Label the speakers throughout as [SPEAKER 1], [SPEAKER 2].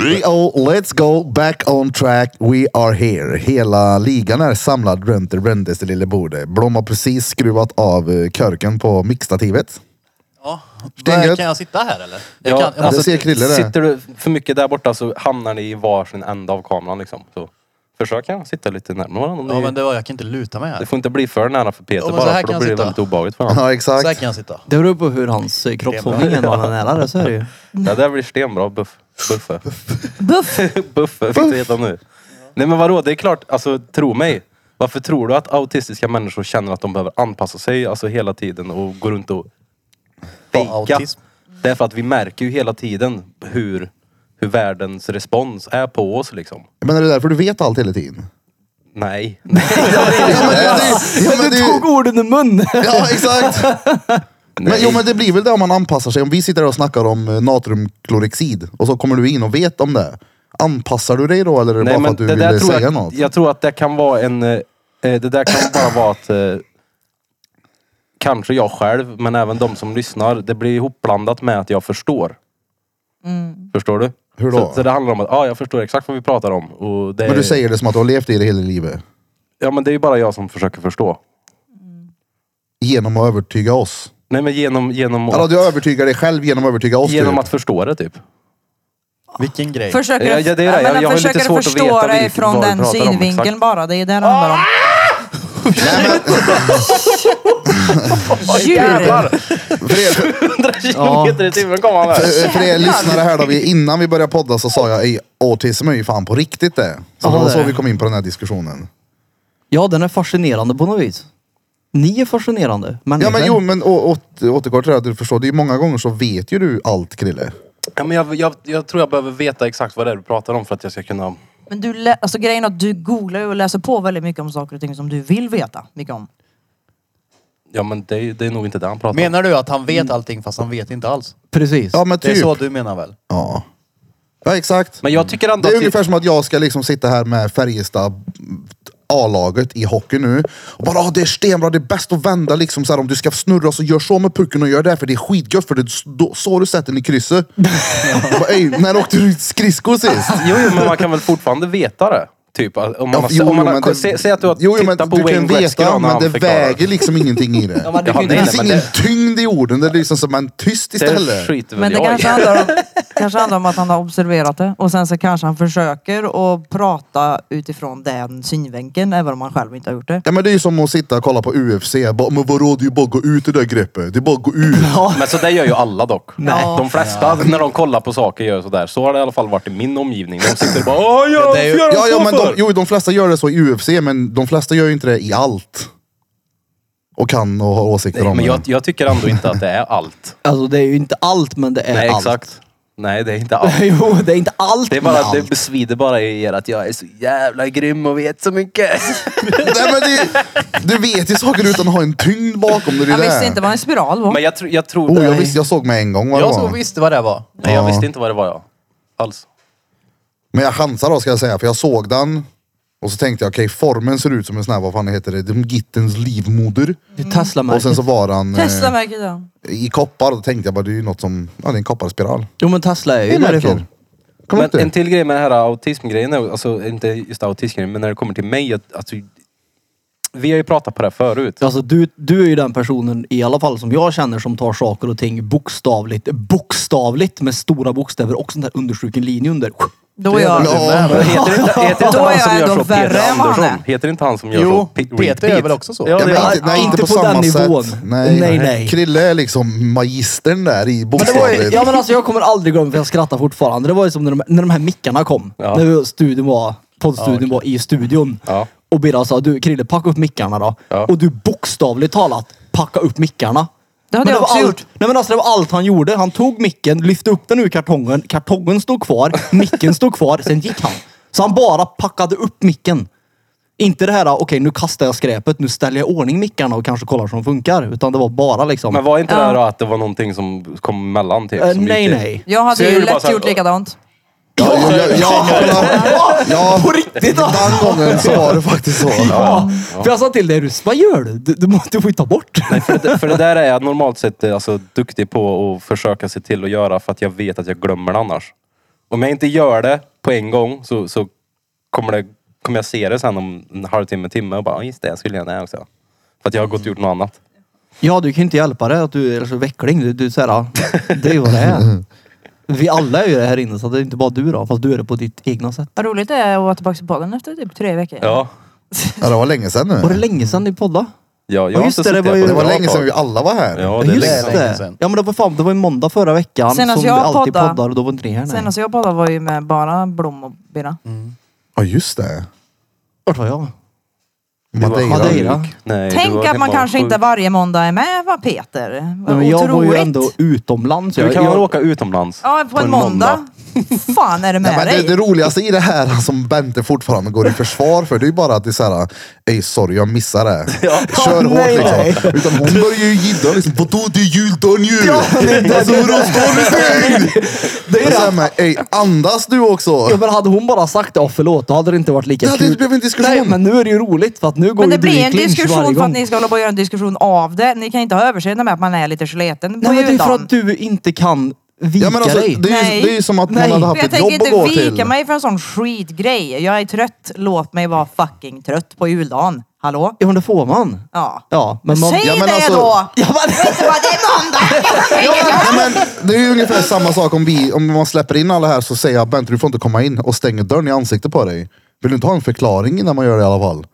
[SPEAKER 1] 3-0, oh, let's go back on track. We are here. Hela ligan är samlad runt det röndaste lilla bordet. Blom har precis skruvat av eh, körken på mixtativet.
[SPEAKER 2] Ja.
[SPEAKER 1] Stängret.
[SPEAKER 2] Kan jag sitta här eller?
[SPEAKER 3] Ja,
[SPEAKER 2] Jag
[SPEAKER 3] alltså,
[SPEAKER 2] kan, jag
[SPEAKER 1] det
[SPEAKER 2] måste,
[SPEAKER 1] ser Krille det.
[SPEAKER 3] Sitter du för mycket där borta så hamnar ni i varsin ända av kameran liksom. Så försök gärna sitta lite närmare varandra. om
[SPEAKER 2] ja
[SPEAKER 3] ni-
[SPEAKER 2] men det var, jag kan inte luta mig här.
[SPEAKER 3] Det får inte bli för nära för Peter
[SPEAKER 2] Ja, men så
[SPEAKER 3] bara,
[SPEAKER 2] här
[SPEAKER 3] för
[SPEAKER 2] kan
[SPEAKER 3] då
[SPEAKER 2] jag
[SPEAKER 3] blir det
[SPEAKER 2] sitta.
[SPEAKER 3] väldigt obehagligt för honom.
[SPEAKER 1] Ja,
[SPEAKER 2] Så här
[SPEAKER 1] exakt.
[SPEAKER 2] kan jag sitta.
[SPEAKER 4] Det beror på hur hans eh, kroppshållning är när han är nära, så är det ju.
[SPEAKER 3] Ja, det här blir stenbra. Buff. Buffe.
[SPEAKER 4] Buff!
[SPEAKER 3] Buffe fick det heta nu. Nej men vadå, det är klart, alltså tro mig. Varför tror du att autistiska människor känner att de behöver anpassa sig alltså hela tiden och gå runt och
[SPEAKER 2] Vad
[SPEAKER 3] fejka?
[SPEAKER 2] autism?
[SPEAKER 3] Det är för att vi märker ju hela tiden hur, hur världens respons är på oss liksom.
[SPEAKER 1] Men är det därför du vet allt hela tiden?
[SPEAKER 3] Nej.
[SPEAKER 1] Ja, men
[SPEAKER 4] Du
[SPEAKER 1] det-
[SPEAKER 4] tog orden ur munnen!
[SPEAKER 1] Ja, exakt. Men, jo, men det blir väl det om man anpassar sig. Om vi sitter där och snackar om eh, natriumklorexid och så kommer du in och vet om det. Anpassar du dig då eller är det bara för att du ville
[SPEAKER 3] tror
[SPEAKER 1] säga
[SPEAKER 3] jag,
[SPEAKER 1] något?
[SPEAKER 3] Jag tror att det kan vara en... eh, eh, Det där kan bara vara att... eh, Kanske jag själv, men även de som lyssnar. Det blir ihopblandat med att jag förstår. Förstår du?
[SPEAKER 1] Hur då?
[SPEAKER 3] Så, så det handlar om att, ja jag förstår exakt vad vi pratar om. Och det,
[SPEAKER 1] Men
[SPEAKER 3] är-
[SPEAKER 1] du säger det som att du har levt i det hela livet.
[SPEAKER 3] Ja men det är ju bara jag som försöker förstå.
[SPEAKER 1] Genom att övertyga oss.
[SPEAKER 3] Nej men genom, genom,
[SPEAKER 1] Eller du övertygar dig själv genom att övertyga oss.
[SPEAKER 3] genom
[SPEAKER 1] typ.
[SPEAKER 3] att förstå det typ.
[SPEAKER 2] Vilken grej.
[SPEAKER 5] Försöker,
[SPEAKER 3] Ja, ja, det är det.
[SPEAKER 5] men
[SPEAKER 3] Jag-
[SPEAKER 5] han
[SPEAKER 3] jag har lite
[SPEAKER 5] försöker
[SPEAKER 3] svårt att
[SPEAKER 5] förstå
[SPEAKER 3] veta
[SPEAKER 5] dig
[SPEAKER 3] vilket-
[SPEAKER 5] från
[SPEAKER 3] vad vi
[SPEAKER 5] den
[SPEAKER 3] pratar om,
[SPEAKER 5] synvinkeln
[SPEAKER 3] exakt. Ah!
[SPEAKER 5] bara. Det är ju det det handlar om. Djur!
[SPEAKER 1] För er,
[SPEAKER 3] 100 kilometer i timmen kommer han här.
[SPEAKER 1] för, för er lyssnare här då, vi, innan vi började podda så sa jag i autism är ju fan på riktigt det. Så
[SPEAKER 4] Ja,
[SPEAKER 1] det var
[SPEAKER 4] det
[SPEAKER 1] så
[SPEAKER 4] är det.
[SPEAKER 1] vi kom in på den här diskussionen.
[SPEAKER 4] Ja, den är fascinerande på något vis. Ni är fascinerande.
[SPEAKER 1] Ja
[SPEAKER 4] Människor.
[SPEAKER 1] men jo, men å- åter- återgår till det att du förstår, det är ju många gånger så vet ju du allt Krille.
[SPEAKER 3] Ja, men jag, jag, jag tror jag behöver veta exakt vad det är du pratar om för att jag ska kunna...
[SPEAKER 5] Men du, lä- alltså, grejen är att du googlar ju och läser på väldigt mycket om saker och ting som du vill veta mycket om.
[SPEAKER 3] Ja men det, är- det är nog inte det han pratar om.
[SPEAKER 2] Menar du att han vet allting fast han vet inte alls?
[SPEAKER 4] Precis.
[SPEAKER 1] Mm. Ja men
[SPEAKER 2] Det är
[SPEAKER 1] typ.
[SPEAKER 2] så du menar väl?
[SPEAKER 1] Ja. ja exakt.
[SPEAKER 3] Men jag tycker ändå
[SPEAKER 1] Det är
[SPEAKER 3] att
[SPEAKER 1] ungefär som att jag ska liksom sitta här med Färjestad A-laget i hockey nu. Och bara, ah, det är stenbra, det är bäst att vända liksom så här, om du ska snurra så gör så med pucken och gör det här, för det är skitgött för det är s- då- så du sätter den i krysset. Jag bara, "Ey, när åkte du ut skridskor sist?
[SPEAKER 3] Jo, jo, men man kan väl fortfarande veta det? Typ, att om man, har- om man har, sä, säg att du har
[SPEAKER 1] jo, jo, men
[SPEAKER 3] tittat på
[SPEAKER 1] du kan
[SPEAKER 3] Wayne Gretzky då
[SPEAKER 1] veta,
[SPEAKER 3] när
[SPEAKER 1] men
[SPEAKER 3] han
[SPEAKER 1] det
[SPEAKER 3] förklarar.
[SPEAKER 1] väger liksom ingenting i det.
[SPEAKER 3] Ja, nej,
[SPEAKER 1] det
[SPEAKER 3] nej,
[SPEAKER 1] finns
[SPEAKER 3] men
[SPEAKER 1] ingen
[SPEAKER 3] det-
[SPEAKER 1] tyngd i orden, det är liksom som en tyst
[SPEAKER 3] Det
[SPEAKER 1] istället.
[SPEAKER 3] skiter
[SPEAKER 5] Men
[SPEAKER 3] väl
[SPEAKER 5] det
[SPEAKER 3] jag i.
[SPEAKER 5] kanske handlar, om, kanske handlar om att han har observerat det och sen så kanske han försöker att prata utifrån den synvinkeln även om han själv inte har gjort det.
[SPEAKER 1] Ja, men det är ju som att sitta och kolla på UFC. Bara, men vadå, det är ju bara att gå ut i det där greppet. Det är bara att gå ut.
[SPEAKER 3] Men så där gör ju alla dock.
[SPEAKER 5] Nej.
[SPEAKER 3] De flesta när de kollar på saker gör sådär. Så har det i alla fall varit i min omgivning. De sitter bara Åh, jag
[SPEAKER 2] det är ju-
[SPEAKER 3] gör
[SPEAKER 1] Eh, Ja, ja, men de,
[SPEAKER 3] för?
[SPEAKER 1] jo, de flesta gör det så i UFC, men de flesta gör ju inte det i allt. Och kan och har åsikter
[SPEAKER 3] Nej,
[SPEAKER 1] om
[SPEAKER 3] men
[SPEAKER 1] det.
[SPEAKER 3] jag, jag tycker ändå inte att det är allt.
[SPEAKER 4] Alltså det är ju inte allt, men det är
[SPEAKER 3] Nej,
[SPEAKER 4] allt.
[SPEAKER 3] exakt. Nej, det är inte allt.
[SPEAKER 4] jo, det är inte allt,
[SPEAKER 3] Det, är bara,
[SPEAKER 4] men allt.
[SPEAKER 3] det besvider bara i er att jag är så jävla grym och vet så mycket.
[SPEAKER 1] Nej, men det, du vet ju saker utan att ha en tyngd bakom dig. Det är
[SPEAKER 5] Han
[SPEAKER 1] det.
[SPEAKER 5] visste inte vad en spiral var.
[SPEAKER 3] Men jag, tr- jag tror...
[SPEAKER 1] Oh, jag, visste, jag såg mig en gång vad det
[SPEAKER 2] Jag så
[SPEAKER 1] var.
[SPEAKER 2] visste vad det var.
[SPEAKER 3] Nej, jag
[SPEAKER 1] Ja.
[SPEAKER 3] visste inte vad det var jag. Alls.
[SPEAKER 1] Men jag chansar då ska jag säga, för jag såg den. Och så tänkte jag, okej formen ser ut som en sån här, vad fan heter det, De Gittens livmoder.
[SPEAKER 4] Det är tesla
[SPEAKER 1] Och sen så var han
[SPEAKER 5] Testa
[SPEAKER 1] eh,
[SPEAKER 5] märket då.
[SPEAKER 1] i koppar och då tänkte jag bara, det är ju något som, ja det är en kopparspiral.
[SPEAKER 4] Jo, men Tesla är ju
[SPEAKER 1] Det märker.
[SPEAKER 4] därifrån.
[SPEAKER 1] Kommer
[SPEAKER 3] Men
[SPEAKER 1] inte?
[SPEAKER 3] en till grej med den här autismgrejen, är- alltså inte just autismgrejen, men när det kommer till mig. att- Alltså, vi har ju pratat på det här förut.
[SPEAKER 4] Alltså du, du är ju den personen, i alla fall som jag känner, som tar saker och ting bokstavligt. Bokstavligt med stora bokstäver och sån där understruken linje under.
[SPEAKER 5] Då är jag...
[SPEAKER 1] Ja,
[SPEAKER 3] Men heter inte, heter inte
[SPEAKER 5] Då är
[SPEAKER 3] han som
[SPEAKER 5] jag
[SPEAKER 3] gör
[SPEAKER 5] ändå
[SPEAKER 3] så Peter
[SPEAKER 5] värre än vad han
[SPEAKER 3] Andersson?
[SPEAKER 5] är.
[SPEAKER 3] Heter inte han som gör
[SPEAKER 2] Jo,
[SPEAKER 3] så?
[SPEAKER 2] Peter
[SPEAKER 3] Pe- Reed
[SPEAKER 2] är
[SPEAKER 3] Pete?
[SPEAKER 2] väl också så.
[SPEAKER 3] Ja,
[SPEAKER 1] Ja,
[SPEAKER 3] det
[SPEAKER 1] men,
[SPEAKER 3] är han.
[SPEAKER 1] inte, nej,
[SPEAKER 4] Ja,
[SPEAKER 1] inte på,
[SPEAKER 4] inte på
[SPEAKER 1] samma
[SPEAKER 4] den nivån.
[SPEAKER 1] sätt. Nej.
[SPEAKER 4] Nej, nej.
[SPEAKER 1] Krille är liksom magistern där i bokstavligt.
[SPEAKER 4] Ja men alltså jag kommer aldrig glömma, för jag skrattar fortfarande. Det var ju som när de, när de här mickarna kom.
[SPEAKER 3] Ja.
[SPEAKER 4] När studion var, poddstudion var i studion.
[SPEAKER 3] Ja.
[SPEAKER 4] Och Birra sa, du Krille packa upp mickarna då.
[SPEAKER 3] Ja.
[SPEAKER 4] Och du bokstavligt talat, packa upp mickarna.
[SPEAKER 5] Det hade jag
[SPEAKER 4] var
[SPEAKER 5] också
[SPEAKER 4] allt,
[SPEAKER 5] gjort.
[SPEAKER 4] Nej men alltså det var allt han gjorde. Han tog micken, lyfte upp den ur kartongen. Kartongen stod kvar, micken stod kvar, sen gick han. Så han bara packade upp micken. Inte det här, okej nu kastar jag skräpet, nu ställer jag i ordning mickarna och kanske kollar så de funkar. Utan det var bara liksom.
[SPEAKER 3] Men var inte
[SPEAKER 5] Ja.
[SPEAKER 3] det då att det var någonting som kom emellan? Typ,
[SPEAKER 4] Eh,
[SPEAKER 3] som
[SPEAKER 4] nej,
[SPEAKER 3] gick i-
[SPEAKER 4] nej.
[SPEAKER 5] Jag
[SPEAKER 3] Så
[SPEAKER 5] hade
[SPEAKER 3] jag
[SPEAKER 5] ju
[SPEAKER 3] gjorde bara
[SPEAKER 5] lätt
[SPEAKER 3] så här-
[SPEAKER 5] gjort likadant.
[SPEAKER 1] Ja, ja, ja, ja, ja, ja.
[SPEAKER 4] På riktigt alltså!
[SPEAKER 1] Den gången så var det faktiskt så.
[SPEAKER 4] Ja. För jag sa till dig, Rus, vad gör du? Du, du, må- du får ju ta bort.
[SPEAKER 3] Nej, för, det, för det där är jag normalt sett eh, alltså, duktig på att försöka se till att göra för att jag vet att jag glömmer det annars. Om jag inte gör det på en gång så, så kommer, det, kommer jag se det sen om en halvtimme, timme och bara "Ja, just det, jag skulle göra det också. För att jag har gått och gjort något annat.
[SPEAKER 4] Ja, du kan ju inte hjälpa det att du är så veckling. Du, du säger ja, det är ju vad det är. Vi alla är ju det här inne så det är inte bara du då. Fast du är det på ditt egna sätt.
[SPEAKER 5] Vad roligt det är att vara tillbaka i podden efter typ tre veckor.
[SPEAKER 3] Ja,
[SPEAKER 1] Ja, det var länge sedan nu.
[SPEAKER 4] Var det länge sedan ni poddade?
[SPEAKER 3] ja jag
[SPEAKER 4] Ja,
[SPEAKER 3] har
[SPEAKER 4] just
[SPEAKER 3] inte
[SPEAKER 4] det, det
[SPEAKER 3] suttit
[SPEAKER 4] var
[SPEAKER 1] Det var
[SPEAKER 3] här på ett bra
[SPEAKER 4] ju-
[SPEAKER 1] länge sedan
[SPEAKER 3] tag.
[SPEAKER 1] vi alla var här.
[SPEAKER 3] Ja,
[SPEAKER 4] Ja,
[SPEAKER 3] det är
[SPEAKER 4] just
[SPEAKER 3] länge sedan.
[SPEAKER 2] länge
[SPEAKER 4] det.
[SPEAKER 2] sedan.
[SPEAKER 4] Ja men det var fan, det var ju måndag förra veckan
[SPEAKER 5] Senast
[SPEAKER 4] som
[SPEAKER 5] alltså, jag alltså-
[SPEAKER 4] vi alltid
[SPEAKER 5] poddade.
[SPEAKER 4] poddar och då var inte ni här. Nej.
[SPEAKER 5] Senast jag poddade var ju med bara Blom och Bina.
[SPEAKER 3] Mm.
[SPEAKER 1] Ja, just det.
[SPEAKER 4] Vart var jag?
[SPEAKER 3] Du var
[SPEAKER 1] Madeira.
[SPEAKER 4] Madeira.
[SPEAKER 3] sjuk. Nej, du
[SPEAKER 5] Tänk
[SPEAKER 3] var
[SPEAKER 5] att man
[SPEAKER 3] hemma
[SPEAKER 5] kanske
[SPEAKER 3] sjuk.
[SPEAKER 5] inte varje måndag är med va Peter? Vad
[SPEAKER 4] Nej, men jag var
[SPEAKER 5] otroligt.
[SPEAKER 4] ju ändå utomlands.
[SPEAKER 3] Du
[SPEAKER 4] Jag,
[SPEAKER 3] kan väl
[SPEAKER 4] jag,
[SPEAKER 3] åka utomlands?
[SPEAKER 5] Ja, på en måndag. fan är det med
[SPEAKER 1] Nej, men
[SPEAKER 5] dig?
[SPEAKER 1] det, det roligaste i det här som Bente fortfarande går i försvar för, det är ju bara att det är såhär, ej sorry jag missade det. Kör hårt
[SPEAKER 4] nej,
[SPEAKER 1] liksom.
[SPEAKER 4] nej.
[SPEAKER 1] Utan hon börjar ju gidda liksom, vadå det är juldagen ju!
[SPEAKER 4] Ja, men det-
[SPEAKER 1] Alltså vadå står du stängd?
[SPEAKER 4] det är
[SPEAKER 1] Och så här
[SPEAKER 4] det.
[SPEAKER 1] med, ej andas du
[SPEAKER 4] Ja,
[SPEAKER 1] också!
[SPEAKER 4] men hade hon bara sagt ja förlåt, då hade det inte varit lika
[SPEAKER 1] Det hade
[SPEAKER 4] kul.
[SPEAKER 1] inte blivit en diskussion.
[SPEAKER 4] Nej, men nu är det ju roligt för att nu går
[SPEAKER 5] Men
[SPEAKER 4] ju
[SPEAKER 5] det
[SPEAKER 4] du i
[SPEAKER 5] blir en
[SPEAKER 4] clinch varje
[SPEAKER 5] diskussion för
[SPEAKER 4] gång.
[SPEAKER 5] att ni ska hålla på och göra en diskussion av det. Ni kan inte ha överseende med att man är lite sleten på
[SPEAKER 4] Nej men det är för
[SPEAKER 5] juldagen.
[SPEAKER 4] att du inte kan vika
[SPEAKER 1] Ja, men alltså,
[SPEAKER 4] dig.
[SPEAKER 1] det, är ju,
[SPEAKER 5] Nej.
[SPEAKER 1] det är ju som att
[SPEAKER 4] Nej.
[SPEAKER 1] man hade
[SPEAKER 5] För jag
[SPEAKER 1] haft ett
[SPEAKER 5] tänker
[SPEAKER 1] jobb att
[SPEAKER 5] inte
[SPEAKER 1] gå
[SPEAKER 5] vika
[SPEAKER 1] till.
[SPEAKER 5] mig för en sån skitgrej. Jag är trött, låt mig vara fucking trött på juldagen. Hallå?
[SPEAKER 4] Ja men det får man.
[SPEAKER 5] Ja.
[SPEAKER 4] Ja, men man...
[SPEAKER 5] Säg
[SPEAKER 1] Ja, men
[SPEAKER 5] det
[SPEAKER 1] alltså-
[SPEAKER 5] då!
[SPEAKER 4] Ja, men...
[SPEAKER 5] Vet du vad, det är måndag!
[SPEAKER 1] Ja, men det är ju ungefär samma sak om, vi, om man släpper in alla här så säger jag Bente du får inte komma in och stänger dörren i ansiktet på dig. Vill du inte ha en förklaring innan man gör det i alla fall?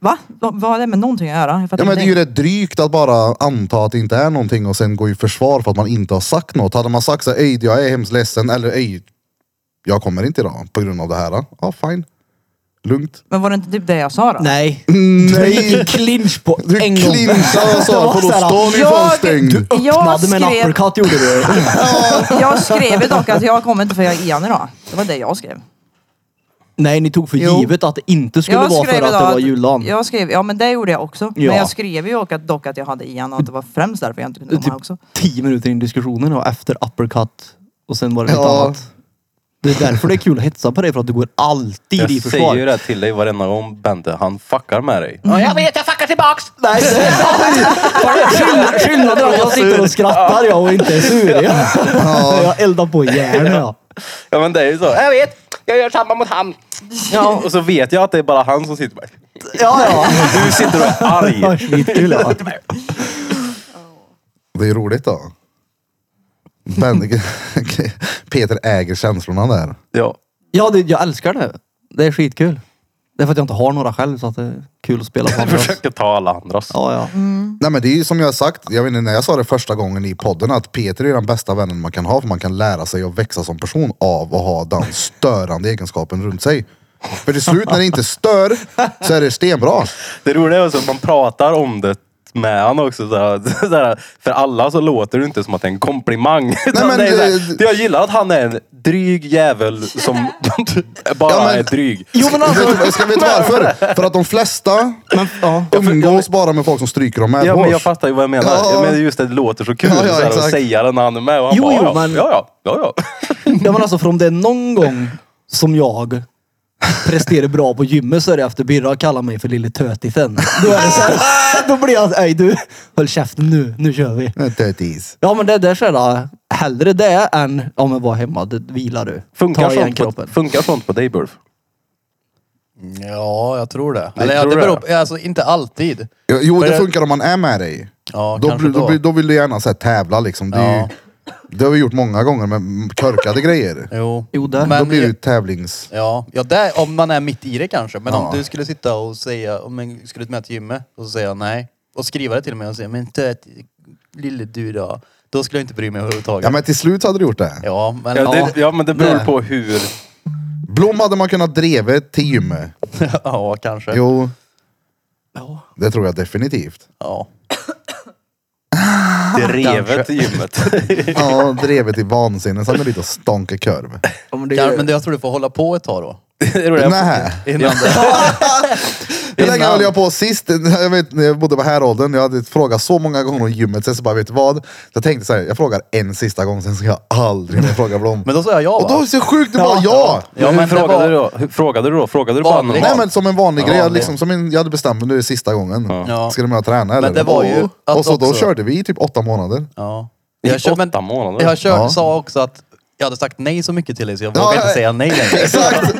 [SPEAKER 5] Va? Vad vad har det med någonting att göra? Jag fattar
[SPEAKER 1] Ja, men det är ju
[SPEAKER 5] ingenting.
[SPEAKER 1] rätt drygt att bara anta att det inte är någonting och sen gå i försvar för att man inte har sagt något. Hade man sagt så här, "Ey, jag är hemskt ledsen eller ej, jag kommer inte idag på grund av det här. Ja, fine. Lugnt.
[SPEAKER 5] men var det inte typ det jag sa då?
[SPEAKER 4] Nej. Du gick i
[SPEAKER 1] Nej!
[SPEAKER 4] clinch på
[SPEAKER 1] Du
[SPEAKER 4] en gång.
[SPEAKER 1] clinchade och
[SPEAKER 4] Det
[SPEAKER 1] sa
[SPEAKER 4] var
[SPEAKER 1] för då
[SPEAKER 4] så här,
[SPEAKER 1] står ni ju
[SPEAKER 5] jag-
[SPEAKER 1] fan stängd.
[SPEAKER 5] Jag
[SPEAKER 4] Öppnade med en
[SPEAKER 5] skrev,
[SPEAKER 4] uppercut gjorde du.
[SPEAKER 5] jag skrev ju dock att jag kommer inte för jag är Ian idag. Det var det jag skrev.
[SPEAKER 4] Nej, ni tog för
[SPEAKER 5] Jo.
[SPEAKER 4] givet att det inte skulle
[SPEAKER 5] Jag
[SPEAKER 4] vara för
[SPEAKER 5] skrev
[SPEAKER 4] att det
[SPEAKER 5] idag
[SPEAKER 4] var juldagen.
[SPEAKER 5] Jag skrev, ja men det gjorde jag också.
[SPEAKER 4] Ja.
[SPEAKER 5] Men jag skrev ju också att- dock att jag hade Ian och att det var främst därför jag inte kunde komma
[SPEAKER 4] Typ
[SPEAKER 5] också.
[SPEAKER 4] tio minuter in i diskussionen och efter uppercut och sen var det något
[SPEAKER 1] Ja.
[SPEAKER 4] annat. Det är därför det är kul att hetsa på dig för att du går alltid i
[SPEAKER 3] Jag säger
[SPEAKER 4] försvar.
[SPEAKER 3] ju det till dig varenda gång Bente, han fuckar med dig.
[SPEAKER 4] Nej, det är skillnaden är att jag sitter och skrattar jag och inte är sur. Ja. Jag eldar på järn. Ja.
[SPEAKER 3] Ja men det är ju så. Jag vet, jag gör samma mot han. Ja, och så vet jag att det är bara han som sitter där.
[SPEAKER 4] Ja,
[SPEAKER 3] Du sitter och är
[SPEAKER 4] ja.
[SPEAKER 3] arg.
[SPEAKER 4] Skitkul. Ja.
[SPEAKER 1] Det är ju roligt då. Ben, Peter äger känslorna där.
[SPEAKER 3] Ja.
[SPEAKER 4] Ja, det, jag älskar det. Det är skitkul. Det är för att jag inte har några själv så att det är kul att spela på
[SPEAKER 3] Du
[SPEAKER 4] andras.
[SPEAKER 3] försöker ta alla andras.
[SPEAKER 4] Ja, ja.
[SPEAKER 1] Nej men det är ju som jag har sagt, jag vet inte när jag sa det första gången i podden att Peter är den bästa vännen man kan ha för man kan lära sig att växa som person av att ha den störande egenskapen runt sig. För till slut när det inte stör så är det stenbra.
[SPEAKER 3] Det roliga är också att man pratar om det med han också. Så här, så här, för alla så låter det inte som att det är en komplimang. utan
[SPEAKER 1] men
[SPEAKER 3] det är så
[SPEAKER 1] det-
[SPEAKER 3] här, jag gillar att han är en dryg jävel som bara
[SPEAKER 1] Ja, men-
[SPEAKER 3] är dryg.
[SPEAKER 4] Jo, men alltså.
[SPEAKER 1] Vet du, ska vet du varför? För att de flesta
[SPEAKER 4] Men, ja.
[SPEAKER 1] umgås bara med folk som stryker dem med
[SPEAKER 3] Ja, men jag fattar ju vad jag menar.
[SPEAKER 1] Ja.
[SPEAKER 3] Jag menar just det, det låter så kul
[SPEAKER 1] Ja, ja,
[SPEAKER 3] så här, att
[SPEAKER 1] exakt.
[SPEAKER 3] säga det när han är med. Och han
[SPEAKER 4] Jo,
[SPEAKER 3] bara,
[SPEAKER 4] jo,
[SPEAKER 3] ja,
[SPEAKER 4] men-
[SPEAKER 3] ja, ja, ja, ja.
[SPEAKER 4] ja, men alltså för om det är någon gång som jag presterar bra på gymmet så är det efter Birra kallar mig för lille tötisen. Då, är det så här, då blir jag så här, "Ey, du, håll käften nu, nu kör vi.
[SPEAKER 1] Tötis.
[SPEAKER 4] Ja men det där så är det hellre det än, ja men var hemma, det vilar du.
[SPEAKER 3] Funkar,
[SPEAKER 4] Ta igen
[SPEAKER 3] sånt på,
[SPEAKER 4] kroppen.
[SPEAKER 3] funkar sånt på dig Burf?
[SPEAKER 2] Ja, jag tror det. Eller
[SPEAKER 3] tror
[SPEAKER 2] ja, det beror
[SPEAKER 3] det.
[SPEAKER 2] på, alltså inte alltid.
[SPEAKER 1] Jo
[SPEAKER 2] För
[SPEAKER 1] det
[SPEAKER 2] det-
[SPEAKER 1] funkar om man är med dig.
[SPEAKER 2] Ja,
[SPEAKER 1] Då,
[SPEAKER 2] kanske
[SPEAKER 1] blir- då,
[SPEAKER 2] då.
[SPEAKER 1] blir- då vill du gärna så här, tävla liksom. Det, är ju, det har vi gjort många gånger med korkade grejer.
[SPEAKER 2] Jo.
[SPEAKER 4] Jo, där.
[SPEAKER 1] Då
[SPEAKER 2] Men,
[SPEAKER 1] blir det ju tävlings...
[SPEAKER 2] Ja, ja där, om man är mitt i det kanske. Men
[SPEAKER 1] Ja.
[SPEAKER 2] om du skulle sitta och säga, om jag skulle med till gymmet och så säger jag nej. Och skriva det till mig och säga, men töt, lille du då. Då skulle jag inte bry mig överhuvudtaget.
[SPEAKER 1] Ja men till slut hade du gjort det.
[SPEAKER 2] Ja, men,
[SPEAKER 3] Ja,
[SPEAKER 2] ja,
[SPEAKER 3] det, ja men det beror
[SPEAKER 2] Nej.
[SPEAKER 3] på hur.
[SPEAKER 1] Blom hade man kunnat driva till gymmet.
[SPEAKER 2] ja, kanske.
[SPEAKER 1] Jo,
[SPEAKER 4] Ja.
[SPEAKER 1] det tror jag definitivt.
[SPEAKER 2] Ja.
[SPEAKER 3] Det revet i gymmet.
[SPEAKER 1] Ja, drevet i vansinne. Sen är det lite att stonka kurv.
[SPEAKER 4] Ja, men det
[SPEAKER 2] Kan,
[SPEAKER 4] är,
[SPEAKER 2] men det, jag tror du får hålla på ett tag då.
[SPEAKER 3] Det roliga-
[SPEAKER 1] Nej.
[SPEAKER 2] Innan det.
[SPEAKER 1] Hur länge
[SPEAKER 2] Innan.
[SPEAKER 1] höll jag på sist? Jag vet när jag bodde på häråldern. Jag hade frågat så många gånger om gymmet. Sen så bara, vet du vad? Jag tänkte så här, jag frågar en sista gång. Sen ska jag aldrig mer fråga Blom.
[SPEAKER 2] Men då sa jag ja
[SPEAKER 1] Och då är det
[SPEAKER 2] va?
[SPEAKER 1] så sjukt, du bara ja!
[SPEAKER 2] Ja,
[SPEAKER 3] hur
[SPEAKER 2] men det
[SPEAKER 3] frågade
[SPEAKER 2] var-
[SPEAKER 3] du då? Hur frågade du då? Frågade du bara
[SPEAKER 2] Vanligt.
[SPEAKER 3] normalt?
[SPEAKER 1] Nej men som en vanlig
[SPEAKER 2] Ja,
[SPEAKER 1] grej. Jag,
[SPEAKER 2] vanlig.
[SPEAKER 1] liksom, som en, jag hade bestämt mig, nu är det sista gången.
[SPEAKER 2] Ja.
[SPEAKER 1] Ska du med och träna eller?
[SPEAKER 2] det var ju
[SPEAKER 1] och,
[SPEAKER 2] att
[SPEAKER 1] och så då
[SPEAKER 2] också-
[SPEAKER 1] körde vi i typ åtta månader.
[SPEAKER 2] Ja.
[SPEAKER 3] I
[SPEAKER 2] Jag, kör, men,
[SPEAKER 3] åtta månader?
[SPEAKER 2] jag kör,
[SPEAKER 1] Ja.
[SPEAKER 2] sa också att Jag hade sagt nej så mycket till dig så jag vågade inte säga nej längre.
[SPEAKER 1] Exakt!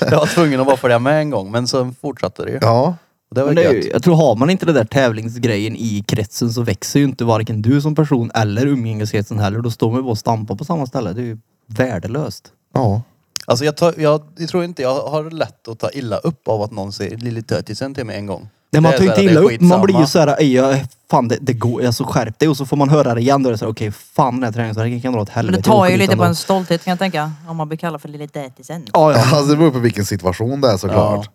[SPEAKER 2] Jag var tvungen att vara för det med en gång men sen fortsatte det ju.
[SPEAKER 1] Ja.
[SPEAKER 2] Och det var
[SPEAKER 4] Men det är ju,
[SPEAKER 2] gött.
[SPEAKER 4] jag tror har man inte den där tävlingsgrejen i kretsen så växer ju inte varken du som person eller umgängeskretsen heller. Då står man ju bara och stampar på samma ställe. Det är ju värdelöst.
[SPEAKER 1] ja.
[SPEAKER 2] Alltså jag, tar, jag, jag tror inte jag har lätt att ta illa upp av att någon säger lille tötisen till mig en gång.
[SPEAKER 4] Nej, man
[SPEAKER 2] Det är
[SPEAKER 4] tar ju
[SPEAKER 2] så
[SPEAKER 4] inte
[SPEAKER 2] här, det
[SPEAKER 4] illa
[SPEAKER 2] är
[SPEAKER 4] upp. Man blir ju
[SPEAKER 2] skitsamma.
[SPEAKER 4] såhär, "Ej, jag- fan det, det går, alltså skärp dig. Och så får man höra det igen. Då är det såhär, okej fan den här träningsvärken kan dra åt
[SPEAKER 5] Men
[SPEAKER 4] helvete.
[SPEAKER 5] det tar
[SPEAKER 4] Jag
[SPEAKER 5] ju
[SPEAKER 4] åker dit
[SPEAKER 5] lite på
[SPEAKER 4] ändå."
[SPEAKER 5] en stolthet kan jag tänka. Om man blir kallad för lille tätisen.
[SPEAKER 4] Ja, ja.
[SPEAKER 1] Alltså det beror på vilken situation det är såklart.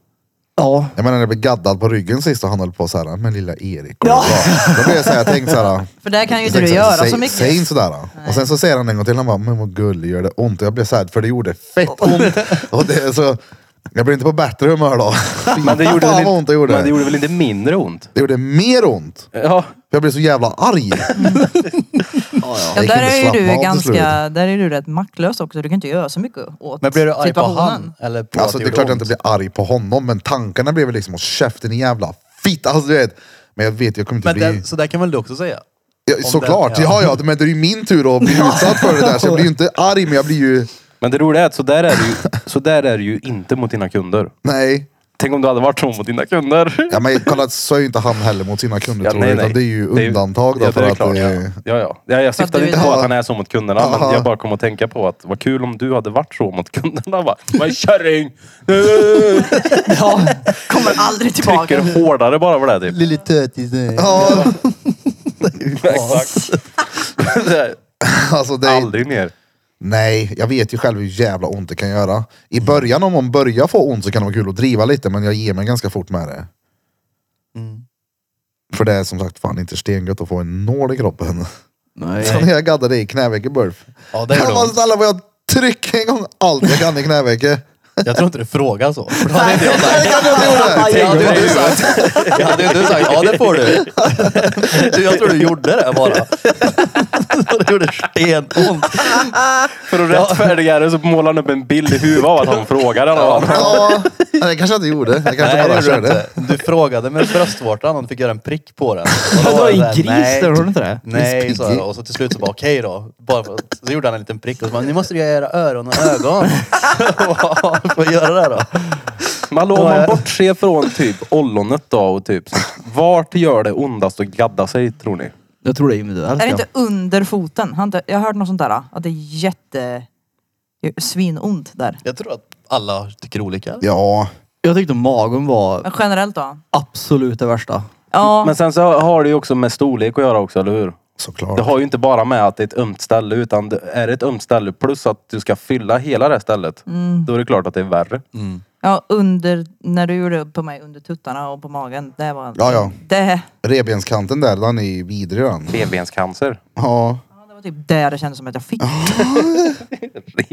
[SPEAKER 4] ja.
[SPEAKER 1] Jag menar när jag blev gaddad på ryggen sist och han höll på såhär, men lilla Erik. och
[SPEAKER 4] Ja.
[SPEAKER 1] bra." Då blev jag såhär, jag tänkte såhär.
[SPEAKER 5] För där kan ju
[SPEAKER 1] jag
[SPEAKER 5] inte du
[SPEAKER 1] tänkte såhär,
[SPEAKER 5] göra
[SPEAKER 1] säg,
[SPEAKER 5] så mycket.
[SPEAKER 1] Säg inte sådär. Och sen så säger han en gång till, han bara, men vad gullig, gör det ont? Och jag blev såhär, för det gjorde fett ont. och det, är så, jag blev inte på bättre humör då.
[SPEAKER 3] Men det gjorde,
[SPEAKER 1] Fan
[SPEAKER 3] väl,
[SPEAKER 1] vad ont det gjorde.
[SPEAKER 3] men det gjorde väl inte mindre ont?
[SPEAKER 1] Det gjorde mer ont.
[SPEAKER 3] Ja.
[SPEAKER 1] För jag blev så jävla arg.
[SPEAKER 5] Ja,
[SPEAKER 1] Jag
[SPEAKER 5] där
[SPEAKER 1] kunde
[SPEAKER 5] är ju
[SPEAKER 1] slappna av
[SPEAKER 5] du
[SPEAKER 1] till
[SPEAKER 5] ganska, där är du rätt maktlös också. Du kan inte göra så mycket åt
[SPEAKER 2] Men blir du arg på
[SPEAKER 5] situationen.
[SPEAKER 2] han? Eller på
[SPEAKER 1] Alltså
[SPEAKER 2] att
[SPEAKER 1] det är klart jag
[SPEAKER 2] gjorde
[SPEAKER 1] inte
[SPEAKER 2] ont?
[SPEAKER 1] blev arg på honom, men tankarna blev väl liksom, "Åh, käften i jävla fitta. Alltså du vet. Men jag vet, jag kommer inte
[SPEAKER 2] Men
[SPEAKER 1] bli...
[SPEAKER 2] den, så där kan väl du också säga?
[SPEAKER 1] Ja,
[SPEAKER 2] Om
[SPEAKER 1] såklart,
[SPEAKER 2] den- ja.
[SPEAKER 1] ja. ja men det är ju min tur att bli utsatt för det där. Så jag blir ju inte arg men jag blir ju,
[SPEAKER 3] Men det roliga är att så där är, det ju, så där är det ju inte mot dina kunder.
[SPEAKER 1] nej.
[SPEAKER 3] Tänk om du hade varit så mot dina kunder.
[SPEAKER 1] Ja, men kolla så är ju inte han heller mot sina kunder tror jag. Utan det är ju undantag då
[SPEAKER 3] ja, det
[SPEAKER 1] för
[SPEAKER 3] är
[SPEAKER 1] att
[SPEAKER 3] klart,
[SPEAKER 1] det
[SPEAKER 3] ja.
[SPEAKER 1] är...
[SPEAKER 3] ja, ja. ja jag
[SPEAKER 5] du
[SPEAKER 3] syftade
[SPEAKER 5] vill-
[SPEAKER 3] inte på att han är så mot kunderna.
[SPEAKER 1] Aha.
[SPEAKER 3] Men jag bara kom att tänka på att vad kul om du hade varit så mot kunderna. Bara, Vad kärring! Trycker
[SPEAKER 4] ja.
[SPEAKER 5] Kommer aldrig tillbaka.
[SPEAKER 3] hårdare bara för det typ.
[SPEAKER 2] Lille tötisen.
[SPEAKER 1] Ja,
[SPEAKER 3] Exakt. Det är
[SPEAKER 1] alltså det är...
[SPEAKER 3] Aldrig mer.
[SPEAKER 1] Nej, jag vet ju själv hur jävla ont det kan göra. I början om man börjar få ont så kan det vara kul att driva lite men jag ger mig ganska fort med det.
[SPEAKER 2] Mm.
[SPEAKER 1] För det är som sagt fan inte stengött att få en nål i kroppen.
[SPEAKER 4] Nej.
[SPEAKER 1] Som när jag gaddade i knävecket Burf.
[SPEAKER 2] Ja, det
[SPEAKER 1] Jag
[SPEAKER 2] gör
[SPEAKER 1] bara
[SPEAKER 2] det.
[SPEAKER 1] snälla får jag trycka en gång allt jag kan i knävecket?
[SPEAKER 2] Jag tror inte du frågar så. För då hade inte jag
[SPEAKER 1] Nej,
[SPEAKER 2] sagt.
[SPEAKER 1] det kan jag inte göra.
[SPEAKER 2] Jag hade ju inte sagt. Jag hade ju inte sagt. Ja det får du. Du, Jag tror du gjorde det bara. Det gjorde stenont.
[SPEAKER 3] För att rättfärdiga det så målar han upp en bild i huvudet av att han frågar den.
[SPEAKER 1] Ja, nej, det kanske jag inte gjorde. Jag kanske
[SPEAKER 2] Nej det
[SPEAKER 1] bara
[SPEAKER 2] gjorde du
[SPEAKER 1] körde.
[SPEAKER 2] inte. Du frågade med bröstvårtan och fick göra en prick på den. Och då
[SPEAKER 4] Det
[SPEAKER 2] var
[SPEAKER 4] var
[SPEAKER 2] jag
[SPEAKER 4] en
[SPEAKER 2] såhär,
[SPEAKER 4] gris
[SPEAKER 2] nej.
[SPEAKER 4] där, har du inte det?
[SPEAKER 2] Nej, sa jag. Och så till slut så bara okej då. Bara för att, så gjorde han en liten prick och så bara, nu måste du göra era öron och ögon. Får jag göra det då?
[SPEAKER 3] Men hallå, om man bortser från typ ollonet då och typ så- vart gör det ondast att gadda sig tror ni?
[SPEAKER 4] Jag tror det är individuellt.
[SPEAKER 5] Är
[SPEAKER 4] ja.
[SPEAKER 5] det inte under foten? Har inte- Jag har hört något sånt där. Att det är jätte... Svinont där.
[SPEAKER 2] Jag tror att alla tycker olika.
[SPEAKER 1] Ja,
[SPEAKER 4] Jag tyckte magen var
[SPEAKER 5] Men generellt då?
[SPEAKER 4] absolut det värsta.
[SPEAKER 5] Ja.
[SPEAKER 3] Men sen så har det ju också med storlek att göra också, eller hur?
[SPEAKER 1] såklart.
[SPEAKER 3] Det har ju inte bara med att det är ett ömt ställe utan det är ett ömt ställe plus att du ska fylla hela det här stället. Då är det klart att det är värre.
[SPEAKER 5] Ja, under, när du gjorde upp på mig under tuttarna och på magen. Det var...
[SPEAKER 1] Ja, ja.
[SPEAKER 5] Det,
[SPEAKER 1] Revbenskanten där, den är vidrig den.
[SPEAKER 3] Revbenscancer.
[SPEAKER 1] Ja.
[SPEAKER 5] ja, det var typ där det kändes som att jag fick.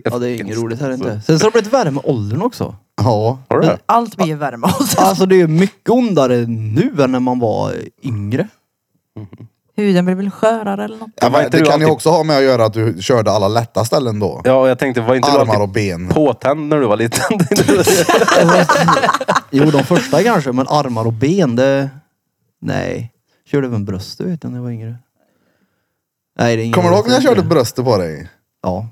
[SPEAKER 4] Ja det är inget roligt här inte. Sen så har det blivit värre med åldern också.
[SPEAKER 1] Ja.
[SPEAKER 3] Har du det?
[SPEAKER 5] Allt blir ju värme alltså.
[SPEAKER 4] Alltså det är ju mycket ondare nu än när man var yngre.
[SPEAKER 5] Huden blir väl skörare eller något.
[SPEAKER 1] Ja,
[SPEAKER 3] var
[SPEAKER 1] men
[SPEAKER 3] inte
[SPEAKER 1] det
[SPEAKER 3] du
[SPEAKER 1] kan ju
[SPEAKER 3] alltid-
[SPEAKER 1] också ha med att göra att du körde alla lätta ställen då.
[SPEAKER 3] Ja, och jag tänkte var inte du
[SPEAKER 1] Armar och
[SPEAKER 3] alltid
[SPEAKER 1] ben.
[SPEAKER 3] påtänd när du var liten?
[SPEAKER 4] Jo de första kanske, men armar och ben det... Nej. Körde även bröst du vet jag, när jag var yngre. Nej det är inget
[SPEAKER 1] Kommer du
[SPEAKER 4] roligt
[SPEAKER 1] ihåg när jag
[SPEAKER 4] yngre.
[SPEAKER 1] körde bröstet på dig?
[SPEAKER 4] Ja.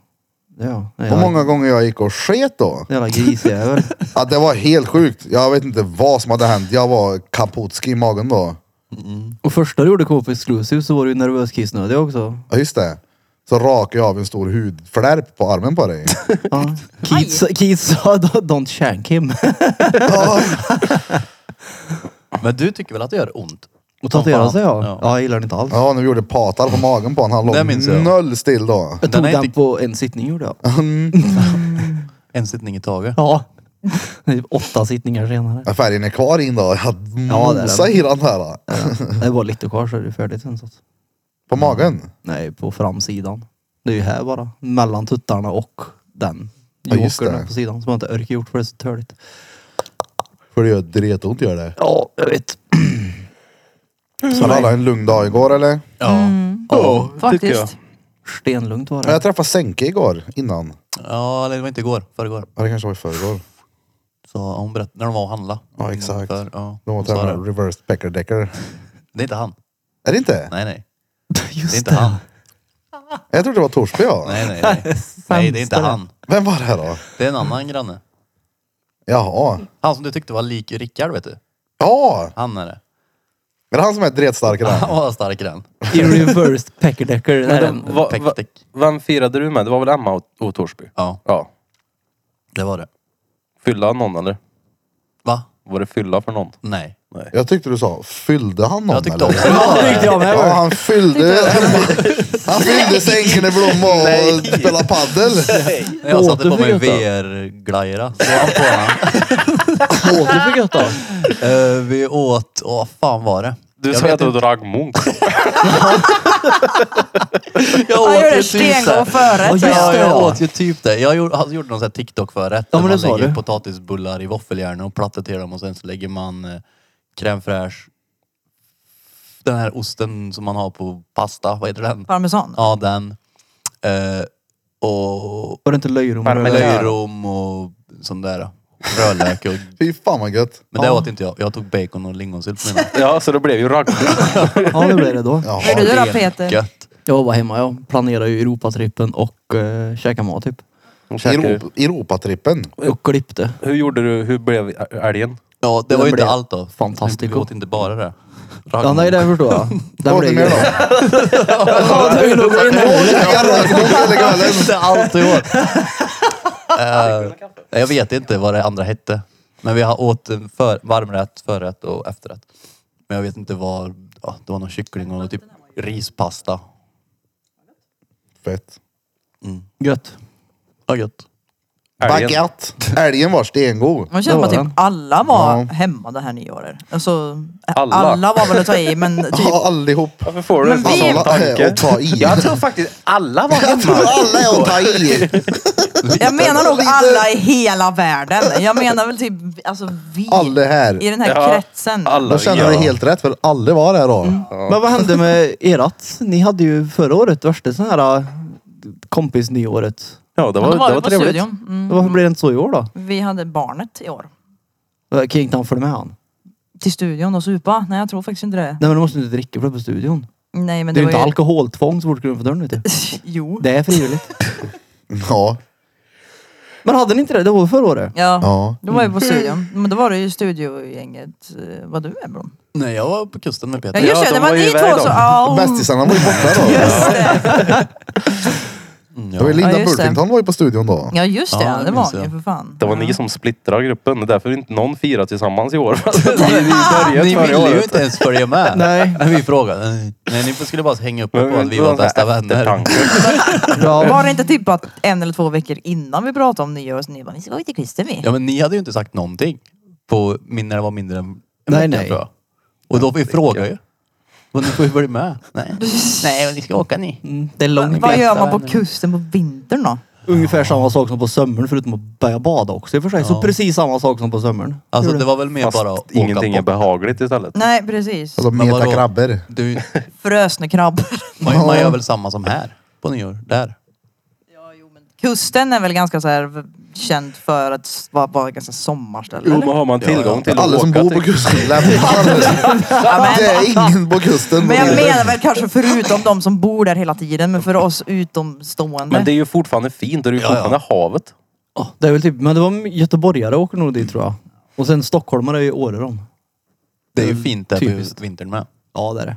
[SPEAKER 4] Ja.
[SPEAKER 1] Hur många gånger jag gick och sket då?
[SPEAKER 4] Jävla grisjävel.
[SPEAKER 1] Ja, det var helt sjukt. Jag vet inte vad som hade hänt. Jag var kaputski i magen då.
[SPEAKER 4] och första du gjorde K-pop Exclusive så var du ju nervös kissnödig också.
[SPEAKER 1] Ja, just det. Så rakade jag av en stor hudflärp på armen på dig.
[SPEAKER 4] Ja. Kids, kids sa don't shank him.
[SPEAKER 2] Men du tycker väl att det gör ont?
[SPEAKER 4] Och tatuerade
[SPEAKER 2] fan.
[SPEAKER 4] sig ja.
[SPEAKER 2] Ja.
[SPEAKER 4] ja. jag gillar det inte alls.
[SPEAKER 1] Ja, när vi gjorde patar på magen på honom. Han
[SPEAKER 2] Det
[SPEAKER 1] låg
[SPEAKER 2] minns jag.
[SPEAKER 1] noll still då.
[SPEAKER 2] Den
[SPEAKER 4] Jag tog
[SPEAKER 2] är
[SPEAKER 4] den,
[SPEAKER 2] inte-
[SPEAKER 4] på en sittning gjorde jag.
[SPEAKER 2] En sittning i taget.
[SPEAKER 4] Ja. Det är Åtta sittningar senare.
[SPEAKER 1] Ja, Färgen är kvar in då. Jag
[SPEAKER 4] Ja, det är
[SPEAKER 1] mosade i den här. då.
[SPEAKER 4] Det var lite kvar så är det färdigt sen. Så. att-
[SPEAKER 1] På magen.
[SPEAKER 4] Nej, på framsidan. Det är ju här bara. Mellan tuttarna och den.
[SPEAKER 1] Ja, just
[SPEAKER 4] Jokern
[SPEAKER 1] det.
[SPEAKER 4] på sidan som jag inte orkar gjort för det är så törligt.
[SPEAKER 1] För det gör dretont gör det.
[SPEAKER 4] Ja, jag vet.
[SPEAKER 1] Så hade alla en lugn dag igår eller?
[SPEAKER 2] Ja.
[SPEAKER 3] Ja, tycker jag.
[SPEAKER 5] Faktiskt.
[SPEAKER 4] Stenlugnt var
[SPEAKER 1] Ja,
[SPEAKER 4] det.
[SPEAKER 1] jag träffade Senke igår innan.
[SPEAKER 2] Ja, eller det var inte igår. Förrgår.
[SPEAKER 1] Ja, det kanske var i förrgår.
[SPEAKER 2] Så hon berättade, när de var och handlade.
[SPEAKER 1] Ja, exakt.
[SPEAKER 2] För, ja.
[SPEAKER 1] De var
[SPEAKER 2] Hon sa
[SPEAKER 1] tävlade
[SPEAKER 2] det.
[SPEAKER 1] reverse pecker decker.
[SPEAKER 2] Det är inte han.
[SPEAKER 1] Är det inte?
[SPEAKER 2] Nej, nej.
[SPEAKER 4] Just
[SPEAKER 2] Det är inte han.
[SPEAKER 1] Jag trodde det var Torsby ja.
[SPEAKER 2] Nej, nej, nej. nej, det är inte han.
[SPEAKER 1] Vem var det då?
[SPEAKER 2] Det är en annan granne.
[SPEAKER 1] Jaha.
[SPEAKER 2] Han som du tyckte var lik Rickard, vet du.
[SPEAKER 1] Ja!
[SPEAKER 2] Han är det.
[SPEAKER 1] Är det han som är dretstark
[SPEAKER 2] Han
[SPEAKER 1] där?
[SPEAKER 2] var stark i den.
[SPEAKER 4] I reversed peckerdecker. Det är en-
[SPEAKER 3] Va, va,
[SPEAKER 2] Pektik.
[SPEAKER 3] vem firade du med? Det var väl Emma och, och Torsby?
[SPEAKER 2] Ja,
[SPEAKER 3] Ja.
[SPEAKER 2] det var det.
[SPEAKER 3] Fylla någon eller?
[SPEAKER 2] Va?
[SPEAKER 3] Var det fylla för någon?
[SPEAKER 2] Nej.
[SPEAKER 1] Jag tyckte du sa, fyllde han någon
[SPEAKER 2] Jag tyckte
[SPEAKER 1] eller?
[SPEAKER 2] också
[SPEAKER 4] Ja, det tyckte jag med.
[SPEAKER 1] Ja, han fyllde, han fyllde sängen i blommor och spelade paddel.
[SPEAKER 2] När jag satte på mig
[SPEAKER 4] Återfick
[SPEAKER 2] VR-glajjorna så var han på den.
[SPEAKER 4] Åh, det fick jag ta.
[SPEAKER 2] Eh, vi åt, åh fan var det?
[SPEAKER 3] Du
[SPEAKER 2] jag
[SPEAKER 3] sa
[SPEAKER 2] vet
[SPEAKER 3] att du drack munk.
[SPEAKER 2] inte. jag
[SPEAKER 5] Han
[SPEAKER 2] åt
[SPEAKER 5] gjorde
[SPEAKER 2] ju typ
[SPEAKER 5] stengång
[SPEAKER 2] såhär-
[SPEAKER 5] förrätt.
[SPEAKER 4] Ja, just
[SPEAKER 5] säger
[SPEAKER 2] Ja,
[SPEAKER 5] jag.
[SPEAKER 4] det.
[SPEAKER 2] jag åt ju typ det. Jag gjorde, han gjorde någon sån här TikTok-förrätt. där
[SPEAKER 4] Ja, men
[SPEAKER 2] man
[SPEAKER 4] det sa
[SPEAKER 2] lägger
[SPEAKER 4] du.
[SPEAKER 2] potatisbullar i våffeljärn och plattar till dem och sen så lägger man eh, crème fraîche. Den här osten som man har på pasta, vad heter den?
[SPEAKER 5] Parmesan.
[SPEAKER 2] Ja, den. Eh, och
[SPEAKER 4] Var det inte löjrom?
[SPEAKER 3] Parmesan.
[SPEAKER 2] löjrom och sån där. Rödlök och...
[SPEAKER 1] Fy fan vad gött.
[SPEAKER 2] Men det åt inte jag. Jag tog bacon och lingonsylt med mig.
[SPEAKER 3] ja, så det blev ju ragg.
[SPEAKER 4] Ja, det blev det då.
[SPEAKER 1] Jaha.
[SPEAKER 5] Hur är du då Peter?
[SPEAKER 2] Gött.
[SPEAKER 4] Jag var hemma. Jag planerar ju Europatrippen och uh, käkade mat typ.
[SPEAKER 3] De käkade ju.
[SPEAKER 1] Europa, Europatrippen.
[SPEAKER 4] Och klippte.
[SPEAKER 3] Hur gjorde du? Hur blev ä- älgen?
[SPEAKER 2] Ja, det
[SPEAKER 4] Den
[SPEAKER 2] var ju inte
[SPEAKER 4] blev
[SPEAKER 2] allt då.
[SPEAKER 4] fantastico.
[SPEAKER 2] Vi åt inte bara det.
[SPEAKER 4] Ja, nej, det förstår jag.
[SPEAKER 1] Vad
[SPEAKER 4] Den
[SPEAKER 1] åt ni
[SPEAKER 4] blev
[SPEAKER 1] mer då?
[SPEAKER 4] ju... Ja, det är nog en
[SPEAKER 2] Det är inte allt i år. Eh, nej, jag vet inte vad det andra hette. Men vi har åt en för, varmrätt, förrätt och efterrätt. Men jag vet inte vad, ja, det var någon kyckling och typ rispasta.
[SPEAKER 1] Fett.
[SPEAKER 4] Gött.
[SPEAKER 2] Ja, gött.
[SPEAKER 3] Älgen.
[SPEAKER 1] Baguette. Älgen var stengod.
[SPEAKER 5] Man känner
[SPEAKER 4] Det
[SPEAKER 5] bara
[SPEAKER 4] var
[SPEAKER 5] typ
[SPEAKER 4] den.
[SPEAKER 5] alla var
[SPEAKER 1] Ja.
[SPEAKER 5] hemma det här nyåret. Alltså,
[SPEAKER 3] Alla.
[SPEAKER 5] alla. var väl att ta i men typ
[SPEAKER 1] Ja, allihop.
[SPEAKER 3] Varför får du en
[SPEAKER 5] Men vi-
[SPEAKER 3] sån
[SPEAKER 1] Alla
[SPEAKER 3] tanke?
[SPEAKER 1] Äh, och ta i.
[SPEAKER 3] Jag tror faktiskt alla var
[SPEAKER 1] Jag tror
[SPEAKER 3] hemma.
[SPEAKER 1] alla är att ta i.
[SPEAKER 5] Jag menar nog alla i hela världen. Jag menar väl typ alltså vi
[SPEAKER 1] Alla här.
[SPEAKER 5] i den här
[SPEAKER 3] Ja,
[SPEAKER 5] kretsen.
[SPEAKER 3] alla.
[SPEAKER 1] Då känner du helt rätt för alla var där då.
[SPEAKER 5] Mm.
[SPEAKER 4] Men vad hände med erat? Ni hade ju förra året värsta sån här äh, kompisnyåret.
[SPEAKER 3] Ja, det
[SPEAKER 5] Men
[SPEAKER 3] var,
[SPEAKER 5] då var
[SPEAKER 3] det
[SPEAKER 5] vi
[SPEAKER 3] var
[SPEAKER 5] på
[SPEAKER 3] trevligt.
[SPEAKER 5] studion. Mm.
[SPEAKER 4] Varför blir det inte så i år då?
[SPEAKER 5] Vi hade barnet i år.
[SPEAKER 4] Äh, Kan ju inte han följa med han?
[SPEAKER 5] Till studion och supa? Nej jag tror faktiskt inte det.
[SPEAKER 4] Nej men du måste inte dricka för det är på studion.
[SPEAKER 5] Nej men
[SPEAKER 4] Det är
[SPEAKER 5] det,
[SPEAKER 4] ju inte
[SPEAKER 5] var ju...
[SPEAKER 4] alkoholtvång så fort du går utanför dörren vet du.
[SPEAKER 5] jo.
[SPEAKER 4] Det är frivilligt.
[SPEAKER 1] Ja.
[SPEAKER 4] Men hade ni inte det? Det var förra året.
[SPEAKER 5] Ja.
[SPEAKER 1] Ja.
[SPEAKER 5] Då var vi på studion. Men då var det ju studiogänget. eh, Vad du är Blom.
[SPEAKER 2] Nej, jag var på kusten med
[SPEAKER 5] Ja
[SPEAKER 2] Peter.
[SPEAKER 3] ju-
[SPEAKER 5] just det,
[SPEAKER 3] de
[SPEAKER 5] det
[SPEAKER 3] var
[SPEAKER 5] var
[SPEAKER 3] ju
[SPEAKER 5] ni
[SPEAKER 3] iväg
[SPEAKER 5] två
[SPEAKER 3] då.
[SPEAKER 5] så... Ja.
[SPEAKER 1] Bästisarna var ju borta då.
[SPEAKER 5] Just det.
[SPEAKER 2] Mm,
[SPEAKER 1] Det var ju
[SPEAKER 2] ja.
[SPEAKER 1] Linda
[SPEAKER 5] Ja, just det.
[SPEAKER 1] Burfington var ju på studion då.
[SPEAKER 5] Ja just det,
[SPEAKER 2] Ja, det
[SPEAKER 5] det
[SPEAKER 2] minns
[SPEAKER 5] var ni
[SPEAKER 2] jag.
[SPEAKER 5] ju för fan.
[SPEAKER 3] Det var ni som splittrade gruppen. Det är därför inte någon firar tillsammans i år. ni, ni började
[SPEAKER 2] Ni
[SPEAKER 3] förra
[SPEAKER 2] ville ju
[SPEAKER 3] året.
[SPEAKER 2] inte ens följa med.
[SPEAKER 4] Nej.
[SPEAKER 2] När vi frågade. Nej, Nej, ni skulle bara hänga upp er
[SPEAKER 3] Men
[SPEAKER 2] på att vi var
[SPEAKER 3] sån här
[SPEAKER 2] bästa vänner.
[SPEAKER 3] eftertanke.
[SPEAKER 4] Ja.
[SPEAKER 5] Var det inte typ att en eller två veckor innan vi pratade om nyår så ni bara vi ska ju till kusten vi.
[SPEAKER 2] Ja men ni hade ju inte sagt någonting. På min, när det var mindre än en
[SPEAKER 4] Nej,
[SPEAKER 2] vecka,
[SPEAKER 4] nej.
[SPEAKER 2] tror jag. Och då vi frågade ju. Och ni får ju följa med. Nej. nej, men ni ska åka ni.
[SPEAKER 4] Mm, Det är långt.
[SPEAKER 5] Vad gör man på
[SPEAKER 2] vänner.
[SPEAKER 5] kusten på vintern då?
[SPEAKER 4] Ungefär samma sak som på sömmern förutom att börja bada också i och för sig. Så
[SPEAKER 2] Ja.
[SPEAKER 4] precis samma sak som på sömmern.
[SPEAKER 2] Alltså
[SPEAKER 4] Gjorde.
[SPEAKER 2] det var väl mer
[SPEAKER 3] Fast
[SPEAKER 2] bara att
[SPEAKER 3] ingenting är
[SPEAKER 2] åka på.
[SPEAKER 3] behagligt istället.
[SPEAKER 5] Nej precis.
[SPEAKER 1] Alltså
[SPEAKER 2] Men
[SPEAKER 1] meta
[SPEAKER 2] vadå?
[SPEAKER 1] krabbor.
[SPEAKER 2] Du,
[SPEAKER 5] Frösnekrabbor.
[SPEAKER 2] man, man gör väl samma som här på nyår. Där.
[SPEAKER 5] Kusten är väl ganska så här v- känd för att s- vara, vara ganska sommarställe.
[SPEAKER 3] Jo,
[SPEAKER 5] eller?
[SPEAKER 3] men har man tillgång till
[SPEAKER 1] Alla
[SPEAKER 3] att
[SPEAKER 1] som
[SPEAKER 3] åka
[SPEAKER 1] bor på
[SPEAKER 3] till-
[SPEAKER 1] kusten lämnar.
[SPEAKER 5] Ja,
[SPEAKER 1] Det är ingen på kusten.
[SPEAKER 5] men, men jag menar väl kanske förutom de som bor där hela tiden men för oss utomstående.
[SPEAKER 3] Men det är ju fortfarande fint. Det är ju
[SPEAKER 2] Ja, ja.
[SPEAKER 3] fortfarande havet.
[SPEAKER 4] Ja, det är väl typ, men det var göteborgare åker nog dit tror jag. Och sen stockholmare är ju Åre de.
[SPEAKER 2] Det
[SPEAKER 1] Mm,
[SPEAKER 2] är ju fint där
[SPEAKER 4] Typiskt.
[SPEAKER 2] på vintern med.
[SPEAKER 4] Ja det är det.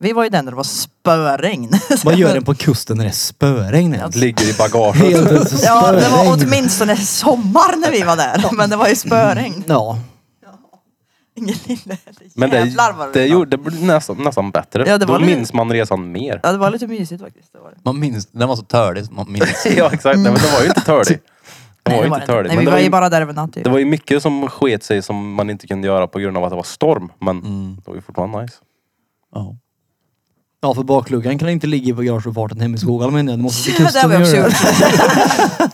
[SPEAKER 5] Vi var ju den där det var spöregn.
[SPEAKER 4] Vad gör en på kusten när det är spöregn ens?
[SPEAKER 3] Ligger i bagaget.
[SPEAKER 4] Helt plötsligt så
[SPEAKER 5] Ja, det var
[SPEAKER 4] spöregn.
[SPEAKER 5] åtminstone sommar när vi var där. Men det var ju spöregn.
[SPEAKER 4] Ja.
[SPEAKER 5] Ingen lille
[SPEAKER 3] Men det,
[SPEAKER 5] jävlar vad
[SPEAKER 3] det,
[SPEAKER 5] var.
[SPEAKER 3] gjorde, det blev nästan, nästan bättre.
[SPEAKER 5] Ja, det
[SPEAKER 3] Då
[SPEAKER 5] var lite-
[SPEAKER 3] minns man resan mer.
[SPEAKER 5] Ja, det var lite mysigt faktiskt. Det var det.
[SPEAKER 2] Man minns, den var så törlig. så Man minns.
[SPEAKER 3] Ja exakt. Nej, men det var ju inte törlig. Det var ju inte
[SPEAKER 5] inte.
[SPEAKER 3] törlig.
[SPEAKER 5] Nej,
[SPEAKER 3] Men
[SPEAKER 5] vi
[SPEAKER 3] det
[SPEAKER 5] var
[SPEAKER 3] var
[SPEAKER 5] ju
[SPEAKER 3] ju
[SPEAKER 5] bara där över natt. ju.
[SPEAKER 3] Det var ju mycket som sket sig som man inte kunde göra på grund av att det var storm. Men det var ju fortfarande nice.
[SPEAKER 2] Ja.
[SPEAKER 4] Ja för bakluggan kan inte ligga i bagageuppfarten hemma i skogarna menar jag. Du måste till
[SPEAKER 5] Ja, det har
[SPEAKER 4] kusten
[SPEAKER 5] vi
[SPEAKER 4] och
[SPEAKER 5] också
[SPEAKER 4] göra
[SPEAKER 5] gjort.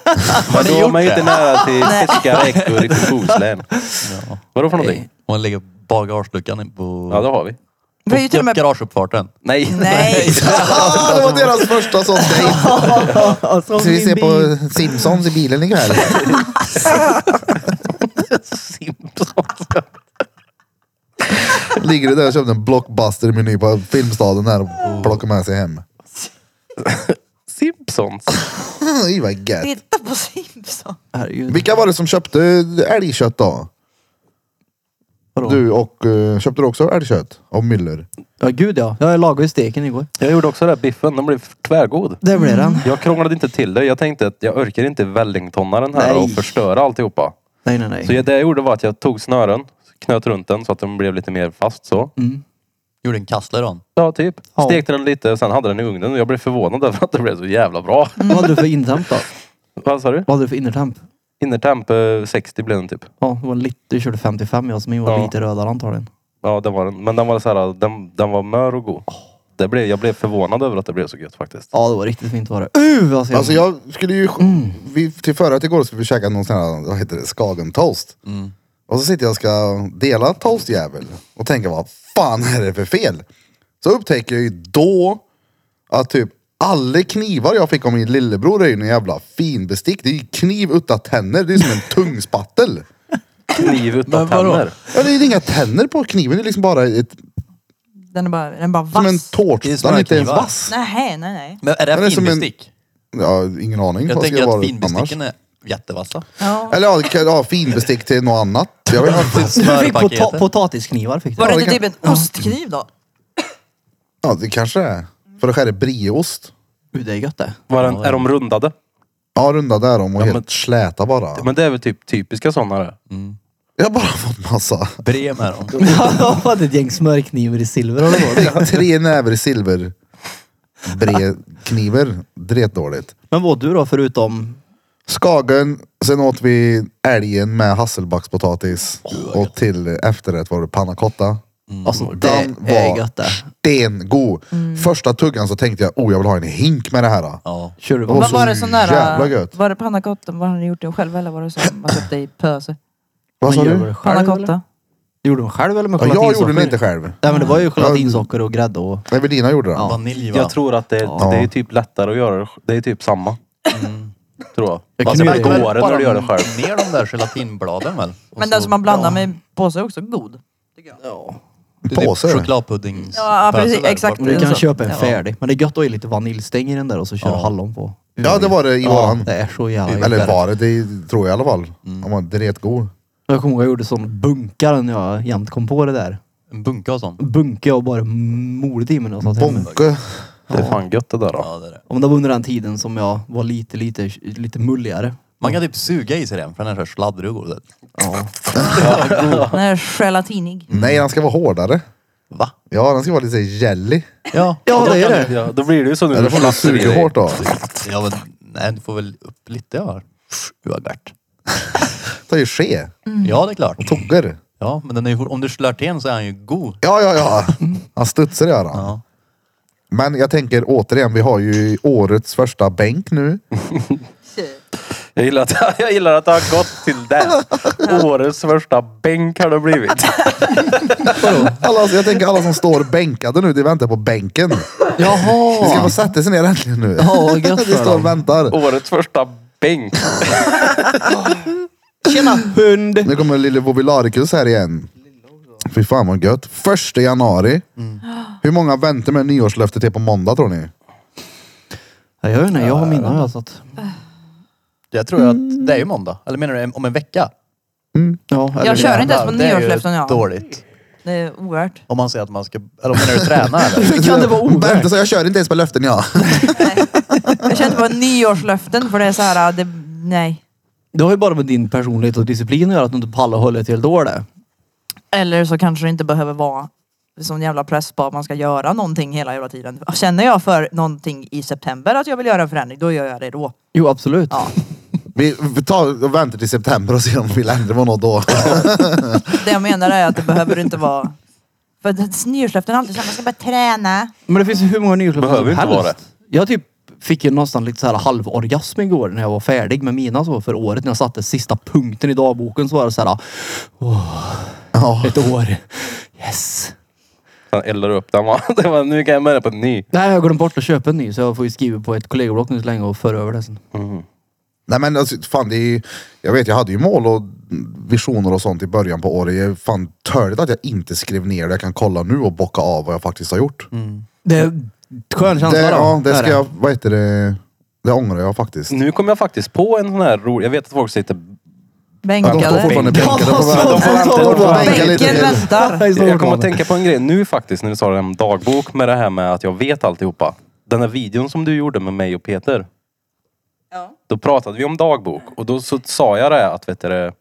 [SPEAKER 4] det.
[SPEAKER 3] Men då var man ju inte nära till
[SPEAKER 5] Nej.
[SPEAKER 3] fiskaräckor i Bohuslän.
[SPEAKER 2] Ja.
[SPEAKER 3] Vadå för någonting?
[SPEAKER 2] Och lägger bagageluckan på,
[SPEAKER 3] Ja det har vi.
[SPEAKER 5] Vi har ju till och
[SPEAKER 2] på
[SPEAKER 5] med...
[SPEAKER 2] garageuppfarten.
[SPEAKER 3] Nej.
[SPEAKER 5] Nej!
[SPEAKER 1] Ah, det var deras första sån dejt.
[SPEAKER 4] Alltså,
[SPEAKER 1] Ska vi
[SPEAKER 4] min
[SPEAKER 1] se
[SPEAKER 4] bil.
[SPEAKER 1] på Simpsons i bilen ikväll?
[SPEAKER 3] Simpsons.
[SPEAKER 1] Ligger det där och köpte en blockbuster-meny på Filmstaden här och plockar med sig hem.
[SPEAKER 3] Simpsons.
[SPEAKER 1] Oj, vad gött.
[SPEAKER 5] Titta på Simpsons.
[SPEAKER 4] Herregud.
[SPEAKER 1] Vilka var det som köpte älgkött då?
[SPEAKER 4] Vadå?
[SPEAKER 1] Du och... eh, köpte du också älgkött? Av Müller?
[SPEAKER 4] Ja gud ja. Jag lagade ju steken igår. Mm.
[SPEAKER 3] Jag gjorde också det här biffen, den blev tvärgod.
[SPEAKER 4] Där blev den.
[SPEAKER 3] Jag krånglade inte till det. Jag tänkte att jag orkar inte vällingtonna den här
[SPEAKER 4] Nej.
[SPEAKER 3] och förstöra alltihopa.
[SPEAKER 4] Nej nej nej.
[SPEAKER 3] Så jag- det jag gjorde var att jag tog snören, knöt runt den så att den blev lite mer fast så.
[SPEAKER 2] Gjorde en kassler om.
[SPEAKER 3] Ja, typ.
[SPEAKER 4] Mm. Ja.
[SPEAKER 3] Stekte den lite och sen hade den i ugnen och jag blev förvånad över att det blev så jävla bra.
[SPEAKER 4] Vad hade du för innertemp då?
[SPEAKER 3] Vad sa du?
[SPEAKER 4] Vad hade du för innertemp?
[SPEAKER 3] Innertemp eh, 60 blev den typ.
[SPEAKER 4] Ja, det var lite, du körde 55 jag som var
[SPEAKER 3] Ja.
[SPEAKER 4] lite rödare antagligen.
[SPEAKER 3] Ja, det var den. Men den var så här, den, den var mör och god. Det blev, jag blev förvånad över att det blev så gött faktiskt.
[SPEAKER 4] Ja, det var riktigt fint var det. Uh, vad ser
[SPEAKER 1] Alltså
[SPEAKER 4] jag...
[SPEAKER 1] jag skulle ju... Vi, till förrätt igår skulle vi käka någon sån här, vad heter det, skagen toast. Och så sitter jag och ska dela toastjävel och tänker vad fan är det för fel? Så upptäcker jag ju då att typ alla knivar jag fick av min lillebror är ju en jävla finbestick. Det är ju kniv utan tänder. Det är som en tungspattel.
[SPEAKER 3] Kniv utan
[SPEAKER 2] Men vadå?
[SPEAKER 3] tänder.
[SPEAKER 1] Ja, det är inga tänder på kniven. Det är liksom bara ett,
[SPEAKER 5] Den är bara, den är bara
[SPEAKER 1] som en
[SPEAKER 5] vass.
[SPEAKER 2] Det är
[SPEAKER 1] tårta.
[SPEAKER 2] som
[SPEAKER 1] Den är
[SPEAKER 2] en
[SPEAKER 1] inte ens
[SPEAKER 2] knivar.
[SPEAKER 1] vass.
[SPEAKER 5] Nej, nej, nej.
[SPEAKER 2] Men är det,
[SPEAKER 1] Men det är som en-
[SPEAKER 2] finbestick?
[SPEAKER 1] Ja, ingen aning.
[SPEAKER 2] Jag
[SPEAKER 1] Vad ska det
[SPEAKER 2] tänker att
[SPEAKER 1] vara
[SPEAKER 2] finbesticken är jättevassa.
[SPEAKER 5] Ja.
[SPEAKER 1] Eller ja, det kan- ja, finbestick till något annat. Jag vet inte.
[SPEAKER 4] Du fick pota-
[SPEAKER 2] Smörpaketet.
[SPEAKER 4] potatisknivar fick du.
[SPEAKER 5] Var det
[SPEAKER 1] Ja,
[SPEAKER 5] inte
[SPEAKER 1] det
[SPEAKER 5] typ en ostkniv då?
[SPEAKER 1] Ja, det kanske det är. För att skära brieost.
[SPEAKER 4] Uh, det är gött det.
[SPEAKER 3] Var den, är de rundade?
[SPEAKER 1] Ja, runda där om och
[SPEAKER 3] Ja,
[SPEAKER 1] helt
[SPEAKER 3] men-
[SPEAKER 1] släta bara.
[SPEAKER 3] Men det är väl typ typiska sådana det.
[SPEAKER 1] Jag har bara fått massa.
[SPEAKER 2] Brem är de.
[SPEAKER 4] Jag hade ett gäng smörknivar i silver eller vad det var.
[SPEAKER 1] Tre näver silver. Bredkniver. Dretdåligt.
[SPEAKER 4] Men vad du då förutom...
[SPEAKER 1] Skagen, sen åt vi älgen med hasselbackspotatis. och till efterrätt var det panna cotta.
[SPEAKER 4] Alltså det
[SPEAKER 1] Den
[SPEAKER 4] är
[SPEAKER 1] var
[SPEAKER 4] gött det.
[SPEAKER 1] stengod. Första tuggan så tänkte jag, oh jag vill ha en hink med det här.
[SPEAKER 2] Ja.
[SPEAKER 4] Kör du
[SPEAKER 1] Och
[SPEAKER 5] Vad
[SPEAKER 1] så
[SPEAKER 5] var det sån
[SPEAKER 1] jävla
[SPEAKER 5] där... äh,
[SPEAKER 1] gött.
[SPEAKER 5] Var det pannacottan? Var han gjort den själv eller var det så man köpte i pöse?
[SPEAKER 1] Vad sa
[SPEAKER 4] Men gör
[SPEAKER 1] du?
[SPEAKER 4] det själv, eller?
[SPEAKER 5] Pannacotta.
[SPEAKER 4] Gjorde du själv eller med
[SPEAKER 1] Ja, jag gjorde den
[SPEAKER 4] gelatinsocker?
[SPEAKER 1] inte själv.
[SPEAKER 4] Nej men det var ju gelatinsocker och grädde och...
[SPEAKER 1] Nej, Evelina gjorde den.
[SPEAKER 2] Vanilj va?
[SPEAKER 3] Jag tror att det, det är typ lättare att göra det. Det är typ samma. Tror jag.
[SPEAKER 4] Mm. Jag
[SPEAKER 3] Fast
[SPEAKER 4] kan
[SPEAKER 3] det
[SPEAKER 4] ju-
[SPEAKER 3] går när du gör det
[SPEAKER 2] Bara
[SPEAKER 3] själv.
[SPEAKER 2] Ner de där gelatinbladen väl? Och
[SPEAKER 5] Men
[SPEAKER 2] så-
[SPEAKER 5] den som man blandar med i påse är också god.
[SPEAKER 2] Det är typ
[SPEAKER 1] Påse.
[SPEAKER 2] Chokladpuddings...
[SPEAKER 5] Ja, precis,
[SPEAKER 2] pöse där
[SPEAKER 5] exakt.
[SPEAKER 2] borta.
[SPEAKER 4] Du kan
[SPEAKER 5] Så-
[SPEAKER 4] köpa en
[SPEAKER 5] ja.
[SPEAKER 4] färdig. Men det är gött att ha i lite vaniljstäng i den där och så kör
[SPEAKER 2] Ja.
[SPEAKER 4] hallon på.
[SPEAKER 1] Ja, det var det i våran.
[SPEAKER 4] det är så jävla gött.
[SPEAKER 1] Eller var det, det tror jag i alla fall. Han var dretgod.
[SPEAKER 4] Jag kommer ihåg jag gjorde sån bunkar när jag jämt kom på det där.
[SPEAKER 2] En bunke och sånt.
[SPEAKER 4] Bunka och bara molde i mig när jag satt hemma.
[SPEAKER 1] Bonke.
[SPEAKER 3] Det är fan gött det där. Då.
[SPEAKER 2] Ja, det är det.
[SPEAKER 4] Om det var under den tiden som jag var lite, lite, lite mulligare.
[SPEAKER 2] Man kan typ suga i sig den för den är så här sladdrig och god.
[SPEAKER 5] Den är gelatinig.
[SPEAKER 1] Nej, han ska vara hårdare.
[SPEAKER 2] Va?
[SPEAKER 1] Ja, han ska vara lite jelly.
[SPEAKER 2] Ja.
[SPEAKER 4] Ja, det
[SPEAKER 3] Då
[SPEAKER 4] är
[SPEAKER 3] kan
[SPEAKER 4] det.
[SPEAKER 3] du- Ja, då blir det ju så nu.
[SPEAKER 1] Eller får man suga hårt då?
[SPEAKER 2] Ja men nej du får väl upp lite här. Du har gärt.
[SPEAKER 1] Ta ju ske.
[SPEAKER 2] Ja det är klart.
[SPEAKER 1] Tuggar.
[SPEAKER 2] Ja men den är, ju- om du slår till en så är han ju god.
[SPEAKER 1] Ja, ja, ja. Han studsar gör han.
[SPEAKER 2] Ja.
[SPEAKER 1] Men jag tänker återigen, vi har ju årets första bänk nu.
[SPEAKER 3] Jag gillar, att, jag gillar att det har gått till det. Årets första bänk har det blivit.
[SPEAKER 1] Alla, jag tänker alla som står bänkade nu, de väntar på bänken. De ska
[SPEAKER 4] Jaha!
[SPEAKER 1] få sätta sig ner äntligen nu.
[SPEAKER 4] Ja, vad gött
[SPEAKER 1] De
[SPEAKER 4] för
[SPEAKER 1] står och
[SPEAKER 4] dem.
[SPEAKER 1] väntar.
[SPEAKER 3] Årets första bänk.
[SPEAKER 4] Tjena hund!
[SPEAKER 1] Nu kommer lille Vovilaricus här igen. Fy fan vad gött. Första januari.
[SPEAKER 4] Mm.
[SPEAKER 1] Hur många väntar med nyårslöftet till på måndag tror ni?
[SPEAKER 4] Jag vet inte, jag har mina jag satt.
[SPEAKER 2] Jag tror att det är ju måndag. Eller menar du om en vecka?
[SPEAKER 4] Ja, eller-
[SPEAKER 5] Mm. Jag kör inte ens på
[SPEAKER 2] Det är ju
[SPEAKER 5] nyårslöften jag.
[SPEAKER 2] Dåligt.
[SPEAKER 5] Det är oerhört.
[SPEAKER 2] Om man säger att man ska... Eller menar du träna eller?
[SPEAKER 4] Hur kan det vara ovärt?
[SPEAKER 1] Vänta, så jag kör inte ens på löften jag.
[SPEAKER 5] Jag känner på nyårslöften för det är så här, äh, det, nej.
[SPEAKER 4] Det har ju bara med din personlighet och disciplin att göra att du inte pallar och håller till då det.
[SPEAKER 5] Eller så kanske det inte behöver vara sån jävla press på att man ska göra någonting hela jävla tiden. Känner jag för någonting i september att jag vill göra en förändring, då gör jag det då.
[SPEAKER 4] Jo absolut.
[SPEAKER 5] Ja.
[SPEAKER 1] Vi vi tar och väntar till september och ser om vi vill ändra på något då.
[SPEAKER 5] Det jag menar är att det behöver inte vara... För det- nyårslöften är alltid så här, man ska börja träna.
[SPEAKER 4] Men det finns ju hur många nyårslöften
[SPEAKER 3] Behöver inte vara
[SPEAKER 4] Jag typ fick ju nästan lite så här halvorgasm igår när jag var färdig med mina så för året. När jag satte sista punkten i dagboken så var det så här,
[SPEAKER 1] Ja.
[SPEAKER 4] ett år. Yes!
[SPEAKER 3] Han eldar upp den va. Det var, nu kan jag börja på en ny.
[SPEAKER 4] Nej, jag har glömt bort att köpa en ny så jag får ju skriva på ett kollegablock nu så länge och föra över det sen.
[SPEAKER 1] Nej men alltså, fan det är ju, Jag vet, jag hade ju mål och visioner och sånt i början på året. Jag är fan törligt att jag inte skrev ner det. Jag kan kolla nu och bocka av vad jag faktiskt har gjort.
[SPEAKER 4] Det är Skön känsla
[SPEAKER 1] Det,
[SPEAKER 4] då.
[SPEAKER 1] ja, det
[SPEAKER 4] är
[SPEAKER 1] ska jag, vad heter det? Det ångrar jag faktiskt.
[SPEAKER 3] Nu kom jag faktiskt på en sån här rolig... Jag vet att folk sitter...
[SPEAKER 1] Ja, de står
[SPEAKER 5] Bänkade.
[SPEAKER 1] fortfarande
[SPEAKER 4] Ja,
[SPEAKER 1] bänkade.
[SPEAKER 4] vad sa
[SPEAKER 1] De
[SPEAKER 4] du?
[SPEAKER 1] får vänta, de får bänka lite
[SPEAKER 5] Bänken
[SPEAKER 1] till.
[SPEAKER 5] väntar.
[SPEAKER 4] Jag,
[SPEAKER 3] Jag kommer att tänka på en grej nu faktiskt, när du sa det här med dagbok, med det här med att jag vet alltihopa. Den här videon som du gjorde med mig och Peter.
[SPEAKER 5] Ja.
[SPEAKER 3] Då pratade vi om dagbok och då så sa jag det att, vet du, det,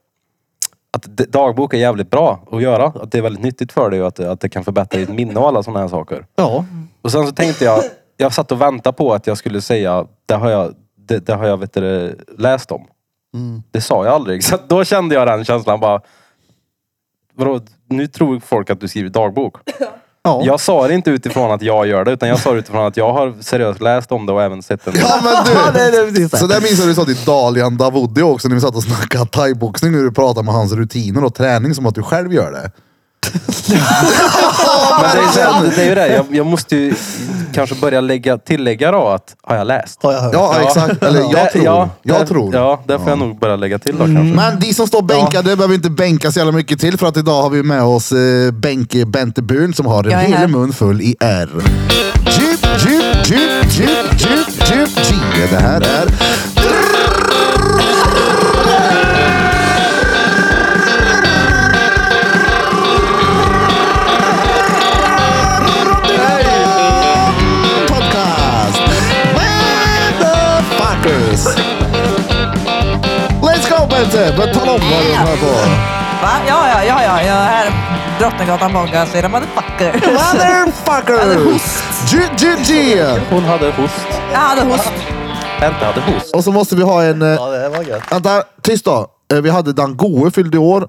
[SPEAKER 3] att d- dagbok är jävligt bra att göra. Att det är väldigt nyttigt för dig och att, det- att det kan förbättra ditt minne och alla sådana här saker.
[SPEAKER 4] Ja.
[SPEAKER 3] Och sen så tänkte jag, jag satt och väntade på att jag skulle säga, det har jag, det, det har jag vet du, det, läst om.
[SPEAKER 2] Mm.
[SPEAKER 3] Det sa jag aldrig. Så att då kände jag den känslan bara, vadå, nu tror folk att du skriver dagbok.
[SPEAKER 4] Ja.
[SPEAKER 3] Jag sa det inte utifrån att jag gör det, utan jag sa det utifrån att jag har seriöst läst om det och även sett en...
[SPEAKER 1] Ja men
[SPEAKER 4] Ja, det,
[SPEAKER 1] du!
[SPEAKER 4] det, är precis
[SPEAKER 1] Så
[SPEAKER 4] så.
[SPEAKER 1] där minns jag du sa till Dalian Davudi också när vi satt och snackade thaiboxning och du pratade med hans rutiner och träning som att du själv gör det.
[SPEAKER 3] Men det, är, så här, det är ju det, jag, jag måste ju kanske börja lägga, tillägga då att, har jag läst?
[SPEAKER 2] Har jag hört.
[SPEAKER 1] Ja, exakt. Eller jag
[SPEAKER 3] Det-
[SPEAKER 1] tror.
[SPEAKER 3] Ja,
[SPEAKER 1] jag
[SPEAKER 3] där-
[SPEAKER 1] tror.
[SPEAKER 3] Ja, där får jag nog börja lägga till då
[SPEAKER 2] Mm.
[SPEAKER 3] kanske.
[SPEAKER 1] Men de som står bänkade behöver inte bänka så jävla mycket till för att idag har vi med oss eh, Benke Bente Buhn som har en
[SPEAKER 5] Jag är här.
[SPEAKER 1] hel mun full i R. Jeep, jeep, jeep, jeep, jeep, jeep, jeep. Det här är... Podcast! Motherfuckers! Let's go Bente! Men tala om vad du har på.
[SPEAKER 5] Va? Ja, ja, ja, ja, jag är här. Drottninggatan podcast, era motherfucker.
[SPEAKER 1] Motherfuckers! G-G-G!
[SPEAKER 3] Hon hade host.
[SPEAKER 5] Jag hade host.
[SPEAKER 3] Inte hade host.
[SPEAKER 1] Och så måste vi ha en... eh,
[SPEAKER 2] Ja, det var gött.
[SPEAKER 1] Vänta, tyst då. Eh, Vi hade Dan Goe fyllde i år.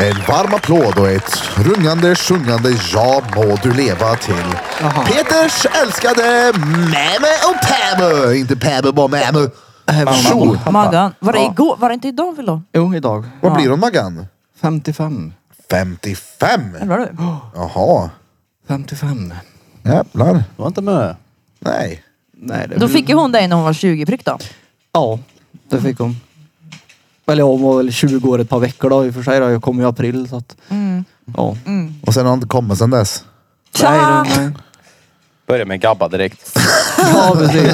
[SPEAKER 1] En varm applåd och ett rungande, sjungande ja må du leva till
[SPEAKER 4] Jaha.
[SPEAKER 1] Peters älskade Mämö och Pämö. Inte Pämö, bara Mämö. Tjo!
[SPEAKER 5] Maggan, var det igår? Var det inte idag vi låg?
[SPEAKER 4] Jo, idag.
[SPEAKER 1] Vad blir hon Maggan?
[SPEAKER 4] 55.
[SPEAKER 1] 55?
[SPEAKER 5] Jävlar du.
[SPEAKER 1] Jaha.
[SPEAKER 4] 55.
[SPEAKER 1] Jävlar.
[SPEAKER 2] Du var inte med.
[SPEAKER 1] Nej.
[SPEAKER 4] Nej, det är
[SPEAKER 5] Då
[SPEAKER 4] väl-
[SPEAKER 5] fick ju hon dig när hon var 20 prick då.
[SPEAKER 4] Ja, det fick hon. Eller hon var väl 20 år ett par veckor då i och för sig. Då. Jag kom i april så att... Ja.
[SPEAKER 1] Och sen har han inte kommit sen dess.
[SPEAKER 5] Tja!
[SPEAKER 4] Nej, det- nej.
[SPEAKER 3] Börja med Gabba direkt.
[SPEAKER 4] Ja, precis.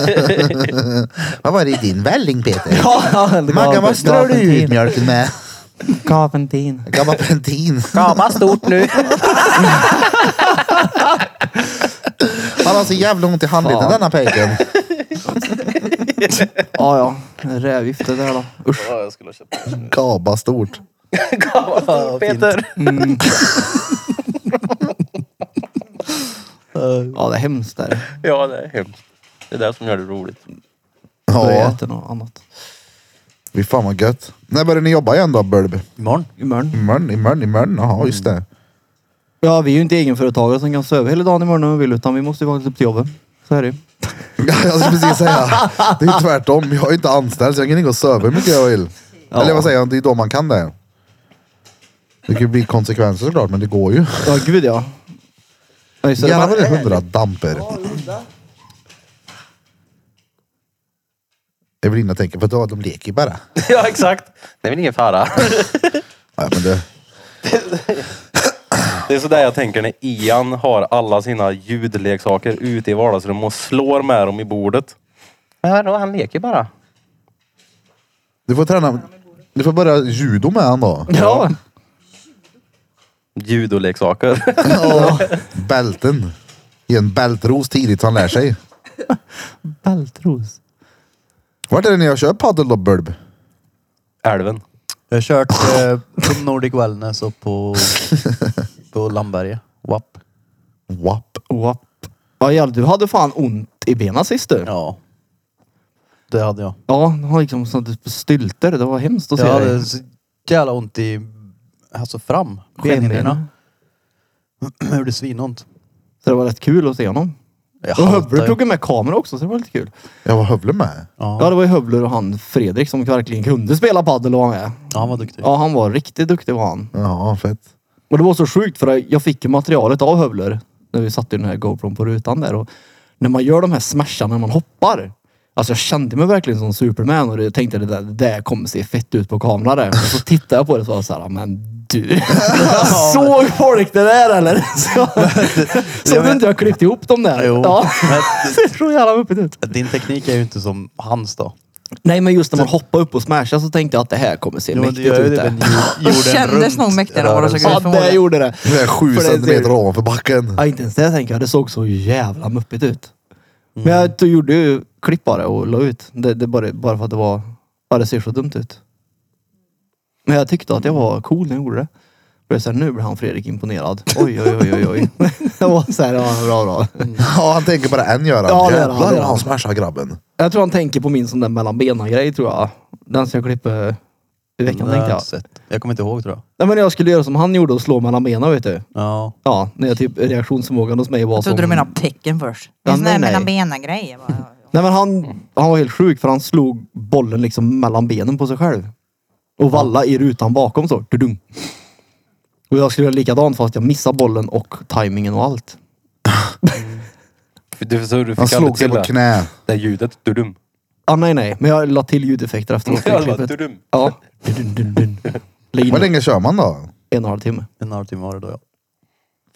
[SPEAKER 1] Vad var det i din välling Peter?
[SPEAKER 4] Ja, ja, det
[SPEAKER 1] Maggan,
[SPEAKER 4] gav-
[SPEAKER 1] vad strör du
[SPEAKER 4] gav en
[SPEAKER 1] ut
[SPEAKER 4] till.
[SPEAKER 1] mjölken med?
[SPEAKER 4] Gav en till.
[SPEAKER 1] Gammal pentin.
[SPEAKER 3] Gabba stort nu.
[SPEAKER 1] Han har så jävla ont i handleden
[SPEAKER 4] Fan.
[SPEAKER 1] denna pojken.
[SPEAKER 4] Ja, ja. Rävgiftet där då. Usch.
[SPEAKER 3] Ja, jag skulle ha köpt
[SPEAKER 1] Gaba stort.
[SPEAKER 3] Gabba Peter.
[SPEAKER 4] Ja, det är hemskt där.
[SPEAKER 3] Ja, det är hemskt. Det är det som gör det roligt.
[SPEAKER 4] Ja. Jag
[SPEAKER 1] Ja,
[SPEAKER 4] äter något annat.
[SPEAKER 1] vi fan vad gött. När börjar ni jobba igen då Bulb?
[SPEAKER 2] Imorgon.
[SPEAKER 4] Imorgon.
[SPEAKER 1] Imorgon, imorgon, imorgon. Jaha, just det.
[SPEAKER 4] Ja, vi är ju inte egenföretagare som kan sova hela dagen imorgon om vi vill utan vi måste ju faktiskt upp till jobbet. Så är det ju.
[SPEAKER 1] Jag skulle precis säga. Det är ju tvärtom. Jag är inte anställd så jag kan inte gå och sova hur mycket jag vill.
[SPEAKER 4] Ja.
[SPEAKER 1] Eller vad säger jag? Det är då man kan det. Det kan ju bli konsekvenser såklart, men det går ju.
[SPEAKER 4] Ja, gud ja. Ja, just det.
[SPEAKER 1] Gärna vad det är hundra damper. Evelina tänker, vadå de leker ju bara.
[SPEAKER 3] Ja, exakt. Det är väl ingen fara.
[SPEAKER 1] Nej, men det,
[SPEAKER 3] Det är sådär jag tänker när Ian har alla sina ljudleksaker ute i vardagsrummet och slår med dem i bordet. Ja, då han leker bara.
[SPEAKER 1] du får träna. Du får börja judo med han då.
[SPEAKER 4] Ja.
[SPEAKER 3] Judoleksaker.
[SPEAKER 1] Ja. Bälten. Ge en bältros tidigt så han lär sig.
[SPEAKER 4] Bältros.
[SPEAKER 1] Vart är det ni har kört padel då, Bulb?
[SPEAKER 3] Älven.
[SPEAKER 2] Jag har kört eh, på Nordic Wellness och på, på Lamberge. WAP.
[SPEAKER 1] WAP.
[SPEAKER 4] Oap. Ja, jävlar, du hade fan ont i benen sist du.
[SPEAKER 2] Ja. Det hade jag.
[SPEAKER 4] Ja, det var liksom sånt på stylter. Det var hemskt att se
[SPEAKER 2] Jag
[SPEAKER 4] dig.
[SPEAKER 2] hade så jävla ont i... Alltså fram. Benhinnorna.
[SPEAKER 4] Skenbenen.
[SPEAKER 2] Jag gjorde svinont.
[SPEAKER 4] Så det var rätt kul att se honom.
[SPEAKER 2] Jag
[SPEAKER 4] Och
[SPEAKER 2] haltade
[SPEAKER 4] Hövler
[SPEAKER 2] ju.
[SPEAKER 4] tog ju med kamera också, så det var lite kul.
[SPEAKER 1] Jag var hövlig med.
[SPEAKER 4] Ja,
[SPEAKER 2] Ja,
[SPEAKER 4] det var ju Hövler och han Fredrik som verkligen kunde spela padel och var med.
[SPEAKER 2] Ja, han var duktig.
[SPEAKER 4] Ja, han var riktigt duktig var han.
[SPEAKER 1] Ja, fett.
[SPEAKER 4] Och det var så sjukt för jag fick ju materialet av Hövler när vi satte den här GoPron på rutan där. Och när man gör de här smasharna när man hoppar. Alltså jag kände mig verkligen som Superman och jag tänkte det där, det där kommer se fett ut på kameran. där. Men så tittade jag på det och så var jag så här, men Du. Såg folk det där eller? Så, så du inte jag klippt ihop dem där?
[SPEAKER 2] Jo.
[SPEAKER 4] Ja.
[SPEAKER 2] Men
[SPEAKER 4] Det såg jävla öppet ut.
[SPEAKER 2] din teknik är ju inte som hans då.
[SPEAKER 4] Nej, men just när man hoppar upp och smashar så tänkte jag att det här kommer se mäktigt ut.
[SPEAKER 2] det,
[SPEAKER 4] där.
[SPEAKER 2] men ju- gjorde en
[SPEAKER 5] kändes nog mäktigare än vad de
[SPEAKER 2] rörelse.
[SPEAKER 5] såg ut.
[SPEAKER 4] Ja, det gjorde det.
[SPEAKER 1] Det är sju
[SPEAKER 4] För det-
[SPEAKER 1] centimeter ovanför backen.
[SPEAKER 4] Ja, inte ens det tänker jag. Det såg så jävla muppigt ut. Men
[SPEAKER 5] Mm.
[SPEAKER 4] jag tog- gjorde ju klipp bara och la ut. Det, det bara, bara för att det var... Ja, det ser så dumt ut. Men jag tyckte att jag var cool när jag gjorde det. Blev så här, nu blir han Fredrik imponerad. Oj, oj, oj, oj, oj. Det var så här, ja, bra, bra.
[SPEAKER 1] Ja, han tänker på det än Göran.
[SPEAKER 4] Ja, det är han,
[SPEAKER 1] Jävlar
[SPEAKER 4] det är
[SPEAKER 1] vad han
[SPEAKER 4] han.
[SPEAKER 1] smashar grabben.
[SPEAKER 4] Jag tror han tänker på min sån där mellanbena-grej tror jag. Den som jag klippte i veckan
[SPEAKER 2] Nej,
[SPEAKER 4] tänkte
[SPEAKER 2] jag har
[SPEAKER 4] jag.
[SPEAKER 2] inte sett. Jag kommer inte ihåg tror jag.
[SPEAKER 4] Nej men jag skulle göra som han gjorde och slå mellan benen vet du.
[SPEAKER 2] Ja.
[SPEAKER 4] Ja, när jag typ reaktionsförmågan hos mig var
[SPEAKER 5] Jag
[SPEAKER 4] som...
[SPEAKER 5] trodde du menade pecken först.
[SPEAKER 4] Ja,
[SPEAKER 5] Det är sån
[SPEAKER 4] nej,
[SPEAKER 5] där
[SPEAKER 4] nej.
[SPEAKER 5] mellan benen grejer.
[SPEAKER 4] Nej men han, han var helt sjuk för han slog bollen liksom mellan benen på sig själv. Och valla i rutan bakom så. Tudung. Och jag skulle göra likadant fast jag missade bollen och tajmingen och allt.
[SPEAKER 3] Du, så du
[SPEAKER 1] Han
[SPEAKER 3] fick aldrig
[SPEAKER 1] slog sig
[SPEAKER 3] till
[SPEAKER 1] på
[SPEAKER 3] det.
[SPEAKER 1] knä.
[SPEAKER 3] Det här ljudet. Dudum.
[SPEAKER 4] Ah, nej nej, men jag la till ljudeffekter efteråt. i
[SPEAKER 3] Ja, det var
[SPEAKER 4] klippet.
[SPEAKER 3] dudum.
[SPEAKER 4] Ja. Dun, dun, dun, dun. Lägg in
[SPEAKER 1] Hur
[SPEAKER 4] en
[SPEAKER 1] länge kör man då?
[SPEAKER 4] och en halv timme.
[SPEAKER 2] En halvtimme var det då ja.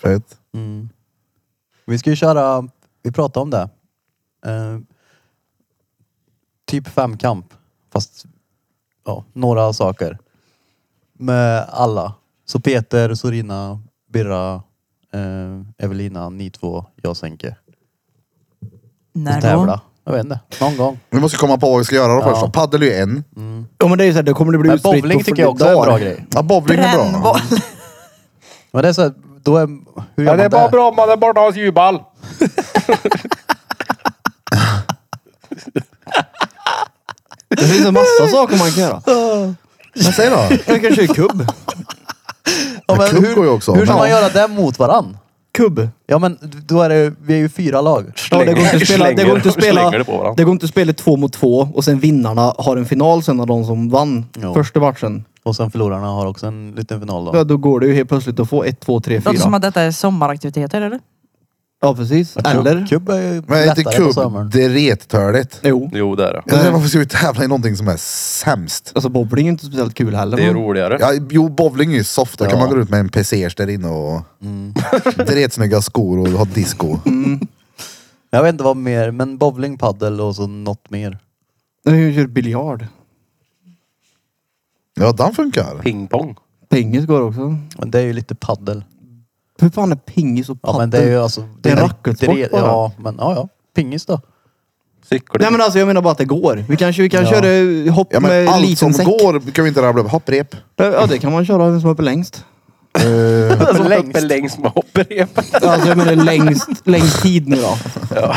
[SPEAKER 1] Fett.
[SPEAKER 2] Mm. Vi ska ju köra, vi pratade om det. Eh, typ femkamp. Fast ja, några saker. Med alla. Så Peter, Sorina, Birra, eh, Evelina, ni två, jag Sänke.
[SPEAKER 5] När då?
[SPEAKER 2] Tävla. Jag vet inte. Någon gång.
[SPEAKER 1] Vi måste komma på vad vi ska göra då
[SPEAKER 2] Ja.
[SPEAKER 1] först. Padel är ju en.
[SPEAKER 4] Ja men det är ju såhär, det kommer det bli
[SPEAKER 2] Men
[SPEAKER 4] utspritt
[SPEAKER 2] bowling
[SPEAKER 4] på
[SPEAKER 2] tycker jag också är
[SPEAKER 4] flera
[SPEAKER 2] en bra
[SPEAKER 4] dagar.
[SPEAKER 2] grej.
[SPEAKER 1] Ja, bowling är bra.
[SPEAKER 5] Brännboll.
[SPEAKER 2] Men det är så här, då är... Hur gör
[SPEAKER 3] Ja, det
[SPEAKER 2] man
[SPEAKER 3] är bara bra om man är borta hos Jubal.
[SPEAKER 4] Det finns en massa saker man kan göra.
[SPEAKER 1] Men säg då.
[SPEAKER 4] Jag kan köra kubb.
[SPEAKER 2] Ja, men
[SPEAKER 1] Kubb
[SPEAKER 2] hur,
[SPEAKER 1] går ju också,
[SPEAKER 2] Hur ska
[SPEAKER 1] men-
[SPEAKER 2] man göra det mot varann?
[SPEAKER 4] Kubb.
[SPEAKER 2] Ja men då är det, vi är ju fyra lag.
[SPEAKER 4] Ja, det, går inte att spela, det, går inte att spela,
[SPEAKER 3] Slänger det på varandra.
[SPEAKER 4] det går inte att spela två mot två och sen vinnarna har en final sen av de som vann
[SPEAKER 2] Ja.
[SPEAKER 4] första matchen.
[SPEAKER 2] Och sen förlorarna har också en liten final då.
[SPEAKER 4] Ja, då går det ju helt plötsligt att få ett, två, tre,
[SPEAKER 5] Låter som
[SPEAKER 4] fyra.
[SPEAKER 5] att detta är sommaraktiviteter eller?
[SPEAKER 4] Ja, precis. Eller?
[SPEAKER 2] Kubb är ju
[SPEAKER 1] Men inte
[SPEAKER 2] lättare på
[SPEAKER 1] kubb.
[SPEAKER 2] sommaren.
[SPEAKER 1] Det är rethörligt.
[SPEAKER 4] Jo.
[SPEAKER 3] Jo, det är det.
[SPEAKER 1] Eller varför ska vi tävla i någonting som är sämst?
[SPEAKER 4] Alltså bowling är inte speciellt kul heller.
[SPEAKER 3] Det är
[SPEAKER 4] men-
[SPEAKER 3] roligare.
[SPEAKER 1] Ja, jo, bowling är ju soft. Då
[SPEAKER 2] Ja.
[SPEAKER 1] kan man gå ut med en PC där inne och
[SPEAKER 4] Mm.
[SPEAKER 1] dretsnygga skor och ha disco.
[SPEAKER 2] Jag vet inte vad mer, men bowling, paddel och så något mer.
[SPEAKER 4] Men hur kör biljard?
[SPEAKER 1] Ja, den funkar.
[SPEAKER 3] Pingpong.
[SPEAKER 4] Pingis går också.
[SPEAKER 2] Men det är ju lite paddel.
[SPEAKER 4] Hur fan är pingis och
[SPEAKER 2] Ja
[SPEAKER 4] padel?
[SPEAKER 2] men det är ju alltså...
[SPEAKER 4] Det är
[SPEAKER 2] ju-
[SPEAKER 4] racketsport
[SPEAKER 2] det är-
[SPEAKER 4] bara.
[SPEAKER 2] Ja men ja ja. Pingis då.
[SPEAKER 3] Cykling.
[SPEAKER 4] Nej men alltså jag menar bara att det går. Vi kanske vi kan
[SPEAKER 2] Ja.
[SPEAKER 4] köra hopp
[SPEAKER 1] Ja, men
[SPEAKER 4] med
[SPEAKER 1] allt
[SPEAKER 4] liten
[SPEAKER 1] som
[SPEAKER 4] säck.
[SPEAKER 1] går kan vi inte rabbla upp. Hopprep.
[SPEAKER 4] Ja det kan man köra vem som hoppar längst.
[SPEAKER 1] Eh,
[SPEAKER 3] Som uppe längst med hopprep.
[SPEAKER 4] Alltså jag menar längst, längst tid nu då.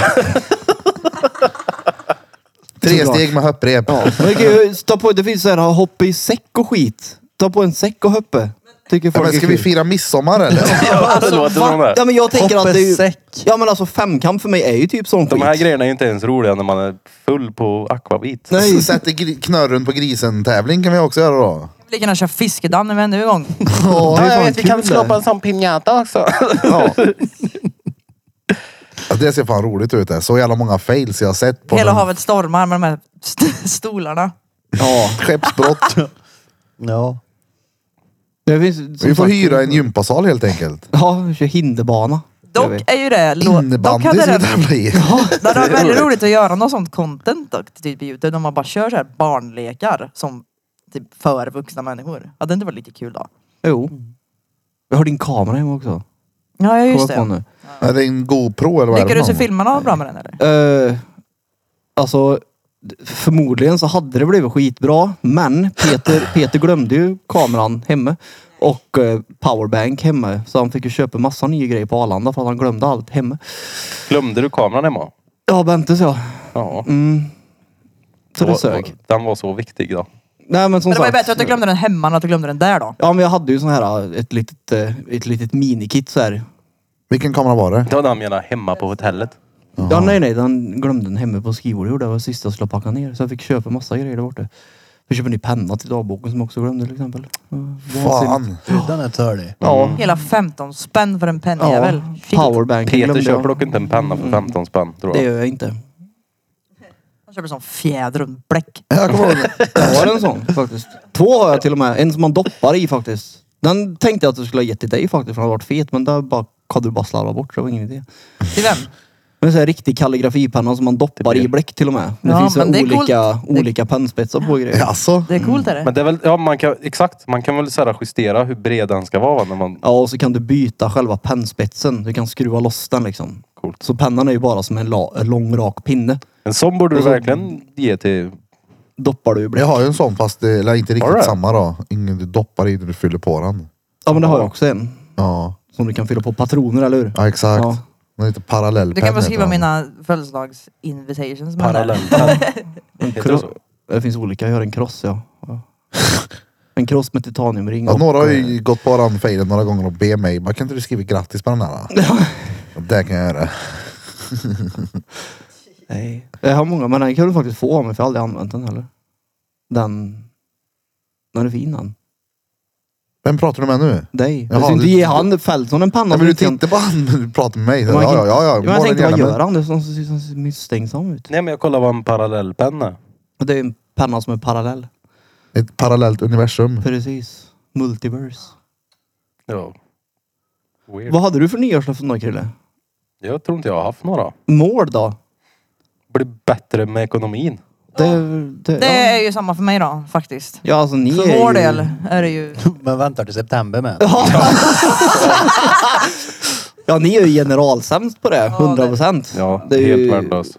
[SPEAKER 1] tre
[SPEAKER 4] Såklart.
[SPEAKER 1] steg med hopprep.
[SPEAKER 4] Ja, men det kan ju ta på, det finns så här hopp i säck och skit. Ta på en säck och hoppa. Tycker
[SPEAKER 1] Ja,
[SPEAKER 4] folk
[SPEAKER 1] men ska
[SPEAKER 4] är
[SPEAKER 1] vi
[SPEAKER 4] kul.
[SPEAKER 1] fira midsommar eller?
[SPEAKER 3] det låter som det.
[SPEAKER 4] alltså, Ja men jag tänker
[SPEAKER 2] Hoppa
[SPEAKER 4] att det är
[SPEAKER 2] i
[SPEAKER 4] ju...
[SPEAKER 2] säck.
[SPEAKER 4] Ja men alltså femkamp för mig är ju typ sån
[SPEAKER 3] De här
[SPEAKER 4] skit.
[SPEAKER 3] grejerna är ju inte ens roliga när man är full på akvavit.
[SPEAKER 1] Så
[SPEAKER 4] Nej.
[SPEAKER 1] Sätter gri- knörren på grisen-tävling kan vi också göra då.
[SPEAKER 5] Kan vi lika gärna köra fiskedamm när vi ändå är igång.
[SPEAKER 4] Ja, det är fan kul det.
[SPEAKER 3] en sån pinjata också.
[SPEAKER 4] Ja.
[SPEAKER 1] Ja, det ser fan roligt ut. Det. Så jävla många fails jag har sett på
[SPEAKER 5] Hela
[SPEAKER 1] de-
[SPEAKER 5] havet stormar med de här st- stolarna.
[SPEAKER 4] ja.
[SPEAKER 1] skeppsbrott.
[SPEAKER 2] Ja.
[SPEAKER 4] Det finns, som
[SPEAKER 1] vi får
[SPEAKER 4] sagt-
[SPEAKER 1] hyra en gympasal helt enkelt.
[SPEAKER 4] Ja, vi kör hinderbana. Gör vi.
[SPEAKER 5] Dock är ju det... lo- Dock
[SPEAKER 1] Innebandy
[SPEAKER 5] hade
[SPEAKER 1] ska
[SPEAKER 5] det
[SPEAKER 1] vi tävla i.
[SPEAKER 5] Det hade varit väldigt roligt att göra något sånt content dock, typ på Youtube. När man bara kör så här barnlekar som typ för vuxna människor. Hade det inte varit lite kul då?
[SPEAKER 4] Jo. Jag har din kamera hemma också.
[SPEAKER 5] Ja, ja, just
[SPEAKER 4] Kolla på
[SPEAKER 5] det.
[SPEAKER 4] nu.
[SPEAKER 1] Är det en GoPro eller vad är det
[SPEAKER 5] Lyckades
[SPEAKER 1] för
[SPEAKER 5] du
[SPEAKER 1] någon?
[SPEAKER 5] filmarna bra med den eller?
[SPEAKER 4] Eh, alltså, d- förmodligen så hade det blivit skitbra. Men Peter, Peter glömde ju kameran hemma. Och eh, powerbank hemma. Så han fick ju köpa massa nya grejer på Arlanda för att han glömde allt hemma.
[SPEAKER 3] Glömde du kameran hemma?
[SPEAKER 4] Ja, Bente sa jag.
[SPEAKER 3] Ja.
[SPEAKER 4] Mm. Så det
[SPEAKER 3] Då-
[SPEAKER 4] sög.
[SPEAKER 3] Den var så viktig då.
[SPEAKER 4] Nej men som
[SPEAKER 5] Men det var ju
[SPEAKER 4] sagt.
[SPEAKER 5] bättre att du glömde den hemma än att du glömde den där då.
[SPEAKER 4] Ja men jag hade ju sån här, ett litet, eh, ett litet minikit så här.
[SPEAKER 1] Vilken kamera var det?
[SPEAKER 3] Det var den jag menade, hemma på hotellet.
[SPEAKER 4] Ja nej nej, den glömde den hemma på skrivbordet. Det var det sista jag skulle packa ner. Så jag fick köpa massa grejer där borta. Jag köpte en ny penna till dagboken som jag också glömde till exempel. Ja, vansinnigt.
[SPEAKER 1] Fan.
[SPEAKER 2] Du, Den är törlig.
[SPEAKER 4] Ja.
[SPEAKER 5] Hela 15 spänn för en
[SPEAKER 4] ja.
[SPEAKER 5] pennjävel. Shit.
[SPEAKER 4] Powerbanken
[SPEAKER 3] Peter
[SPEAKER 4] glömde
[SPEAKER 3] köper
[SPEAKER 4] jag. Mm.
[SPEAKER 3] dock inte en penna för 15 spänn tror
[SPEAKER 4] Det
[SPEAKER 3] jag.
[SPEAKER 4] gör jag inte.
[SPEAKER 5] Han köper sån fjäder och en bläck.
[SPEAKER 1] Jag kommer ihåg.
[SPEAKER 4] Jag har en sån faktiskt. Två har jag till och med. En som man doppar i faktiskt. Den tänkte jag att du skulle ha gett till dig faktiskt för han varit fet. Men där bara, kan du bara slarva bort så det var ingen idé.
[SPEAKER 5] Till vem?
[SPEAKER 4] Men en sån här riktig kalligrafipenna som man doppar
[SPEAKER 3] Typ
[SPEAKER 4] i bläck till och med. Det
[SPEAKER 5] Ja,
[SPEAKER 4] finns
[SPEAKER 5] men
[SPEAKER 4] väl
[SPEAKER 5] det är
[SPEAKER 4] olika,
[SPEAKER 5] coolt.
[SPEAKER 4] olika pennspetsar på grejer. Ja.
[SPEAKER 1] Alltså,
[SPEAKER 5] Det är coolt är det.
[SPEAKER 3] Men det är väl, ja, man kan, exakt, man kan väl så här, justera hur bred den ska vara va, när man...
[SPEAKER 4] och så kan du byta själva pennspetsen. Du kan skruva loss den liksom.
[SPEAKER 3] Coolt.
[SPEAKER 4] Så pennan är ju bara som en, la, en lång rak pinne.
[SPEAKER 3] En sån borde du
[SPEAKER 4] Och så-
[SPEAKER 3] verkligen ge till...
[SPEAKER 4] Doppar du i bläck.
[SPEAKER 1] jag har ju en sån fast det är inte riktigt
[SPEAKER 3] Har du?
[SPEAKER 1] samma då. Ingen du doppar i när du fyller på den.
[SPEAKER 4] Ja men det har jag också en.
[SPEAKER 1] Ja,
[SPEAKER 4] Som du kan fylla på patroner, eller hur?
[SPEAKER 1] ja exakt.
[SPEAKER 4] Ja.
[SPEAKER 1] Den heter parallellpenn.
[SPEAKER 5] Du kan väl skriva
[SPEAKER 1] heter den.
[SPEAKER 5] mina födelsedagsinvitations med den där.
[SPEAKER 3] Parallellpenn.
[SPEAKER 4] En
[SPEAKER 3] Heter det
[SPEAKER 4] kro-
[SPEAKER 3] så?
[SPEAKER 4] det finns olika. Jag har en kross, ja. Ja. En kross med titaniumring.
[SPEAKER 1] Ja,
[SPEAKER 4] och,
[SPEAKER 1] några har
[SPEAKER 4] eh,
[SPEAKER 1] ju gått på den fejden några gånger och be mig, bara kan inte du skriva grattis på den här? då?" Och Det kan jag göra.
[SPEAKER 4] Nej. Jag har många, men den kan du faktiskt få av mig för jag har aldrig använt den heller. Den... Den är fin den.
[SPEAKER 1] Vem pratar du med nu?
[SPEAKER 4] Dig.
[SPEAKER 1] Jaha,
[SPEAKER 4] Jag ska inte
[SPEAKER 1] du-
[SPEAKER 4] ge han Felton en panna.
[SPEAKER 1] Ja,
[SPEAKER 4] som
[SPEAKER 1] men du
[SPEAKER 4] inte kan-
[SPEAKER 1] tittar på han när du pratar med mig.
[SPEAKER 4] Man
[SPEAKER 1] Ja,
[SPEAKER 4] kan-
[SPEAKER 1] ja, ja. ja.
[SPEAKER 4] Ja, men jag
[SPEAKER 1] Måla
[SPEAKER 4] tänkte,
[SPEAKER 1] gärna,
[SPEAKER 4] vad
[SPEAKER 1] men-
[SPEAKER 4] gör han? Det ser så- så så misstänksam ut.
[SPEAKER 3] Nej men jag kollar vad en parallellpenna är.
[SPEAKER 4] Och Det är en penna som är parallell.
[SPEAKER 1] Ett parallellt universum.
[SPEAKER 4] Precis. Multiverse.
[SPEAKER 3] Ja. Weird.
[SPEAKER 4] Vad hade du för nyårslöften då Krille?
[SPEAKER 3] Jag tror inte jag har haft några.
[SPEAKER 4] Mål då?
[SPEAKER 3] Bli bättre med ekonomin.
[SPEAKER 4] Det, det,
[SPEAKER 5] Det är
[SPEAKER 4] ja.
[SPEAKER 5] ju samma för mig då faktiskt.
[SPEAKER 4] ja alltså ni är
[SPEAKER 5] För
[SPEAKER 4] ju...
[SPEAKER 5] vår del är det ju...
[SPEAKER 2] Men väntar till september med.
[SPEAKER 4] Ja ni är ju generalsämst på det. 100 procent.
[SPEAKER 3] Ja,
[SPEAKER 4] det är
[SPEAKER 3] helt
[SPEAKER 4] ju-
[SPEAKER 3] värdelöst.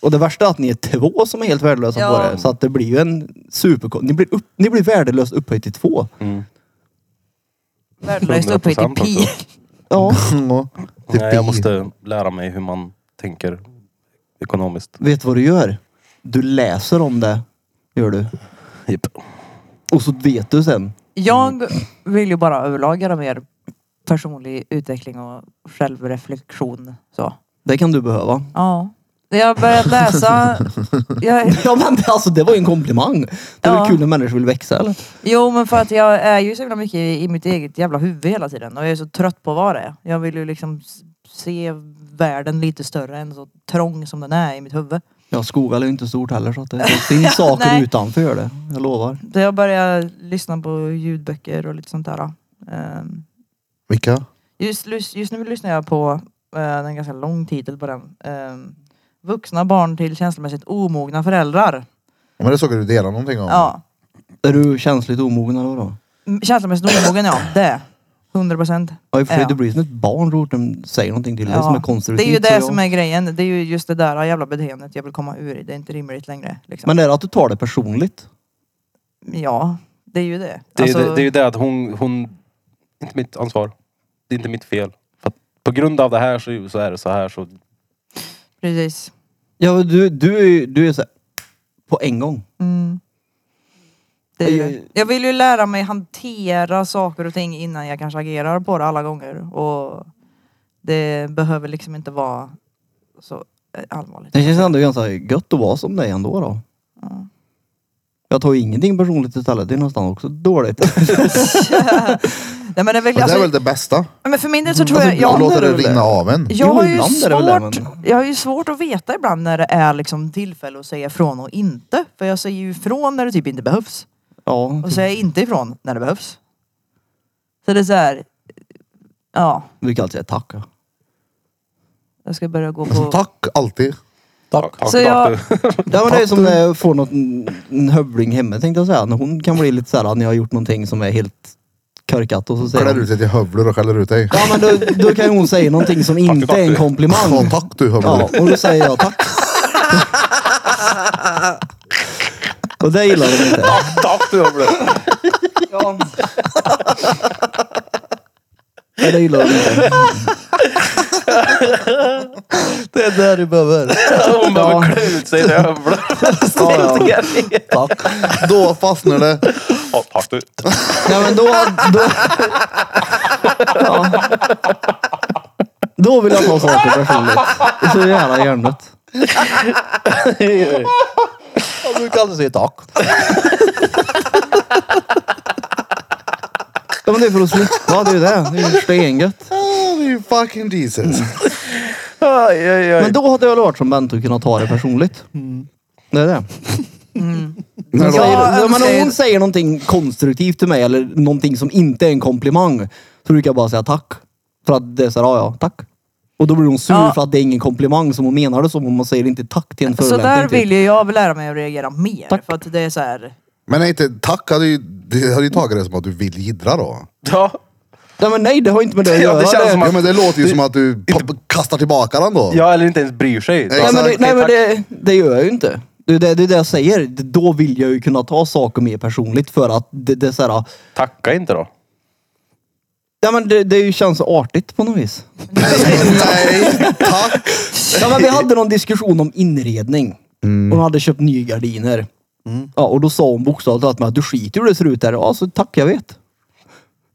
[SPEAKER 4] Och det värsta är att ni är två som är helt värdelösa
[SPEAKER 5] Ja.
[SPEAKER 4] på det. Så att det blir ju en super... Ni blir, upp, ni blir värdelöst upphöjt till två.
[SPEAKER 3] Mm.
[SPEAKER 5] Värdelöst typ upphöjt till
[SPEAKER 3] 100%
[SPEAKER 5] pi.
[SPEAKER 4] Ja.
[SPEAKER 1] Ja. typ Till
[SPEAKER 3] Nej, jag
[SPEAKER 1] pi.
[SPEAKER 3] måste lära mig hur man tänker ekonomiskt.
[SPEAKER 4] Vet du vad du gör? Du läser om det. Gör du.
[SPEAKER 3] Japp.
[SPEAKER 4] Och så vet du sen.
[SPEAKER 5] Jag vill ju bara överlag göra mer personlig utveckling och självreflektion. Så.
[SPEAKER 4] Det kan du behöva.
[SPEAKER 5] Ja. Jag har börjat läsa... Jag,
[SPEAKER 4] Ja men det- alltså det var ju en komplimang. Det är
[SPEAKER 5] Ja.
[SPEAKER 4] väl kul när människor vill växa eller?
[SPEAKER 5] jo men för att jag är ju så jävla mycket i mitt eget jävla huvud hela tiden. Och jag är så trött på vad det är. Jag vill ju liksom s- se världen lite större än så trång som den är i mitt huvud.
[SPEAKER 4] Ja Skoghall är ju inte stort heller så att det, det finns saker
[SPEAKER 5] Nej.
[SPEAKER 4] utanför det. Jag lovar.
[SPEAKER 5] Så jag börjar lyssna på ljudböcker och lite sånt där. Ehm,
[SPEAKER 1] Vilka?
[SPEAKER 5] Just, lys- just nu lyssnar jag på eh, en ganska lång titel på den. Ehm, vuxna barn till känslomässigt omogna föräldrar.
[SPEAKER 1] Ja, Men det såg jag du delade någonting om.
[SPEAKER 5] Ja.
[SPEAKER 4] Är du känsligt omogen eller vadå?
[SPEAKER 5] Mm, Känslomässigt omogen ja, det. 100 procent.
[SPEAKER 4] Ja i och för sig
[SPEAKER 5] Ja.
[SPEAKER 4] det blir som ett barn så fort de säger någonting till dig som är
[SPEAKER 5] det
[SPEAKER 4] konstruktivt.
[SPEAKER 5] är ju
[SPEAKER 4] så
[SPEAKER 5] det
[SPEAKER 4] jag-
[SPEAKER 5] som är grejen. Det är ju just det där jävla beteendet jag vill komma ur. i. Det är inte rimligt längre. Liksom.
[SPEAKER 4] Men är det att du tar det personligt?
[SPEAKER 5] ja, det är ju det.
[SPEAKER 3] Det, är
[SPEAKER 5] Alltså,
[SPEAKER 3] det, det är ju det att hon, hon... Inte mitt ansvar. Det är inte mitt fel. För att på grund av det här så, så är det så här. Så,
[SPEAKER 5] Precis.
[SPEAKER 4] Ja men du, du, är ju- du är så här, på en gång.
[SPEAKER 5] Mm. Det är ju
[SPEAKER 4] Jag-
[SPEAKER 5] det. Jag vill ju lära mig hantera saker och ting innan jag kanske agerar på det alla gånger. Och det behöver liksom inte vara så eh, allvarligt.
[SPEAKER 4] Det känns ändå ganska gött att vara som dig ändå då.
[SPEAKER 5] Ja.
[SPEAKER 4] Jag tar ju ingenting personligt istället. Det är nästan också dåligt.
[SPEAKER 5] Nej, men det är väl,
[SPEAKER 1] Men det
[SPEAKER 5] alltså,
[SPEAKER 1] är väl det bästa?
[SPEAKER 5] men för min del så tror
[SPEAKER 1] Alltså,
[SPEAKER 5] jag...
[SPEAKER 1] jag
[SPEAKER 5] Jag,
[SPEAKER 1] låter det rinna av en.
[SPEAKER 5] jag,
[SPEAKER 4] Jo,
[SPEAKER 5] har ju
[SPEAKER 4] ibland är det väl det,
[SPEAKER 5] svårt,
[SPEAKER 4] men-
[SPEAKER 5] jag har ju svårt att veta ibland när det är liksom tillfälle att säga ifrån och inte. För jag säger ju ifrån när det typ inte behövs.
[SPEAKER 4] Ja.
[SPEAKER 5] Och säger inte ifrån när det behövs. Så det är så här... Ja,
[SPEAKER 4] Du kan alltid säga tack. ja.
[SPEAKER 5] jag ska börja gå på...
[SPEAKER 1] Alltså, Tack alltid.
[SPEAKER 3] Tack. Tack.
[SPEAKER 5] Så jag-
[SPEAKER 4] Ja men det är som när jag får något, en hövling hemma tänkte jag säga. När hon kan bli lite såhär, när jag har gjort någonting som är helt korkat och så säger
[SPEAKER 1] Klär
[SPEAKER 4] hon,
[SPEAKER 1] ut dig till hövler och skäller ut dig.
[SPEAKER 4] Ja men då, då kan ju hon säga någonting som inte är en komplimang.
[SPEAKER 1] Ja, tack du hövler.
[SPEAKER 4] Ja, och då säger jag tack. Och det gillar de inte.
[SPEAKER 3] Tack du Humle.
[SPEAKER 4] Ja. Nej, det gillar de inte.
[SPEAKER 2] Det är där du behöver.
[SPEAKER 3] Hon behöver klä ut sig till hövlar.
[SPEAKER 4] Ja, ja. Tack.
[SPEAKER 1] Då fastnar det.
[SPEAKER 3] Ja, Tack du.
[SPEAKER 4] Ja men då... Då, ja. då vill jag ta saker personligt. Det är så jävla hjärndött.
[SPEAKER 2] Jag brukar aldrig säga tack.
[SPEAKER 4] Ja men det är för att slippa, det är ju det. Det är ju stengött.
[SPEAKER 1] Oh, you fucking Jesus.
[SPEAKER 3] Aj, aj, aj.
[SPEAKER 4] Men då hade jag väl varit som Bente och kunnat ta det personligt. Det är det.
[SPEAKER 1] När de-
[SPEAKER 5] Jag
[SPEAKER 4] säger, men om
[SPEAKER 5] önskar-
[SPEAKER 4] hon säger någonting konstruktivt till mig eller någonting som inte är en komplimang så brukar jag bara säga tack. För att det är såhär, ja ja, tack. Och då blir hon sur
[SPEAKER 5] Ja.
[SPEAKER 4] för att det är ingen komplimang som hon menar det som. Om man säger inte tack till en
[SPEAKER 5] Så
[SPEAKER 4] förolämpning.
[SPEAKER 5] där
[SPEAKER 4] typ.
[SPEAKER 5] vill ju jag lära mig att reagera mer. För att det är så här.
[SPEAKER 1] Men nej, inte, tack hade ju, det hade ju tagit det som att du vill jiddra då.
[SPEAKER 3] Ja.
[SPEAKER 4] Nej men nej, det har inte med det att
[SPEAKER 3] Ja,
[SPEAKER 4] göra.
[SPEAKER 3] det känns som att-
[SPEAKER 1] Ja, men det låter ju som att du pa- kastar tillbaka den då.
[SPEAKER 3] ja, eller inte ens bryr sig.
[SPEAKER 1] Nej,
[SPEAKER 4] Nej men, det,
[SPEAKER 3] Okej,
[SPEAKER 4] nej, men
[SPEAKER 3] tack.
[SPEAKER 4] det, det gör jag ju inte. Det är det, det, är det jag säger. Det- Då vill jag ju kunna ta saker mer personligt för att det, det är såhär,
[SPEAKER 3] Tacka inte då.
[SPEAKER 4] ja men det, det känns artigt på något vis.
[SPEAKER 1] Nej, tack!
[SPEAKER 4] Ja, men vi hade någon diskussion om inredning.
[SPEAKER 3] Mm.
[SPEAKER 4] Hon hade köpt nya gardiner. Ja, och då sa hon bokstavligt talat med att du skiter i hur det ser ut där. Ja, så tack jag vet.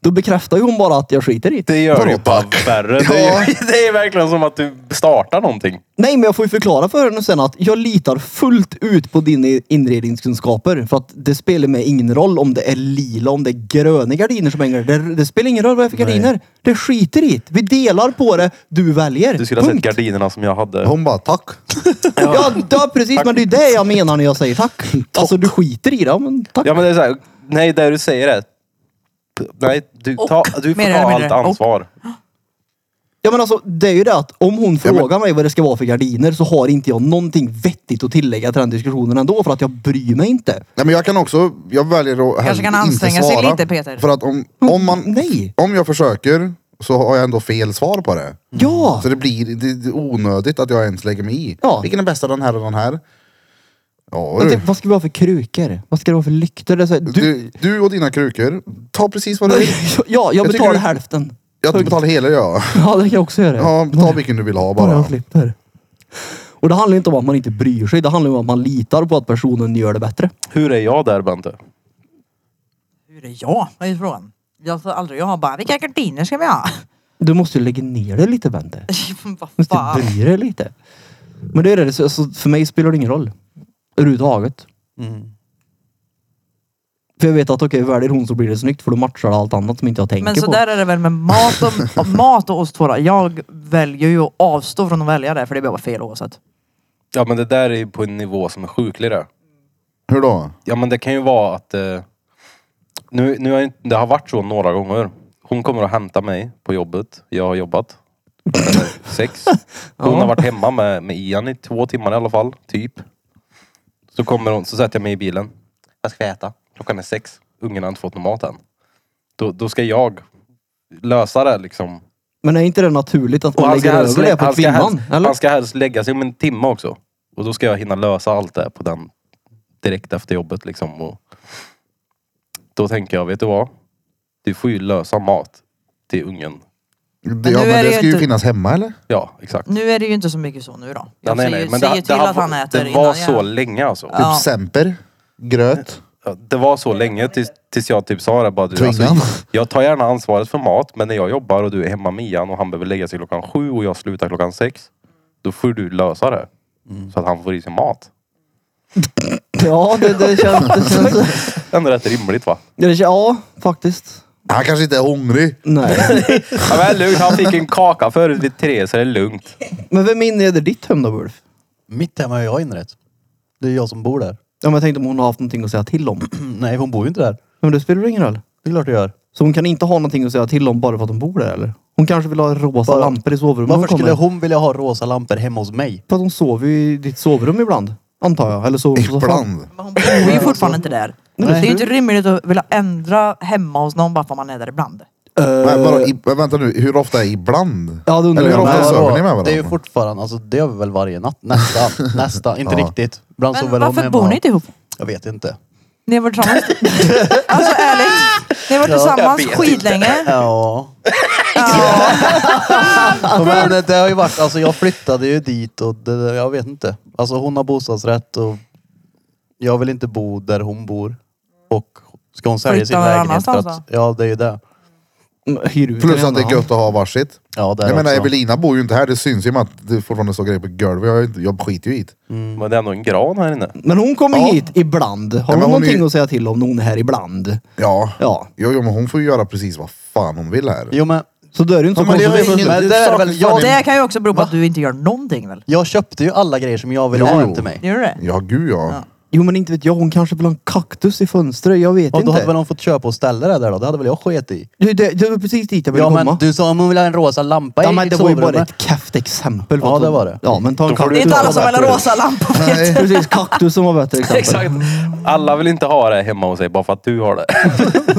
[SPEAKER 4] Då bekräftar ju hon bara att jag skiter i det.
[SPEAKER 3] Det gör
[SPEAKER 1] Vadå,
[SPEAKER 3] det ju bara
[SPEAKER 1] tack?
[SPEAKER 3] värre. Det, är, ju- det är verkligen som att du startar någonting.
[SPEAKER 4] Nej, men jag får ju förklara för henne sen att jag litar fullt ut på dina inredningskunskaper. För att det spelar mig ingen roll om det är lila, om det är gröna gardiner som hänger. Det, det spelar ingen roll vad jag är för gardiner. Det skiter i det. Vi delar på det. Du väljer.
[SPEAKER 3] Du skulle ha sett
[SPEAKER 4] Punkt.
[SPEAKER 3] gardinerna som jag hade.
[SPEAKER 1] Hon bara, tack.
[SPEAKER 4] Ja, ja, precis. Men det är det jag menar när jag säger tack. Alltså, du skiter i det. Ja, men tack.
[SPEAKER 3] Ja men det är såhär, nej det du säger är... Nej, du,
[SPEAKER 5] Och,
[SPEAKER 3] ta, du får
[SPEAKER 5] mer eller
[SPEAKER 3] ta allt
[SPEAKER 5] mindre, och.
[SPEAKER 3] ansvar.
[SPEAKER 4] Ja men alltså det är ju det att om hon
[SPEAKER 1] men-
[SPEAKER 4] frågar mig vad det ska vara för gardiner så har inte jag någonting vettigt att tillägga till den diskussionen ändå för att jag bryr mig inte.
[SPEAKER 1] Nej, men jag kan också, jag väljer att
[SPEAKER 5] Kanske kan
[SPEAKER 1] inte
[SPEAKER 5] anstränga sig
[SPEAKER 1] svara.
[SPEAKER 5] lite, Peter.
[SPEAKER 1] För att om, om, man,
[SPEAKER 4] Nej!
[SPEAKER 1] om jag försöker så har jag ändå fel svar på det.
[SPEAKER 4] Ja!
[SPEAKER 1] Så det blir det, det är onödigt att jag ens lägger mig i.
[SPEAKER 4] Ja.
[SPEAKER 1] Vilken är bästa, den här eller den här? Ja,
[SPEAKER 4] Men
[SPEAKER 1] du.
[SPEAKER 4] typ, vad ska vi ha för krukor? Vad ska det vara för lyktor? Det är så här, du,
[SPEAKER 1] Du, du och dina krukor, ta precis vad du vill.
[SPEAKER 4] ja, jag
[SPEAKER 1] tycker
[SPEAKER 4] betalar
[SPEAKER 1] du-
[SPEAKER 4] hälften.
[SPEAKER 1] Jag betalar hela jag.
[SPEAKER 4] Ja, det kan jag också göra.
[SPEAKER 1] Ja, ta vilken du vill ha
[SPEAKER 4] bara
[SPEAKER 1] bara.
[SPEAKER 4] jag slipper. Och det handlar inte om att man inte bryr sig. Det handlar om att man litar på att personen gör det bättre.
[SPEAKER 3] Hur är jag där Bente?
[SPEAKER 5] Hur är jag? Vad är frågan? Jag sa aldrig, jag har bara, vilka gardiner ska vi ha?
[SPEAKER 4] Du måste ju lägga ner det lite Bente.
[SPEAKER 5] Vad
[SPEAKER 4] måste
[SPEAKER 5] fan.
[SPEAKER 4] bry dig lite. Men det är det, så- så för mig spelar det ingen roll. Överhuvudtaget. För jag vet att okej, väljer hon så blir det snyggt för då matchar det allt annat som inte jag tänker
[SPEAKER 5] Men så
[SPEAKER 4] på.
[SPEAKER 5] där är det väl med mat och, och mat och oss två då. Jag väljer ju att avstå från att välja det för det blir bara fel oavsett.
[SPEAKER 3] Ja men det där är ju på en nivå som är sjuklig det.
[SPEAKER 1] Hur då?
[SPEAKER 3] Ja men det kan ju vara att... Eh, nu, nu har jag, inte- det har varit så några gånger. Hon kommer att hämta mig på jobbet. Jag har jobbat. Eller Sex. Hon har varit hemma med, med Ian i två timmar i alla fall. Typ. Så kommer hon, så sätter jag mig i bilen. Vad ska vi äta? Klockan är sex. Ungen har inte fått någon mat än. Då, då ska jag lösa det liksom.
[SPEAKER 4] Men är inte det naturligt att
[SPEAKER 3] Och
[SPEAKER 4] man
[SPEAKER 3] han ska,
[SPEAKER 4] lägger
[SPEAKER 3] helst,
[SPEAKER 4] över
[SPEAKER 3] lä-
[SPEAKER 4] det på
[SPEAKER 3] han, ska helst,
[SPEAKER 4] kvinnan? Eller?
[SPEAKER 3] han ska helst lägga sig om en timme också. Och då ska jag hinna lösa allt det på den direkt efter jobbet liksom. Och då tänker jag, vet du vad? Du får ju lösa mat till ungen.
[SPEAKER 1] Det,
[SPEAKER 5] nu
[SPEAKER 1] ja,
[SPEAKER 5] är
[SPEAKER 1] men
[SPEAKER 5] det
[SPEAKER 1] det
[SPEAKER 5] ju
[SPEAKER 1] ska ju
[SPEAKER 5] inte-
[SPEAKER 1] finnas hemma eller? Typ
[SPEAKER 3] Ja, exakt.
[SPEAKER 5] Nu är det ju inte så mycket så nu då. Mm. Jag
[SPEAKER 3] nej,
[SPEAKER 5] ser
[SPEAKER 3] nej,
[SPEAKER 5] ju-
[SPEAKER 3] men
[SPEAKER 5] ser
[SPEAKER 3] det-
[SPEAKER 5] ju
[SPEAKER 3] det
[SPEAKER 5] till
[SPEAKER 3] har-
[SPEAKER 5] att han äter
[SPEAKER 3] Det var
[SPEAKER 5] innan
[SPEAKER 3] så
[SPEAKER 5] jag-
[SPEAKER 3] länge alltså.
[SPEAKER 1] Typ
[SPEAKER 5] Ja.
[SPEAKER 1] semper, gröt.
[SPEAKER 3] Ja, Det var så länge tills, tills jag typ sa det bara. Du, alltså,
[SPEAKER 1] Tvingan.
[SPEAKER 3] jag tar gärna ansvaret för mat men när jag jobbar och du är hemma med Ian och han behöver lägga sig klockan sju och jag slutar klockan sex. Då får du lösa det.
[SPEAKER 4] Mm.
[SPEAKER 3] Så att han får i sig mat.
[SPEAKER 4] Ja, det, det känns... Det känns
[SPEAKER 3] Ändå rätt rimligt va?
[SPEAKER 4] det känns ja, faktiskt.
[SPEAKER 1] Han kanske inte är hungrig.
[SPEAKER 4] Nej.
[SPEAKER 3] Ja, men lugnt, han fick en kaka förut vid tre så det är lugnt.
[SPEAKER 4] Men vem inreder ditt hem då, Ulf?
[SPEAKER 2] Mitt hem har jag inrett. Det är jag som bor där.
[SPEAKER 4] Ja, men jag tänkte om hon har haft någonting att säga till om.
[SPEAKER 2] Nej, hon bor ju inte där.
[SPEAKER 4] Men det spelar ingen roll.
[SPEAKER 2] Det är klart jag gör.
[SPEAKER 4] Så hon kan inte ha någonting att säga till om bara för att hon bor där eller? Hon kanske vill ha rosa
[SPEAKER 2] Bara-
[SPEAKER 4] lampor i sovrummet.
[SPEAKER 2] Varför
[SPEAKER 4] hon kommer.
[SPEAKER 2] skulle hon vilja ha rosa lampor hemma hos mig?
[SPEAKER 4] För att hon sover ju i ditt sovrum ibland. Antar jag. Eller sover på soffan.
[SPEAKER 1] Ibland.
[SPEAKER 5] Men hon bor ju fortfarande inte där. det är ju inte rimligt att vilja ändra hemma hos någon bara för att man är där ibland.
[SPEAKER 3] Alltså,
[SPEAKER 1] Men, vadå, i, men vänta nu, hur ofta är ibland?
[SPEAKER 4] Ja, det undrar
[SPEAKER 1] Eller hur
[SPEAKER 4] jag
[SPEAKER 1] ofta
[SPEAKER 4] med.
[SPEAKER 1] sover ni med
[SPEAKER 2] det är ju
[SPEAKER 1] varandra?
[SPEAKER 2] fortfarande, alltså det gör vi väl varje natt. Nästan, nästan. Inte riktigt. Ibland
[SPEAKER 5] Men
[SPEAKER 2] sover hon
[SPEAKER 5] varför
[SPEAKER 2] hemma.
[SPEAKER 5] bor ni inte ihop?
[SPEAKER 2] Jag vet inte.
[SPEAKER 5] Ni har varit tillsammans? alltså ärligt. Ni har varit tillsammans skitlänge.
[SPEAKER 2] Ja.
[SPEAKER 5] Ja.
[SPEAKER 2] Men det har ju varit, alltså jag flyttade ju dit och det, jag vet inte. Alltså hon har bostadsrätt och jag vill inte bo där hon bor. Och ska hon sälja sin
[SPEAKER 5] Flytta någon
[SPEAKER 2] lägenhet för
[SPEAKER 5] annanstans
[SPEAKER 2] att, ja det är ju det.
[SPEAKER 4] Hyr ut
[SPEAKER 1] Plus
[SPEAKER 4] en
[SPEAKER 1] att det är
[SPEAKER 4] annan.
[SPEAKER 1] gött att ha varsitt.
[SPEAKER 2] Ja det är
[SPEAKER 1] Jag menar
[SPEAKER 2] också.
[SPEAKER 1] Evelina bor ju inte här, det syns ju med att det fortfarande står grejer på golvet. Jag, har ju inte- jag skiter ju i det.
[SPEAKER 3] Men det är ändå en gran här inne.
[SPEAKER 4] Men hon kommer
[SPEAKER 1] Ja.
[SPEAKER 4] hit ibland. Har
[SPEAKER 1] men
[SPEAKER 4] hon
[SPEAKER 1] hon är
[SPEAKER 4] någonting
[SPEAKER 1] ju-
[SPEAKER 4] att säga till om när hon är här ibland?
[SPEAKER 1] Ja.
[SPEAKER 4] Ja.
[SPEAKER 1] Jo, jo, men hon får ju göra precis vad fan hon vill här.
[SPEAKER 2] Jo men
[SPEAKER 4] Så då är det ju inte
[SPEAKER 1] Ja,
[SPEAKER 4] så
[SPEAKER 1] men det har ju
[SPEAKER 4] konstigt.
[SPEAKER 1] ingen-
[SPEAKER 2] Men det är väl-
[SPEAKER 1] saknas fan
[SPEAKER 5] Det
[SPEAKER 1] i-
[SPEAKER 5] kan ju också bero på att du inte gör någonting väl?
[SPEAKER 2] jag köpte ju alla grejer som jag ville
[SPEAKER 1] Jo,
[SPEAKER 2] ha
[SPEAKER 1] jo.
[SPEAKER 2] hem till mig.
[SPEAKER 5] Gör du det?
[SPEAKER 1] Ja, gud ja.
[SPEAKER 4] Jo men inte vet jag, hon kanske vill ha en kaktus i fönstret. Jag vet
[SPEAKER 2] Och då
[SPEAKER 4] inte.
[SPEAKER 2] hade väl hon fått köpa och ställa det där då? Det hade väl jag sket i.
[SPEAKER 4] Du, det, det var precis dit jag ville
[SPEAKER 2] Ja
[SPEAKER 4] komma.
[SPEAKER 2] men du sa om hon vill ha en rosa lampa
[SPEAKER 4] ja
[SPEAKER 2] i
[SPEAKER 4] men
[SPEAKER 2] i
[SPEAKER 4] det var ju bara
[SPEAKER 2] sovrummet.
[SPEAKER 4] ett käft exempel.
[SPEAKER 2] Ja, det var det.
[SPEAKER 4] Ja men ta en
[SPEAKER 3] Då får du
[SPEAKER 5] Det
[SPEAKER 4] kaktus.
[SPEAKER 5] är inte
[SPEAKER 3] Utan
[SPEAKER 5] alla som vill ha
[SPEAKER 3] papper.
[SPEAKER 5] rosa lampor
[SPEAKER 1] Nej.
[SPEAKER 5] Peter.
[SPEAKER 4] Precis, kaktus som var bättre exempel.
[SPEAKER 3] Exakt. Alla vill inte ha det hemma hos sig bara för att du har det.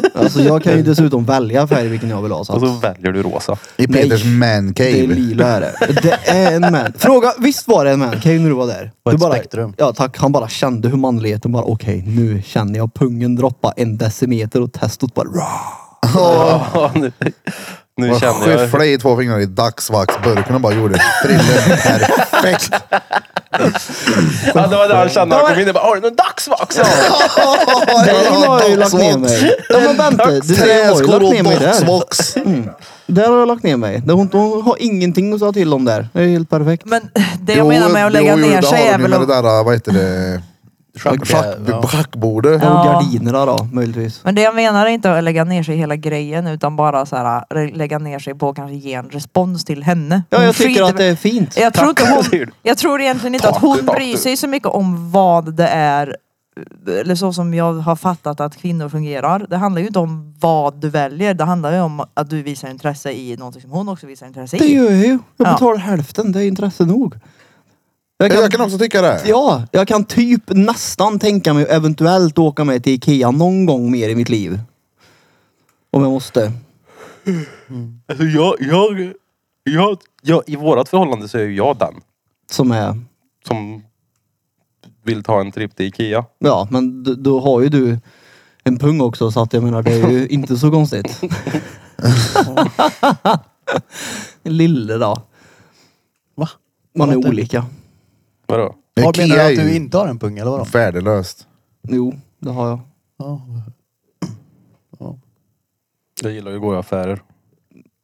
[SPEAKER 4] Alltså jag kan ju dessutom välja färg vilken jag vill ha. Så
[SPEAKER 3] Och
[SPEAKER 4] att
[SPEAKER 3] så väljer du rosa.
[SPEAKER 1] I
[SPEAKER 4] Nej.
[SPEAKER 1] Peters
[SPEAKER 4] det är
[SPEAKER 1] mancave.
[SPEAKER 4] lila är det. Det är en man. Fråga, visst var det en man cave när du var där?
[SPEAKER 2] På
[SPEAKER 4] du
[SPEAKER 2] ett
[SPEAKER 4] bara,
[SPEAKER 2] spektrum.
[SPEAKER 4] Ja tack, han bara kände hur manligheten bara okej nu känner jag pungen droppa en decimeter och testot bara rah.
[SPEAKER 3] Ja, nu nu känner jag...
[SPEAKER 1] Skyffla i två fingrar i dagsvaxburken och bara gjorde frillen perfekt.
[SPEAKER 3] Ja, det var det han kände när han kom in. Jag bara, har du någon dagsvax?
[SPEAKER 4] Där har jag ju lagt ner
[SPEAKER 1] Dagsvax.
[SPEAKER 4] mig. Ja men vänta, det där har jag ju
[SPEAKER 1] Träskor
[SPEAKER 4] lagt ner mig
[SPEAKER 1] och
[SPEAKER 4] där. Mm.
[SPEAKER 1] dagsvax.
[SPEAKER 4] Där har jag lagt ner mig. Det- Hon, hon har ingenting att säga till om där. Det är helt perfekt.
[SPEAKER 5] Men det jag menar med att lägga
[SPEAKER 1] jo, jo,
[SPEAKER 5] ner
[SPEAKER 1] det har
[SPEAKER 5] sig
[SPEAKER 1] de
[SPEAKER 5] är
[SPEAKER 1] ju
[SPEAKER 5] väl
[SPEAKER 1] med det
[SPEAKER 5] att...
[SPEAKER 1] där, vad heter det?
[SPEAKER 2] Schack-
[SPEAKER 1] Schack,
[SPEAKER 2] ja.
[SPEAKER 1] schackbordet.
[SPEAKER 4] Och
[SPEAKER 5] Ja.
[SPEAKER 4] gardinerna då möjligtvis.
[SPEAKER 5] Men det jag menar är inte att lägga ner sig i hela grejen utan bara så här, re- lägga ner sig på att kanske ge en respons till henne.
[SPEAKER 4] Ja
[SPEAKER 5] Hon
[SPEAKER 4] jag tycker
[SPEAKER 5] skiter-
[SPEAKER 4] att det är fint.
[SPEAKER 5] Jag tror, inte
[SPEAKER 3] säger du.
[SPEAKER 5] hon, jag tror egentligen inte att
[SPEAKER 3] Tack,
[SPEAKER 5] hon
[SPEAKER 3] tack.
[SPEAKER 5] bryr sig så mycket om vad det är eller så som jag har fattat att kvinnor fungerar. Det handlar ju inte om vad du väljer. Det handlar ju om att du visar intresse i någonting som hon också visar intresse
[SPEAKER 4] Det
[SPEAKER 5] i.
[SPEAKER 4] gör jag ju. Jag
[SPEAKER 5] Ja.
[SPEAKER 4] betalar hälften, det är intresse nog. Jag kan,
[SPEAKER 1] Jag kan också tycka det.
[SPEAKER 4] ja, jag kan typ nästan tänka mig eventuellt åka med till Ikea någon gång mer i mitt liv. Om jag måste.
[SPEAKER 3] Alltså, jag, jag, jag, jag, I vårat förhållande så är ju jag den
[SPEAKER 4] Som är,
[SPEAKER 3] som vill ta en tripp till Ikea.
[SPEAKER 4] ja men d- då har ju du en pung också så att jag menar det är ju inte så konstigt. Lille då.
[SPEAKER 2] Va?
[SPEAKER 4] Man är
[SPEAKER 2] Vänta.
[SPEAKER 4] olika.
[SPEAKER 3] Vadå?
[SPEAKER 2] Har menar du
[SPEAKER 1] Ikea är
[SPEAKER 2] att du
[SPEAKER 1] ju
[SPEAKER 2] inte har en pung eller vadå?
[SPEAKER 1] Värdelöst.
[SPEAKER 4] Jo, det har jag.
[SPEAKER 2] Ja.
[SPEAKER 3] Jag gillar ju att gå i affärer.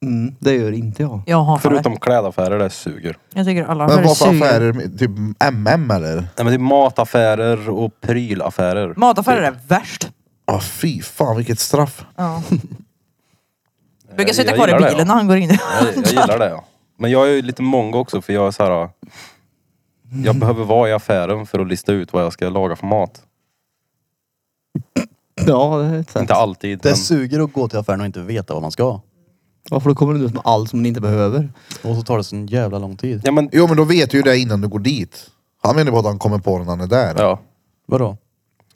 [SPEAKER 4] Mm, det gör inte jag.
[SPEAKER 5] Jag har det.
[SPEAKER 3] Förutom klädaffärer, det suger.
[SPEAKER 5] Jag tycker alla
[SPEAKER 1] Men
[SPEAKER 5] affärer
[SPEAKER 1] vad för
[SPEAKER 5] suger.
[SPEAKER 1] affärer? Typ MM eller?
[SPEAKER 3] Nej men det är mataffärer och prylaffärer.
[SPEAKER 5] Mataffärer är värst.
[SPEAKER 1] Ja, Ah, fy fan vilket straff.
[SPEAKER 5] Ja. Jag
[SPEAKER 3] Jag-
[SPEAKER 5] brukar
[SPEAKER 3] jag
[SPEAKER 5] sitta kvar i
[SPEAKER 3] gillar det,
[SPEAKER 5] bilen när
[SPEAKER 3] ja.
[SPEAKER 5] han går in.
[SPEAKER 3] Jag, jag gillar det ja. Men jag är ju lite mongo också för jag är så här. ah, Jag behöver vara i affären för att lista ut vad jag ska laga för mat.
[SPEAKER 4] Ja, det är ett sätt.
[SPEAKER 3] Inte alltid.
[SPEAKER 2] Det
[SPEAKER 3] Men
[SPEAKER 2] suger att gå till affären och inte veta vad man ska.
[SPEAKER 4] Ja, för då kommer du ut med allt som ni inte behöver.
[SPEAKER 2] Och så tar det så en jävla lång tid.
[SPEAKER 3] ja men,
[SPEAKER 1] Jo men då vet du ju det innan du går dit. Han menar ju bara att han kommer på det när han är där.
[SPEAKER 3] ja.
[SPEAKER 2] Vadå?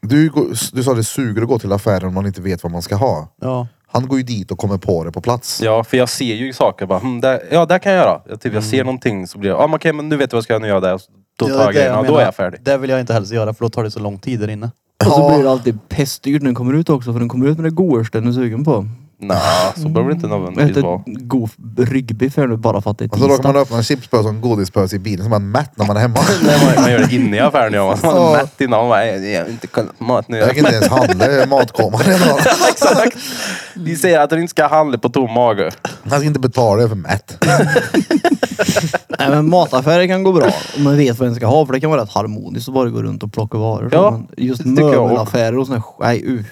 [SPEAKER 1] Du, går- du sa det suger att gå till affären om man inte vet vad man ska ha.
[SPEAKER 2] Ja.
[SPEAKER 1] Han går ju dit och kommer på det på plats.
[SPEAKER 3] Ja, för jag ser ju saker bara, hm, där, ja det kan jag göra. Jag, typ, jag ser någonting så blir jag, ja men okej men nu vet jag vad jag ska göra, nu gör jag det. Då
[SPEAKER 2] Mm. Ja, det är
[SPEAKER 3] tar jag
[SPEAKER 2] det
[SPEAKER 3] grejerna och då
[SPEAKER 2] menar.
[SPEAKER 3] är jag färdig.
[SPEAKER 2] Det vill jag inte helst göra för då tar det så lång tid där inne.
[SPEAKER 4] Och så
[SPEAKER 1] Ja.
[SPEAKER 4] blir det alltid pestdyrt när den kommer ut också för den kommer ut med det godaste den är sugen på.
[SPEAKER 3] Nej, så behöver det inte
[SPEAKER 4] Jag
[SPEAKER 3] nödvändigtvis
[SPEAKER 4] äter
[SPEAKER 3] vara.
[SPEAKER 4] god ryggbiff här nu bara för att det är
[SPEAKER 1] Och så råkar Alltså, man
[SPEAKER 4] tisdag.
[SPEAKER 1] öppna en chipspåse och en godispåse i bilen så man är mätt när man är hemma.
[SPEAKER 3] Nej, man- Man gör det inne i affären. Ja. Man
[SPEAKER 1] Ja.
[SPEAKER 3] är mätt innan. Man bara, "Nej, jag har inte kollat på mat nu.
[SPEAKER 1] Jag kan inte ens handla, jag är matkoma redan.
[SPEAKER 3] Exakt. De säger att du inte ska handla på tom mage.
[SPEAKER 1] Jag ska inte betala, jag är för mätt.
[SPEAKER 4] Nej men mataffärer kan gå bra om man vet vad den ska ha för det kan vara rätt harmoniskt att bara gå runt och plocka varor.
[SPEAKER 3] Ja,
[SPEAKER 4] men just
[SPEAKER 3] det tycker jag också.
[SPEAKER 4] möbelaffärer och sådana här Nej, uh,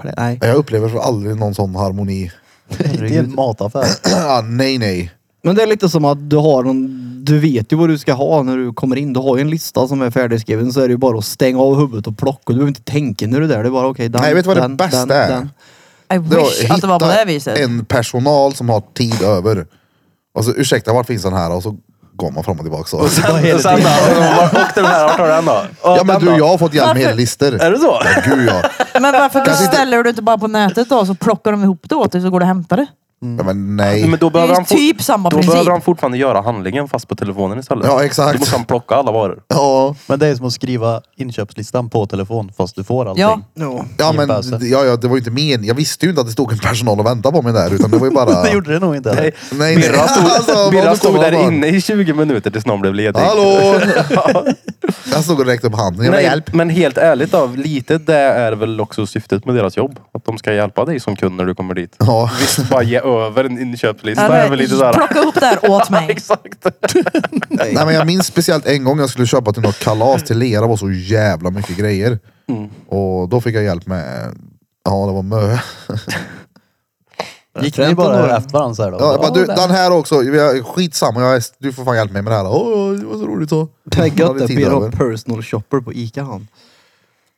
[SPEAKER 4] klä- nej.
[SPEAKER 1] Jag upplever så aldrig någon sån harmoni.
[SPEAKER 2] Inte i en mataffär.
[SPEAKER 1] Ah, nej nej.
[SPEAKER 4] Men det är lite som att du har någon, du vet ju vad du ska ha när du kommer in. Du har ju en lista som är färdigskriven så är det ju bara att stänga av huvudet och plocka. Du behöver inte tänka när du är där. Det är bara okej den,
[SPEAKER 1] Nej, vet du vad det
[SPEAKER 4] den,
[SPEAKER 1] bästa
[SPEAKER 4] den,
[SPEAKER 1] är?
[SPEAKER 4] den.
[SPEAKER 5] I wish att det var på det här viset.
[SPEAKER 1] en personal som har tid över. Och så ursäkta, var finns den här? Och så går man fram och tillbaka. Så.
[SPEAKER 3] Och sen då? Var åkte den här? Vart tar den då?
[SPEAKER 1] Ja men
[SPEAKER 3] den
[SPEAKER 1] du,
[SPEAKER 3] då?
[SPEAKER 1] jag har fått hjälp med
[SPEAKER 5] Varför?
[SPEAKER 1] lister.
[SPEAKER 3] Är det så?
[SPEAKER 1] Ja, gud ja.
[SPEAKER 5] Men varför
[SPEAKER 1] Kanske inte-
[SPEAKER 5] beställer du inte bara på nätet då så plockar de ihop det åt dig så går du och hämtar det?
[SPEAKER 1] ja men
[SPEAKER 3] Nej,
[SPEAKER 1] nej.
[SPEAKER 3] Mm. men då
[SPEAKER 5] Det
[SPEAKER 3] behöver
[SPEAKER 5] är ju
[SPEAKER 3] han fort-
[SPEAKER 5] typ samma
[SPEAKER 3] Då
[SPEAKER 5] princip.
[SPEAKER 3] behöver han fortfarande göra handlingen fast på telefonen istället.
[SPEAKER 1] Ja, exakt.
[SPEAKER 3] Då måste han plocka alla varor.
[SPEAKER 1] Ja,
[SPEAKER 2] Men det är som att skriva inköpslistan på telefon fast du får allting.
[SPEAKER 5] Ja.
[SPEAKER 4] Ja.
[SPEAKER 1] ja
[SPEAKER 2] I en
[SPEAKER 1] men
[SPEAKER 2] påse.
[SPEAKER 1] ja, ja, det var ju inte min. Jag visste ju inte att det stod en personal och väntade på mig där. Utan det var ju bara...
[SPEAKER 2] Det gjorde det nog inte.
[SPEAKER 3] Nej.
[SPEAKER 2] Nej.
[SPEAKER 1] Nej, nej.
[SPEAKER 3] Birra stod,
[SPEAKER 1] Alltså, vad
[SPEAKER 3] Birra
[SPEAKER 1] du
[SPEAKER 3] stod
[SPEAKER 1] står
[SPEAKER 3] där
[SPEAKER 1] bara.
[SPEAKER 3] inne i 20 minuter tills någon blev ledig.
[SPEAKER 1] Hallå! Jag stod och räckte upp handen. Jag vill ha
[SPEAKER 3] Nej,
[SPEAKER 1] hjälp.
[SPEAKER 3] men helt ärligt då, lite det är väl också syftet med deras jobb. Att de ska hjälpa dig som kund när du kommer dit.
[SPEAKER 1] Ja.
[SPEAKER 3] Visst, bara ge över en inköpslista är väl lite sådär.
[SPEAKER 5] Eller, plocka ihop det här åt mig.
[SPEAKER 3] Exakt.
[SPEAKER 1] Nej, men jag minns speciellt en gång jag skulle köpa till något kalas till Lera. Det var så jävla mycket grejer.
[SPEAKER 3] Mm.
[SPEAKER 1] Och då fick jag hjälp med... Ja, det var mö.
[SPEAKER 2] Gick ni bara efter varandra så här då?
[SPEAKER 1] Ja, jag bara, du,
[SPEAKER 4] det.
[SPEAKER 1] den här också. Jag, skitsamma, jag, är- du får fan hjälpa mig med det här. Åh, det var så roligt så.
[SPEAKER 4] Det är
[SPEAKER 1] Jag hade
[SPEAKER 4] gött det.
[SPEAKER 1] tid alltså.
[SPEAKER 4] Blir
[SPEAKER 1] över.
[SPEAKER 4] personal shopper på Ica han.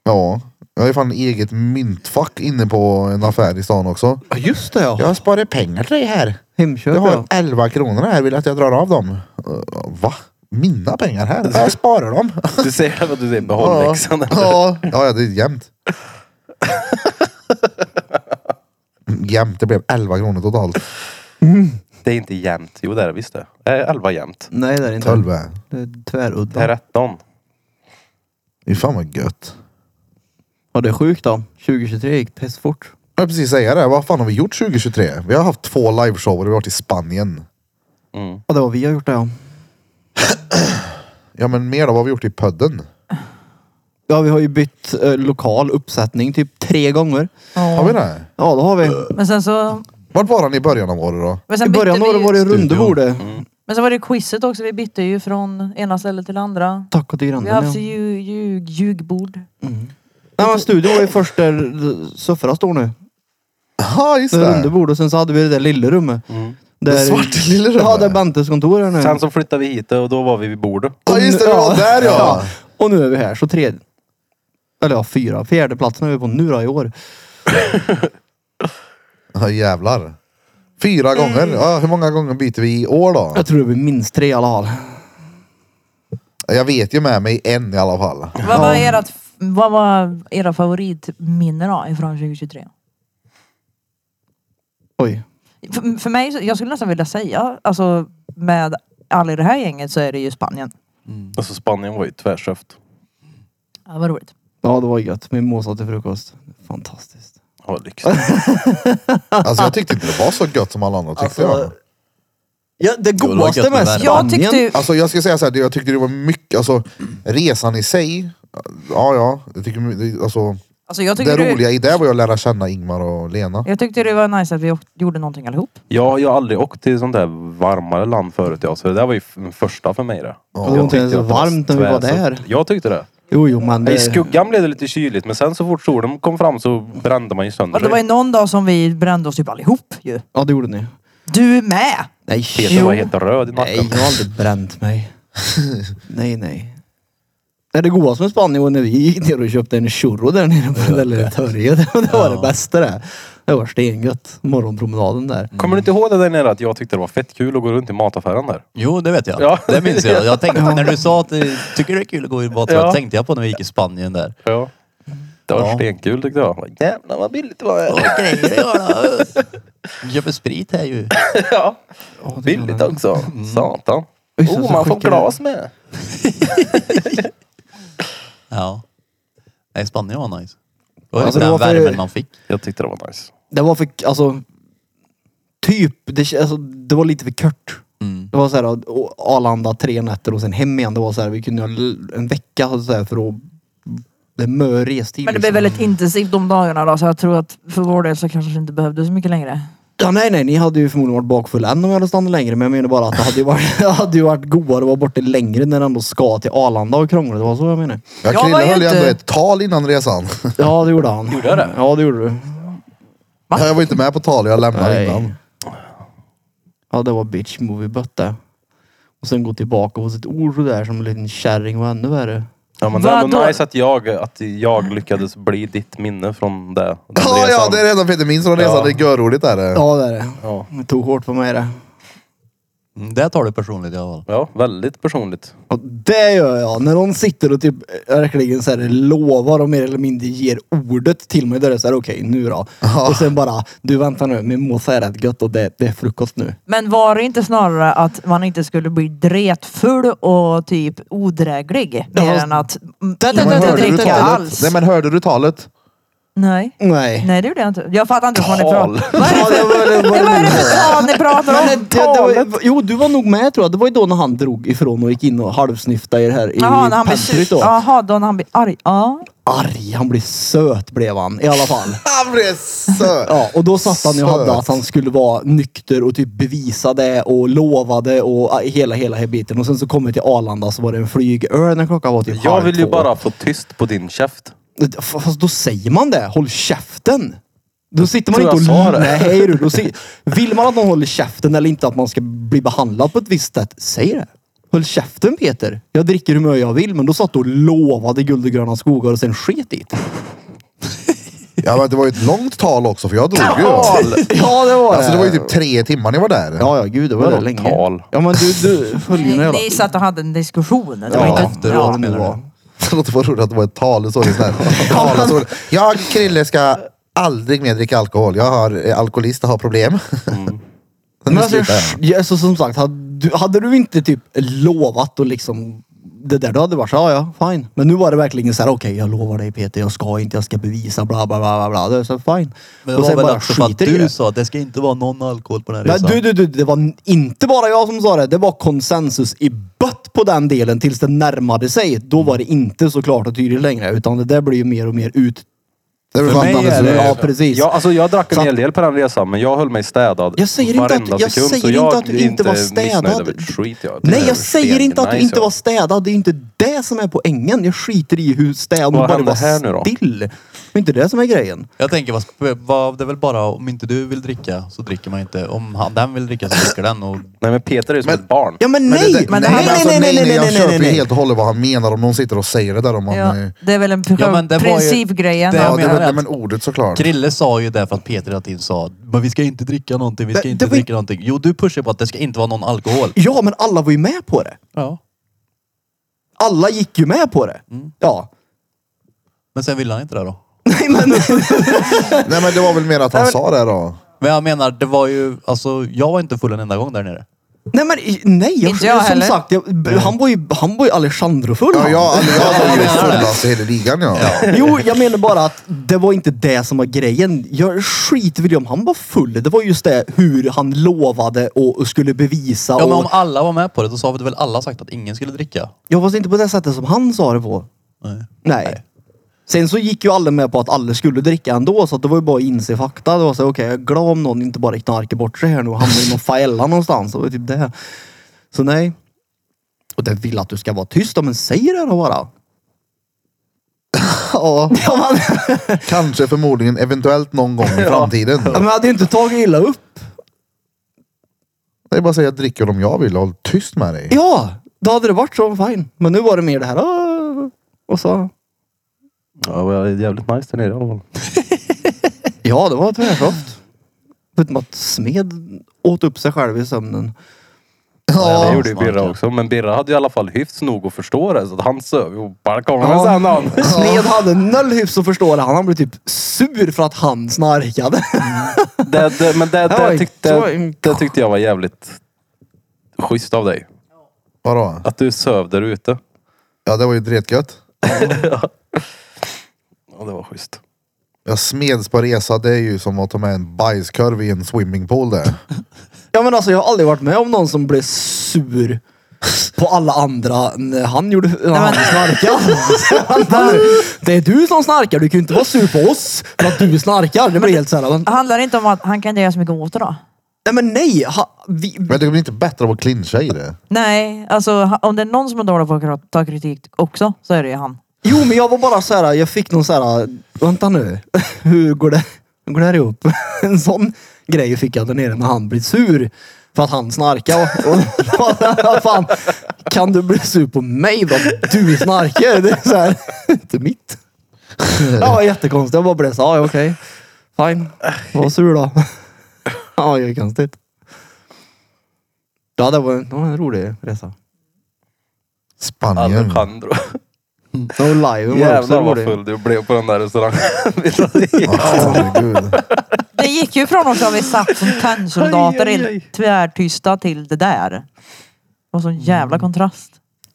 [SPEAKER 1] Ja. Jag har ju fan eget myntfack inne på en affär i stan också.
[SPEAKER 4] Ja, just det ja.
[SPEAKER 1] Jag sparar pengar till dig här.
[SPEAKER 4] Hemköp
[SPEAKER 1] Du har
[SPEAKER 4] ja.
[SPEAKER 1] 11 kronor här, vill du att jag drar av dem? Uh, Va? Mina pengar här? Ja, Jag sparar dem.
[SPEAKER 3] Du säger vad du säger, behåll
[SPEAKER 1] Ja,
[SPEAKER 3] läxan.
[SPEAKER 1] ja, ja, det är jämnt. Mm, Jämnt, det blev 11 kronor totalt.
[SPEAKER 3] Det är inte jämnt. Jo det är det visst det. Det är 11 jämnt.
[SPEAKER 4] Nej det är det inte.
[SPEAKER 1] 12 är.
[SPEAKER 4] Det är
[SPEAKER 3] Det är
[SPEAKER 4] tvärudda.
[SPEAKER 3] 13.
[SPEAKER 1] Det är fan vad gött.
[SPEAKER 4] Ja det är sjukt då. 2023 gick pestfort.
[SPEAKER 1] Jag vill precis säga det, vad fan har vi gjort 2023? Vi har haft två liveshower och vi har varit i Spanien.
[SPEAKER 3] Mm.
[SPEAKER 4] Ja det var vi har gjort det ja.
[SPEAKER 1] Ja men mer då, vad har vi gjort i podden?
[SPEAKER 4] Ja vi har ju bytt eh, lokal uppsättning typ tre gånger.
[SPEAKER 1] Har vi det?
[SPEAKER 4] Ja det har vi.
[SPEAKER 5] Men sen så...
[SPEAKER 1] Vart var han i början av året då?
[SPEAKER 5] Men
[SPEAKER 4] I
[SPEAKER 5] sen bytte
[SPEAKER 4] början av året
[SPEAKER 5] vi
[SPEAKER 4] var
[SPEAKER 5] ju,
[SPEAKER 4] det rundebordet.
[SPEAKER 5] Men sen var det quizet också. Vi bytte ju från ena stället till andra.
[SPEAKER 4] Tack och till
[SPEAKER 5] Vi har
[SPEAKER 4] grannen
[SPEAKER 5] haft
[SPEAKER 4] Mm, ja.
[SPEAKER 5] ljug, ljug, ljugbord.
[SPEAKER 4] Nej men studion var ju först där Suffra står nu.
[SPEAKER 1] Ja just
[SPEAKER 4] Det
[SPEAKER 1] det.
[SPEAKER 4] rundebordet och sen så hade vi det där lilla rummet. Där,
[SPEAKER 1] Det svarta lilla rummet.
[SPEAKER 4] Ja där Bentes kontor är nu.
[SPEAKER 3] Sen så flyttade vi hit och då var vi vid bordet.
[SPEAKER 1] Ja just det, det var där ja.
[SPEAKER 4] Och nu är vi här, så tre... Eller ja, fyra. Fjärde platsen är vi på nu då i år.
[SPEAKER 1] Ja jävlar. Fyra
[SPEAKER 5] Mm.
[SPEAKER 1] gånger. Ja, hur många gånger byter vi i år då?
[SPEAKER 4] Jag tror det blir minst tre i alla fall.
[SPEAKER 1] Jag vet ju med mig en i alla fall.
[SPEAKER 5] Vad var, ert, vad var era favoritminne då ifrån 2023?
[SPEAKER 4] Oj.
[SPEAKER 5] För, för mig, så- jag skulle nästan vilja säga, alltså med alla i det här gänget så är det ju Spanien.
[SPEAKER 3] Alltså Spanien var ju tvärsäft.
[SPEAKER 5] Ja, vad roligt.
[SPEAKER 4] Ja, det var gött. Mimosa till frukost. Fantastiskt.
[SPEAKER 3] Ja, lyxigt.
[SPEAKER 1] Alltså jag tyckte inte det var så gött som alla andra tyckte. jag.
[SPEAKER 4] Alltså, ja, det
[SPEAKER 2] var
[SPEAKER 4] godaste
[SPEAKER 2] gött
[SPEAKER 4] med
[SPEAKER 2] med värme.
[SPEAKER 4] Spanien.
[SPEAKER 5] Jag tyckte ju...
[SPEAKER 1] Alltså jag ska säga så här, det- jag tyckte det var mycket, alltså resan i sig. Ja ja, jag tycker, det- alltså,
[SPEAKER 5] Alltså, jag tyckte
[SPEAKER 1] det
[SPEAKER 5] det,
[SPEAKER 1] roliga i det var ju att lära känna Ingmar och Lena.
[SPEAKER 5] jag tyckte det var nice att vi åkte- gjorde någonting allihop.
[SPEAKER 3] Ja, jag har aldrig åkt till sånt där varmare land förut. Ja, så det där var ju f- den första för mig det.
[SPEAKER 4] det var inte ens
[SPEAKER 3] tyckte att var
[SPEAKER 4] varmt när vi var
[SPEAKER 3] tvärsätt.
[SPEAKER 4] där.
[SPEAKER 3] Jag tyckte det.
[SPEAKER 4] Jo, jo, men...
[SPEAKER 3] I skuggan blev det lite kyligt men sen så fort solen kom fram så brände man ju sönder
[SPEAKER 5] Och Alltså, det var ju någon dag som vi brände oss typ allihop ju.
[SPEAKER 4] Ja, det gjorde ni.
[SPEAKER 5] Du med!
[SPEAKER 4] Nej,
[SPEAKER 3] Peter var helt röd i nacken.
[SPEAKER 4] Nej, jag har aldrig bränt mig. nej, nej. Nej, det godaste med Spanien var när vi gick ner och köpte en churro där nere på det där lilla torget. Det var det bästa det. Det var stengött. Morgonpromenaden där.
[SPEAKER 3] Kommer du inte ihåg det där nere att jag tyckte det var fett kul att gå runt i mataffären där?
[SPEAKER 2] Jo, det vet jag.
[SPEAKER 3] Ja.
[SPEAKER 2] Det minns jag. Jag tänkte, när du sa att du tycker det är kul att gå i badtröja,
[SPEAKER 3] Ja.
[SPEAKER 2] tänkte jag på när vi gick i Spanien där.
[SPEAKER 3] Ja. Det var
[SPEAKER 2] Ja.
[SPEAKER 3] stenkul tyckte jag. Vad Jävlar vad billigt det var här.
[SPEAKER 2] Åh, grejer det gör då. Vi köper sprit här ju.
[SPEAKER 3] Ja. Billigt också. Satan.
[SPEAKER 4] Mm.
[SPEAKER 3] Oh,
[SPEAKER 4] Oj, så- så skickar du-
[SPEAKER 3] med.
[SPEAKER 2] Ja. Nej, Spanien var nice. Det var
[SPEAKER 4] Alltså,
[SPEAKER 2] alltså,
[SPEAKER 4] det
[SPEAKER 2] den
[SPEAKER 4] var för-
[SPEAKER 2] värmen man fick.
[SPEAKER 3] Jag tyckte det var nice.
[SPEAKER 4] Det var för, alltså, typ, det, alltså, det var lite för kort.
[SPEAKER 3] Mm.
[SPEAKER 4] Det var så här, och Arlanda tre nätter och sen hem igen. Det var så här, vi kunde ha l- en vecka så här, för att det är mö restid.
[SPEAKER 5] Men det blev
[SPEAKER 4] liksom.
[SPEAKER 5] väldigt intensivt de dagarna då så jag tror att för vår del så kanske det inte behövde så mycket längre.
[SPEAKER 4] Ja, nej, nej, ni hade ju förmodligen varit bakfulla än om jag hade stannat längre. Men jag menar bara att det hade ju varit, det hade ju varit godare att vara borta längre när det ändå ska till Arlanda och krångla. Det var så jag menar.
[SPEAKER 1] Jag
[SPEAKER 5] Jag var
[SPEAKER 1] Krille
[SPEAKER 5] ju
[SPEAKER 1] höll ju
[SPEAKER 5] inte-
[SPEAKER 1] ändå ett tal innan resan.
[SPEAKER 4] Ja, det gjorde han.
[SPEAKER 3] Gjorde jag det?
[SPEAKER 4] Ja, det gjorde du.
[SPEAKER 1] Jag var inte med på talet, jag lämnade
[SPEAKER 4] Nej.
[SPEAKER 1] innan.
[SPEAKER 4] Ja, det var bitch movie bötte. Och sen gå tillbaka på sitt ord sådär som en liten kärring var ännu värre.
[SPEAKER 3] Ja, men det var ändå
[SPEAKER 5] Vadå?
[SPEAKER 3] nice att jag, att jag lyckades bli ditt minne från det. den
[SPEAKER 1] Ja, ja,
[SPEAKER 3] resan.
[SPEAKER 1] det är det enda Peter minns från resan.
[SPEAKER 3] Ja.
[SPEAKER 1] Det är görroligt är det.
[SPEAKER 4] Ja, det är det.
[SPEAKER 3] Ja.
[SPEAKER 4] Det tog hårt på mig det.
[SPEAKER 2] Mm, Det tar du personligt i alla fall.
[SPEAKER 3] ja, väldigt personligt.
[SPEAKER 4] Ja, det gör jag. När någon sitter och typ verkligen så här lovar och mer eller mindre ger ordet till mig. Då är det såhär, okej nu då. Och sen bara, du vänta nu, min måsa är rätt gött och det, det är frukost nu.
[SPEAKER 5] Men var det inte snarare att man inte skulle bli dretfull och typ odräglig?
[SPEAKER 4] Ja,
[SPEAKER 5] Mer
[SPEAKER 4] fast-
[SPEAKER 5] än att mm,
[SPEAKER 4] Men
[SPEAKER 5] inte
[SPEAKER 4] hörde du
[SPEAKER 5] dricka
[SPEAKER 1] talet?
[SPEAKER 5] alls.
[SPEAKER 1] Nej men hörde du talet?
[SPEAKER 5] Nej.
[SPEAKER 4] Nej.
[SPEAKER 5] Nej det gjorde jag inte. Jag fattar inte vad ni pratar
[SPEAKER 3] Tal.
[SPEAKER 5] om. Vad är det för-
[SPEAKER 4] det
[SPEAKER 5] vad är det för tal ni pratar
[SPEAKER 4] Men det,
[SPEAKER 5] om?
[SPEAKER 4] det, det var, jo, du var nog med tror jag. Det var ju då när han drog ifrån och gick in och halvsnyftade i det här i
[SPEAKER 5] Jaha, när han blir
[SPEAKER 4] pantryt
[SPEAKER 5] sur.
[SPEAKER 4] då.
[SPEAKER 5] Jaha, då när han blir arg. Ja.
[SPEAKER 4] Arg, han blev söt blev han i alla fall.
[SPEAKER 1] Han blev söt!
[SPEAKER 4] Ja, och då satt han ju och hade
[SPEAKER 1] Söt.
[SPEAKER 4] att han skulle vara nykter och typ bevisa det och lovade och ah, hela, hela här biten. Och sen så kom vi till Arlanda så var det en flygöl när klockan var typ
[SPEAKER 3] Jag
[SPEAKER 4] halv
[SPEAKER 3] vill ju
[SPEAKER 4] två.
[SPEAKER 3] bara få tyst på din käft.
[SPEAKER 4] Fast då säger man det. Håll käften! Då sitter man
[SPEAKER 3] Tror
[SPEAKER 4] inte
[SPEAKER 3] jag
[SPEAKER 4] och...
[SPEAKER 3] sa det.
[SPEAKER 4] Nej, hej du. Då si- Vill man att någon håller käften eller inte att man ska bli behandlad på ett visst sätt, säg det. Höll käften Peter. Jag dricker hur mycket jag vill, men då satt du och lovade guld och gröna skogar och sen sket i det.
[SPEAKER 1] Ja, men det var ju ett långt tal också för jag drog ju då.
[SPEAKER 4] Ja, det var
[SPEAKER 1] Alltså det var ju typ tre timmar ni var där.
[SPEAKER 4] Ja, ja, gud, det var
[SPEAKER 3] Vadå
[SPEAKER 4] det länge.
[SPEAKER 3] tal?
[SPEAKER 4] Ja, men du, du höll ju
[SPEAKER 5] Ni,
[SPEAKER 4] någon
[SPEAKER 5] ni
[SPEAKER 4] jävla...
[SPEAKER 5] satt och hade en diskussion. Det var
[SPEAKER 4] Ja,
[SPEAKER 5] inte...
[SPEAKER 4] efter vad det nu var.
[SPEAKER 1] Det var roligt att det var ett tal. Det såg ut sådär. Tal, så jag, Krille, ska aldrig mer dricka alkohol. Jag har eh, alkoholist och har problem. Sen
[SPEAKER 4] Men alltså,
[SPEAKER 1] slutar jag.
[SPEAKER 4] sh- ja, så som sagt, hade du, hade du inte typ lovat och liksom det där då hade det varit så, ja ja, fine. Men nu var det verkligen så här, okej jag lovar dig Peter, jag ska inte, jag ska bevisa, bla bla bla bla. bla. Det är så fine.
[SPEAKER 2] Men det
[SPEAKER 4] och
[SPEAKER 2] var
[SPEAKER 4] sen
[SPEAKER 2] väl
[SPEAKER 4] bara
[SPEAKER 2] också för att
[SPEAKER 4] skiter i
[SPEAKER 2] du
[SPEAKER 4] det.
[SPEAKER 2] sa liksom. att det ska inte vara någon alkohol på den här
[SPEAKER 4] Nej,
[SPEAKER 2] resan.
[SPEAKER 4] du, du, du, det var inte bara jag som sa det. Det var konsensus i bött på den delen tills det närmade sig. Då var det inte så klart och tydligt längre. Utan det där blir ju mer och mer ut...
[SPEAKER 1] Det var
[SPEAKER 2] För mig
[SPEAKER 1] fan
[SPEAKER 2] är det-
[SPEAKER 4] Ja, precis.
[SPEAKER 3] Ja, alltså jag drack
[SPEAKER 4] Så
[SPEAKER 3] en
[SPEAKER 4] att-
[SPEAKER 3] hel del på den resan, men jag höll mig städad
[SPEAKER 4] Jag säger inte
[SPEAKER 3] varenda
[SPEAKER 4] att- jag
[SPEAKER 3] sekund,
[SPEAKER 4] säger
[SPEAKER 3] så
[SPEAKER 4] inte
[SPEAKER 3] jag
[SPEAKER 4] att du inte var
[SPEAKER 3] är missnöjd
[SPEAKER 4] städad.
[SPEAKER 3] över ett Skit, jag.
[SPEAKER 4] Nej, jag säger inte att du inte var
[SPEAKER 3] städad.
[SPEAKER 4] städad. Det är inte det som är poängen. Jag skiter i hur
[SPEAKER 3] Vad
[SPEAKER 4] städad du bara
[SPEAKER 3] hände
[SPEAKER 4] var
[SPEAKER 3] här nu då?
[SPEAKER 4] still. Det är inte det som är grejen.
[SPEAKER 2] Jag tänker, vad, sp- vad, det är väl bara om inte du vill dricka så dricker man inte. Om han, den vill dricka så dricker den. Och
[SPEAKER 3] Nej men Peter är ju som
[SPEAKER 1] Men-
[SPEAKER 3] ett barn.
[SPEAKER 4] Ja, men,
[SPEAKER 1] Men
[SPEAKER 4] nej!
[SPEAKER 1] det- det-
[SPEAKER 5] men det
[SPEAKER 1] nej,
[SPEAKER 5] här-
[SPEAKER 1] men alltså, nej, nej, nej, Jag
[SPEAKER 4] nej, nej,
[SPEAKER 1] köper ju
[SPEAKER 4] nej.
[SPEAKER 1] helt och hållet vad han menar om någon sitter och säger det där om han...
[SPEAKER 5] Ja,
[SPEAKER 1] eh,
[SPEAKER 5] det är väl en
[SPEAKER 2] Ja, men det var ju-
[SPEAKER 5] principgrejen.
[SPEAKER 2] Det-
[SPEAKER 5] Ja,
[SPEAKER 1] Ja, det,
[SPEAKER 2] menar
[SPEAKER 1] men,
[SPEAKER 2] jag.
[SPEAKER 1] nej, men ordet såklart.
[SPEAKER 2] Krille sa ju det för att Peter hela tiden sa men vi ska inte dricka någonting, vi ska
[SPEAKER 4] Det-
[SPEAKER 2] inte
[SPEAKER 4] det var-
[SPEAKER 2] dricka någonting. Jo, du pushar på att det ska inte vara någon alkohol.
[SPEAKER 4] Ja, men alla var ju med på det.
[SPEAKER 2] Ja.
[SPEAKER 4] Alla gick ju med på det. Ja.
[SPEAKER 2] Men sen ville han inte det då.
[SPEAKER 4] Nej, men...
[SPEAKER 1] Nej men det var väl mer att han
[SPEAKER 4] Nej,
[SPEAKER 1] sa det då.
[SPEAKER 2] Men jag menar, det var ju, alltså jag var inte full en enda gång där nere.
[SPEAKER 4] Nej men i- nej, jag,
[SPEAKER 5] Inte jag
[SPEAKER 4] som
[SPEAKER 5] heller.
[SPEAKER 4] sagt, jag, b- han var ju, han var ju Alejandrofull.
[SPEAKER 1] Ja,
[SPEAKER 4] han.
[SPEAKER 1] jag, alltså, jag var ju
[SPEAKER 2] menar det.
[SPEAKER 1] fullast i hela ligan ja.
[SPEAKER 4] Jo, jag menar bara att det var inte det som var grejen. Jag skiter väl i om han var full. Det var just det hur han lovade och och skulle bevisa.
[SPEAKER 2] Ja, men
[SPEAKER 4] och,
[SPEAKER 2] om alla var med på det, då sa vi väl alla sagt att ingen skulle dricka?
[SPEAKER 4] Jag var inte på det sättet som han sa det på.
[SPEAKER 2] Nej.
[SPEAKER 4] Nej.
[SPEAKER 2] Nej.
[SPEAKER 4] Sen så gick ju alla med på att alla skulle dricka ändå, så att det var ju bara att inse fakta. Det var så okej, jag är glad om någon inte bara knarkar bort sig här nu och hamnar i någon faella någonstans. Det var typ det. Så nej. Och det vill att du ska vara tyst då, men säg det då bara.
[SPEAKER 1] ja.
[SPEAKER 4] Ja, man,
[SPEAKER 1] Kanske, förmodligen, eventuellt någon gång i framtiden.
[SPEAKER 4] ja, men hade ju inte tagit illa upp.
[SPEAKER 1] Det är bara att säga jag dricker om jag vill och håll tyst med dig.
[SPEAKER 4] Ja, då hade det varit så fine. Men nu var det mer det här. "Åh", Och så.
[SPEAKER 3] Ja, det var jävligt nice där nere i alla fall.
[SPEAKER 4] Ja, det var tvärsoft. Förutom att Smed åt upp sig själv i sömnen.
[SPEAKER 2] Ja,
[SPEAKER 3] det gjorde ju
[SPEAKER 2] snarare.
[SPEAKER 3] Birra också, men Birra hade ju i alla fall hyfs nog att förstå det. Så att han söv ju på balkongen
[SPEAKER 4] Ja.
[SPEAKER 3] sen han.
[SPEAKER 4] Smed hade noll hyfs att förstå det. Han han blev typ sur för att han snarkade.
[SPEAKER 3] Det, det, men det,
[SPEAKER 4] Ja,
[SPEAKER 3] det, tyckte,
[SPEAKER 4] så en-
[SPEAKER 3] det, tyckte jag var jävligt schysst av dig.
[SPEAKER 1] Vadå?
[SPEAKER 3] Att du söv där ute.
[SPEAKER 1] Ja, det var ju dretgött.
[SPEAKER 3] Ja, det var schysst.
[SPEAKER 1] Jag smeds på resa, det är ju som att ta med en bajskorv i en swimmingpool det.
[SPEAKER 4] Ja men alltså jag har aldrig varit med om någon som blev sur på alla andra när han gjorde, när han snarkade. Det är du som snarkar, du kan ju inte vara sur på oss för att du snarkar. Det blir helt såhär. men-
[SPEAKER 5] Handlar det inte om att han kan inte göra så mycket åt det då?
[SPEAKER 4] Nej men nej! Ha, vi,
[SPEAKER 1] Men det blir inte bättre av att clincha i det.
[SPEAKER 5] Nej, alltså ha- om det är någon som är dålig på att ta kritik också så är det ju han.
[SPEAKER 4] jo men jag var bara så här. jag fick någon så här. vänta nu, hur går det, hur går det här ihop? En sån grej fick jag där nere när han blev sur. För att han snarkade. Och, och, fan, kan du bli sur på mig då? Du snarkar. Det är så här, inte mitt. Ja, var jättekonstigt. Jag bara blev så här, ja okej. Fine. Var sur då. Ja, det är konstigt. Ja, det var en, det var en rolig resa.
[SPEAKER 1] Spanien.
[SPEAKER 3] Alejandro.
[SPEAKER 4] Det var live. var också
[SPEAKER 3] Jävlar vad
[SPEAKER 4] rolig.
[SPEAKER 3] full du blev på den där restaurangen.
[SPEAKER 1] Ja, herregud.
[SPEAKER 5] Det gick ju från oss att vi satt som tennsoldater
[SPEAKER 3] Aj, aj, aj.
[SPEAKER 5] helt tvärtysta till det där. Det var sån jävla kontrast.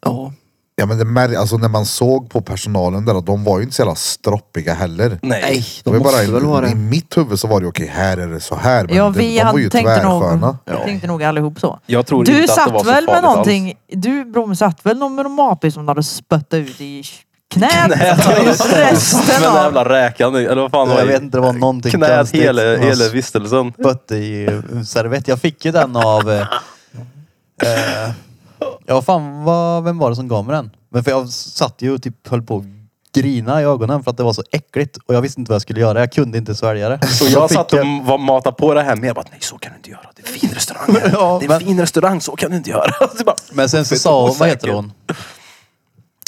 [SPEAKER 4] Ja.
[SPEAKER 1] Ja, men det mär- alltså, när man såg på personalen där, att de var ju inte så jävla stroppiga heller.
[SPEAKER 4] Nej,
[SPEAKER 3] Nej.
[SPEAKER 1] Det
[SPEAKER 4] de
[SPEAKER 1] var ju
[SPEAKER 4] måste väl vara
[SPEAKER 1] bara i, I
[SPEAKER 4] det.
[SPEAKER 1] mitt huvud så var det okej, här är det så här. Men
[SPEAKER 5] Ja,
[SPEAKER 1] det-
[SPEAKER 5] vi
[SPEAKER 1] de var
[SPEAKER 5] hade-
[SPEAKER 1] ju
[SPEAKER 5] tänkte, nog,
[SPEAKER 1] tvärssköna.
[SPEAKER 5] tänkte nog allihop så.
[SPEAKER 3] Jag tror
[SPEAKER 5] Du
[SPEAKER 3] inte att det var
[SPEAKER 5] satt
[SPEAKER 3] så
[SPEAKER 5] väl med
[SPEAKER 3] farligt
[SPEAKER 5] någonting,
[SPEAKER 3] Alls.
[SPEAKER 5] du Brom satt väl någon med någon mapis som du hade spöttat ut i knät? Resten
[SPEAKER 3] Men den
[SPEAKER 5] av...
[SPEAKER 3] jävla räkan, i- eller vad fan var
[SPEAKER 2] Jag vet
[SPEAKER 3] det?
[SPEAKER 2] inte, det var någonting
[SPEAKER 3] Knät
[SPEAKER 2] konstigt.
[SPEAKER 3] hela,
[SPEAKER 2] Jag
[SPEAKER 3] hela vistelsen.
[SPEAKER 2] spötte i eh, en servett. Jag fick ju den av... Eh, eh, ja, fan vad, vem var det som gav mig den? Men för jag satt ju och typ höll på att grina i ögonen för att det var så äckligt. Och jag visste inte vad jag skulle göra. Jag kunde inte svälja det.
[SPEAKER 3] Så jag
[SPEAKER 2] fick
[SPEAKER 3] satt och var- matade på det här med. Jag bara, nej så kan du inte göra. Det är en fin restaurang. här.
[SPEAKER 2] Ja,
[SPEAKER 3] det är en
[SPEAKER 2] men-
[SPEAKER 3] fin restaurang, så kan du inte göra. Så bara,
[SPEAKER 2] Men sen så
[SPEAKER 3] Vet
[SPEAKER 2] sa
[SPEAKER 3] du,
[SPEAKER 2] hon, vad
[SPEAKER 3] osäker.
[SPEAKER 2] heter hon?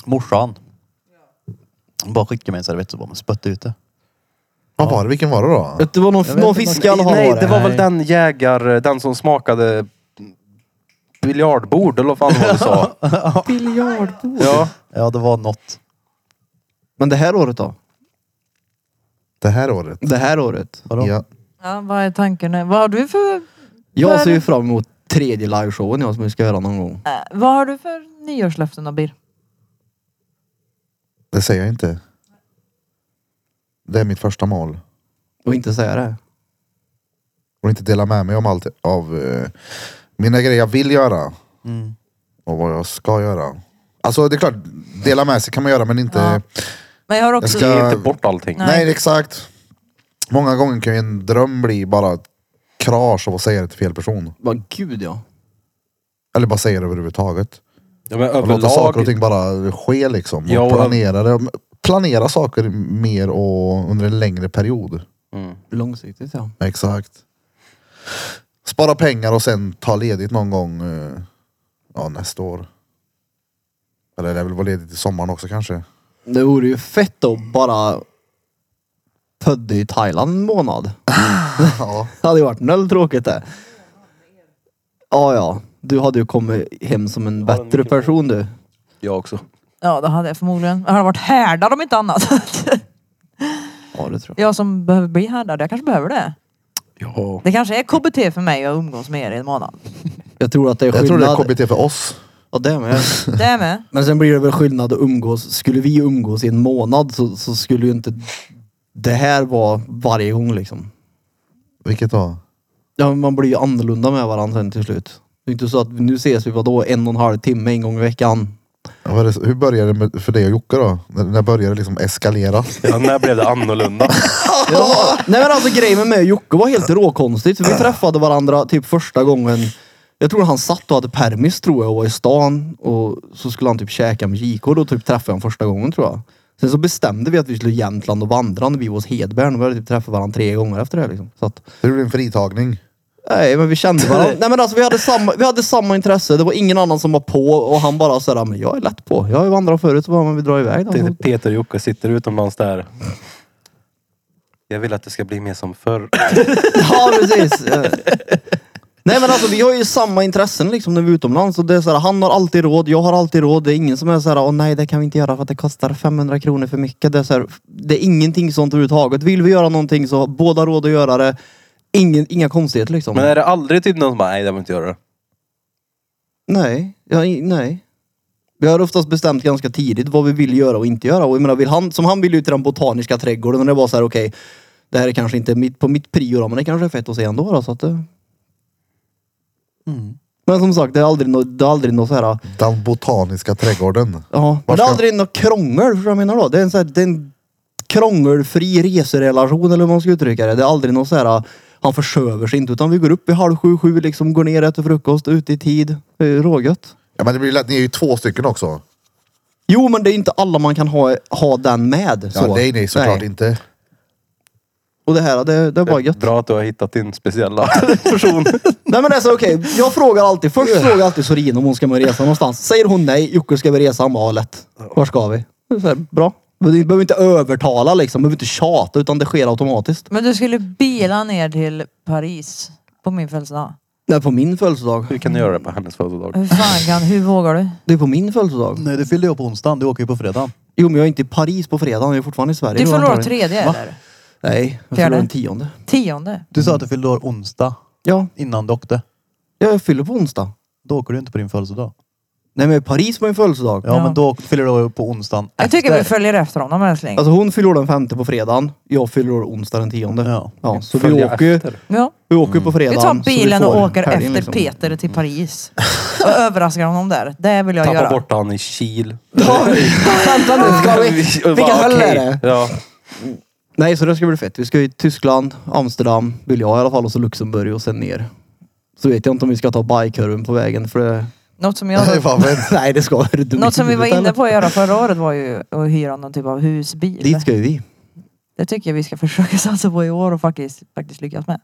[SPEAKER 2] Morsan. Hon bara skickade mig en servett och bara spötte ut det.
[SPEAKER 1] Vad var det? Vilken var det då?
[SPEAKER 4] Det var någon,
[SPEAKER 2] Jag vet
[SPEAKER 4] någon
[SPEAKER 2] inte,
[SPEAKER 4] fisk i alla fall.
[SPEAKER 3] nej,
[SPEAKER 4] var
[SPEAKER 3] det var väl
[SPEAKER 2] Nej.
[SPEAKER 3] den jägar, den som smakade biljardbord eller vad fan var det du sa?
[SPEAKER 4] Biljardbord.
[SPEAKER 3] Ja.
[SPEAKER 2] Ja, det var något.
[SPEAKER 4] Men det här året då?
[SPEAKER 1] Det här året?
[SPEAKER 4] Det här året?
[SPEAKER 2] Vadå?
[SPEAKER 1] Ja.
[SPEAKER 5] Ja, vad är tanken? Vad har du för,
[SPEAKER 4] Jag
[SPEAKER 5] För-
[SPEAKER 4] ser ju fram emot tredje liveshowen jag som vi ska göra någon gång.
[SPEAKER 5] eh, vad har du för nyårslöften Abir?
[SPEAKER 1] Det säger jag inte. Det är mitt första mål.
[SPEAKER 4] Och inte säga det.
[SPEAKER 1] Och inte dela med mig om allt av eh, mina grejer jag vill göra. Och vad jag ska göra. Alltså det är klart, dela med sig kan man göra men inte...
[SPEAKER 5] Ja. Men jag har också...
[SPEAKER 1] ska-
[SPEAKER 3] Ge inte bort allting.
[SPEAKER 5] Nej.
[SPEAKER 1] Nej, exakt. Många gånger kan ju en dröm bli bara ett krasch av att säga det till fel person.
[SPEAKER 4] Vad gud ja.
[SPEAKER 1] Eller bara säga det överhuvudtaget.
[SPEAKER 3] Ja, men
[SPEAKER 1] Och låta saker och
[SPEAKER 3] överlag,
[SPEAKER 1] ting bara ske liksom. Och
[SPEAKER 3] Ja, och-
[SPEAKER 1] planera, det. planera saker mer och under en längre period.
[SPEAKER 4] Långsiktigt ja.
[SPEAKER 1] Exakt. Spara pengar och sen ta ledigt någon gång eh, ja, nästa år. Eller det vill vara ledigt i sommaren också kanske.
[SPEAKER 4] Det vore ju fett att bara pödde i Thailand en månad.
[SPEAKER 1] Ja.
[SPEAKER 4] Det hade ju varit noll tråkigt det. Ja, ja. Du hade ju kommit hem som en bättre person du.
[SPEAKER 3] jag också.
[SPEAKER 5] Ja, det hade jag förmodligen. Jag hade varit härdad om inte annat.
[SPEAKER 4] Ja, det tror jag.
[SPEAKER 5] jag som behöver bli härdad, jag kanske behöver det.
[SPEAKER 3] Ja.
[SPEAKER 5] Det kanske är KBT för mig att umgås med er i en månad.
[SPEAKER 4] Jag tror att det är
[SPEAKER 1] Jag tror
[SPEAKER 4] skillnad.
[SPEAKER 1] det är KBT för oss.
[SPEAKER 4] Ja, det med.
[SPEAKER 5] Det är med.
[SPEAKER 4] Men sen blir det väl skillnad att umgås. Skulle vi umgås i en månad så, så skulle ju inte det här vara varje gång liksom.
[SPEAKER 1] Vilket då?
[SPEAKER 4] Ja, men man blir ju annorlunda med varandra sen till slut. Det är inte så att nu ses vi vadå en och en halv timme en gång i veckan.
[SPEAKER 1] Ja, vad är det- Hur började det med, för dig och Jocke då? När, när började det liksom eskalera?
[SPEAKER 3] Ja, när blev det annorlunda?
[SPEAKER 4] Ja. Nej men alltså grejen med mig och Jocke var helt råkonstigt. För vi träffade varandra typ första gången. Jag tror han satt och hade permis tror jag och var i stan. Och så skulle han typ käka med JK. Då typ träffade jag honom första gången tror jag. Sen så bestämde vi att vi skulle i Jämtland och vandra när vi var hos Hedberg. Och vi hade typ träffat varandra tre gånger efter det liksom. Så att,
[SPEAKER 1] Det blev en fritagning.
[SPEAKER 4] nej men vi kände varandra. nej men alltså vi hade, samma, vi hade samma intresse. Det var ingen annan som var på. Och han bara såhär, men jag är lätt på. Jag har ju vandrat förut så bara, men vi drar iväg då.
[SPEAKER 3] Tänkte Peter och Jocke sitter utomlands där. Jag vill att det ska bli mer som förr.
[SPEAKER 4] Ja precis. Eh. Nej men alltså vi har ju samma intressen liksom när vi är utomlands. Och det är så här, han har alltid råd, jag har alltid råd. Det är ingen som är så här, åh nej det kan vi inte göra för att det kostar 500 kronor för mycket. Det är, så här, det är ingenting sånt överhuvudtaget. Vill vi göra någonting så har båda har råd att göra det. Ingen, inga konstigheter liksom.
[SPEAKER 3] Men är det aldrig typ någon som bara, nej det vill inte göra det.
[SPEAKER 4] Nej, ja, i- nej. Vi har oftast bestämt ganska tidigt vad vi vill göra och inte göra. Och jag menar, vill han, som han ville ut i den botaniska trädgården och det var så här, okej, det här är kanske inte mitt, på mitt prio då, men det kanske är fett att se ändå då, så att det... Men som sagt, det är aldrig något, det är aldrig något så här,
[SPEAKER 1] Den botaniska trädgården.
[SPEAKER 4] ja, men det
[SPEAKER 1] Varför?
[SPEAKER 4] är aldrig något krångel, förstår du vad jag menar då? Det är en så här, det är en krångelfri reserelation eller hur man ska uttrycka det. Det är aldrig något så här, han försöver sig inte, utan vi går upp vid halv sju, sju, liksom går ner, äter frukost, ute i tid. Det är ju Rågött.
[SPEAKER 1] Ja men det blir lätt, ni är ju två stycken också.
[SPEAKER 4] Jo, men det är inte alla man kan ha, ha den med.
[SPEAKER 1] Ja,
[SPEAKER 4] Så.
[SPEAKER 1] nej nej såklart
[SPEAKER 4] Nej.
[SPEAKER 1] inte.
[SPEAKER 4] Och det här, det, det var gött.
[SPEAKER 3] Bra att du har hittat din speciella person.
[SPEAKER 4] Nej men alltså okej, jag frågar alltid. Först frågar jag alltid Sorin om hon ska med och resa någonstans. Säger hon nej, Jocke ska vi resa? Han bara, "Ja, lätt. Var ska vi? Så här, bra. Men Du behöver inte övertala liksom, du behöver inte tjata utan det sker automatiskt.
[SPEAKER 5] Men du skulle bila ner till Paris på min födelsedag.
[SPEAKER 4] Det är på min födelsedag.
[SPEAKER 3] Hur kan du göra det på hennes födelsedag?
[SPEAKER 5] Hur fan kan, hur vågar du?
[SPEAKER 4] Det är på min födelsedag.
[SPEAKER 2] Nej, du fyllde jag på onsdagen. Du åker ju på fredag.
[SPEAKER 4] Jo men jag är inte i Paris på fredag, jag är fortfarande i Sverige.
[SPEAKER 5] Du
[SPEAKER 4] då,
[SPEAKER 5] fyller år
[SPEAKER 4] antagligen.
[SPEAKER 5] tredje
[SPEAKER 4] Va?
[SPEAKER 5] eller?
[SPEAKER 4] Nej, jag
[SPEAKER 5] Fjärde.
[SPEAKER 4] fyller år den tionde.
[SPEAKER 5] Tionde?
[SPEAKER 2] Du sa att du fyllde år onsdag
[SPEAKER 4] Ja,
[SPEAKER 2] innan du åkte.
[SPEAKER 4] jag fyller på onsdag.
[SPEAKER 2] Då åker du inte på din födelsedag.
[SPEAKER 4] Nej men Paris var min födelsedag.
[SPEAKER 2] Ja,
[SPEAKER 5] Ja.
[SPEAKER 2] men då fyller du år på onsdagen
[SPEAKER 5] Jag tycker vi
[SPEAKER 2] efter.
[SPEAKER 5] följer efter honom älskling.
[SPEAKER 4] Alltså hon fyller år den femte på fredagen. Jag fyller år onsdag den tionde.
[SPEAKER 2] Ja.
[SPEAKER 4] Ja, så vi
[SPEAKER 3] Följa
[SPEAKER 4] åker, ju-
[SPEAKER 3] efter.
[SPEAKER 5] Ja.
[SPEAKER 4] vi åker på fredagen.
[SPEAKER 5] Vi tar
[SPEAKER 4] så vi
[SPEAKER 5] bilen och
[SPEAKER 4] får
[SPEAKER 5] åker
[SPEAKER 4] helgen,
[SPEAKER 5] efter
[SPEAKER 4] liksom.
[SPEAKER 5] Peter till Paris. Och överraskar honom där. Det vill jag
[SPEAKER 3] Tappa
[SPEAKER 5] göra.
[SPEAKER 3] bort han i Kil.
[SPEAKER 4] Vänta nu, ska vi... Vilka höll är det?
[SPEAKER 3] Ja.
[SPEAKER 4] Nej, så det ska bli fett. Vi ska i Tyskland, Amsterdam, vill jag i alla fall, och så Luxemburg och sen ner. Så vet jag inte om vi ska ta bajkurven på vägen för det...
[SPEAKER 5] Något som
[SPEAKER 1] Nej,
[SPEAKER 5] jag...
[SPEAKER 1] fan, vad är det?
[SPEAKER 4] Nej, det ska du dum i
[SPEAKER 5] Något som vi var
[SPEAKER 4] huvudet,
[SPEAKER 5] inne
[SPEAKER 4] eller?
[SPEAKER 5] på att göra förra året var ju att hyra någon typ av husbil.
[SPEAKER 4] Dit ska ju vi.
[SPEAKER 5] Det tycker jag vi ska försöka satsa på i år och faktiskt, faktiskt lyckas med.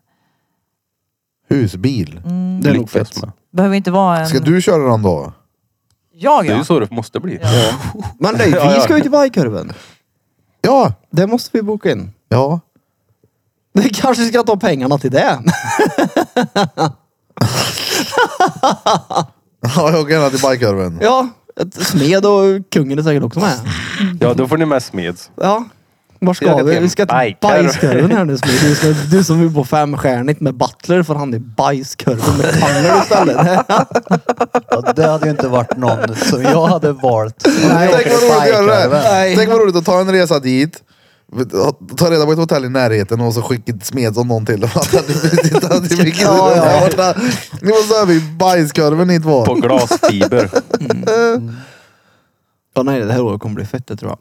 [SPEAKER 1] Husbil.
[SPEAKER 5] Mm.
[SPEAKER 4] Det är nog
[SPEAKER 3] lyckas
[SPEAKER 4] fett.
[SPEAKER 3] med.
[SPEAKER 5] Behöver inte vara en...
[SPEAKER 1] Ska du köra den då?
[SPEAKER 5] Jag
[SPEAKER 3] Det är ju
[SPEAKER 5] ja!
[SPEAKER 3] så det måste bli.
[SPEAKER 5] Ja.
[SPEAKER 4] Men nej,
[SPEAKER 3] Ja,
[SPEAKER 4] vi
[SPEAKER 3] ja.
[SPEAKER 4] ska ju till Bajkurven.
[SPEAKER 1] Ja.
[SPEAKER 4] Det måste vi boka in.
[SPEAKER 1] Ja.
[SPEAKER 4] Vi kanske ska ta pengarna till det.
[SPEAKER 1] Ja, jag åker gärna till bajkorven.
[SPEAKER 4] Ja, ett smed och kungen är säkert också med.
[SPEAKER 3] Ja, då får ni med Smeds.
[SPEAKER 4] Ja. Var
[SPEAKER 3] Vi
[SPEAKER 4] ska
[SPEAKER 3] åker
[SPEAKER 4] vi?
[SPEAKER 3] till
[SPEAKER 4] Vi ska till
[SPEAKER 3] Bajkorven.
[SPEAKER 4] bajskorven här nu Smid. Du, ska, du som vill på femstjärnigt med Butler för han är bajskorven med Tanner istället.
[SPEAKER 2] Ja, det hade ju inte varit någon som jag hade valt.
[SPEAKER 4] Nej,
[SPEAKER 1] Tänk vad roligt att göra det.
[SPEAKER 4] Nej.
[SPEAKER 1] Tänk vad roligt att ta en resa dit. Ta reda på ett hotell i närheten och så skicka ett smed som någon till dem. Att det blir- det hade blivit-
[SPEAKER 4] Ja, ja.
[SPEAKER 1] Ja, Nu måste över i bajskorven hit
[SPEAKER 3] På
[SPEAKER 1] var.
[SPEAKER 3] glasfiber.
[SPEAKER 4] Ja, nej, det här året kommer bli fett det tror jag.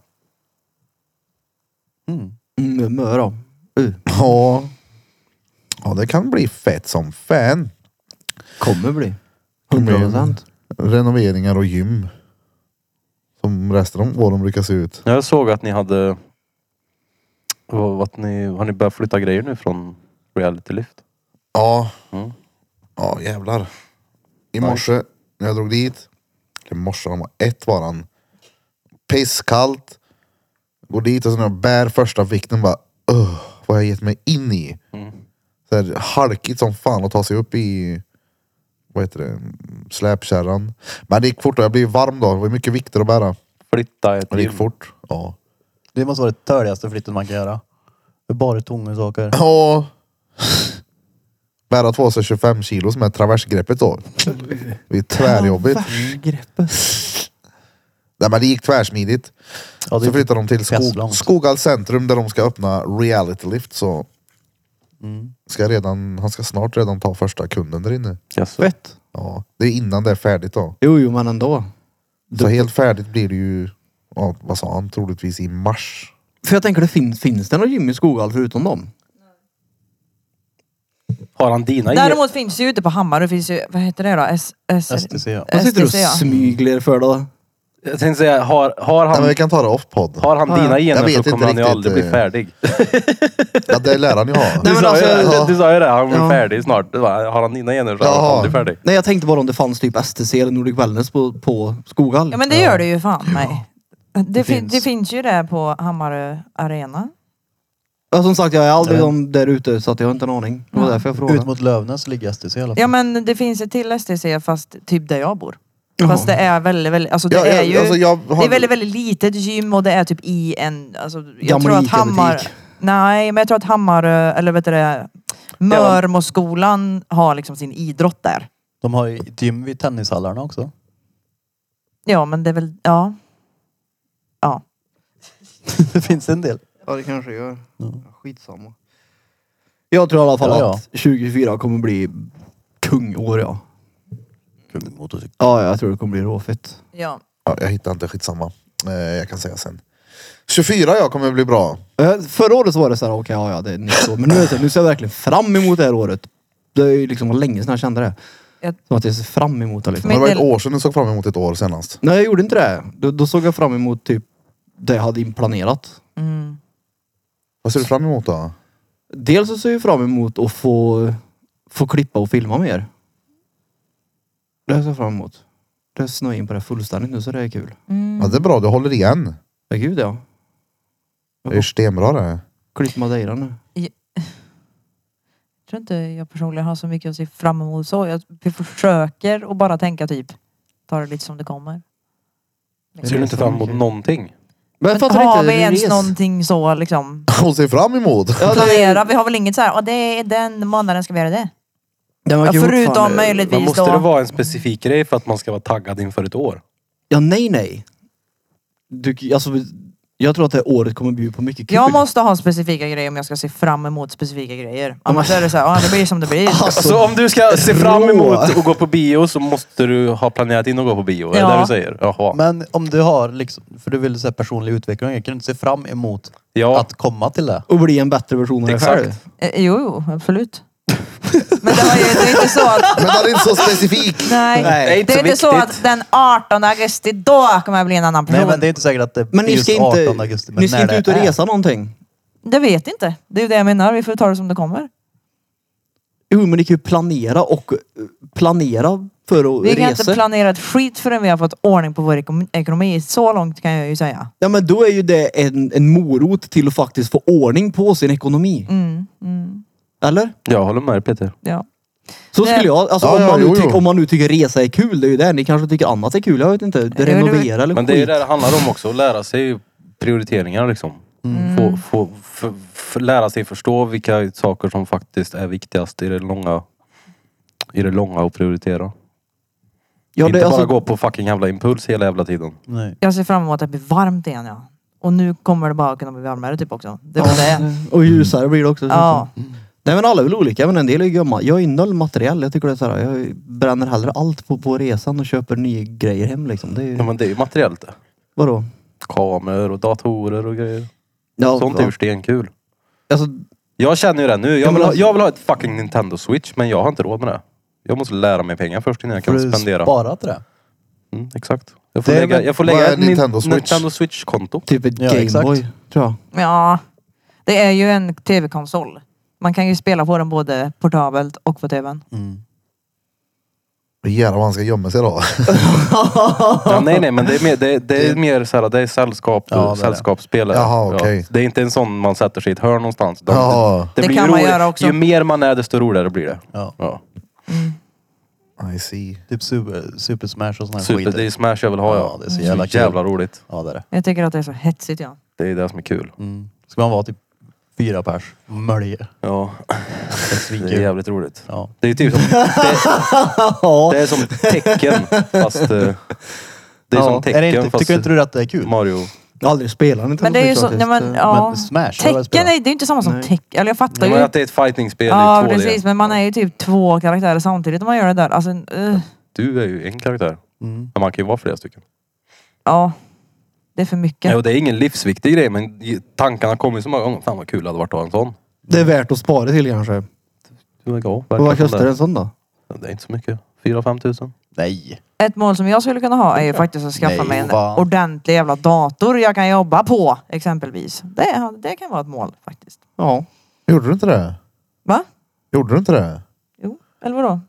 [SPEAKER 2] Mm.
[SPEAKER 4] Mm, jag är mö då. Uh,
[SPEAKER 1] Ja. ja, det kan bli fett som fan.
[SPEAKER 4] kommer bli.
[SPEAKER 1] Kommer
[SPEAKER 4] 100
[SPEAKER 1] bli.
[SPEAKER 4] procent.
[SPEAKER 1] Renoveringar och gym. Som resten av åren brukar se ut.
[SPEAKER 3] Jag såg att ni hade... vad- Att ni, har ni börjat flytta grejer nu från Reality Lift?
[SPEAKER 1] Ja.
[SPEAKER 3] Mm.
[SPEAKER 1] Ja jävlar. I morse när jag drog dit. I morse han var ett var han. Pisskallt. Går dit och sen när jag bär första vikten bara. "Ugh, vad har jag gett mig in i.
[SPEAKER 3] Mm.
[SPEAKER 1] Så här, halkigt som fan att ta sig upp i. Vad heter det? Släpkärran. Men det gick fort och jag blev varm då. Det var mycket vikter att bära.
[SPEAKER 3] Flytta ett
[SPEAKER 1] Men det gick
[SPEAKER 3] gym.
[SPEAKER 1] fort. Ja.
[SPEAKER 2] Det måste vara det törligaste flytten man kan göra. Det är bara tunga saker.
[SPEAKER 1] Ja. Bära två sig 25 kilos med traversgreppet då. Det är tvärjobbigt.
[SPEAKER 4] Världsgreppet.
[SPEAKER 1] Nej men det gick tvärsmidigt.
[SPEAKER 2] Ja, det
[SPEAKER 1] så
[SPEAKER 2] är typ
[SPEAKER 1] flyttar de till Skog,
[SPEAKER 2] festlångt.
[SPEAKER 1] Skoghall centrum där de ska öppna reality lift så
[SPEAKER 2] Mm.
[SPEAKER 1] ska redan, han ska snart redan ta första kunden där inne.
[SPEAKER 3] Jaså.
[SPEAKER 4] Fett.
[SPEAKER 1] Ja, det är innan det är färdigt då.
[SPEAKER 4] Jo, jo, men ändå.
[SPEAKER 1] Så helt färdigt blir det ju, ja, vad sa han, troligtvis i mars.
[SPEAKER 4] För jag tänker, det finns, finns det några gym i Skoghall förutom dem?
[SPEAKER 3] Har han dina Däremot...
[SPEAKER 5] Däremot finns det ju ute på Hammarö, det finns ju, vad heter det då? S, S,
[SPEAKER 2] STC, ja.
[SPEAKER 4] Vad sitter du och
[SPEAKER 5] STC, ja.
[SPEAKER 4] smygler för då?
[SPEAKER 3] Jag tänkte säga, har, har
[SPEAKER 1] Nej, men
[SPEAKER 3] han,
[SPEAKER 1] vi kan ta det off podd.
[SPEAKER 3] har han
[SPEAKER 4] Ja, ja.
[SPEAKER 3] dina
[SPEAKER 1] Jag
[SPEAKER 3] gener
[SPEAKER 1] vet
[SPEAKER 3] så
[SPEAKER 1] inte
[SPEAKER 3] kommer han ju
[SPEAKER 1] riktigt,
[SPEAKER 3] aldrig bli
[SPEAKER 1] eh,
[SPEAKER 3] färdig.
[SPEAKER 1] Ja, det lär han ju ha.
[SPEAKER 4] Nej,
[SPEAKER 3] Du
[SPEAKER 4] men
[SPEAKER 3] sa, ju
[SPEAKER 4] alltså,
[SPEAKER 3] det,
[SPEAKER 1] ja.
[SPEAKER 3] du sa ju det, han blir
[SPEAKER 4] Ja.
[SPEAKER 3] färdig snart. Det var, Har han dina gener så är han
[SPEAKER 1] Jaha.
[SPEAKER 3] aldrig färdig.
[SPEAKER 4] Nej, jag tänkte bara om det fanns typ STC eller Nordic Wellness på, på Skoghall.
[SPEAKER 5] Ja men det gör det ju fan nej. Det, fin-
[SPEAKER 4] finns.
[SPEAKER 5] det finns ju det på Hammarö Arena.
[SPEAKER 4] Ja, som sagt, jag är aldrig
[SPEAKER 2] Ja.
[SPEAKER 4] de där ute så att jag har inte en aning. Det var
[SPEAKER 5] Ja.
[SPEAKER 4] därför jag
[SPEAKER 2] Ut
[SPEAKER 4] frågade.
[SPEAKER 2] mot Lövnäs ligger STC i alla fall.
[SPEAKER 5] Ja men det finns ett till STC fast typ där jag bor.
[SPEAKER 4] Jaha.
[SPEAKER 5] Fast det är väldigt, väldigt, alltså det
[SPEAKER 1] Ja,
[SPEAKER 5] är
[SPEAKER 1] jag-
[SPEAKER 5] ju,
[SPEAKER 1] alltså, jag har-
[SPEAKER 5] det är väldigt, väldigt litet gym och det är typ i en, alltså jag
[SPEAKER 4] Gammal
[SPEAKER 5] tror att
[SPEAKER 4] Ica-butik.
[SPEAKER 5] Hammar, nej men jag tror att Hammarö, eller vet du det, Mörmoskolan har liksom sin idrott där.
[SPEAKER 2] De har ju gym vid tennishallarna också.
[SPEAKER 5] Ja men det är väl, ja. Ja.
[SPEAKER 2] det finns en del.
[SPEAKER 4] Ja, det kanske gör. Skitsamma. Jag tror i alla fall
[SPEAKER 2] Ja, ja.
[SPEAKER 4] att 2024 kommer bli kungår, ja.
[SPEAKER 2] Motorcykel.
[SPEAKER 4] Ja, jag tror det kommer bli råfett.
[SPEAKER 5] Ja.
[SPEAKER 1] Ja, jag hittar inte, skitsamma. Eh, jag kan säga sen. 24 jag kommer bli bra.
[SPEAKER 4] Eh, Förra året så var det så här, okej, ja, ja, det är ett nytt år. Men nu, är det, så här, nu ser jag verkligen fram emot det här året. Det är ju liksom länge sedan jag kände det.
[SPEAKER 5] Jag-
[SPEAKER 4] Som att jag ser fram emot det liksom.
[SPEAKER 1] Det
[SPEAKER 5] Men-
[SPEAKER 1] var ett år sedan du såg fram emot ett år senast.
[SPEAKER 4] Nej, jag gjorde inte det. Då, då såg jag fram emot typ det jag hade planerat.
[SPEAKER 5] Mm.
[SPEAKER 1] Vad ser du fram emot då?
[SPEAKER 4] Dels så ser jag fram emot att få, få klippa och filma mer. Det ser jag fram emot. Det snöar in på det fullständigt nu så det är kul.
[SPEAKER 5] Mm.
[SPEAKER 1] Ja, det är bra, du håller igen.
[SPEAKER 4] Ja gud ja.
[SPEAKER 1] Det är ju stenbra det.
[SPEAKER 4] Klipp Madeira nu.
[SPEAKER 5] Jag tror inte jag personligen har så mycket att se fram emot så. Jag försöker att bara tänka typ, ta det lite som det kommer.
[SPEAKER 3] Ser du inte fram emot någonting?
[SPEAKER 4] Men jag
[SPEAKER 5] Men
[SPEAKER 4] fattar
[SPEAKER 5] har
[SPEAKER 4] inte, det
[SPEAKER 5] vi
[SPEAKER 4] är
[SPEAKER 5] ens
[SPEAKER 4] res.
[SPEAKER 5] någonting så liksom?
[SPEAKER 1] Hon ser fram emot.
[SPEAKER 4] Ja,
[SPEAKER 5] Planera, vi har väl inget så här, "Åh, det är den månaden ska vi göra det.
[SPEAKER 4] den verkar
[SPEAKER 5] Ja, förutom
[SPEAKER 4] fortfarande-
[SPEAKER 3] Men
[SPEAKER 5] möjligtvis
[SPEAKER 3] måste
[SPEAKER 5] då.
[SPEAKER 3] det vara en specifik grej för att man ska vara taggad inför ett år?
[SPEAKER 4] Ja nej nej. Du, alltså, jag tror att det här året kommer bjuda på mycket kul.
[SPEAKER 5] Jag måste ha specifika grejer om jag ska se fram emot specifika grejer.
[SPEAKER 4] men-
[SPEAKER 5] Annars är det så här, "Ja, det blir som det blir.
[SPEAKER 3] Alltså, om du ska se fram emot att gå på bio så måste du ha planerat in att gå på bio. Är det
[SPEAKER 5] Ja.
[SPEAKER 3] det du säger? Jaha.
[SPEAKER 2] Men om du har liksom, för du vill säga personlig utveckling, kan du inte se fram emot
[SPEAKER 3] ja.
[SPEAKER 2] att komma till det?
[SPEAKER 4] Och bli en bättre version av dig
[SPEAKER 3] Exakt.
[SPEAKER 4] själv.
[SPEAKER 5] Eh, Jo, jo, eh, absolut. Men det, var ju, det är inte så att...
[SPEAKER 1] Men den är inte så specifik.
[SPEAKER 5] Nej,
[SPEAKER 4] Nej,
[SPEAKER 5] det är
[SPEAKER 4] inte
[SPEAKER 5] inte
[SPEAKER 4] så
[SPEAKER 5] så
[SPEAKER 4] viktigt.
[SPEAKER 5] att den 18 augusti, då kommer jag bli en annan person.
[SPEAKER 2] Nej men det är inte säkert att det
[SPEAKER 4] Men
[SPEAKER 2] är
[SPEAKER 4] ni ska
[SPEAKER 2] just
[SPEAKER 4] inte,
[SPEAKER 2] 18 augusti. Men
[SPEAKER 4] ni ska
[SPEAKER 2] när
[SPEAKER 4] inte
[SPEAKER 2] det
[SPEAKER 4] ut och
[SPEAKER 2] är.
[SPEAKER 4] resa någonting?
[SPEAKER 5] Det vet jag inte. Det är ju det jag menar. Vi får ta det som det kommer.
[SPEAKER 4] Jo, men ni kan ju planera och eh, planera för att
[SPEAKER 5] Vi kan
[SPEAKER 4] resa.
[SPEAKER 5] inte planera ett skit förrän vi har fått ordning på vår ekonom- ekonomi. Så långt kan jag ju säga.
[SPEAKER 4] ja, men då är ju det en, en morot till att faktiskt få ordning på sin ekonomi.
[SPEAKER 5] Mm, mm,
[SPEAKER 4] Eller?
[SPEAKER 3] Jag håller med dig Peter.
[SPEAKER 5] ja.
[SPEAKER 4] Så
[SPEAKER 5] Det-
[SPEAKER 4] skulle jag, alltså
[SPEAKER 1] Ja,
[SPEAKER 4] om,
[SPEAKER 1] ja,
[SPEAKER 4] man nu
[SPEAKER 1] jo,
[SPEAKER 4] tyck,
[SPEAKER 1] jo.
[SPEAKER 4] om man nu tycker resa är kul, det är ju det. Ni kanske tycker annat är kul, jag vet inte.
[SPEAKER 5] det-
[SPEAKER 4] Renovera eller
[SPEAKER 3] Men det är ju det det handlar om också, att lära sig prioriteringar liksom.
[SPEAKER 4] Mm.
[SPEAKER 3] Få, få, f- f- lära sig förstå vilka saker som faktiskt är viktigast i det långa, i det långa att prioritera.
[SPEAKER 4] Ja,
[SPEAKER 3] inte
[SPEAKER 4] det, är
[SPEAKER 3] bara
[SPEAKER 4] alltså,
[SPEAKER 3] gå på fucking jävla impuls hela jävla tiden.
[SPEAKER 2] Nej.
[SPEAKER 5] Jag ser fram emot att det blir varmt igen ja. Och nu kommer det bara kunna bli varmare typ också. Det var det.
[SPEAKER 4] och ljusare blir det också.
[SPEAKER 5] Ja.
[SPEAKER 4] Nej men alla är väl olika, men en del är ju gömma. Jag är noll materiell. Jag tycker det är så här, jag bränner hellre allt på, på resan och köper nya grejer hem liksom. Det är ju,
[SPEAKER 3] Ja, men det är ju materiellt det.
[SPEAKER 4] vadå?
[SPEAKER 3] Kameror och datorer och grejer.
[SPEAKER 4] Ja,
[SPEAKER 3] Sånt är ju stenkul.
[SPEAKER 4] Alltså,
[SPEAKER 3] Jag känner ju det nu. Jag
[SPEAKER 4] men
[SPEAKER 3] vill, ha,
[SPEAKER 4] alltså-
[SPEAKER 3] jag vill ha ett fucking Nintendo Switch men jag har inte råd med det. Jag måste lära mig pengar först innan jag
[SPEAKER 2] Får
[SPEAKER 3] kan
[SPEAKER 2] du
[SPEAKER 3] spendera.
[SPEAKER 2] spara till det?
[SPEAKER 3] Mm, exakt. Jag får
[SPEAKER 2] Det är
[SPEAKER 3] lägga,
[SPEAKER 2] väl-
[SPEAKER 3] jag får
[SPEAKER 1] vad
[SPEAKER 3] lägga
[SPEAKER 1] är
[SPEAKER 3] ett Nintendo
[SPEAKER 1] Nintendo
[SPEAKER 3] Switch.
[SPEAKER 1] Switch?
[SPEAKER 3] Nintendo Switch-konto.
[SPEAKER 4] typ ett
[SPEAKER 2] Ja, exakt.
[SPEAKER 4] Gameboy, tror jag.
[SPEAKER 5] ja. Det är ju en tv-konsol. Man kan ju spela på den både portabelt och på tvn.
[SPEAKER 1] Jävlar vad han ska gömma sig då.
[SPEAKER 3] Ja, nej nej men det är mer, det, det är mer så här, det är sällskap,
[SPEAKER 2] Ja, det är det.
[SPEAKER 3] sällskapsspel.
[SPEAKER 1] Jaha, okej.
[SPEAKER 3] Det är inte en sån man sätter sig i ett hörn någonstans. De-
[SPEAKER 1] Ja,
[SPEAKER 5] Det
[SPEAKER 3] blir
[SPEAKER 5] kan man
[SPEAKER 3] rolig-
[SPEAKER 5] göra också.
[SPEAKER 3] Ju mer man är desto roligare blir det.
[SPEAKER 2] Ja.
[SPEAKER 3] Ja.
[SPEAKER 1] I see.
[SPEAKER 2] Typ super, super smash och sån här
[SPEAKER 3] Super,
[SPEAKER 2] skit.
[SPEAKER 3] det är Smash jag vill ha ja.
[SPEAKER 2] Ja, det är så jävla kul.
[SPEAKER 3] jävla roligt.
[SPEAKER 2] Ja det är det.
[SPEAKER 5] Jag tycker att det är så hetsigt ja.
[SPEAKER 3] Det är det som är kul.
[SPEAKER 2] Mm. Ska man vara typ fyra pers? Mölje.
[SPEAKER 3] Ja,
[SPEAKER 2] Det är
[SPEAKER 3] det är
[SPEAKER 2] svinkul.
[SPEAKER 3] jävligt roligt.
[SPEAKER 2] Ja.
[SPEAKER 3] Det är typ som, det, det är som tecken fast... eh, Det är som
[SPEAKER 2] Ja.
[SPEAKER 3] tecken
[SPEAKER 2] är det inte,
[SPEAKER 3] fast Mm.
[SPEAKER 2] tycker inte du att det är kul?
[SPEAKER 3] Mario...
[SPEAKER 4] Jag har aldrig spelat Nintendo
[SPEAKER 5] Men det är ju
[SPEAKER 4] Switch
[SPEAKER 5] så, nej,
[SPEAKER 4] faktiskt.
[SPEAKER 5] men, ja.
[SPEAKER 2] Men Smash, har du
[SPEAKER 5] Tecken
[SPEAKER 2] väl spelat?
[SPEAKER 5] är, det är inte samma som
[SPEAKER 4] Nej.
[SPEAKER 5] tecken. Eller jag fattar
[SPEAKER 3] Men
[SPEAKER 5] ju.
[SPEAKER 3] att det är ett fightingspel
[SPEAKER 5] Ja
[SPEAKER 3] i 2D.
[SPEAKER 5] precis, men man är ju typ två karaktärer samtidigt om man gör det där. Alltså, eh,
[SPEAKER 3] Du är ju en karaktär.
[SPEAKER 2] Mm.
[SPEAKER 3] Men man kan ju vara flera stycken.
[SPEAKER 5] ja. Det är för mycket.
[SPEAKER 3] Ja, och det är ingen livsviktig grej men i- tankarna kommer ju så många gånger. Fan vad kul det hade varit att ha en sån.
[SPEAKER 4] Det är värt att spara till kanske.
[SPEAKER 3] Du verkar ha.
[SPEAKER 4] Och vad kostar en sån då?
[SPEAKER 3] Det är inte så mycket. 4-5 tusen.
[SPEAKER 2] Nej.
[SPEAKER 5] Ett mål som jag skulle kunna ha är ju faktiskt att skaffa
[SPEAKER 2] Nej,
[SPEAKER 5] mig en
[SPEAKER 2] fan.
[SPEAKER 5] ordentlig jävla dator jag kan jobba på exempelvis. Det, det kan vara ett mål faktiskt.
[SPEAKER 4] Ja.
[SPEAKER 1] Gjorde du inte det?
[SPEAKER 5] Va?
[SPEAKER 1] Gjorde du inte det?
[SPEAKER 5] Jo, eller vadå?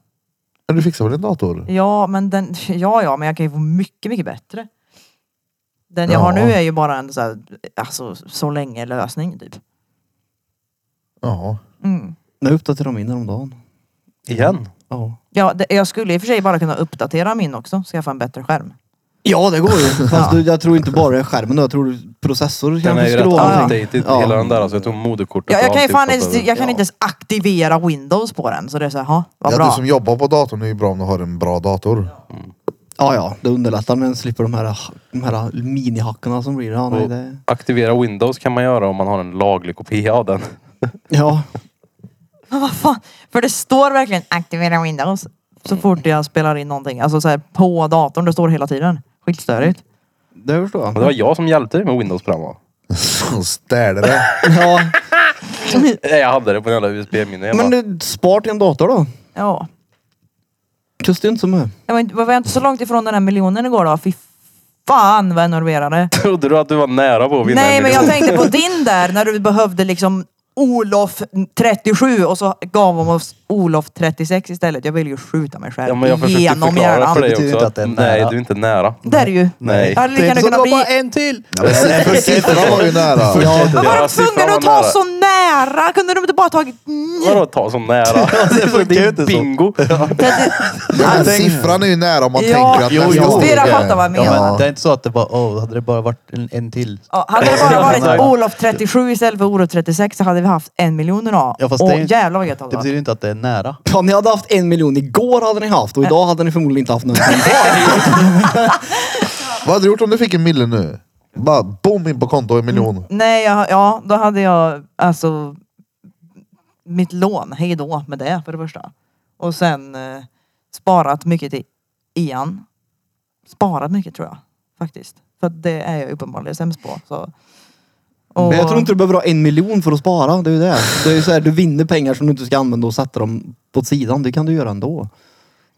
[SPEAKER 1] Men du fixade väl en dator?
[SPEAKER 5] Ja, men den, ja, ja, men jag kan ju få mycket, mycket bättre. Den jag
[SPEAKER 1] Ja.
[SPEAKER 5] har nu är ju bara en så här, alltså så länge lösning typ.
[SPEAKER 1] Ja.
[SPEAKER 5] Mm.
[SPEAKER 4] Nu uppdaterar de in häromdagen.
[SPEAKER 3] Igen?
[SPEAKER 4] Ja.
[SPEAKER 5] Ja, det, jag skulle i och för sig bara kunna uppdatera min också, skaffa en bättre skärm.
[SPEAKER 4] Ja det går ju. Fast
[SPEAKER 5] Ja.
[SPEAKER 4] du, jag tror inte bara det är skärmen då. Jag tror processor
[SPEAKER 3] Den är
[SPEAKER 4] kanske
[SPEAKER 3] ju
[SPEAKER 4] skulle
[SPEAKER 3] rätt
[SPEAKER 4] vara
[SPEAKER 5] Ja,
[SPEAKER 4] någonting.
[SPEAKER 3] outdated
[SPEAKER 4] Ja.
[SPEAKER 3] hela den där. Alltså, jag tog moderkortet.
[SPEAKER 5] Ja,
[SPEAKER 3] och
[SPEAKER 5] jag kan ju
[SPEAKER 3] allt
[SPEAKER 5] fan
[SPEAKER 3] är
[SPEAKER 5] ens,
[SPEAKER 3] uppdaterat.
[SPEAKER 5] jag kan inte ens aktivera Windows på den så det är såhär, ja vad
[SPEAKER 1] ja
[SPEAKER 5] bra.
[SPEAKER 1] du som jobbar på datorn är ju bra om du har en bra dator.
[SPEAKER 4] Ja ja, det underlättar men slipper de här, de här minihackarna som blir. Ja, nej,
[SPEAKER 3] Och
[SPEAKER 4] det...
[SPEAKER 3] Aktivera Windows kan man göra om man har en laglig kopia av den.
[SPEAKER 4] ja.
[SPEAKER 5] Men vad fan? För det står verkligen aktivera Windows så fort jag spelar in någonting. Alltså så här, på datorn, det står hela tiden. Skitstörigt.
[SPEAKER 4] det förstår
[SPEAKER 3] Men det var
[SPEAKER 4] jag.
[SPEAKER 3] jag som hjälpte dig med Windows fram va?
[SPEAKER 1] Så Städade det.
[SPEAKER 4] Ja.
[SPEAKER 3] Nej, jag hade det på en jävla USB-minne
[SPEAKER 4] Men
[SPEAKER 3] hemma.
[SPEAKER 4] du, spar till en dator då.
[SPEAKER 5] Ja.
[SPEAKER 4] Kostar ju inte så mycket.
[SPEAKER 5] Jag var, inte- var jag inte så långt ifrån den här miljonen igår då? Fy fan vad jag enerverade.
[SPEAKER 3] Trodde du att du var nära på att vinna
[SPEAKER 5] Nej
[SPEAKER 3] en
[SPEAKER 5] men jag
[SPEAKER 3] miljon?
[SPEAKER 5] tänkte på din där när du behövde liksom Olof 37 och så gav de oss Olof 36 istället. Jag ville ju skjuta mig själv
[SPEAKER 3] Ja, men jag försökte
[SPEAKER 5] genom
[SPEAKER 3] förklara
[SPEAKER 5] hjärnan.
[SPEAKER 3] för dig
[SPEAKER 2] betyder inte
[SPEAKER 3] också. Att
[SPEAKER 2] att det är
[SPEAKER 3] nej,
[SPEAKER 2] nära.
[SPEAKER 3] du är inte nära.
[SPEAKER 5] Där är ju.
[SPEAKER 3] Nej.
[SPEAKER 5] Jag hade lika gärna
[SPEAKER 2] så det
[SPEAKER 5] kunnat
[SPEAKER 2] var
[SPEAKER 5] bli...
[SPEAKER 2] bara en till!
[SPEAKER 1] Ja, men siffror- Siffrorna var ju nära.
[SPEAKER 5] Varför var
[SPEAKER 3] Ja,
[SPEAKER 5] de tvungna
[SPEAKER 3] siffran
[SPEAKER 5] att
[SPEAKER 3] var
[SPEAKER 5] ta
[SPEAKER 3] nära.
[SPEAKER 5] så nära? Kunde de inte bara tagit...
[SPEAKER 3] Vadå ta som nära? det
[SPEAKER 2] funkar
[SPEAKER 3] är
[SPEAKER 2] ju
[SPEAKER 3] ju
[SPEAKER 2] inte så.
[SPEAKER 3] bingo.
[SPEAKER 1] Ja, men siffran är ju nära om man
[SPEAKER 5] Ja.
[SPEAKER 1] tänker att
[SPEAKER 5] Jo,
[SPEAKER 1] nästa
[SPEAKER 5] jo.
[SPEAKER 1] steg
[SPEAKER 5] Spira fattar
[SPEAKER 1] är...
[SPEAKER 5] vad jag
[SPEAKER 2] Ja,
[SPEAKER 5] menar.
[SPEAKER 2] men det är inte så att det bara, oh, hade det bara varit en, en till.
[SPEAKER 5] Ja, hade det bara varit
[SPEAKER 2] Nej.
[SPEAKER 5] Olof 37 istället för Olof 36 så hade vi haft en miljon idag.
[SPEAKER 2] Ja, fast
[SPEAKER 5] och
[SPEAKER 2] det är-
[SPEAKER 5] jävlar vad gött det
[SPEAKER 2] Det
[SPEAKER 5] hade varit.
[SPEAKER 2] betyder inte att det är nära.
[SPEAKER 4] Ja, ni hade haft en miljon igår hade ni haft och idag hade ni förmodligen inte haft någon.
[SPEAKER 1] Vad hade du gjort om du fick en mille nu? Bara boom in på konto en miljon.
[SPEAKER 5] Nej, jag, ja, då hade jag alltså mitt lån, hej då med det för det första. Och sen eh, sparat mycket till igen. Sparat mycket tror jag faktiskt. För att det är jag uppenbarligen sämst på. Så. Och,
[SPEAKER 4] Men jag tror inte du behöver ha en miljon för att spara. Det är ju det. det är ju så här, du vinner pengar som du inte ska använda och sätta dem på sidan. Det kan du göra ändå.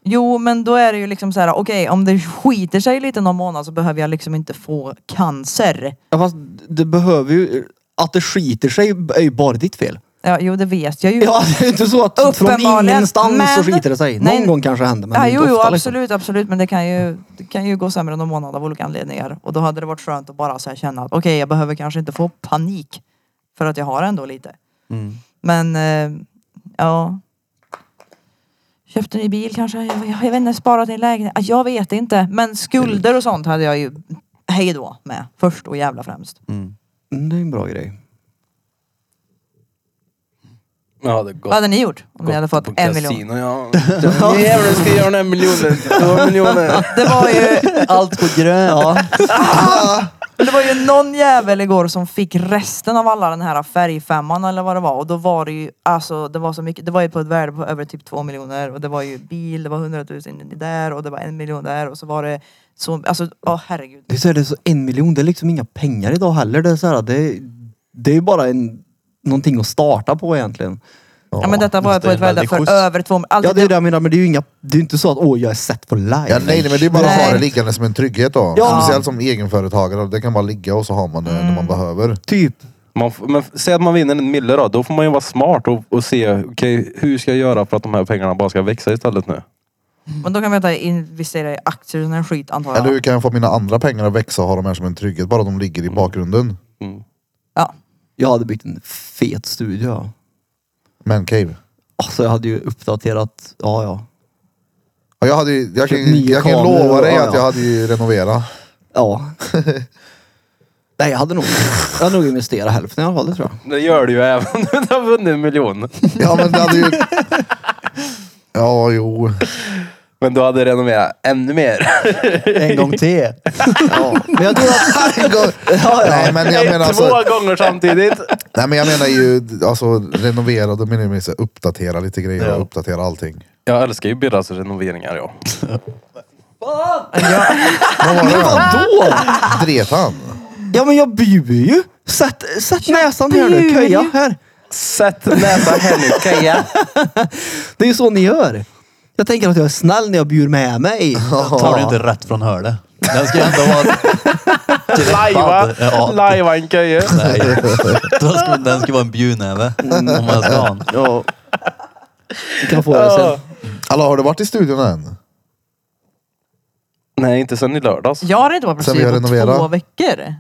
[SPEAKER 5] Jo men då är det ju liksom så här: okej om det skiter sig lite någon månad så behöver jag liksom inte få cancer.
[SPEAKER 4] Ja, fast det behöver ju... Att det skiter sig är ju bara ditt fel.
[SPEAKER 5] Ja, jo det vet jag ju.
[SPEAKER 4] Ja, det är ju inte så att från
[SPEAKER 5] Uppenbarligen,
[SPEAKER 4] ingenstans så
[SPEAKER 5] men-
[SPEAKER 4] skiter det sig. Någon
[SPEAKER 5] Nej.
[SPEAKER 4] gång kanske händer men
[SPEAKER 5] ja,
[SPEAKER 4] inte
[SPEAKER 5] jo, jo
[SPEAKER 4] ofta. liksom.
[SPEAKER 5] absolut, absolut. Men det kan, ju, det kan ju gå sämre än någon månad av olika anledningar. Och då hade det varit skönt att bara så här känna att okej, jag behöver kanske inte få panik. För att jag har ändå lite.
[SPEAKER 2] Mm.
[SPEAKER 5] Men eh, ja. Köpte ny bil kanske? Jag, jag, jag vet inte, sparat i en lägenhet? Ah, Jag vet inte. Men skulder och sånt hade jag ju hej då med. Först och jävla främst.
[SPEAKER 2] Mm.
[SPEAKER 4] Mm, Det är en bra grej.
[SPEAKER 3] Ja, det är
[SPEAKER 5] Vad
[SPEAKER 3] gott.
[SPEAKER 5] hade ni gjort om ni hade fått en miljon?
[SPEAKER 3] Ja. Jävlar, ska jag göra den här miljonen. Två miljoner.
[SPEAKER 5] Det var ju
[SPEAKER 2] Allt på grönt.
[SPEAKER 5] Men det var ju någon jävel igår som fick resten av alla den här färgfemman eller vad det var och då var det ju alltså det var så mycket, det var ju på ett värde på över typ två miljoner och det var ju bil, det var hundratusen där och det var en miljon där och så var det så, alltså åh herregud.
[SPEAKER 4] Det är så här, det är så en miljon, det är liksom inga pengar idag heller. Det är så här, det, det är ju bara en, någonting att starta på egentligen.
[SPEAKER 5] Ja men detta var
[SPEAKER 2] just
[SPEAKER 5] på
[SPEAKER 2] det,
[SPEAKER 5] ett värde
[SPEAKER 2] väldigt
[SPEAKER 5] för
[SPEAKER 2] schysst.
[SPEAKER 5] över två alltså,
[SPEAKER 4] Ja det är det jag menar, men det är ju inga, det är ju inte så att åh jag är sett på live.
[SPEAKER 1] Ja, nej, nej, men det är bara att ha
[SPEAKER 5] Nej.
[SPEAKER 1] det liggande som en trygghet då.
[SPEAKER 4] Ja.
[SPEAKER 1] Speciellt som egenföretagare. Det kan bara ligga och så har man det när
[SPEAKER 5] Mm.
[SPEAKER 1] man behöver.
[SPEAKER 4] Typ.
[SPEAKER 3] Man, f- men f- säg att man vinner en mille då. Då får man ju vara smart och, och se okej, hur ska jag göra för att de här pengarna bara ska växa istället nu.
[SPEAKER 5] Men då kan vi inte investera i aktier och sån här skit antar
[SPEAKER 1] Eller hur
[SPEAKER 5] jag.
[SPEAKER 1] kan jag få mina andra pengar att växa och ha dem här som en trygghet? Bara de ligger i
[SPEAKER 5] Mm.
[SPEAKER 1] bakgrunden.
[SPEAKER 3] Mm.
[SPEAKER 5] Ja.
[SPEAKER 4] Jag hade byggt en fet studio.
[SPEAKER 1] Man cave.
[SPEAKER 4] Alltså jag hade ju uppdaterat, ja ja.
[SPEAKER 1] Ja, Jag, hade, ju- jag, kan,
[SPEAKER 4] Köpt nya
[SPEAKER 1] jag kan
[SPEAKER 4] kameror
[SPEAKER 1] lova
[SPEAKER 4] och-
[SPEAKER 1] dig
[SPEAKER 4] ja,
[SPEAKER 1] att
[SPEAKER 4] ja.
[SPEAKER 1] jag hade ju renoverat.
[SPEAKER 4] Ja. Nej jag hade nog, jag hade nog investerat hälften i alla fall det tror jag.
[SPEAKER 3] Det gör du ju även om du inte har vunnit en miljon.
[SPEAKER 1] Ja men det hade ju... Ja jo.
[SPEAKER 3] Men du hade renoverat ännu mer.
[SPEAKER 2] En gång till.
[SPEAKER 1] Ja.
[SPEAKER 4] Men jag tror att,
[SPEAKER 1] Nej men jag menar
[SPEAKER 3] Två
[SPEAKER 1] alltså,
[SPEAKER 3] gånger samtidigt.
[SPEAKER 1] nej, men jag menar ju alltså renovera, då menar jag mer så här, uppdatera lite grejer och uppdatera allting.
[SPEAKER 3] Jag älskar ju Birras renoveringar jag.
[SPEAKER 1] Vad var det?
[SPEAKER 4] då?
[SPEAKER 1] Dret han?
[SPEAKER 4] Ja men jag bjuder ju! Sätt, sätt näsan här nu,
[SPEAKER 5] bjuder
[SPEAKER 4] köja
[SPEAKER 5] ju.
[SPEAKER 4] här.
[SPEAKER 3] Sätt näsan här nu Kaja.
[SPEAKER 4] Det är ju så ni gör. Jag tänker att jag är snäll när jag bjuder med mig.
[SPEAKER 2] Tar du inte rätt från hörde. Den ska ändå vara...
[SPEAKER 3] Lajva.
[SPEAKER 2] Ja.
[SPEAKER 3] Lajva en Kaja.
[SPEAKER 2] Nej. Då ska, den ska vara en bjudnäve. Om man ska ha en.
[SPEAKER 4] Ja. Vi kan få det sen.
[SPEAKER 1] Alla har du varit i studion än?
[SPEAKER 3] Nej, inte sen i lördags.
[SPEAKER 5] Jag har inte varit på
[SPEAKER 1] Sen vi har
[SPEAKER 5] studio på
[SPEAKER 1] renoverat.
[SPEAKER 5] två veckor.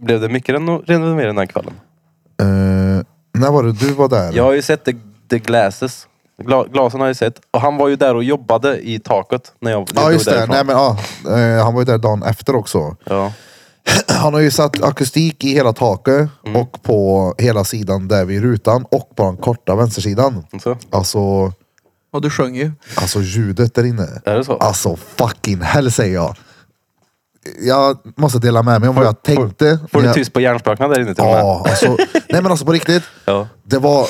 [SPEAKER 3] Blev det mycket reno- renovering den här kvällen?
[SPEAKER 1] Eh, när var det du var där?
[SPEAKER 3] Jag har ju sett the, the glasses. Gla, glasen har jag ju sett. Och han var ju där och jobbade i taket när jag
[SPEAKER 1] Ja
[SPEAKER 3] drog
[SPEAKER 1] just det,
[SPEAKER 3] därifrån.
[SPEAKER 1] Nej, men, ja. Eh, han var ju där dagen efter också.
[SPEAKER 3] Ja.
[SPEAKER 1] Han har ju satt akustik i hela taket
[SPEAKER 3] Mm.
[SPEAKER 1] och på hela sidan där vid rutan och på den korta vänstersidan.
[SPEAKER 3] Så.
[SPEAKER 1] Alltså,
[SPEAKER 4] Och du sjöng ju.
[SPEAKER 1] alltså ljudet där inne.
[SPEAKER 3] Är det så?
[SPEAKER 1] Alltså fucking hell säger jag. Jag måste dela med mig om vad jag tänkte.
[SPEAKER 3] Får du
[SPEAKER 1] Jag-
[SPEAKER 3] tyst på hjärnspökena där inne till och med?
[SPEAKER 1] Ja, alltså, nej men alltså på riktigt.
[SPEAKER 3] Ja.
[SPEAKER 1] Det var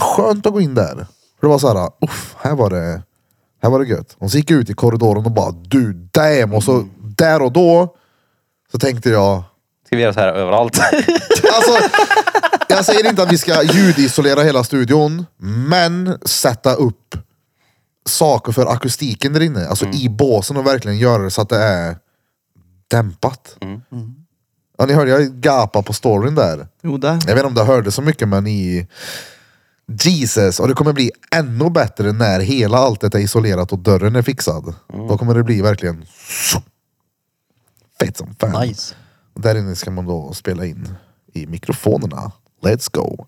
[SPEAKER 1] skönt att gå in där. För det var såhär, uff, här var det, här var det gött. Och så gick jag ut i korridoren och bara, du damn. Och
[SPEAKER 3] Mm.
[SPEAKER 1] så där och då så tänkte jag,
[SPEAKER 3] Ska vi göra så här överallt?
[SPEAKER 1] alltså, jag säger inte att vi ska ljudisolera hela studion, men sätta upp saker för akustiken där inne. Alltså i båsen och verkligen göra det så att det är dämpat. Ja, ni hörde, jag gapade på storyn där.
[SPEAKER 4] Jo det.
[SPEAKER 1] Jag vet inte om det hördes så mycket men i Jesus och det kommer bli ännu bättre när hela alltet är isolerat och dörren är fixad. Då kommer det bli verkligen fett som fan.
[SPEAKER 2] Nice.
[SPEAKER 1] Där inne ska man då spela in i mikrofonerna. Let's go.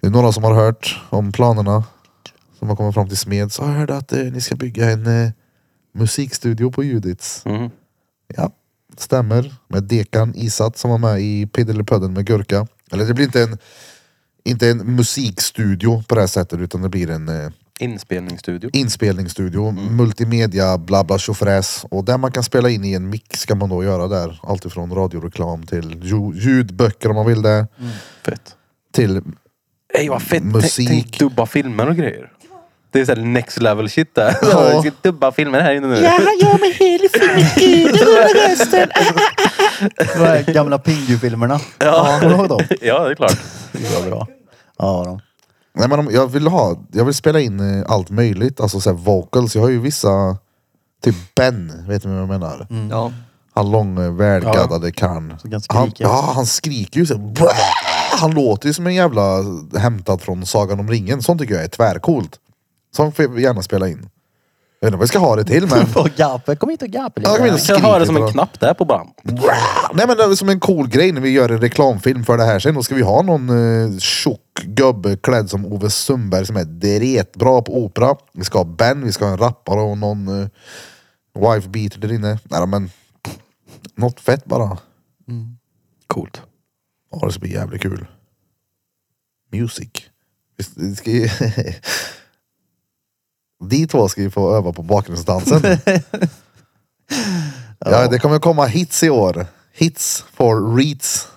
[SPEAKER 1] Det är några som har hört om planerna som har kommit fram till Smed. Så jag hörde att eh, ni ska bygga en eh, musikstudio på Judits.
[SPEAKER 3] Mm.
[SPEAKER 1] Ja, stämmer. Med Dekan Isat som var med i Piddelipödden med Gurka. Eller det blir inte en, inte en musikstudio på det här sättet utan det blir en eh,
[SPEAKER 3] Inspelningsstudio.
[SPEAKER 1] inspelningsstudio, multimedia, bla bla tjofräs. Och där man kan spela in i en mick ska man då göra där. Alltifrån radioreklam till lju- ljudböcker om man vill det.
[SPEAKER 3] Fett.
[SPEAKER 1] Till,
[SPEAKER 3] Ey vad fett. Tänk-
[SPEAKER 1] Musik.
[SPEAKER 3] Tänk dubba filmer och grejer. Det är såhär next level shit där.
[SPEAKER 1] Ja.
[SPEAKER 3] Vi ska dubba filmer här inne nu.
[SPEAKER 6] Jag har jobbat hela filmen utan att rösten.
[SPEAKER 2] De här gamla Pingu-filmerna. Ja. Kommer du ihåg dem?
[SPEAKER 3] Ja, det är klart.
[SPEAKER 2] Det var bra. Ja, de.
[SPEAKER 1] Nej, men om, jag, vill ha, jag vill spela in eh, allt möjligt, alltså så här vocals. Jag har ju vissa, typ Ben, vet ni vad jag menar?
[SPEAKER 4] Ja.
[SPEAKER 1] Han lång, eh, välgaddade karln.
[SPEAKER 2] kan skrika.
[SPEAKER 1] Han, ja, han skriker ju så här, "Bäh!" Han låter ju som en jävla eh, hämtad från Sagan om ringen. Sånt tycker jag är tvärcoolt. Sånt får jag gärna spela in. Jag vet inte vad jag ska ha det till men...
[SPEAKER 2] Och gapa. Kom hit och gapa
[SPEAKER 1] Ja, kom hit
[SPEAKER 2] lite.
[SPEAKER 1] och
[SPEAKER 3] Jag kan ha det som
[SPEAKER 1] Skriker,
[SPEAKER 3] en
[SPEAKER 1] va?
[SPEAKER 3] knapp där på bam.
[SPEAKER 1] Nej men det är som en cool grej när vi gör en reklamfilm för det här sen. Då ska vi ha någon eh, tjock gubbe klädd som Ove Sundberg som är dretbra på opera. Vi ska ha Ben, vi ska ha en rappare och någon eh, wife beater där inne. Nej men, något fett bara.
[SPEAKER 3] Coolt.
[SPEAKER 1] Ja det ska bli jävligt kul. Music. Vi s- vi ska ju... De två ska ju få öva på bakgrundsdansen. ja, det kommer komma hits i år. Hits for reeds.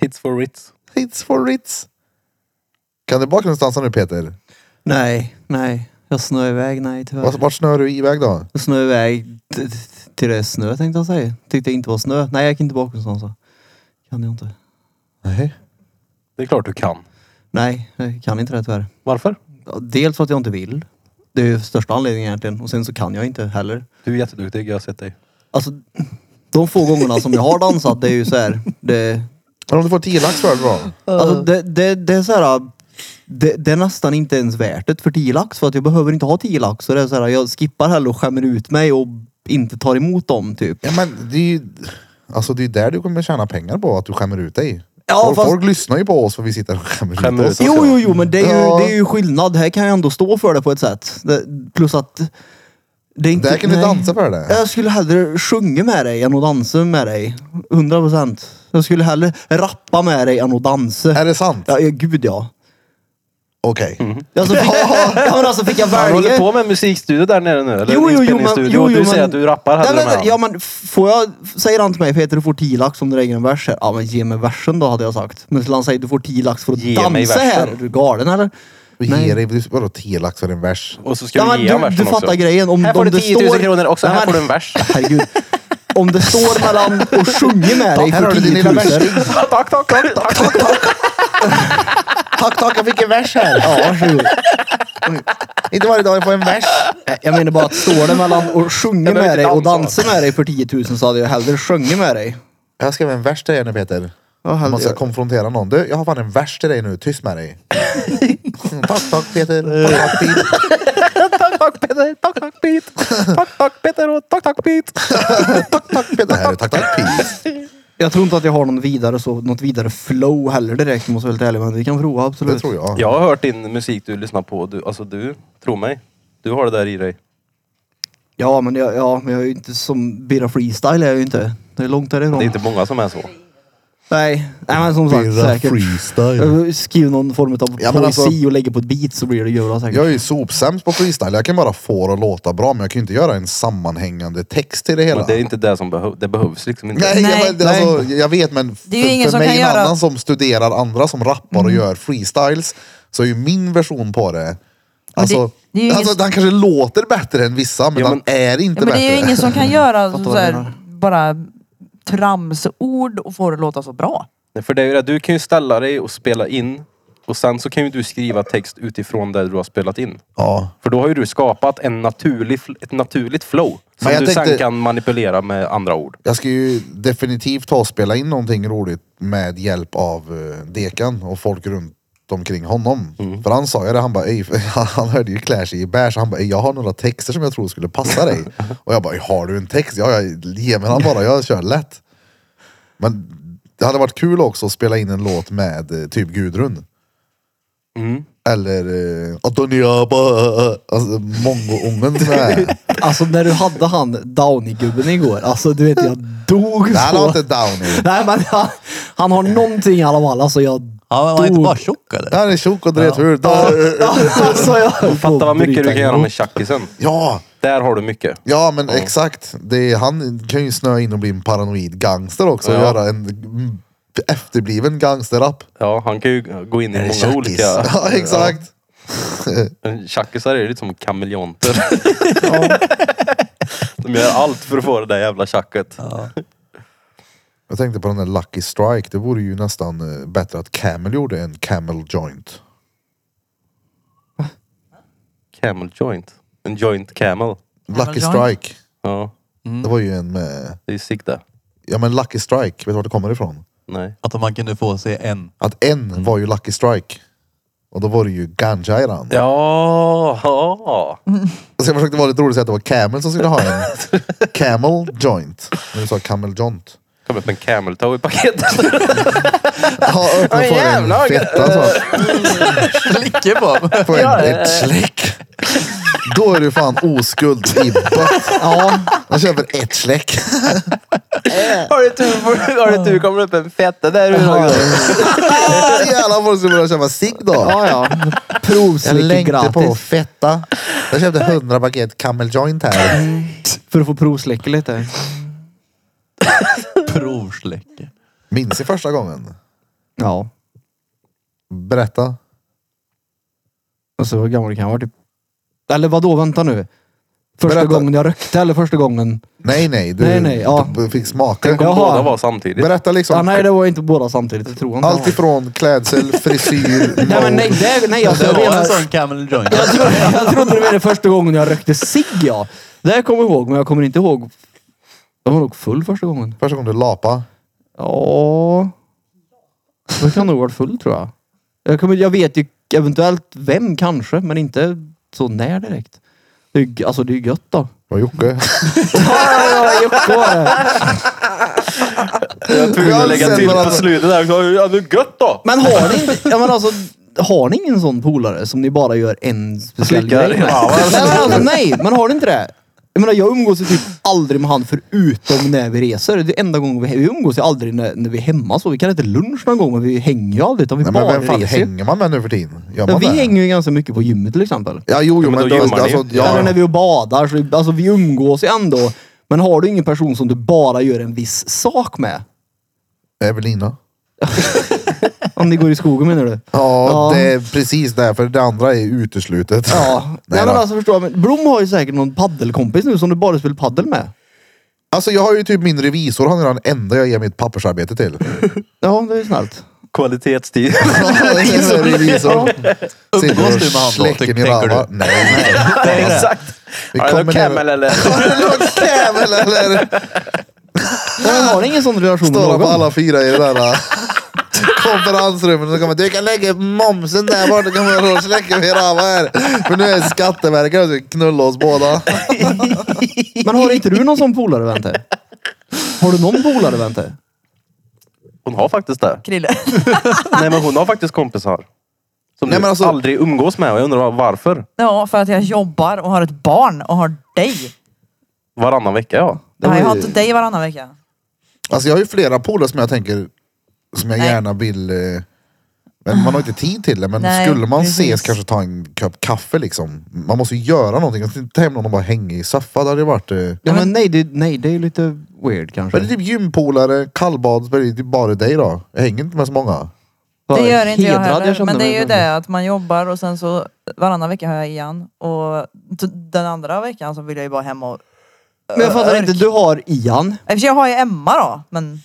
[SPEAKER 3] Hits for Ritz.
[SPEAKER 1] Hits for Ritz. Kan du bakgrundsdansa nu Peter?
[SPEAKER 4] Nej, nej. Jag snöar iväg, nej tyvärr.
[SPEAKER 1] Vart, vart snör du iväg då?
[SPEAKER 4] Jag snöade iväg t- t- till det är snö tänkte jag säga. Tyckte jag inte var snö. Nej, jag gick inte bakom sånt så. Kan jag inte.
[SPEAKER 1] Nej.
[SPEAKER 3] Det är klart du kan.
[SPEAKER 4] Nej, jag kan inte det tyvärr.
[SPEAKER 3] Varför?
[SPEAKER 4] Ja, Dels för att jag inte vill. Det är ju största anledningen egentligen. Och sen så kan jag inte heller.
[SPEAKER 3] Du är jätteduktig, jag har sett dig.
[SPEAKER 4] Alltså, de få gångerna som jag har dansat, det är ju så här. Det,
[SPEAKER 1] Men om du får 10 lax för det då?
[SPEAKER 4] alltså, det, det, det är så här. Det, det är nästan inte ens värt det för 10 lax för att jag behöver inte ha 10 lax. Så det är så här, jag skippar hellre och skämmer ut mig och inte tar emot dem typ.
[SPEAKER 1] Ja men det är ju... Alltså det är där du kommer tjäna pengar på, att du skämmer ut dig.
[SPEAKER 4] Ja,
[SPEAKER 1] folk,
[SPEAKER 4] fast-
[SPEAKER 1] folk lyssnar ju på oss för vi sitter och skämmer,
[SPEAKER 3] Skämmer
[SPEAKER 1] ut
[SPEAKER 3] ut
[SPEAKER 1] oss.
[SPEAKER 3] oss.
[SPEAKER 4] Jo, jo, jo, men det är, ju,
[SPEAKER 1] Ja.
[SPEAKER 4] det är ju skillnad. Här kan jag ändå stå för det på ett sätt. Det, plus att... Det är inte,
[SPEAKER 1] Där kan du
[SPEAKER 4] nej.
[SPEAKER 1] dansa för det.
[SPEAKER 4] Jag skulle hellre sjunga med dig än att dansa med dig. 100 procent. Jag skulle hellre rappa med dig än att dansa.
[SPEAKER 1] Är det sant?
[SPEAKER 4] Ja, ja, gud ja.
[SPEAKER 1] Okej.
[SPEAKER 4] Alltså fick, ja, men alltså fick jag
[SPEAKER 3] Han håller
[SPEAKER 4] välja...
[SPEAKER 3] på med musikstudio där nere nu eller?
[SPEAKER 4] Jo, jo, jo, men,
[SPEAKER 3] Inspelningsstudio.
[SPEAKER 4] jo, jo,
[SPEAKER 3] du säger att du rappar
[SPEAKER 4] nej,
[SPEAKER 3] hellre
[SPEAKER 4] men,
[SPEAKER 3] med
[SPEAKER 4] Ja,
[SPEAKER 3] han.
[SPEAKER 4] men får jag... Säger han till mig, Peter du får 10 lax om du lägger en vers här. Ja, men ge mig versen då hade jag sagt. Men skulle han säga du får 10 lax för att
[SPEAKER 3] Ge mig
[SPEAKER 4] dansa här.
[SPEAKER 3] versen.
[SPEAKER 4] Är du galen eller?
[SPEAKER 1] Vi
[SPEAKER 4] Nej.
[SPEAKER 1] ger dig, du- vadå 10 lax för en vers?
[SPEAKER 3] Och så ska
[SPEAKER 4] Ja,
[SPEAKER 3] du
[SPEAKER 4] men
[SPEAKER 3] ge han
[SPEAKER 4] du,
[SPEAKER 3] versen
[SPEAKER 4] du
[SPEAKER 3] också.
[SPEAKER 4] fattar grejen. Om,
[SPEAKER 3] Här får
[SPEAKER 4] om
[SPEAKER 3] du
[SPEAKER 4] det
[SPEAKER 3] 10 000
[SPEAKER 4] står-
[SPEAKER 3] kronor också,
[SPEAKER 4] Nej,
[SPEAKER 3] här
[SPEAKER 4] men-
[SPEAKER 3] får du en vers.
[SPEAKER 4] Herregud. Om det står mellan och sjunga med dig
[SPEAKER 1] Här har du
[SPEAKER 4] för
[SPEAKER 1] din
[SPEAKER 4] 10
[SPEAKER 1] lilla
[SPEAKER 4] 000.
[SPEAKER 1] vers.
[SPEAKER 3] tack, tack, tack, tack.
[SPEAKER 1] Tack, tack, jag fick en vers här.
[SPEAKER 4] Ja, varsågod.
[SPEAKER 1] Inte varje dag jag får en vers.
[SPEAKER 4] Nej, Jag menar bara att står det mellan och sjunga
[SPEAKER 3] Jag behöver
[SPEAKER 4] med
[SPEAKER 3] inte
[SPEAKER 4] dig och
[SPEAKER 3] dansa.
[SPEAKER 4] dansa med dig för 10 000 så hade jag hellre sjungit med dig.
[SPEAKER 1] Jag skrev en vers till dig nu Peter.
[SPEAKER 4] Ja,
[SPEAKER 1] Om man ska
[SPEAKER 4] hellre.
[SPEAKER 1] konfrontera någon. Du, jag har fan en vers till dig nu. Tyst med dig. Mm, Tack, tack Peter. Tack, tack, Pete.
[SPEAKER 3] Tack, tack Peter, tack, tack Pete. Tack, tack Peter och tack, tack Pete.
[SPEAKER 1] Tack, tack Peter. Det här är Tack, tack Pete.
[SPEAKER 4] Jag tror inte att jag har någon vidare så, något vidare flow heller direkt om jag ska vara helt ärlig. Men vi kan prova absolut.
[SPEAKER 1] Det tror jag.
[SPEAKER 3] Jag har hört din musik du lyssnar på. Du, alltså du, tro mig. Du har det där i dig.
[SPEAKER 4] Ja, men jag, ja, men jag är ju inte som Birra Freestyle är jag ju inte. Det är långt därifrån.
[SPEAKER 3] Det är inte många som är så.
[SPEAKER 4] Nej. Nej, men som sagt
[SPEAKER 1] Birra
[SPEAKER 4] säkert.
[SPEAKER 1] freestyle.
[SPEAKER 4] Jag skriver någon form av
[SPEAKER 1] Ja, men
[SPEAKER 4] poesi
[SPEAKER 1] alltså-
[SPEAKER 4] och lägger på ett beat så blir det göra säkert.
[SPEAKER 1] Jag är ju sopsämst på freestyle. Jag kan bara få det att låta bra men jag kan ju inte göra en sammanhängande text till det hela.
[SPEAKER 3] Men det är inte det som behövs. Det behövs liksom inte.
[SPEAKER 1] Nej,
[SPEAKER 5] Nej.
[SPEAKER 1] Jag, men, alltså, jag vet men
[SPEAKER 5] Det är ju
[SPEAKER 1] för-
[SPEAKER 5] ingen
[SPEAKER 1] för
[SPEAKER 5] som
[SPEAKER 1] mig
[SPEAKER 5] kan
[SPEAKER 1] en
[SPEAKER 5] göra- Mm.
[SPEAKER 1] annan som studerar andra som rappar och gör freestyles så är ju min version på det Alltså,
[SPEAKER 5] det är ju ingen-
[SPEAKER 1] alltså han kanske låter bättre än vissa men,
[SPEAKER 3] Ja,
[SPEAKER 1] han är inte
[SPEAKER 5] Ja, men
[SPEAKER 1] bättre.
[SPEAKER 5] det är ju ingen som kan göra
[SPEAKER 4] Fattar
[SPEAKER 5] så
[SPEAKER 4] vad du
[SPEAKER 5] här,
[SPEAKER 4] menar.
[SPEAKER 5] bara tramsord och få det låta så bra.
[SPEAKER 3] Nej, För det är ju det, du kan ju ställa dig och spela in och sen så kan ju du skriva text utifrån det du har spelat in.
[SPEAKER 1] Ja.
[SPEAKER 3] För då har ju du skapat en naturlig, fl- ett naturligt flow som
[SPEAKER 1] Men jag
[SPEAKER 3] du sen
[SPEAKER 1] tänkte-
[SPEAKER 3] kan manipulera med andra ord.
[SPEAKER 1] Jag ska ju definitivt ta och spela in någonting roligt med hjälp av eh, Dekan och folk runt omkring honom. För han sa ju det, han bara, "Ey," han hörde ju Clash i bärs, han bara, "Ey, jag har några texter som jag tror skulle passa dig. och jag bara, "Ey, har du en text? Ja, jag ge mig den bara, jag kör lätt. Men det hade varit kul också att spela in en låt med eh, typ Gudrun.
[SPEAKER 3] Mm.
[SPEAKER 1] Eller eh, Antonia, ba- alltså, mongo-ungen som är med.
[SPEAKER 4] Alltså när du hade han Downey-gubben igår, alltså du vet jag dog
[SPEAKER 1] Nej, han
[SPEAKER 4] så.
[SPEAKER 1] har inte Downy.
[SPEAKER 4] Nej men han, han har någonting i alla fall, alltså jag
[SPEAKER 2] Ja, men var han inte bara tjock eller?
[SPEAKER 1] Han är tjock och dretful.
[SPEAKER 4] alltså jag...
[SPEAKER 3] Fatta vad mycket du kan göra med tjackisen.
[SPEAKER 1] Ja!
[SPEAKER 3] Där har du mycket.
[SPEAKER 1] Ja men exakt. Det är, han kan ju snöa in och bli en paranoid gangster också och
[SPEAKER 3] Ja.
[SPEAKER 1] göra en mm, efterbliven gangsterrap.
[SPEAKER 3] Ja, han kan ju gå in i många
[SPEAKER 1] Tjackis.
[SPEAKER 3] olika...
[SPEAKER 1] Ja exakt.
[SPEAKER 3] Men Tjackisar är ju lite som kameleonter. De gör allt för att få det där jävla tjacket.
[SPEAKER 1] Jag tänkte på den där Lucky Strike. Det vore ju nästan eh, bättre att Camel gjorde en Camel joint.
[SPEAKER 3] Camel joint. En joint camel.
[SPEAKER 5] Camel
[SPEAKER 1] Lucky
[SPEAKER 5] joint?
[SPEAKER 1] Strike.
[SPEAKER 3] Ja,
[SPEAKER 1] Det var ju en med...
[SPEAKER 3] det är ju sick det.
[SPEAKER 1] Ja men Lucky Strike, vet du var det kommer ifrån?
[SPEAKER 3] Nej.
[SPEAKER 2] Att man kunde få sig en.
[SPEAKER 1] Att en var ju Lucky Strike. Och då var det ju ganja i den.
[SPEAKER 3] Ja, ja.
[SPEAKER 1] Så jag försökte vara lite rolig och säga att det var Camel som skulle ha en Camel joint. Men du sa Camel joint.
[SPEAKER 3] Kom upp en camel toe i paketet.
[SPEAKER 1] Ja, öppna
[SPEAKER 3] Åh,
[SPEAKER 1] får en
[SPEAKER 3] jävlar.
[SPEAKER 1] fetta så.
[SPEAKER 2] Slicke på!
[SPEAKER 1] Får en ett släck. Då är du fan oskuld i bött. Ja, jag köper ett släck.
[SPEAKER 3] har du tur, får- har du tur kommer det upp en fetta där ur också.
[SPEAKER 1] Ah, jävlar vad du ska börja köpa cigg då.
[SPEAKER 4] Ja, ja.
[SPEAKER 1] Jag
[SPEAKER 4] Provslicka
[SPEAKER 1] längtade på
[SPEAKER 4] gratis.
[SPEAKER 1] fetta. Jag köpte 100 paket Camel Joint här.
[SPEAKER 4] För att få provslicka lite.
[SPEAKER 2] Provsläcke.
[SPEAKER 1] Minns jag första gången?
[SPEAKER 4] Ja.
[SPEAKER 1] Berätta.
[SPEAKER 4] Alltså hur gammal kan jag vara typ? Eller vadå, vänta nu. Första
[SPEAKER 1] Berätta.
[SPEAKER 4] gången jag rökte eller första gången?
[SPEAKER 1] Nej, nej. Du
[SPEAKER 4] Nej, nej, ja.
[SPEAKER 1] du fick smaka.
[SPEAKER 4] Tänk om-
[SPEAKER 3] Kom
[SPEAKER 4] Jaha.
[SPEAKER 3] båda var samtidigt.
[SPEAKER 1] Berätta liksom.
[SPEAKER 4] Ja, nej, det var inte båda samtidigt. Det tror jag inte.
[SPEAKER 1] Allt ifrån klädsel, frisyr,
[SPEAKER 4] Nej, men nej,
[SPEAKER 1] mode.
[SPEAKER 4] det, nej alltså, jag,
[SPEAKER 2] Det var
[SPEAKER 4] menar-
[SPEAKER 2] en sån camel joint.
[SPEAKER 4] jag, trodde, jag trodde det var det första gången jag rökte cigg ja. Det här kommer jag ihåg, men jag kommer inte ihåg. Jag var nog full första gången.
[SPEAKER 1] Första gången du lapa.
[SPEAKER 4] Ja. Jag kan nog ha varit full tror jag. Jag, kommer, jag vet ju eventuellt vem kanske, men inte så när direkt. Det är, ju- alltså det är ju gött då.
[SPEAKER 1] Vad Jocke?
[SPEAKER 3] Jag tror
[SPEAKER 1] Ja,
[SPEAKER 3] att lägga
[SPEAKER 1] sen
[SPEAKER 3] till
[SPEAKER 1] var
[SPEAKER 3] på
[SPEAKER 1] det-
[SPEAKER 3] slutet där. också. Ja, det är gött då.
[SPEAKER 4] Men har ni inte, ja, men alltså, har ni ingen sån polare som ni bara gör en speciell
[SPEAKER 3] Slickar
[SPEAKER 4] grej
[SPEAKER 3] i
[SPEAKER 4] med?
[SPEAKER 3] röven.
[SPEAKER 4] Nej, men alltså, nej, men har ni inte det? Jag menar jag umgås ju typ aldrig med han förutom när vi reser. Det är enda gången vi, vi umgås ju aldrig när, när vi är hemma så. Vi kan inte lunch någon gång men vi hänger ju aldrig utan vi
[SPEAKER 1] Nej, men
[SPEAKER 4] bara
[SPEAKER 1] vem fan
[SPEAKER 4] reser ju.
[SPEAKER 1] hänger man med nu för tiden? Gör
[SPEAKER 4] Ja,
[SPEAKER 1] man
[SPEAKER 4] vi
[SPEAKER 1] det?
[SPEAKER 4] hänger ju ganska mycket på gymmet till exempel.
[SPEAKER 1] Ja, jo, jo,
[SPEAKER 3] men
[SPEAKER 1] men
[SPEAKER 3] då
[SPEAKER 1] då,
[SPEAKER 3] gymmar ni.
[SPEAKER 1] alltså,
[SPEAKER 4] Eller när
[SPEAKER 1] ja,
[SPEAKER 4] vi är och badar. Så, alltså vi umgås ju ändå. Men har du ingen person som du bara gör en viss sak med?
[SPEAKER 1] Evelina.
[SPEAKER 4] Om ni går i skogen menar du?
[SPEAKER 1] Ja,
[SPEAKER 4] Ja.
[SPEAKER 1] det är precis därför. Det andra är uteslutet.
[SPEAKER 4] Ja, nej,
[SPEAKER 1] då.
[SPEAKER 4] men alltså förstår jag. Men Blom har ju säkert någon paddelkompis nu som du bara spelar paddel med.
[SPEAKER 1] Alltså jag har ju typ min revisor, han är den enda jag ger mitt pappersarbete till.
[SPEAKER 4] Ja, det är ju snällt.
[SPEAKER 3] Kvalitetstid.
[SPEAKER 1] revisor. revisor.
[SPEAKER 2] Umgås du med han då,
[SPEAKER 1] Släcker min
[SPEAKER 2] tänker du?
[SPEAKER 1] röva. Nej, nej.
[SPEAKER 3] Exakt.
[SPEAKER 1] Vi
[SPEAKER 3] Har du
[SPEAKER 1] kommer
[SPEAKER 3] någon
[SPEAKER 1] ner-
[SPEAKER 3] camel eller?
[SPEAKER 1] Jävel eller?
[SPEAKER 4] Nej, men har ni ingen sån relation med
[SPEAKER 1] Står han på
[SPEAKER 4] någon?
[SPEAKER 1] alla fyra i det där äh, konferensrummet och så kommer du kan lägga momsen där borta, kan man släcka min röva här. För nu är Skatteverket och ska knulla oss båda.
[SPEAKER 4] Men har inte du någon sån polare Vente? Har du någon polare Vente?
[SPEAKER 3] Hon har faktiskt det.
[SPEAKER 5] Krille.
[SPEAKER 3] Nej men hon har faktiskt kompisar. Som
[SPEAKER 1] Nej,
[SPEAKER 3] du
[SPEAKER 1] men alltså-
[SPEAKER 3] aldrig umgås med och jag undrar varför.
[SPEAKER 5] Ja, för att
[SPEAKER 2] Mm.
[SPEAKER 5] jag jobbar och har ett barn och har dig.
[SPEAKER 3] Varannan vecka ja.
[SPEAKER 4] Det var
[SPEAKER 5] Nej, jag har
[SPEAKER 4] ju-
[SPEAKER 5] inte dig varannan vecka.
[SPEAKER 1] Alltså jag har ju flera polare som jag tänker, som jag
[SPEAKER 5] Nej.
[SPEAKER 1] gärna vill eh, men man har inte tid till det, men
[SPEAKER 5] Nej,
[SPEAKER 1] skulle man
[SPEAKER 5] precis.
[SPEAKER 1] ses kanske ta en kopp kaffe liksom. Man måste ju göra någonting. Jag kan inte ta hem någon och bara hänga i soffa. Det hade ju varit... Eh,
[SPEAKER 4] Ja, men nej, det, nej, det är ju lite weird kanske.
[SPEAKER 1] men det är typ gympolare, kallbad, det är typ bara dig då. Jag hänger inte med så många.
[SPEAKER 5] Det gör inte jag
[SPEAKER 4] Hedrad
[SPEAKER 5] heller.
[SPEAKER 4] kände
[SPEAKER 5] Men det
[SPEAKER 4] mig
[SPEAKER 5] är ju
[SPEAKER 4] kanske.
[SPEAKER 5] det att man jobbar och sen så varannan vecka har jag igen. Och t- den andra veckan så vill jag ju bara hem och...
[SPEAKER 4] Men jag fattar inte, du har Ian.
[SPEAKER 5] I och för sig har jag Emma då, men...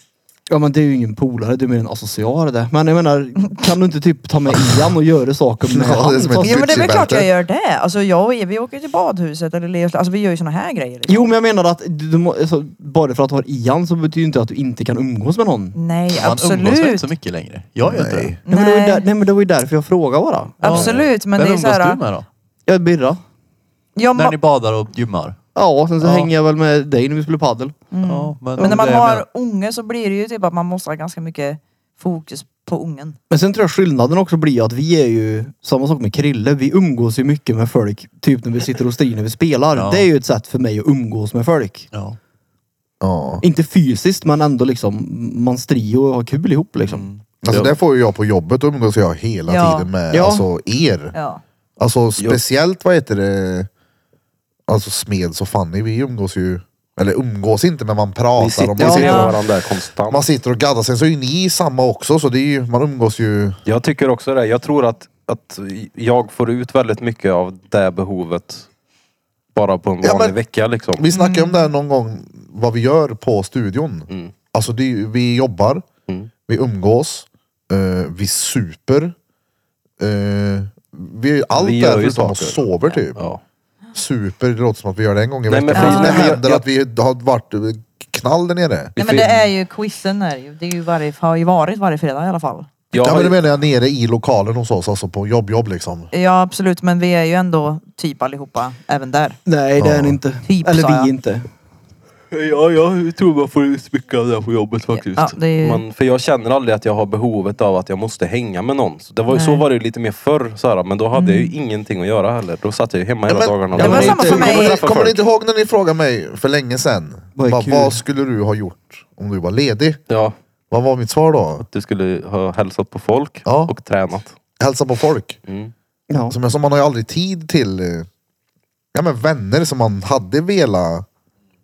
[SPEAKER 4] Ja men det är ju ingen polare, du är mer en associar det. Men jag menar, kan du inte typ ta med Ian och göra saker med
[SPEAKER 1] Ja, det är som
[SPEAKER 4] honom?
[SPEAKER 1] ett-
[SPEAKER 5] Jo men det är väl
[SPEAKER 1] Gucci-bältet.
[SPEAKER 5] klart jag gör det. Alltså jag och Evi åker till badhuset eller Leos... Alltså vi gör ju såna här grejer. Liksom.
[SPEAKER 4] Jo men jag menar att du, du, må- alltså, bara för att du har Ian så betyder ju inte att du inte kan umgås med någon.
[SPEAKER 5] Nej,
[SPEAKER 2] Man umgås väl inte
[SPEAKER 5] absolut.
[SPEAKER 2] så mycket längre? Jag gör inte det.
[SPEAKER 4] Nej. men det var ju
[SPEAKER 5] Nej.
[SPEAKER 4] där, nej men det var ju därför jag frågade bara.
[SPEAKER 5] Absolut, men
[SPEAKER 2] Vem
[SPEAKER 5] det är
[SPEAKER 2] umgås
[SPEAKER 5] så här...
[SPEAKER 2] du med då?
[SPEAKER 4] Jag är Birra.
[SPEAKER 5] Ja,
[SPEAKER 2] När
[SPEAKER 5] ma-
[SPEAKER 2] ni badar och gymmar?
[SPEAKER 4] Ja, sen så
[SPEAKER 2] Ja.
[SPEAKER 4] hänger jag väl med dig när vi spelar padel.
[SPEAKER 2] Ja, men,
[SPEAKER 5] men när man
[SPEAKER 2] det är
[SPEAKER 5] har
[SPEAKER 2] med-
[SPEAKER 5] unge så blir det ju typ att man måste ha ganska mycket fokus på ungen.
[SPEAKER 4] Men sen tror jag skillnaden också blir att vi är ju, samma sak med Krille, vi umgås ju mycket med folk. Typ när vi sitter och strider när vi spelar.
[SPEAKER 2] Ja.
[SPEAKER 4] Det är ju ett sätt för mig att umgås med folk.
[SPEAKER 2] Ja.
[SPEAKER 1] Ja.
[SPEAKER 4] Inte fysiskt men ändå liksom, man strider och har kul ihop liksom.
[SPEAKER 1] Alltså
[SPEAKER 2] Ja.
[SPEAKER 1] det får ju jag på jobbet umgås jag hela
[SPEAKER 5] Ja.
[SPEAKER 1] tiden med
[SPEAKER 4] Ja.
[SPEAKER 1] alltså, er.
[SPEAKER 5] Ja.
[SPEAKER 1] Alltså speciellt vad heter det, alltså Smeds och Fanny, vi umgås ju, eller umgås inte men man pratar
[SPEAKER 3] Vi sitter,
[SPEAKER 1] och
[SPEAKER 3] vi
[SPEAKER 1] man
[SPEAKER 3] sitter
[SPEAKER 1] sitter,
[SPEAKER 3] med
[SPEAKER 5] Ja.
[SPEAKER 3] varandra där konstant.
[SPEAKER 1] man sitter och gaddar. Sen så är ju ni samma också så det är ju, man umgås ju.
[SPEAKER 3] Jag tycker också det. Jag tror att, att jag får ut väldigt mycket av det behovet bara på en vanlig
[SPEAKER 1] Ja, men-
[SPEAKER 3] vecka liksom.
[SPEAKER 5] Mm.
[SPEAKER 3] Mm.
[SPEAKER 1] Vi snackade om det här någon gång, vad vi gör på studion. Alltså det är, ju- vi jobbar, vi umgås, eh, vi super. Eh, vi gör ju allt
[SPEAKER 3] Vi
[SPEAKER 1] vi
[SPEAKER 3] gör
[SPEAKER 1] gör
[SPEAKER 3] ju
[SPEAKER 1] förutom att
[SPEAKER 3] saker.
[SPEAKER 1] sover typ.
[SPEAKER 3] Ja.
[SPEAKER 1] Super, det låter som att vi gör det en gång i
[SPEAKER 3] Nej,
[SPEAKER 1] veckan.
[SPEAKER 3] men
[SPEAKER 1] Men
[SPEAKER 5] för-
[SPEAKER 1] det
[SPEAKER 3] nej, men jag-
[SPEAKER 1] händer att vi har varit eh, knall där nere.
[SPEAKER 5] Nej men det är ju quizen är ju. Det är ju varje, har ju varit varje fredag i alla fall.
[SPEAKER 3] Jag
[SPEAKER 1] ja,
[SPEAKER 3] har
[SPEAKER 1] men det
[SPEAKER 3] ju,
[SPEAKER 1] menar jag nere i lokalen hos oss, alltså på jobb, jobb liksom.
[SPEAKER 5] Ja absolut men vi är ju ändå typ allihopa även där.
[SPEAKER 4] Nej, det är ni inte.
[SPEAKER 5] Typ,
[SPEAKER 4] Eller
[SPEAKER 5] sa
[SPEAKER 4] vi
[SPEAKER 5] jag.
[SPEAKER 4] inte.
[SPEAKER 3] ja, jag tror man får ut mycket av det här på jobbet faktiskt.
[SPEAKER 5] Ja, det är ju-
[SPEAKER 3] Men, för jag känner aldrig att jag har behovet av att jag måste hänga med någon. Så, det var, ju- så
[SPEAKER 5] Nej. Mm.
[SPEAKER 3] var det ju lite mer förr, så här, men då hade jag ju ingenting att göra heller. Då satt jag ju hemma hela
[SPEAKER 1] men-
[SPEAKER 3] dagarna.
[SPEAKER 5] det var
[SPEAKER 3] Och-
[SPEAKER 5] samma för mig.
[SPEAKER 1] Kommer, ni-
[SPEAKER 3] träffa
[SPEAKER 1] kommer ni
[SPEAKER 3] folk.
[SPEAKER 1] inte ihåg när ni frågade mig för länge sedan?
[SPEAKER 4] Vad är
[SPEAKER 1] Vad,
[SPEAKER 4] kul?
[SPEAKER 1] vad skulle du ha gjort om du var ledig?
[SPEAKER 3] Ja,
[SPEAKER 1] Vad var mitt svar då?
[SPEAKER 3] du skulle ha hälsat på folk
[SPEAKER 1] Ja.
[SPEAKER 3] och tränat.
[SPEAKER 1] Hälsa på folk.
[SPEAKER 3] Mm.
[SPEAKER 4] Ja.
[SPEAKER 1] Som jag sa, man har ju aldrig tid till eh, ja, men vänner som man hade velat.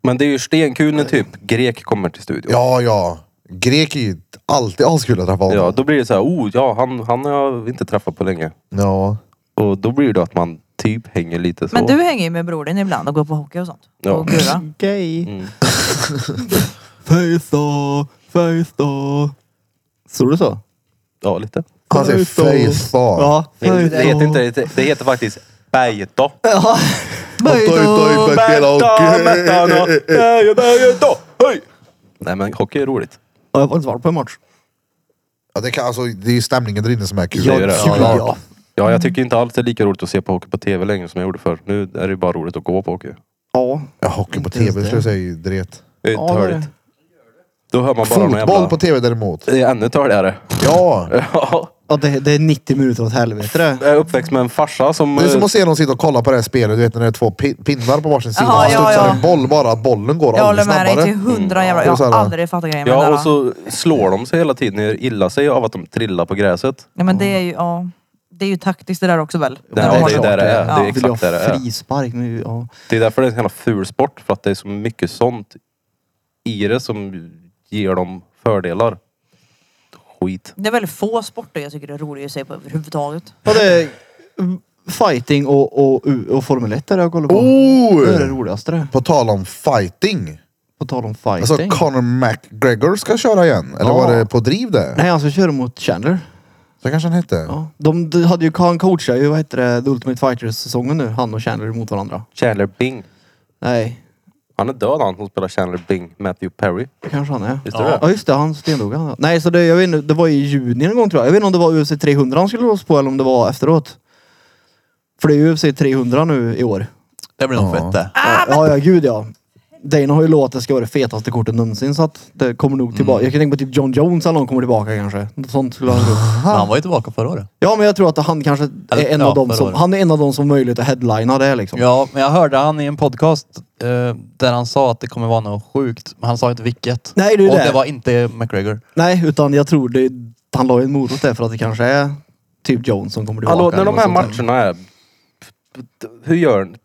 [SPEAKER 3] Men det är ju stenkul när typ grek kommer till studion.
[SPEAKER 1] Ja, ja. Grek är ju alltid askul att träffa honom.
[SPEAKER 3] Ja, då blir det så här, oh ja, han, han har jag inte träffat på länge.
[SPEAKER 1] Ja.
[SPEAKER 3] Och då blir det att man typ hänger lite så.
[SPEAKER 5] Men du hänger ju med brodern ibland och går på hockey och sånt.
[SPEAKER 3] Ja.
[SPEAKER 5] Och gurra.
[SPEAKER 4] Gay.
[SPEAKER 3] Mm.
[SPEAKER 4] Face då, face då. Såg du så?
[SPEAKER 3] Ja, lite.
[SPEAKER 1] Han säger Alltså, face bar.
[SPEAKER 4] Ja,
[SPEAKER 3] Det,
[SPEAKER 4] face
[SPEAKER 3] det, heter
[SPEAKER 4] då.
[SPEAKER 3] inte, det, det heter faktiskt Bäjetå.
[SPEAKER 1] Oj, oj, oj, spela hockey.
[SPEAKER 3] Nej men hockey är roligt.
[SPEAKER 4] Ja, jag har faktiskt varit på en match.
[SPEAKER 1] Ja, det, kan, alltså, det är ju stämningen där inne som är kul.
[SPEAKER 3] Det är ju det.
[SPEAKER 1] Såklart.
[SPEAKER 4] Ja.
[SPEAKER 3] Ja, jag tycker inte alls det är lika roligt att se på hockey på tv längre som jag gjorde förr. Nu är det bara roligt att gå på hockey.
[SPEAKER 4] Ja.
[SPEAKER 1] Ja, hockey på
[SPEAKER 4] Inte
[SPEAKER 1] tv
[SPEAKER 4] ens
[SPEAKER 1] skulle
[SPEAKER 4] det.
[SPEAKER 1] jag säga är ju dret.
[SPEAKER 3] Det är
[SPEAKER 4] Ja, det är
[SPEAKER 3] törligt. Då hör man bara någon
[SPEAKER 1] Fotboll
[SPEAKER 3] jävla...
[SPEAKER 1] på tv däremot.
[SPEAKER 3] Det är ännu törligare.
[SPEAKER 1] Ja.
[SPEAKER 3] Ja,
[SPEAKER 4] ja det, det är 90 minuter åt helvete det.
[SPEAKER 3] jag är uppväxt med en farsa som...
[SPEAKER 1] Det är som
[SPEAKER 3] eh,
[SPEAKER 1] att se någon sitta och kolla på det här spelet, du vet när det är två pi- pinnar på varsin sida.
[SPEAKER 5] Jaha,
[SPEAKER 1] Ja,
[SPEAKER 5] ja,
[SPEAKER 1] studsar
[SPEAKER 5] ja.
[SPEAKER 1] en boll bara, att bollen går
[SPEAKER 5] Jag håller
[SPEAKER 1] aldrig
[SPEAKER 5] med dig till
[SPEAKER 1] snabbare.
[SPEAKER 5] hundra
[SPEAKER 3] Mm.
[SPEAKER 5] jävla...
[SPEAKER 1] Det är
[SPEAKER 5] Jag
[SPEAKER 1] så här,
[SPEAKER 5] har aldrig fattat grejen med det
[SPEAKER 3] Ja,
[SPEAKER 5] där.
[SPEAKER 3] och så slår de sig hela tiden och gör illa sig av att de trillar på gräset.
[SPEAKER 5] Nej men det är ju, ja. Det är ju taktiskt det där också väl?
[SPEAKER 3] Mm. Det,
[SPEAKER 5] Men
[SPEAKER 3] ja, det är
[SPEAKER 5] klart.
[SPEAKER 3] där det är. Det
[SPEAKER 5] Ja.
[SPEAKER 3] är
[SPEAKER 4] Vill jag
[SPEAKER 3] exakt där det
[SPEAKER 4] ha
[SPEAKER 3] är.
[SPEAKER 4] frispark nu? Ja.
[SPEAKER 3] Det är därför det är en jävla ful sport. För att det är så mycket sånt i det som ger dem fördelar. Skit.
[SPEAKER 5] Det är väldigt få sporter jag tycker är roliga att se på överhuvudtaget.
[SPEAKER 4] ja det är fighting och, och, och Formel 1 där jag kollar på.
[SPEAKER 1] Oh!
[SPEAKER 4] Det är det roligaste det.
[SPEAKER 1] På tal om fighting.
[SPEAKER 4] På tal om
[SPEAKER 1] Alltså
[SPEAKER 4] fighting.
[SPEAKER 1] Conor McGregor ska köra igen. Eller
[SPEAKER 4] Ja.
[SPEAKER 1] var det på driv det?
[SPEAKER 4] Nej, han ska köra mot Chandler.
[SPEAKER 1] Så kanske han hette.
[SPEAKER 4] Ja. De, de hade ju, han coachade ju, vad heter det, The Ultimate Fighters-säsongen nu. Han och Chandler mot varandra.
[SPEAKER 3] Chandler Bing.
[SPEAKER 4] Nej,
[SPEAKER 3] Han är död han som spelar Chandler Bing. Matthew Perry.
[SPEAKER 4] det kanske han är.
[SPEAKER 3] Visst är
[SPEAKER 4] ja.
[SPEAKER 3] det?
[SPEAKER 4] ja, just det. Han stendog han. Nej, så det, jag vet inte, det var i juni en gång tror jag. Jag vet inte om det var UFC 300 han skulle låsa på eller om det var efteråt. För det är UFC 300 nu i år.
[SPEAKER 2] Det blir nog fett det.
[SPEAKER 4] Ja, ja, ja, gud ja. Dana har ju lovat att det ska vara det fetaste kortet någonsin så att det kommer nog tillbaka. Jag kan tänka på typ John Jones eller någon kommer tillbaka kanske. Något sånt skulle han tro.
[SPEAKER 2] Men han var ju tillbaka förra året.
[SPEAKER 4] Ja men jag tror att han kanske är
[SPEAKER 2] Eller,
[SPEAKER 4] en
[SPEAKER 2] ja,
[SPEAKER 4] av dem
[SPEAKER 2] förra
[SPEAKER 4] som,
[SPEAKER 2] året.
[SPEAKER 4] han är en av dem som har möjlighet att headlina det liksom.
[SPEAKER 2] Ja, men jag hörde han i en podcast eh, där han sa att det kommer vara något sjukt. Men han sa inte vilket.
[SPEAKER 4] Nej, det är
[SPEAKER 2] Och
[SPEAKER 4] det.
[SPEAKER 2] det var inte McGregor.
[SPEAKER 4] Nej utan jag tror det, han la ju en morot där för att det kanske är typ Jones som kommer tillbaka.
[SPEAKER 3] Hallå, när
[SPEAKER 4] eller
[SPEAKER 3] de
[SPEAKER 4] något
[SPEAKER 3] här
[SPEAKER 4] sånt där.
[SPEAKER 3] matcherna är... Hur gör ni?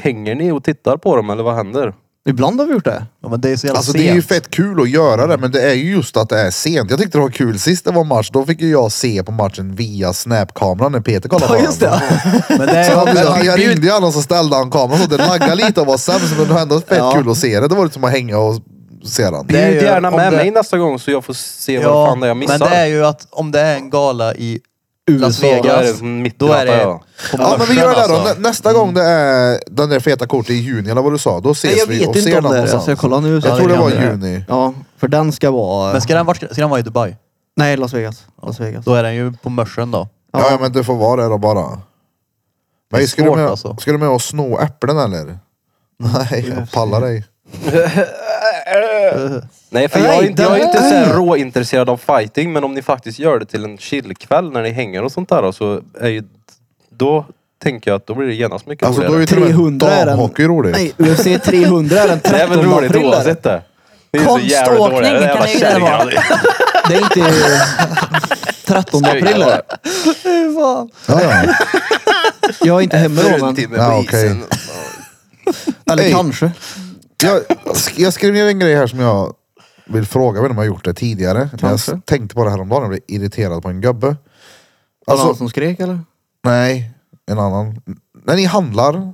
[SPEAKER 3] Hänger ni och tittar på dem eller vad händer?
[SPEAKER 4] Ibland har vi gjort det.
[SPEAKER 2] Ja, men det är så jävla
[SPEAKER 1] Alltså
[SPEAKER 2] sent.
[SPEAKER 1] det är ju fett kul att göra det, men det är ju just att det är sent. Jag tyckte det var kul sist det var match, då fick ju jag se på matchen via snapkameran när Peter kollade på
[SPEAKER 4] Ja just
[SPEAKER 1] den.
[SPEAKER 4] det.
[SPEAKER 2] Men det är
[SPEAKER 1] Så han,
[SPEAKER 2] också,
[SPEAKER 1] han, jag ringde ju honom så ställde han kameran så det laggade lite och var sämst men det var ändå fett
[SPEAKER 4] Ja.
[SPEAKER 1] kul att se det. Det var lite som att hänga och se den.
[SPEAKER 2] Det är
[SPEAKER 3] Bjud
[SPEAKER 2] ju-
[SPEAKER 3] gärna
[SPEAKER 2] om
[SPEAKER 3] med
[SPEAKER 2] det-
[SPEAKER 3] mig nästa gång så jag får se vad
[SPEAKER 2] ja,
[SPEAKER 3] fan det är jag missar.
[SPEAKER 2] men det är ju att om det är en gala i Las
[SPEAKER 4] USA,
[SPEAKER 3] då är
[SPEAKER 2] Vegas,
[SPEAKER 3] det mitt
[SPEAKER 2] då är
[SPEAKER 3] i natten,
[SPEAKER 2] det
[SPEAKER 3] ja.
[SPEAKER 2] på
[SPEAKER 1] Ja men vi
[SPEAKER 2] morgonen
[SPEAKER 1] gör det då.
[SPEAKER 2] alltså.
[SPEAKER 1] Nä, nästa gång det är den där feta kortet i juni eller vad du sa, då ses
[SPEAKER 4] Nej, jag
[SPEAKER 1] vi
[SPEAKER 4] vet
[SPEAKER 1] och ser
[SPEAKER 4] inte
[SPEAKER 1] den
[SPEAKER 4] om det är det.
[SPEAKER 1] någonstans.
[SPEAKER 4] Så jag kollar nu.
[SPEAKER 1] Jag tror
[SPEAKER 2] det
[SPEAKER 1] det
[SPEAKER 2] kan
[SPEAKER 1] var
[SPEAKER 2] bli det.
[SPEAKER 1] juni.
[SPEAKER 4] Ja, för den ska vara...
[SPEAKER 2] Men ska den, vara, ska den vara i Dubai?
[SPEAKER 4] Nej, Las Vegas. Las Vegas.
[SPEAKER 2] Då är den ju på mörsen då.
[SPEAKER 1] Ja. ja men det får vara det då bara.
[SPEAKER 2] Det är
[SPEAKER 1] Men ska, du
[SPEAKER 2] svårt,
[SPEAKER 1] med,
[SPEAKER 2] alltså.
[SPEAKER 1] ska du med och sno äpplen eller? Nej, jag pallar dig.
[SPEAKER 3] Nej, för
[SPEAKER 4] Nej,
[SPEAKER 3] jag är inte,
[SPEAKER 4] den-
[SPEAKER 3] jag är inte så här råintresserad av fighting, men om ni faktiskt gör det till en chillkväll när ni hänger och sånt där så är ju... Då tänker jag att då blir det genast mycket
[SPEAKER 1] Alltså då är
[SPEAKER 3] roligare.
[SPEAKER 1] ju till och med
[SPEAKER 4] 300 är den-
[SPEAKER 1] damhockey roligt.
[SPEAKER 4] Nej, UFC 300 är den
[SPEAKER 3] Det är
[SPEAKER 4] 13
[SPEAKER 3] väl roligt
[SPEAKER 4] april. är det?
[SPEAKER 3] oavsett det. Det är ju så jävla
[SPEAKER 5] Konståkning
[SPEAKER 3] dåligt. Det är
[SPEAKER 5] kan
[SPEAKER 3] jävla
[SPEAKER 5] det ju inte
[SPEAKER 3] kärringar.
[SPEAKER 5] vara.
[SPEAKER 4] Det är inte 13 april. är det.
[SPEAKER 1] Ja, ja.
[SPEAKER 4] Jag är inte hemma då men...
[SPEAKER 3] Fruntimmer
[SPEAKER 1] Ja,
[SPEAKER 3] på
[SPEAKER 1] okej.
[SPEAKER 3] isen.
[SPEAKER 4] Eller
[SPEAKER 1] Hej.
[SPEAKER 4] kanske.
[SPEAKER 1] Jag, jag skrev ner en grej här som jag vill fråga, jag vet inte om jag har gjort det tidigare. Men
[SPEAKER 4] Kanske.
[SPEAKER 1] jag tänkte på det här om dagen jag blev irriterad på en gubbe.
[SPEAKER 4] Alltså,
[SPEAKER 1] Alltså,
[SPEAKER 4] någon som skrek eller?
[SPEAKER 1] nej, en annan. När ni handlar,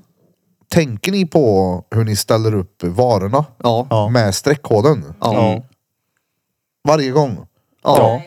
[SPEAKER 1] tänker ni på hur ni ställer upp varorna
[SPEAKER 4] Ja.
[SPEAKER 2] Ja.
[SPEAKER 1] med streckkoden?
[SPEAKER 4] Ja.
[SPEAKER 1] Varje gång?
[SPEAKER 4] Ja.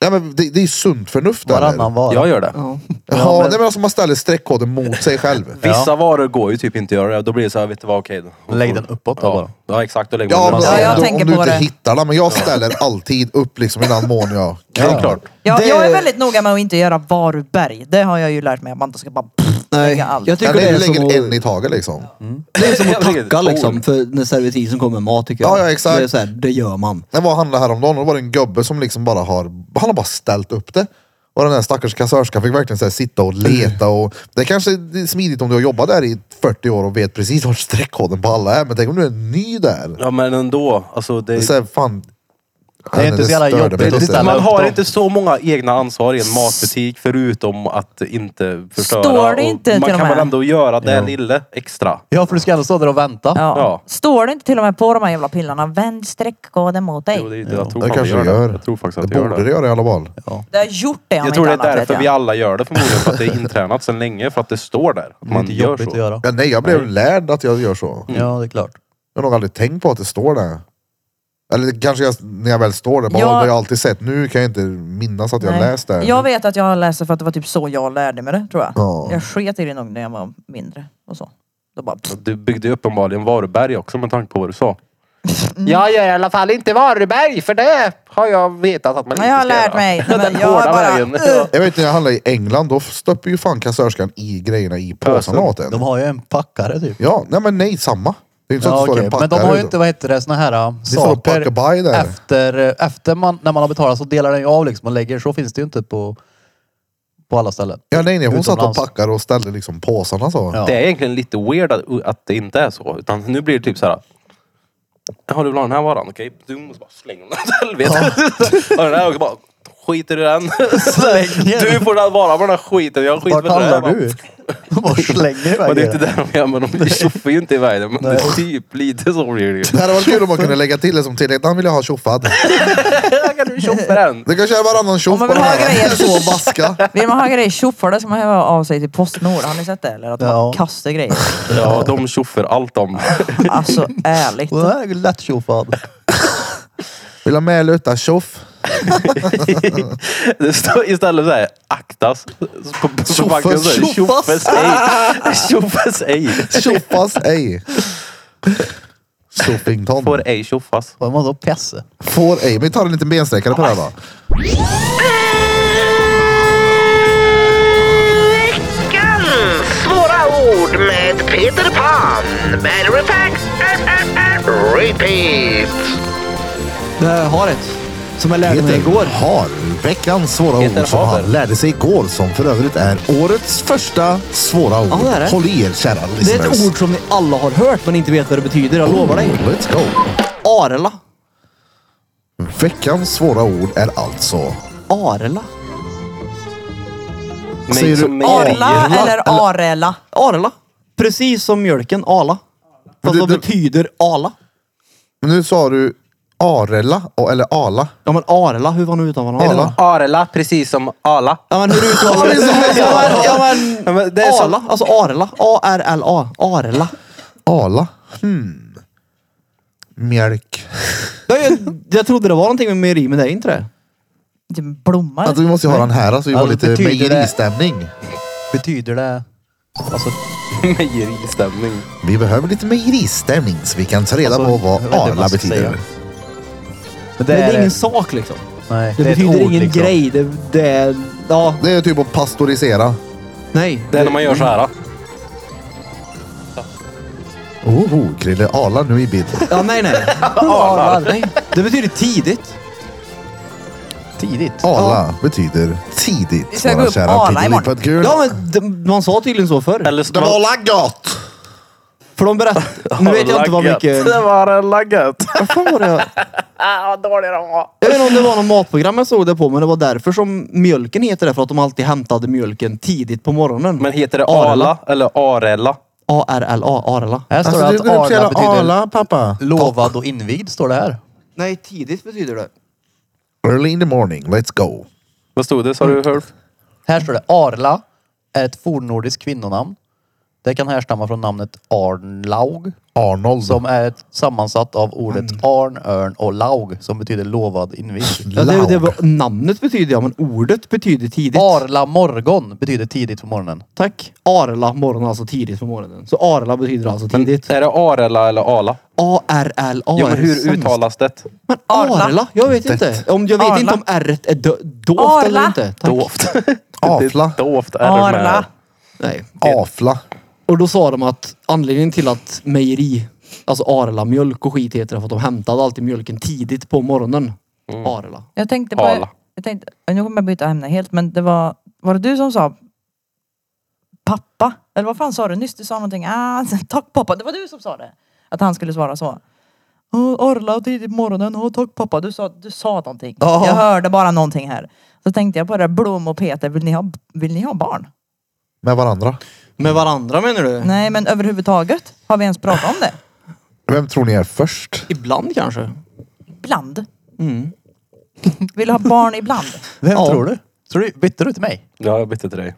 [SPEAKER 1] Ja, men det, det är sunt förnuft. eller?
[SPEAKER 2] Varannan var.
[SPEAKER 3] Jag gör det.
[SPEAKER 1] Ja, men... Nej, men alltså man ställer streckkoden mot sig själv.
[SPEAKER 3] Vissa varor går ju typ inte att göra det. Då blir det så här, vet du vad, okej. då.
[SPEAKER 2] Lägg den uppåt då
[SPEAKER 3] ja.
[SPEAKER 2] bara.
[SPEAKER 3] Ja exakt, då lägger
[SPEAKER 1] Ja,
[SPEAKER 3] man den.
[SPEAKER 1] men,
[SPEAKER 5] Ja, jag
[SPEAKER 1] om,
[SPEAKER 5] tänker
[SPEAKER 1] om du
[SPEAKER 5] på
[SPEAKER 1] inte
[SPEAKER 5] det.
[SPEAKER 1] hittar den. Men jag ställer alltid upp liksom i den mån jag kan.
[SPEAKER 3] Helt klart.
[SPEAKER 5] Jag,
[SPEAKER 4] Det-
[SPEAKER 5] jag är väldigt noga med att inte göra varuberg. Det har jag ju lärt mig att man inte ska bara pff,
[SPEAKER 4] Nej,
[SPEAKER 5] lägga allt.
[SPEAKER 4] jag tycker
[SPEAKER 1] Eller
[SPEAKER 4] det är,
[SPEAKER 1] du lägger en
[SPEAKER 4] som
[SPEAKER 1] i taget liksom.
[SPEAKER 4] att, det är som att
[SPEAKER 3] Jag vet,
[SPEAKER 4] tacka liksom
[SPEAKER 3] ord.
[SPEAKER 4] för när servitrisen kommer med mat tycker
[SPEAKER 1] Ja,
[SPEAKER 4] jag.
[SPEAKER 1] ja, exakt.
[SPEAKER 4] Det, är så här, det gör man.
[SPEAKER 1] När jag var och handlade häromdagen och då var det en gubbe som liksom bara har, han har bara ställt upp det. Och den där stackars kassörskan fick verkligen så här sitta och leta och det kanske är smidigt om du har jobbat där i 40 år och vet precis var streckkoden på alla är. Men tänk om du är ny där.
[SPEAKER 3] Ja men ändå. Alltså,
[SPEAKER 1] Det är
[SPEAKER 3] det,
[SPEAKER 1] så här, fan.
[SPEAKER 2] Det är inte så jävla jobbigt att ställa
[SPEAKER 3] man
[SPEAKER 2] upp
[SPEAKER 3] har
[SPEAKER 2] dem.
[SPEAKER 3] inte så många egna ansvar i en matbutik förutom att inte förstöra.
[SPEAKER 5] Står det
[SPEAKER 3] Och
[SPEAKER 5] inte till
[SPEAKER 3] Man
[SPEAKER 5] och
[SPEAKER 3] kan
[SPEAKER 5] med?
[SPEAKER 3] väl ändå göra det lilla extra.
[SPEAKER 2] Ja, för du ska ändå stå där och vänta.
[SPEAKER 5] Ja.
[SPEAKER 3] Ja.
[SPEAKER 5] Står det inte till och med på de här jävla pillarna, vänd streckkoden mot dig.
[SPEAKER 3] Jo, det, det, jag tror
[SPEAKER 1] Det
[SPEAKER 3] fan
[SPEAKER 1] kanske det gör.
[SPEAKER 3] Jag tror faktiskt att
[SPEAKER 1] det
[SPEAKER 3] det gör
[SPEAKER 1] borde det
[SPEAKER 3] det.
[SPEAKER 1] göra i alla fall.
[SPEAKER 5] Det har gjort det om
[SPEAKER 3] Jag tror det
[SPEAKER 5] inte
[SPEAKER 3] är
[SPEAKER 5] annat, vet
[SPEAKER 3] därför
[SPEAKER 5] jag.
[SPEAKER 3] vi alla gör det förmodligen. För att det är intränat sedan länge. För att det står där. Att
[SPEAKER 2] Det är
[SPEAKER 3] man
[SPEAKER 2] inte
[SPEAKER 3] gör
[SPEAKER 2] Mm, jobbigt att
[SPEAKER 3] så.
[SPEAKER 2] göra.
[SPEAKER 1] Ja, nej, jag blev lärd att jag gör så.
[SPEAKER 2] Ja, det är klart.
[SPEAKER 1] Jag har nog aldrig tänkt på att det står där. Eller det kanske jag, när jag väl står där, bara,
[SPEAKER 5] Ja.
[SPEAKER 1] "Åh, det har jag alltid sett. Nu kan jag inte minnas att jag
[SPEAKER 5] Nej.
[SPEAKER 1] läst det.
[SPEAKER 5] Jag vet att jag har läst det för att det var typ så jag lärde mig det tror jag.
[SPEAKER 1] Ja.
[SPEAKER 5] Jag sket i det nog när jag var mindre och så. Då bara, pff.
[SPEAKER 3] Du byggde ju uppenbarligen Varberg också med tanke på vad du sa.
[SPEAKER 5] Mm.
[SPEAKER 6] Jag gör i alla fall inte Varberg för det har jag vetat att man
[SPEAKER 5] Nej, jag har
[SPEAKER 6] inte
[SPEAKER 5] lärt mig.
[SPEAKER 3] Den
[SPEAKER 5] Men jag har
[SPEAKER 3] hårda
[SPEAKER 5] bara,
[SPEAKER 3] vägen.
[SPEAKER 5] Ugh.
[SPEAKER 1] Jag vet när jag handlade i England, då stöpper ju fan kassörskan i grejerna i påsarna åt en.
[SPEAKER 2] De har ju en packare typ.
[SPEAKER 1] Ja, nej men nej, samma. Det är inte så att det står
[SPEAKER 2] okej.
[SPEAKER 1] en packare.
[SPEAKER 2] Men de har ju
[SPEAKER 1] utan-
[SPEAKER 2] inte, vad heter det, såna här äh,
[SPEAKER 1] står
[SPEAKER 2] saker
[SPEAKER 1] packabaj där.
[SPEAKER 2] efter, efter man, när man har betalat så delar den ju av liksom och lägger. Så finns det ju inte på, på alla ställen.
[SPEAKER 1] Ja, nej, nej, hon satt och
[SPEAKER 2] Utomlands.
[SPEAKER 1] packade och ställde liksom påsarna så.
[SPEAKER 2] Ja.
[SPEAKER 3] Det är egentligen lite weird att, att det inte är så. Utan nu blir det typ så här. Har du vill ha den här varan? Okej, du måste bara slänga den åt helvete. Ja. den här och bara skiter i den. Du får den varan med den här skiten. Jag skiter
[SPEAKER 2] Vart
[SPEAKER 3] med den här.
[SPEAKER 2] handlar du? De bara slänger iväg
[SPEAKER 3] Men det är inte
[SPEAKER 2] grejer.
[SPEAKER 3] det de gör. Men de tjoffar ju inte i världen. Men det är typ lite så blir det ju.
[SPEAKER 1] Det hade varit kul om man kunde lägga till det som tillägg. Den vill jag ha tjoffad.
[SPEAKER 3] Kan du tjoffa den?
[SPEAKER 1] Du kan köra varannan tjoff
[SPEAKER 5] Om man
[SPEAKER 1] på
[SPEAKER 5] vill ha
[SPEAKER 1] den här.
[SPEAKER 5] grejer.
[SPEAKER 1] Så vaska.
[SPEAKER 5] Vill man ha grejer tjoffade ska man höra av sig till Postnord. Har ni sett det? Eller att man
[SPEAKER 2] Ja.
[SPEAKER 5] kastar grejer.
[SPEAKER 3] Ja, de tjoffar allt om.
[SPEAKER 5] Alltså ärligt.
[SPEAKER 2] Den här är lätt tjofad.
[SPEAKER 1] Vill ha med luta tjoff.
[SPEAKER 3] Det står istället så här, aktas. På- På på backen så här,
[SPEAKER 1] Tjoffas.
[SPEAKER 3] tjoffas ej. Tjoffas ej.
[SPEAKER 1] Tjoffas ej. Tjoffington.
[SPEAKER 3] Får ej tjoffas.
[SPEAKER 2] Man måste ha pesse.
[SPEAKER 1] Får ej. Vi tar en liten bensträckare på det här va?
[SPEAKER 7] Veckans svåra ord med Peter Pan. Matter of fact, äh, äh, äh, repeat.
[SPEAKER 4] Det här har ett. Som jag lärde mig
[SPEAKER 1] Peter
[SPEAKER 4] igår.
[SPEAKER 1] har veckans svåra
[SPEAKER 3] Peter
[SPEAKER 1] ord som
[SPEAKER 3] Haber.
[SPEAKER 1] han lärde sig igår som för övrigt är årets första svåra ord.
[SPEAKER 4] Ja, det är det.
[SPEAKER 1] Håll i er kära
[SPEAKER 4] Det är
[SPEAKER 1] listeners.
[SPEAKER 4] ett ord som ni alla har hört men inte vet vad det betyder. Jag lovar dig.
[SPEAKER 1] Let's go.
[SPEAKER 4] Arla.
[SPEAKER 1] Veckans svåra ord är alltså...
[SPEAKER 4] Arla.
[SPEAKER 3] Men
[SPEAKER 1] Säger
[SPEAKER 3] som
[SPEAKER 1] du
[SPEAKER 3] mejerier.
[SPEAKER 5] Arla eller Arela.
[SPEAKER 4] Arla. Precis som mjölken. Arla.
[SPEAKER 1] Men
[SPEAKER 4] Fast
[SPEAKER 1] du-
[SPEAKER 4] vad
[SPEAKER 1] du-
[SPEAKER 4] betyder ala?
[SPEAKER 1] Nu sa du Arela och- eller Ala.
[SPEAKER 4] Ja men Arla, hur var nu uttalar man
[SPEAKER 1] Arla.
[SPEAKER 4] Arla?
[SPEAKER 3] Arla, precis som Ala.
[SPEAKER 4] Ja men hur uttalar man det? Ja, men- ja, men-
[SPEAKER 3] Ja, men det är
[SPEAKER 4] Arla, alltså Arla. A-R-L-A. Arla.
[SPEAKER 1] Ala. Hmm. Mjölk.
[SPEAKER 4] Jag, jag trodde det var någonting med mejeri men det är inte det.
[SPEAKER 5] Typ en blomma.
[SPEAKER 1] Alltså, vi måste ju ha den här så vi får
[SPEAKER 2] Alltså,
[SPEAKER 1] lite
[SPEAKER 2] betyder det-
[SPEAKER 1] mejeristämning.
[SPEAKER 2] Betyder det... Alltså,
[SPEAKER 3] Mejeristämning.
[SPEAKER 1] Vi behöver lite mejeristämning så vi kan ta reda
[SPEAKER 2] Alltså,
[SPEAKER 1] på vad
[SPEAKER 2] jag vet inte vad
[SPEAKER 1] Arla
[SPEAKER 2] jag ska säga.
[SPEAKER 1] betyder.
[SPEAKER 2] men
[SPEAKER 4] Men det är ingen
[SPEAKER 2] det,
[SPEAKER 4] sak liksom.
[SPEAKER 2] nej,
[SPEAKER 4] Det,
[SPEAKER 2] det är ett
[SPEAKER 4] betyder
[SPEAKER 2] ord,
[SPEAKER 4] ingen
[SPEAKER 2] liksom.
[SPEAKER 4] grej. Det, det är... Ja,
[SPEAKER 1] Det är typ att pastorisera.
[SPEAKER 4] nej.
[SPEAKER 3] Det är när man gör så här.
[SPEAKER 1] Oho, Oh, Krille Arla nu i bild.
[SPEAKER 4] Ja, nej, nej. Arla. Nej. Det betyder tidigt.
[SPEAKER 2] Tidigt.
[SPEAKER 1] Arla betyder tidigt.
[SPEAKER 5] Vi ska gå upp Arla imorgon.
[SPEAKER 4] Ja, men det, man sa tydligen så förr.
[SPEAKER 3] Eller
[SPEAKER 1] Det var la gott!
[SPEAKER 4] För de berättade... Nu vet jag inte vad mycket...
[SPEAKER 3] Det var laggat.
[SPEAKER 4] Vad fan var det jag...
[SPEAKER 3] Ah,
[SPEAKER 4] Jag vet inte om det var något matprogram jag såg det på, men det var därför som mjölken heter det. För att de alltid hämtade mjölken tidigt på morgonen.
[SPEAKER 3] Men heter det Arla eller Arella?
[SPEAKER 4] A-R-L-A, Arla.
[SPEAKER 2] Här står
[SPEAKER 1] Alltså, det,
[SPEAKER 2] det att
[SPEAKER 1] det,
[SPEAKER 2] Arla
[SPEAKER 1] det
[SPEAKER 2] betyder
[SPEAKER 1] Arla pappa.
[SPEAKER 2] lovad och invigd, står det här.
[SPEAKER 4] Nej, tidigt betyder det.
[SPEAKER 1] Early in the morning, let's go.
[SPEAKER 3] Vad stod det? Sa du Hurf?
[SPEAKER 2] Här står det Arla är ett fornordiskt kvinnonamn Det kan härstamma från namnet Arnlaug
[SPEAKER 1] Arnold.
[SPEAKER 2] som är ett sammansatt av ordet arn, örn och laug som betyder lovad invigd.
[SPEAKER 4] Ja, det är ju det
[SPEAKER 1] Laug.
[SPEAKER 4] vad namnet betyder ja, men ordet betyder tidigt.
[SPEAKER 2] Arla morgon betyder tidigt på morgonen.
[SPEAKER 4] Tack. Arla morgon, alltså tidigt på morgonen. Så Arla betyder alltså
[SPEAKER 3] Men
[SPEAKER 4] tidigt.
[SPEAKER 3] är det Arela eller Ala?
[SPEAKER 4] A-R-L-A.
[SPEAKER 3] Ja,
[SPEAKER 4] är
[SPEAKER 3] men
[SPEAKER 4] det
[SPEAKER 3] hur
[SPEAKER 4] sämst.
[SPEAKER 3] uttalas det?
[SPEAKER 4] Men
[SPEAKER 5] Arla?
[SPEAKER 4] Arla? Jag vet inte. Om, jag vet
[SPEAKER 5] Arla.
[SPEAKER 4] inte om R är dö- dovt
[SPEAKER 5] Arla.
[SPEAKER 4] eller inte. Tack.
[SPEAKER 3] Dovt.
[SPEAKER 1] Afla.
[SPEAKER 3] Dovt är det med.
[SPEAKER 5] Arla.
[SPEAKER 4] Nej.
[SPEAKER 1] Afla.
[SPEAKER 4] Och då sa de att anledningen till att mejeri, alltså Arla mjölk och skit heter det för att de hämtade alltid mjölken tidigt på morgonen.
[SPEAKER 3] Mm.
[SPEAKER 4] Arla.
[SPEAKER 5] Jag tänkte på...
[SPEAKER 3] Arla.
[SPEAKER 5] Jag tänkte, nu kommer jag byta ämne helt men det var... Var det du som sa pappa? Eller vad fan sa du nyss? Du sa någonting. Ah, tack pappa. Det var du som sa det. Att han skulle svara så. Oh, Arla och tidigt på morgonen. Oh, tack pappa. Du sa, du sa någonting.
[SPEAKER 2] Ja.
[SPEAKER 5] Jag hörde bara någonting här. Så tänkte jag på det där Blom och Peter. Vill ni ha, vill ni ha barn?
[SPEAKER 1] Med varandra.
[SPEAKER 4] Med varandra menar du?
[SPEAKER 5] Nej men överhuvudtaget. Har vi ens pratat om det?
[SPEAKER 1] Vem tror ni är först?
[SPEAKER 4] Ibland kanske.
[SPEAKER 5] Ibland. Vill ha barn ibland.
[SPEAKER 2] Vem
[SPEAKER 4] Ja.
[SPEAKER 2] tror du? Tror du? Bytte du till mig?
[SPEAKER 3] Ja, jag bytte till dig.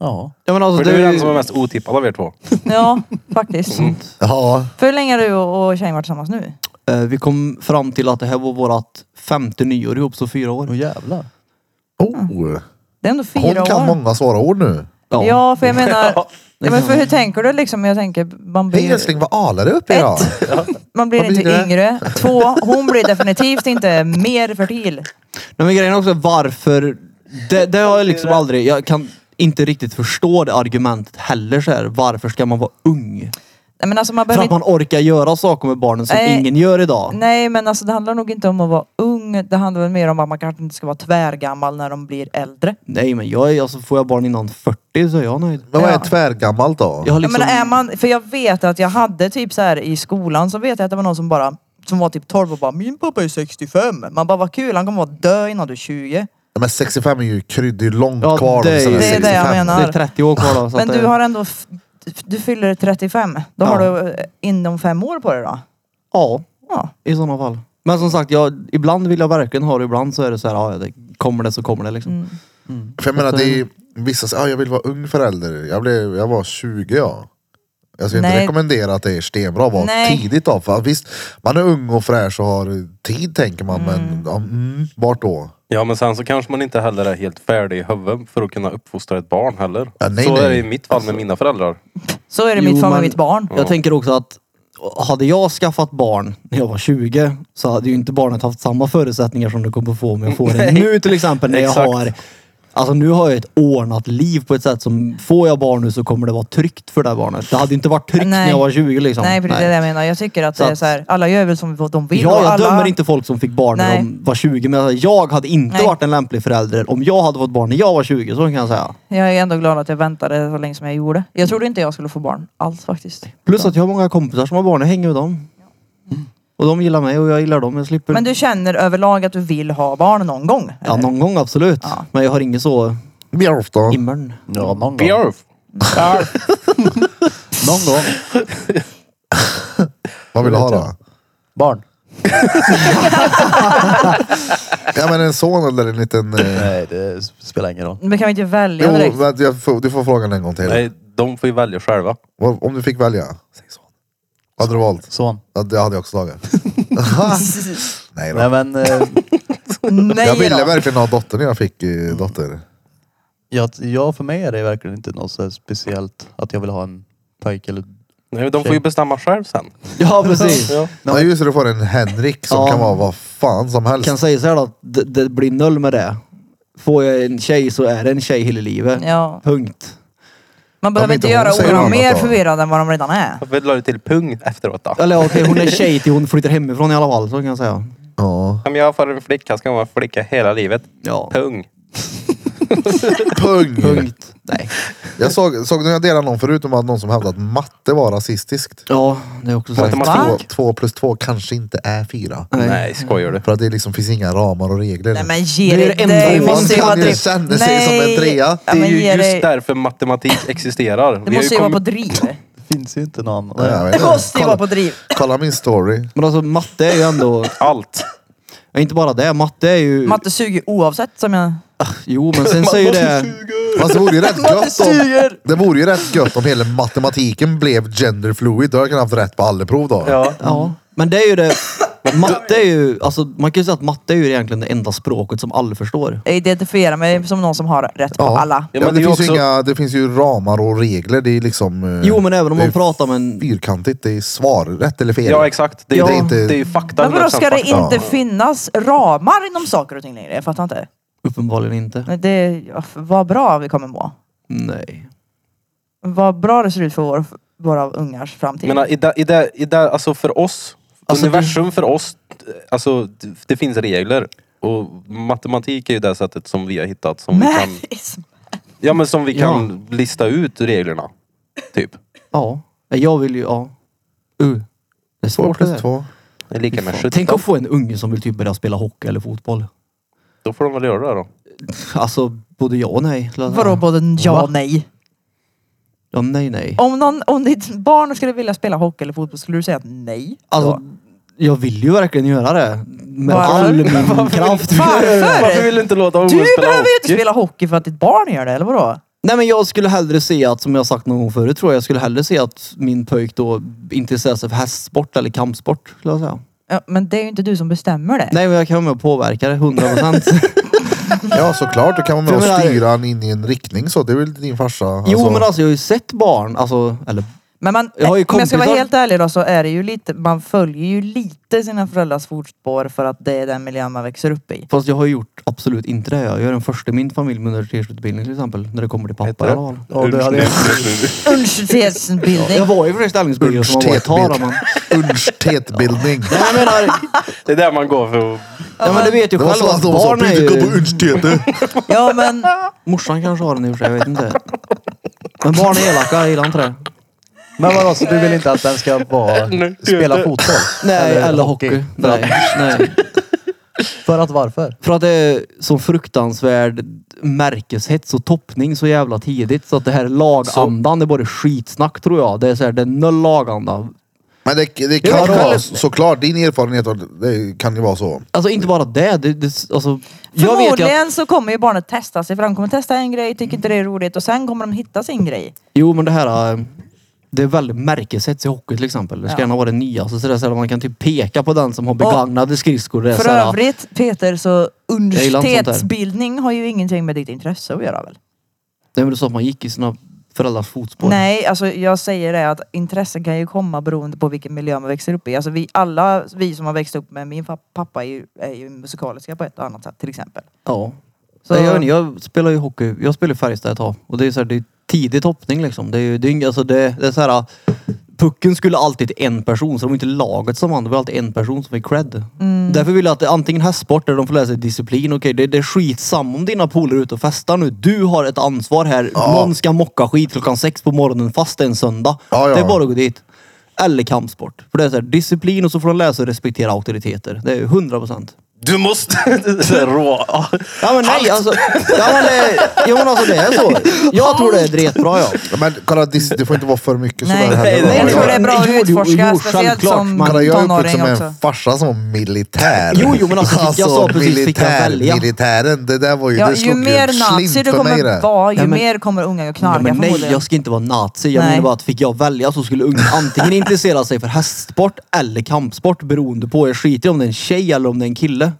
[SPEAKER 2] Ja.
[SPEAKER 4] Ja, men
[SPEAKER 3] För
[SPEAKER 4] alltså,
[SPEAKER 3] du
[SPEAKER 4] det,
[SPEAKER 3] är den som är mest otippad av er två.
[SPEAKER 5] Ja, faktiskt.
[SPEAKER 1] Ja,
[SPEAKER 5] För hur länge har du och, och tjejen varit tillsammans nu?
[SPEAKER 4] eh, vi kom fram till att det här var vårt femte nyår ihop, så fyra år.
[SPEAKER 2] Åh jävlar.
[SPEAKER 1] oh.
[SPEAKER 5] Det är ändå
[SPEAKER 1] Hon
[SPEAKER 5] fyra
[SPEAKER 1] kan
[SPEAKER 5] år.
[SPEAKER 1] många svåra ord nu.
[SPEAKER 5] Ja. för jag menar, ja. men för hur tänker du liksom? Jag tänker, man
[SPEAKER 1] Hej
[SPEAKER 5] blir,
[SPEAKER 1] älskling, vad alar du uppe idag?
[SPEAKER 5] man blir
[SPEAKER 1] vad blir
[SPEAKER 5] inte
[SPEAKER 1] det?
[SPEAKER 5] yngre. Två, hon blir definitivt inte mer fertil.
[SPEAKER 4] Nej, men grejen är också varför... Det, det har jag liksom aldrig... Jag kan inte riktigt förstå det argumentet heller. Så här. Varför ska man vara ung?
[SPEAKER 5] Nej men alltså man
[SPEAKER 4] För
[SPEAKER 5] behöver
[SPEAKER 4] att man orkar göra saker med barnen som
[SPEAKER 5] Nej.
[SPEAKER 4] ingen gör idag.
[SPEAKER 5] inte, Nej men alltså det handlar nog inte om att vara ung. Det handlar väl mer om att man kanske inte ska vara tvärgammal när de blir äldre.
[SPEAKER 4] Nej men jag är, alltså, får jag barn innan 40 så är jag nöjd.
[SPEAKER 1] Men vad är
[SPEAKER 5] Ja.
[SPEAKER 1] tvärgammalt då?
[SPEAKER 4] Jag har
[SPEAKER 5] Ja,
[SPEAKER 4] liksom,
[SPEAKER 5] men är man, för jag vet att jag hade typ så här i skolan så vet jag att det var någon som bara som var typ 12 och bara min pappa är 65. Man bara vad kul han kommer vara dö innan du är 20.
[SPEAKER 1] Men 65 är ju krydd, det är ju långt
[SPEAKER 4] Ja,
[SPEAKER 1] kvar.
[SPEAKER 4] det är
[SPEAKER 1] om sen
[SPEAKER 4] ju-
[SPEAKER 5] Det är det jag menar.
[SPEAKER 4] det är 30 år kvar då. Så
[SPEAKER 5] Men
[SPEAKER 4] att,
[SPEAKER 5] du
[SPEAKER 4] det-
[SPEAKER 5] har ändå, f- du fyller 35. Då
[SPEAKER 4] Ja.
[SPEAKER 5] har du eh, inom fem år på dig då.
[SPEAKER 4] Ja,
[SPEAKER 5] Ja.
[SPEAKER 4] i sådana fall. Men som sagt, jag, ibland vill jag verkligen ha det. Ibland så är det så här, ja, det, kommer det så kommer det liksom.
[SPEAKER 5] Mm.
[SPEAKER 1] För jag menar, det är ju vissa säger ah, jag vill vara ung förälder. Jag, blev, jag var 20 ja. Alltså, Jag ska inte
[SPEAKER 5] Nej.
[SPEAKER 1] rekommendera att det är stenbra att vara
[SPEAKER 5] Nej.
[SPEAKER 1] tidigt då. För att visst, man är ung och fräsch och har tid tänker man, men ja, mm, vart då?
[SPEAKER 3] Ja, men sen så kanske man inte heller är helt färdig i huvudet för att kunna uppfostra ett barn heller.
[SPEAKER 1] Ja, nej,
[SPEAKER 3] så
[SPEAKER 1] nej.
[SPEAKER 3] är det i mitt
[SPEAKER 5] Alltså,
[SPEAKER 3] fall med mina föräldrar.
[SPEAKER 5] Så är det i
[SPEAKER 4] Jo,
[SPEAKER 5] mitt fall med
[SPEAKER 4] men-
[SPEAKER 5] mitt barn.
[SPEAKER 4] Jag tänker också att hade jag skaffat barn när jag var 20 så hade ju inte barnet haft samma förutsättningar som det kommer få om jag får det nu till exempel. När jag
[SPEAKER 3] Exakt.
[SPEAKER 4] har, alltså nu har jag ett ordnat liv på ett sätt som, får jag barn nu så kommer det vara tryggt för det här barnet. Det hade inte varit tryggt
[SPEAKER 5] Nej.
[SPEAKER 4] när jag var 20 liksom.
[SPEAKER 5] Nej för det är det jag menar. Jag tycker att
[SPEAKER 4] Så
[SPEAKER 5] det är
[SPEAKER 4] att-
[SPEAKER 5] så här, alla gör väl som de vill.
[SPEAKER 4] Ja,
[SPEAKER 5] och
[SPEAKER 4] jag
[SPEAKER 5] alla...
[SPEAKER 4] dömer inte folk som fick barn när
[SPEAKER 5] Nej.
[SPEAKER 4] de var 20 men jag hade inte
[SPEAKER 5] Nej.
[SPEAKER 4] varit en lämplig förälder om jag hade fått barn när jag var 20. Så kan jag säga.
[SPEAKER 5] Jag är ändå glad att jag väntade så länge som jag gjorde. Jag trodde inte jag skulle få barn alls faktiskt.
[SPEAKER 4] Plus att jag har många kompisar som har barn. Jag hänger med dem. Och de gillar mig och jag gillar dem. Jag slipper
[SPEAKER 5] Men du känner överlag att du vill ha barn någon gång?
[SPEAKER 4] Ja,
[SPEAKER 5] eller?
[SPEAKER 4] någon gång absolut.
[SPEAKER 5] Ja.
[SPEAKER 4] Men jag har inget så
[SPEAKER 1] Björf då?
[SPEAKER 4] immern.
[SPEAKER 2] Ja, någon gång.
[SPEAKER 3] Björf!
[SPEAKER 2] Någon gång.
[SPEAKER 1] Vad vill du ha då?
[SPEAKER 2] Barn.
[SPEAKER 1] Ja men en son eller en liten... Eh...
[SPEAKER 2] Nej, det spelar ingen roll.
[SPEAKER 5] Men kan vi inte välja
[SPEAKER 1] Jo,
[SPEAKER 5] direkt?
[SPEAKER 1] men jag får, du får frågan en gång till.
[SPEAKER 3] Nej, de får ju välja själva.
[SPEAKER 1] Vad- Om du fick välja? Säg son. Hade du valt?
[SPEAKER 2] Son.
[SPEAKER 1] Ja, det hade jag också tagit. Nej då.
[SPEAKER 2] Nej men, eh,
[SPEAKER 5] Nej
[SPEAKER 1] jag ville
[SPEAKER 5] då.
[SPEAKER 1] verkligen ha dotter när jag fick eh, dotter.
[SPEAKER 2] jag, jag för mig är det verkligen inte något så här speciellt att jag vill ha en pojke eller...
[SPEAKER 3] Nej, de får ju bestämma själv sen.
[SPEAKER 4] Ja, precis.
[SPEAKER 3] Ja.
[SPEAKER 1] Ja, just det, du får en Henrik som
[SPEAKER 4] Ja.
[SPEAKER 1] kan vara vad fan som helst.
[SPEAKER 4] kan säga så här då, att det, det blir noll med det. Får jag en tjej så är det en tjej hela livet.
[SPEAKER 5] Ja.
[SPEAKER 4] Punkt.
[SPEAKER 5] Man behöver
[SPEAKER 1] men
[SPEAKER 5] inte
[SPEAKER 1] inte hon
[SPEAKER 5] göra
[SPEAKER 1] säger
[SPEAKER 5] orden
[SPEAKER 1] något
[SPEAKER 5] mer
[SPEAKER 1] då.
[SPEAKER 5] förvirrade än vad de redan är.
[SPEAKER 3] Vi la ju till pung efteråt då.
[SPEAKER 4] Eller okej, hon är tjej till hon flyttar hemifrån i alla fall. Så kan jag säga.
[SPEAKER 1] Ja.
[SPEAKER 3] Om jag får en flicka ska hon vara flicka hela livet.
[SPEAKER 4] Ja,
[SPEAKER 3] Pung.
[SPEAKER 1] Pung!
[SPEAKER 4] punkt. Nej.
[SPEAKER 1] Jag såg, såg när jag delade någon förut om att någon som hävdade att matte var rasistiskt.
[SPEAKER 4] Ja, det är också
[SPEAKER 1] För att
[SPEAKER 4] sant.
[SPEAKER 1] två,
[SPEAKER 5] Va?
[SPEAKER 1] två plus två kanske inte är fyra.
[SPEAKER 4] Nej.
[SPEAKER 3] Nej, skojar du?
[SPEAKER 1] För att det liksom finns inga ramar och regler.
[SPEAKER 5] Nej men ge
[SPEAKER 4] Det är
[SPEAKER 5] dig.
[SPEAKER 4] det enda
[SPEAKER 5] dig,
[SPEAKER 4] hon
[SPEAKER 5] måste ju
[SPEAKER 1] kan
[SPEAKER 5] vara
[SPEAKER 1] ju
[SPEAKER 5] driv.
[SPEAKER 1] känna sig som en
[SPEAKER 5] Nej.
[SPEAKER 1] trea.
[SPEAKER 5] Ja,
[SPEAKER 3] Det
[SPEAKER 5] men
[SPEAKER 3] är ju
[SPEAKER 5] ge
[SPEAKER 3] just
[SPEAKER 5] dig-
[SPEAKER 3] därför matematik existerar.
[SPEAKER 5] Det
[SPEAKER 3] Vi har
[SPEAKER 5] måste
[SPEAKER 3] ju
[SPEAKER 5] ju vara på
[SPEAKER 3] kommit-
[SPEAKER 5] driv.
[SPEAKER 2] Det finns ju inte någon.
[SPEAKER 1] Nej, jag vet
[SPEAKER 5] Det
[SPEAKER 1] inte.
[SPEAKER 5] måste ju vara på
[SPEAKER 1] kolla,
[SPEAKER 5] driv.
[SPEAKER 1] kolla min story.
[SPEAKER 4] Men alltså matte är ju ändå,
[SPEAKER 3] Allt.
[SPEAKER 4] ja, inte bara det, matte är ju...
[SPEAKER 5] Matte suger oavsett som jag...
[SPEAKER 4] Jo, men sen säger det...
[SPEAKER 1] Fast det vore ju rätt gött om,
[SPEAKER 4] suger.
[SPEAKER 1] det vore ju rätt gött om hela matematiken blev genderfluid. Då hade jag kunnat haft rätt på alla prov då.
[SPEAKER 3] Ja.
[SPEAKER 4] Ja, men det är ju det. Matte är ju, alltså man kan ju säga att matte är ju egentligen det enda språket som alla förstår.
[SPEAKER 1] Mm.
[SPEAKER 5] Jag identifierar mig som någon som har rätt på
[SPEAKER 1] Ja.
[SPEAKER 5] alla.
[SPEAKER 1] Ja,
[SPEAKER 3] Ja,
[SPEAKER 1] men
[SPEAKER 3] men
[SPEAKER 1] det,
[SPEAKER 3] det är
[SPEAKER 1] finns ju
[SPEAKER 3] också-
[SPEAKER 1] inga, det finns ju ramar och regler. Det är liksom... eh,
[SPEAKER 4] Jo, men även om
[SPEAKER 1] det är
[SPEAKER 4] man pratar med en...
[SPEAKER 1] Fyrkantigt, det är svar. Rätt eller fel.
[SPEAKER 3] Ja exakt. Det är,
[SPEAKER 1] Ja.
[SPEAKER 3] det är, inte, det är ju fakta.
[SPEAKER 5] Men vadå, ska det
[SPEAKER 3] 100% fakta.
[SPEAKER 5] inte finnas ramar inom saker och ting längre? Jag fattar inte.
[SPEAKER 4] Uppenbarligen inte.
[SPEAKER 5] Men Det, ja, vad bra vi kommer må.
[SPEAKER 4] Nej.
[SPEAKER 5] Vad bra det ser ut för vår, våra ungars framtid.
[SPEAKER 3] Men äh, i det, i det, i det, alltså för oss,
[SPEAKER 4] Alltså,
[SPEAKER 3] universum för oss, alltså det, det finns regler. Och matematik är ju det sättet som vi har hittat som vi kan,
[SPEAKER 5] Math is-
[SPEAKER 3] ja, men som vi kan lista ut reglerna. Typ.
[SPEAKER 4] Ja. Jag vill ju, ja. Uh. Det är
[SPEAKER 1] Två
[SPEAKER 4] svårt det
[SPEAKER 1] plus
[SPEAKER 4] där.
[SPEAKER 1] två.
[SPEAKER 3] Det är lika med skjut.
[SPEAKER 4] Tänk att få en unge som vill typ börja spela hockey eller fotboll.
[SPEAKER 3] Då får de väl göra det då.
[SPEAKER 4] Alltså, både ja och nej.
[SPEAKER 5] Vadå både ja
[SPEAKER 4] Va?
[SPEAKER 5] och nej?
[SPEAKER 4] Ja, nej, nej.
[SPEAKER 5] Om, någon, om ditt barn skulle vilja spela hockey eller fotboll, skulle du säga att nej?
[SPEAKER 4] Alltså, jag vill ju verkligen göra det. Med
[SPEAKER 5] Varför?
[SPEAKER 4] all min kraft.
[SPEAKER 3] Varför
[SPEAKER 5] Varför?
[SPEAKER 3] vill du inte låta
[SPEAKER 5] Du
[SPEAKER 3] Owe spela
[SPEAKER 5] behöver ju inte
[SPEAKER 3] hockey?
[SPEAKER 5] spela hockey för att ditt barn gör det, eller vadå?
[SPEAKER 4] Nej men jag skulle hellre se att, som jag sagt någon gång förut tror jag, jag skulle hellre se att min pojk då intresserar sig för hästsport eller kampsport. Skulle jag säga.
[SPEAKER 5] Ja, men det är ju inte du som bestämmer det.
[SPEAKER 4] Nej men jag kan vara med och påverka det, 100 procent.
[SPEAKER 1] Ja såklart, då kan man
[SPEAKER 4] För
[SPEAKER 1] väl
[SPEAKER 4] jag menar-
[SPEAKER 1] styra han in i en riktning så. Det är väl din farsa?
[SPEAKER 4] Jo men alltså jag har ju sett barn, alltså, eller
[SPEAKER 5] Men man,
[SPEAKER 4] Jag har ju
[SPEAKER 5] om jag ska vara
[SPEAKER 4] kompisar-
[SPEAKER 5] helt ärlig då så är det ju lite, man följer ju lite sina föräldrars fotspår för att det är den miljön man växer upp i.
[SPEAKER 4] fast jag har ju gjort absolut inte det. Jag är den första i min familj med universitetsutbildning till exempel, när det kommer till pappa
[SPEAKER 3] Heter
[SPEAKER 4] i
[SPEAKER 3] det?
[SPEAKER 4] alla fall.
[SPEAKER 2] Ja, det hade jag.
[SPEAKER 5] Universitetsutbildning.
[SPEAKER 4] Jag var ju för sig ställningsbyggare som man var ett tag då, men...
[SPEAKER 1] Universitetbildning.
[SPEAKER 4] Nej jag menar,
[SPEAKER 3] Det är där man går för att...
[SPEAKER 4] ja, men du vet ju
[SPEAKER 1] Det var
[SPEAKER 4] själv
[SPEAKER 1] så att
[SPEAKER 4] att
[SPEAKER 1] de sa,
[SPEAKER 4] barn är
[SPEAKER 1] du gå på
[SPEAKER 4] ju...
[SPEAKER 1] universitetet.
[SPEAKER 5] Ja men
[SPEAKER 4] Morsan kanske har den i och för sig, jag vet inte. Men barn är elaka, jag gillar inte det.
[SPEAKER 2] Men vadå, så du vill inte att den ska vara, spela fotboll?
[SPEAKER 4] Nej, eller, hockey. Nej, nej.
[SPEAKER 2] För att varför?
[SPEAKER 4] För att det är så fruktansvärd märkeshets och toppning så jävla tidigt. Så att det här lagandan, det är bara skitsnack tror jag. Det är så här, det är noll laganda.
[SPEAKER 1] Men det, det
[SPEAKER 4] Jag
[SPEAKER 1] kan
[SPEAKER 4] vet
[SPEAKER 1] vara
[SPEAKER 4] själv.
[SPEAKER 1] såklart, din erfarenhet av det kan ju vara så.
[SPEAKER 4] Alltså inte bara det. det, det alltså, jag vet ju att,
[SPEAKER 5] förmodligen så kommer ju barnet testa sig för de kommer testa en grej, tycker inte det är roligt och sen kommer de hitta sin grej.
[SPEAKER 4] Jo men det här, eh, det är väldigt märkeshets i hockey till exempel. Det ska
[SPEAKER 5] Ja.
[SPEAKER 4] gärna vara det nyaste. Så det är så här, man kan typ peka på den som har begagnade skridskor. Det är
[SPEAKER 5] För
[SPEAKER 4] så här,
[SPEAKER 5] övrigt Peter så
[SPEAKER 4] gillar inte sånt där.
[SPEAKER 5] universitetsbildning har ju ingenting med ditt intresse att göra väl?
[SPEAKER 4] nej, men du sa att man gick i sina föräldrars fotspår.
[SPEAKER 5] Nej, alltså jag säger det att intressen kan ju komma beroende på vilken miljö man växer upp i. Alltså vi alla, vi som har växt upp med min fa- pappa är ju, är ju musikaliska på ett och annat sätt till exempel.
[SPEAKER 4] Ja.
[SPEAKER 5] Så-
[SPEAKER 4] Nej, Jag, vet inte, jag spelar ju hockey. Jag spelar i Färjestad ett tag. Och det är så här, det är tidig toppning liksom. Det är, ju- det är, inga- alltså det, det är så här, pucken skulle alltid till en person. Så det var inte laget som vann. Det var alltid en person som fick cred.
[SPEAKER 1] Mm.
[SPEAKER 4] Därför vill jag att det, antingen hästsport där de får lära sig disciplin. Okej, det, det är skitsamma om dina polare är ute och festar nu. Du har ett ansvar här. Någon ska mocka skit klockan sex på morgonen fast det är en söndag.
[SPEAKER 1] Ja, ja.
[SPEAKER 4] Det är bara att gå dit. Eller kampsport. För det är så här, disciplin och så får de lära sig respektera auktoriteter. Det är 100 procent.
[SPEAKER 3] Du måste... Det är rå.
[SPEAKER 4] Ja men nej alltså. Ja, men, det, jo men alltså det är så. Jag tror det är dretbra ja.
[SPEAKER 1] Men kolla, dis- det får inte vara för mycket
[SPEAKER 5] Nej,
[SPEAKER 1] sådär
[SPEAKER 5] nej,
[SPEAKER 1] heller.
[SPEAKER 5] nej, jag
[SPEAKER 1] va?
[SPEAKER 5] tror det är bra att
[SPEAKER 4] Jo, jo, jo,
[SPEAKER 5] utforska,
[SPEAKER 4] jo,
[SPEAKER 5] speciellt
[SPEAKER 4] självklart.
[SPEAKER 5] som
[SPEAKER 4] Man-
[SPEAKER 1] Kolla, jag är
[SPEAKER 5] tonåring
[SPEAKER 1] uppvuxen med
[SPEAKER 5] också.
[SPEAKER 1] en farsa som var militär.
[SPEAKER 4] Jo, jo, men alltså, fick- jag sa precis, fick jag välja?
[SPEAKER 1] militären, det där var ju,
[SPEAKER 5] Ja,
[SPEAKER 1] det
[SPEAKER 5] ju
[SPEAKER 1] slog
[SPEAKER 5] mer
[SPEAKER 1] ju en
[SPEAKER 5] nazi
[SPEAKER 1] slint
[SPEAKER 5] du
[SPEAKER 1] för mig det.
[SPEAKER 5] kommer vara, ju
[SPEAKER 4] Nej, men-
[SPEAKER 5] mer kommer unga att knarka
[SPEAKER 4] Nej, men nej,
[SPEAKER 5] förmodligen.
[SPEAKER 4] jag ska inte vara nazi. Jag
[SPEAKER 5] Nej.
[SPEAKER 4] menar bara att fick jag välja så skulle unga antingen intressera sig för hästsport eller kampsport beroende på. Jag skiter i om det är en tjej eller om det är en kille.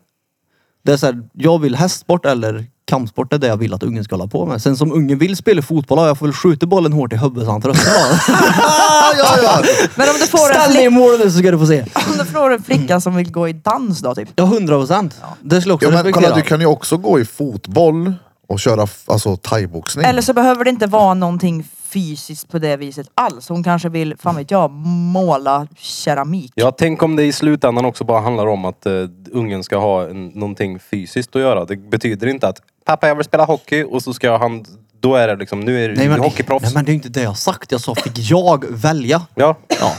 [SPEAKER 4] Det är så här, jag vill hästsport eller kampsport. Det är det jag vill att ungen ska hålla på med. Sen som ungen vill spela fotboll, ja, jag får väl skjuta bollen hårt i huvudet så han tröttnar.
[SPEAKER 1] Ja, Ah, ja, ja.
[SPEAKER 5] Men om du, får en
[SPEAKER 4] Ställ dig i
[SPEAKER 5] flick,
[SPEAKER 4] mål nu så ska du få se.
[SPEAKER 5] om du får en flicka som vill gå i dans då typ.
[SPEAKER 4] Ja, hundra procent. Det skulle jag också
[SPEAKER 1] Jo, men kolla,
[SPEAKER 4] respektera.
[SPEAKER 1] du kan ju också gå i fotboll och köra f- alltså, thaiboxning.
[SPEAKER 5] Eller så behöver det inte vara någonting fysiskt på det viset alls. Hon kanske vill, fan vet jag, måla keramik.
[SPEAKER 3] Ja, tänk om det i slutändan också bara handlar om att eh, ungen ska ha en, någonting fysiskt att göra. Det betyder inte att pappa jag vill spela hockey och så ska han... Då är det liksom, nu är du
[SPEAKER 4] Nej men,
[SPEAKER 3] hockeyproffs.
[SPEAKER 4] nej men det är ju inte det jag har sagt. Jag sa, fick jag välja?
[SPEAKER 3] Ja.
[SPEAKER 4] Ja.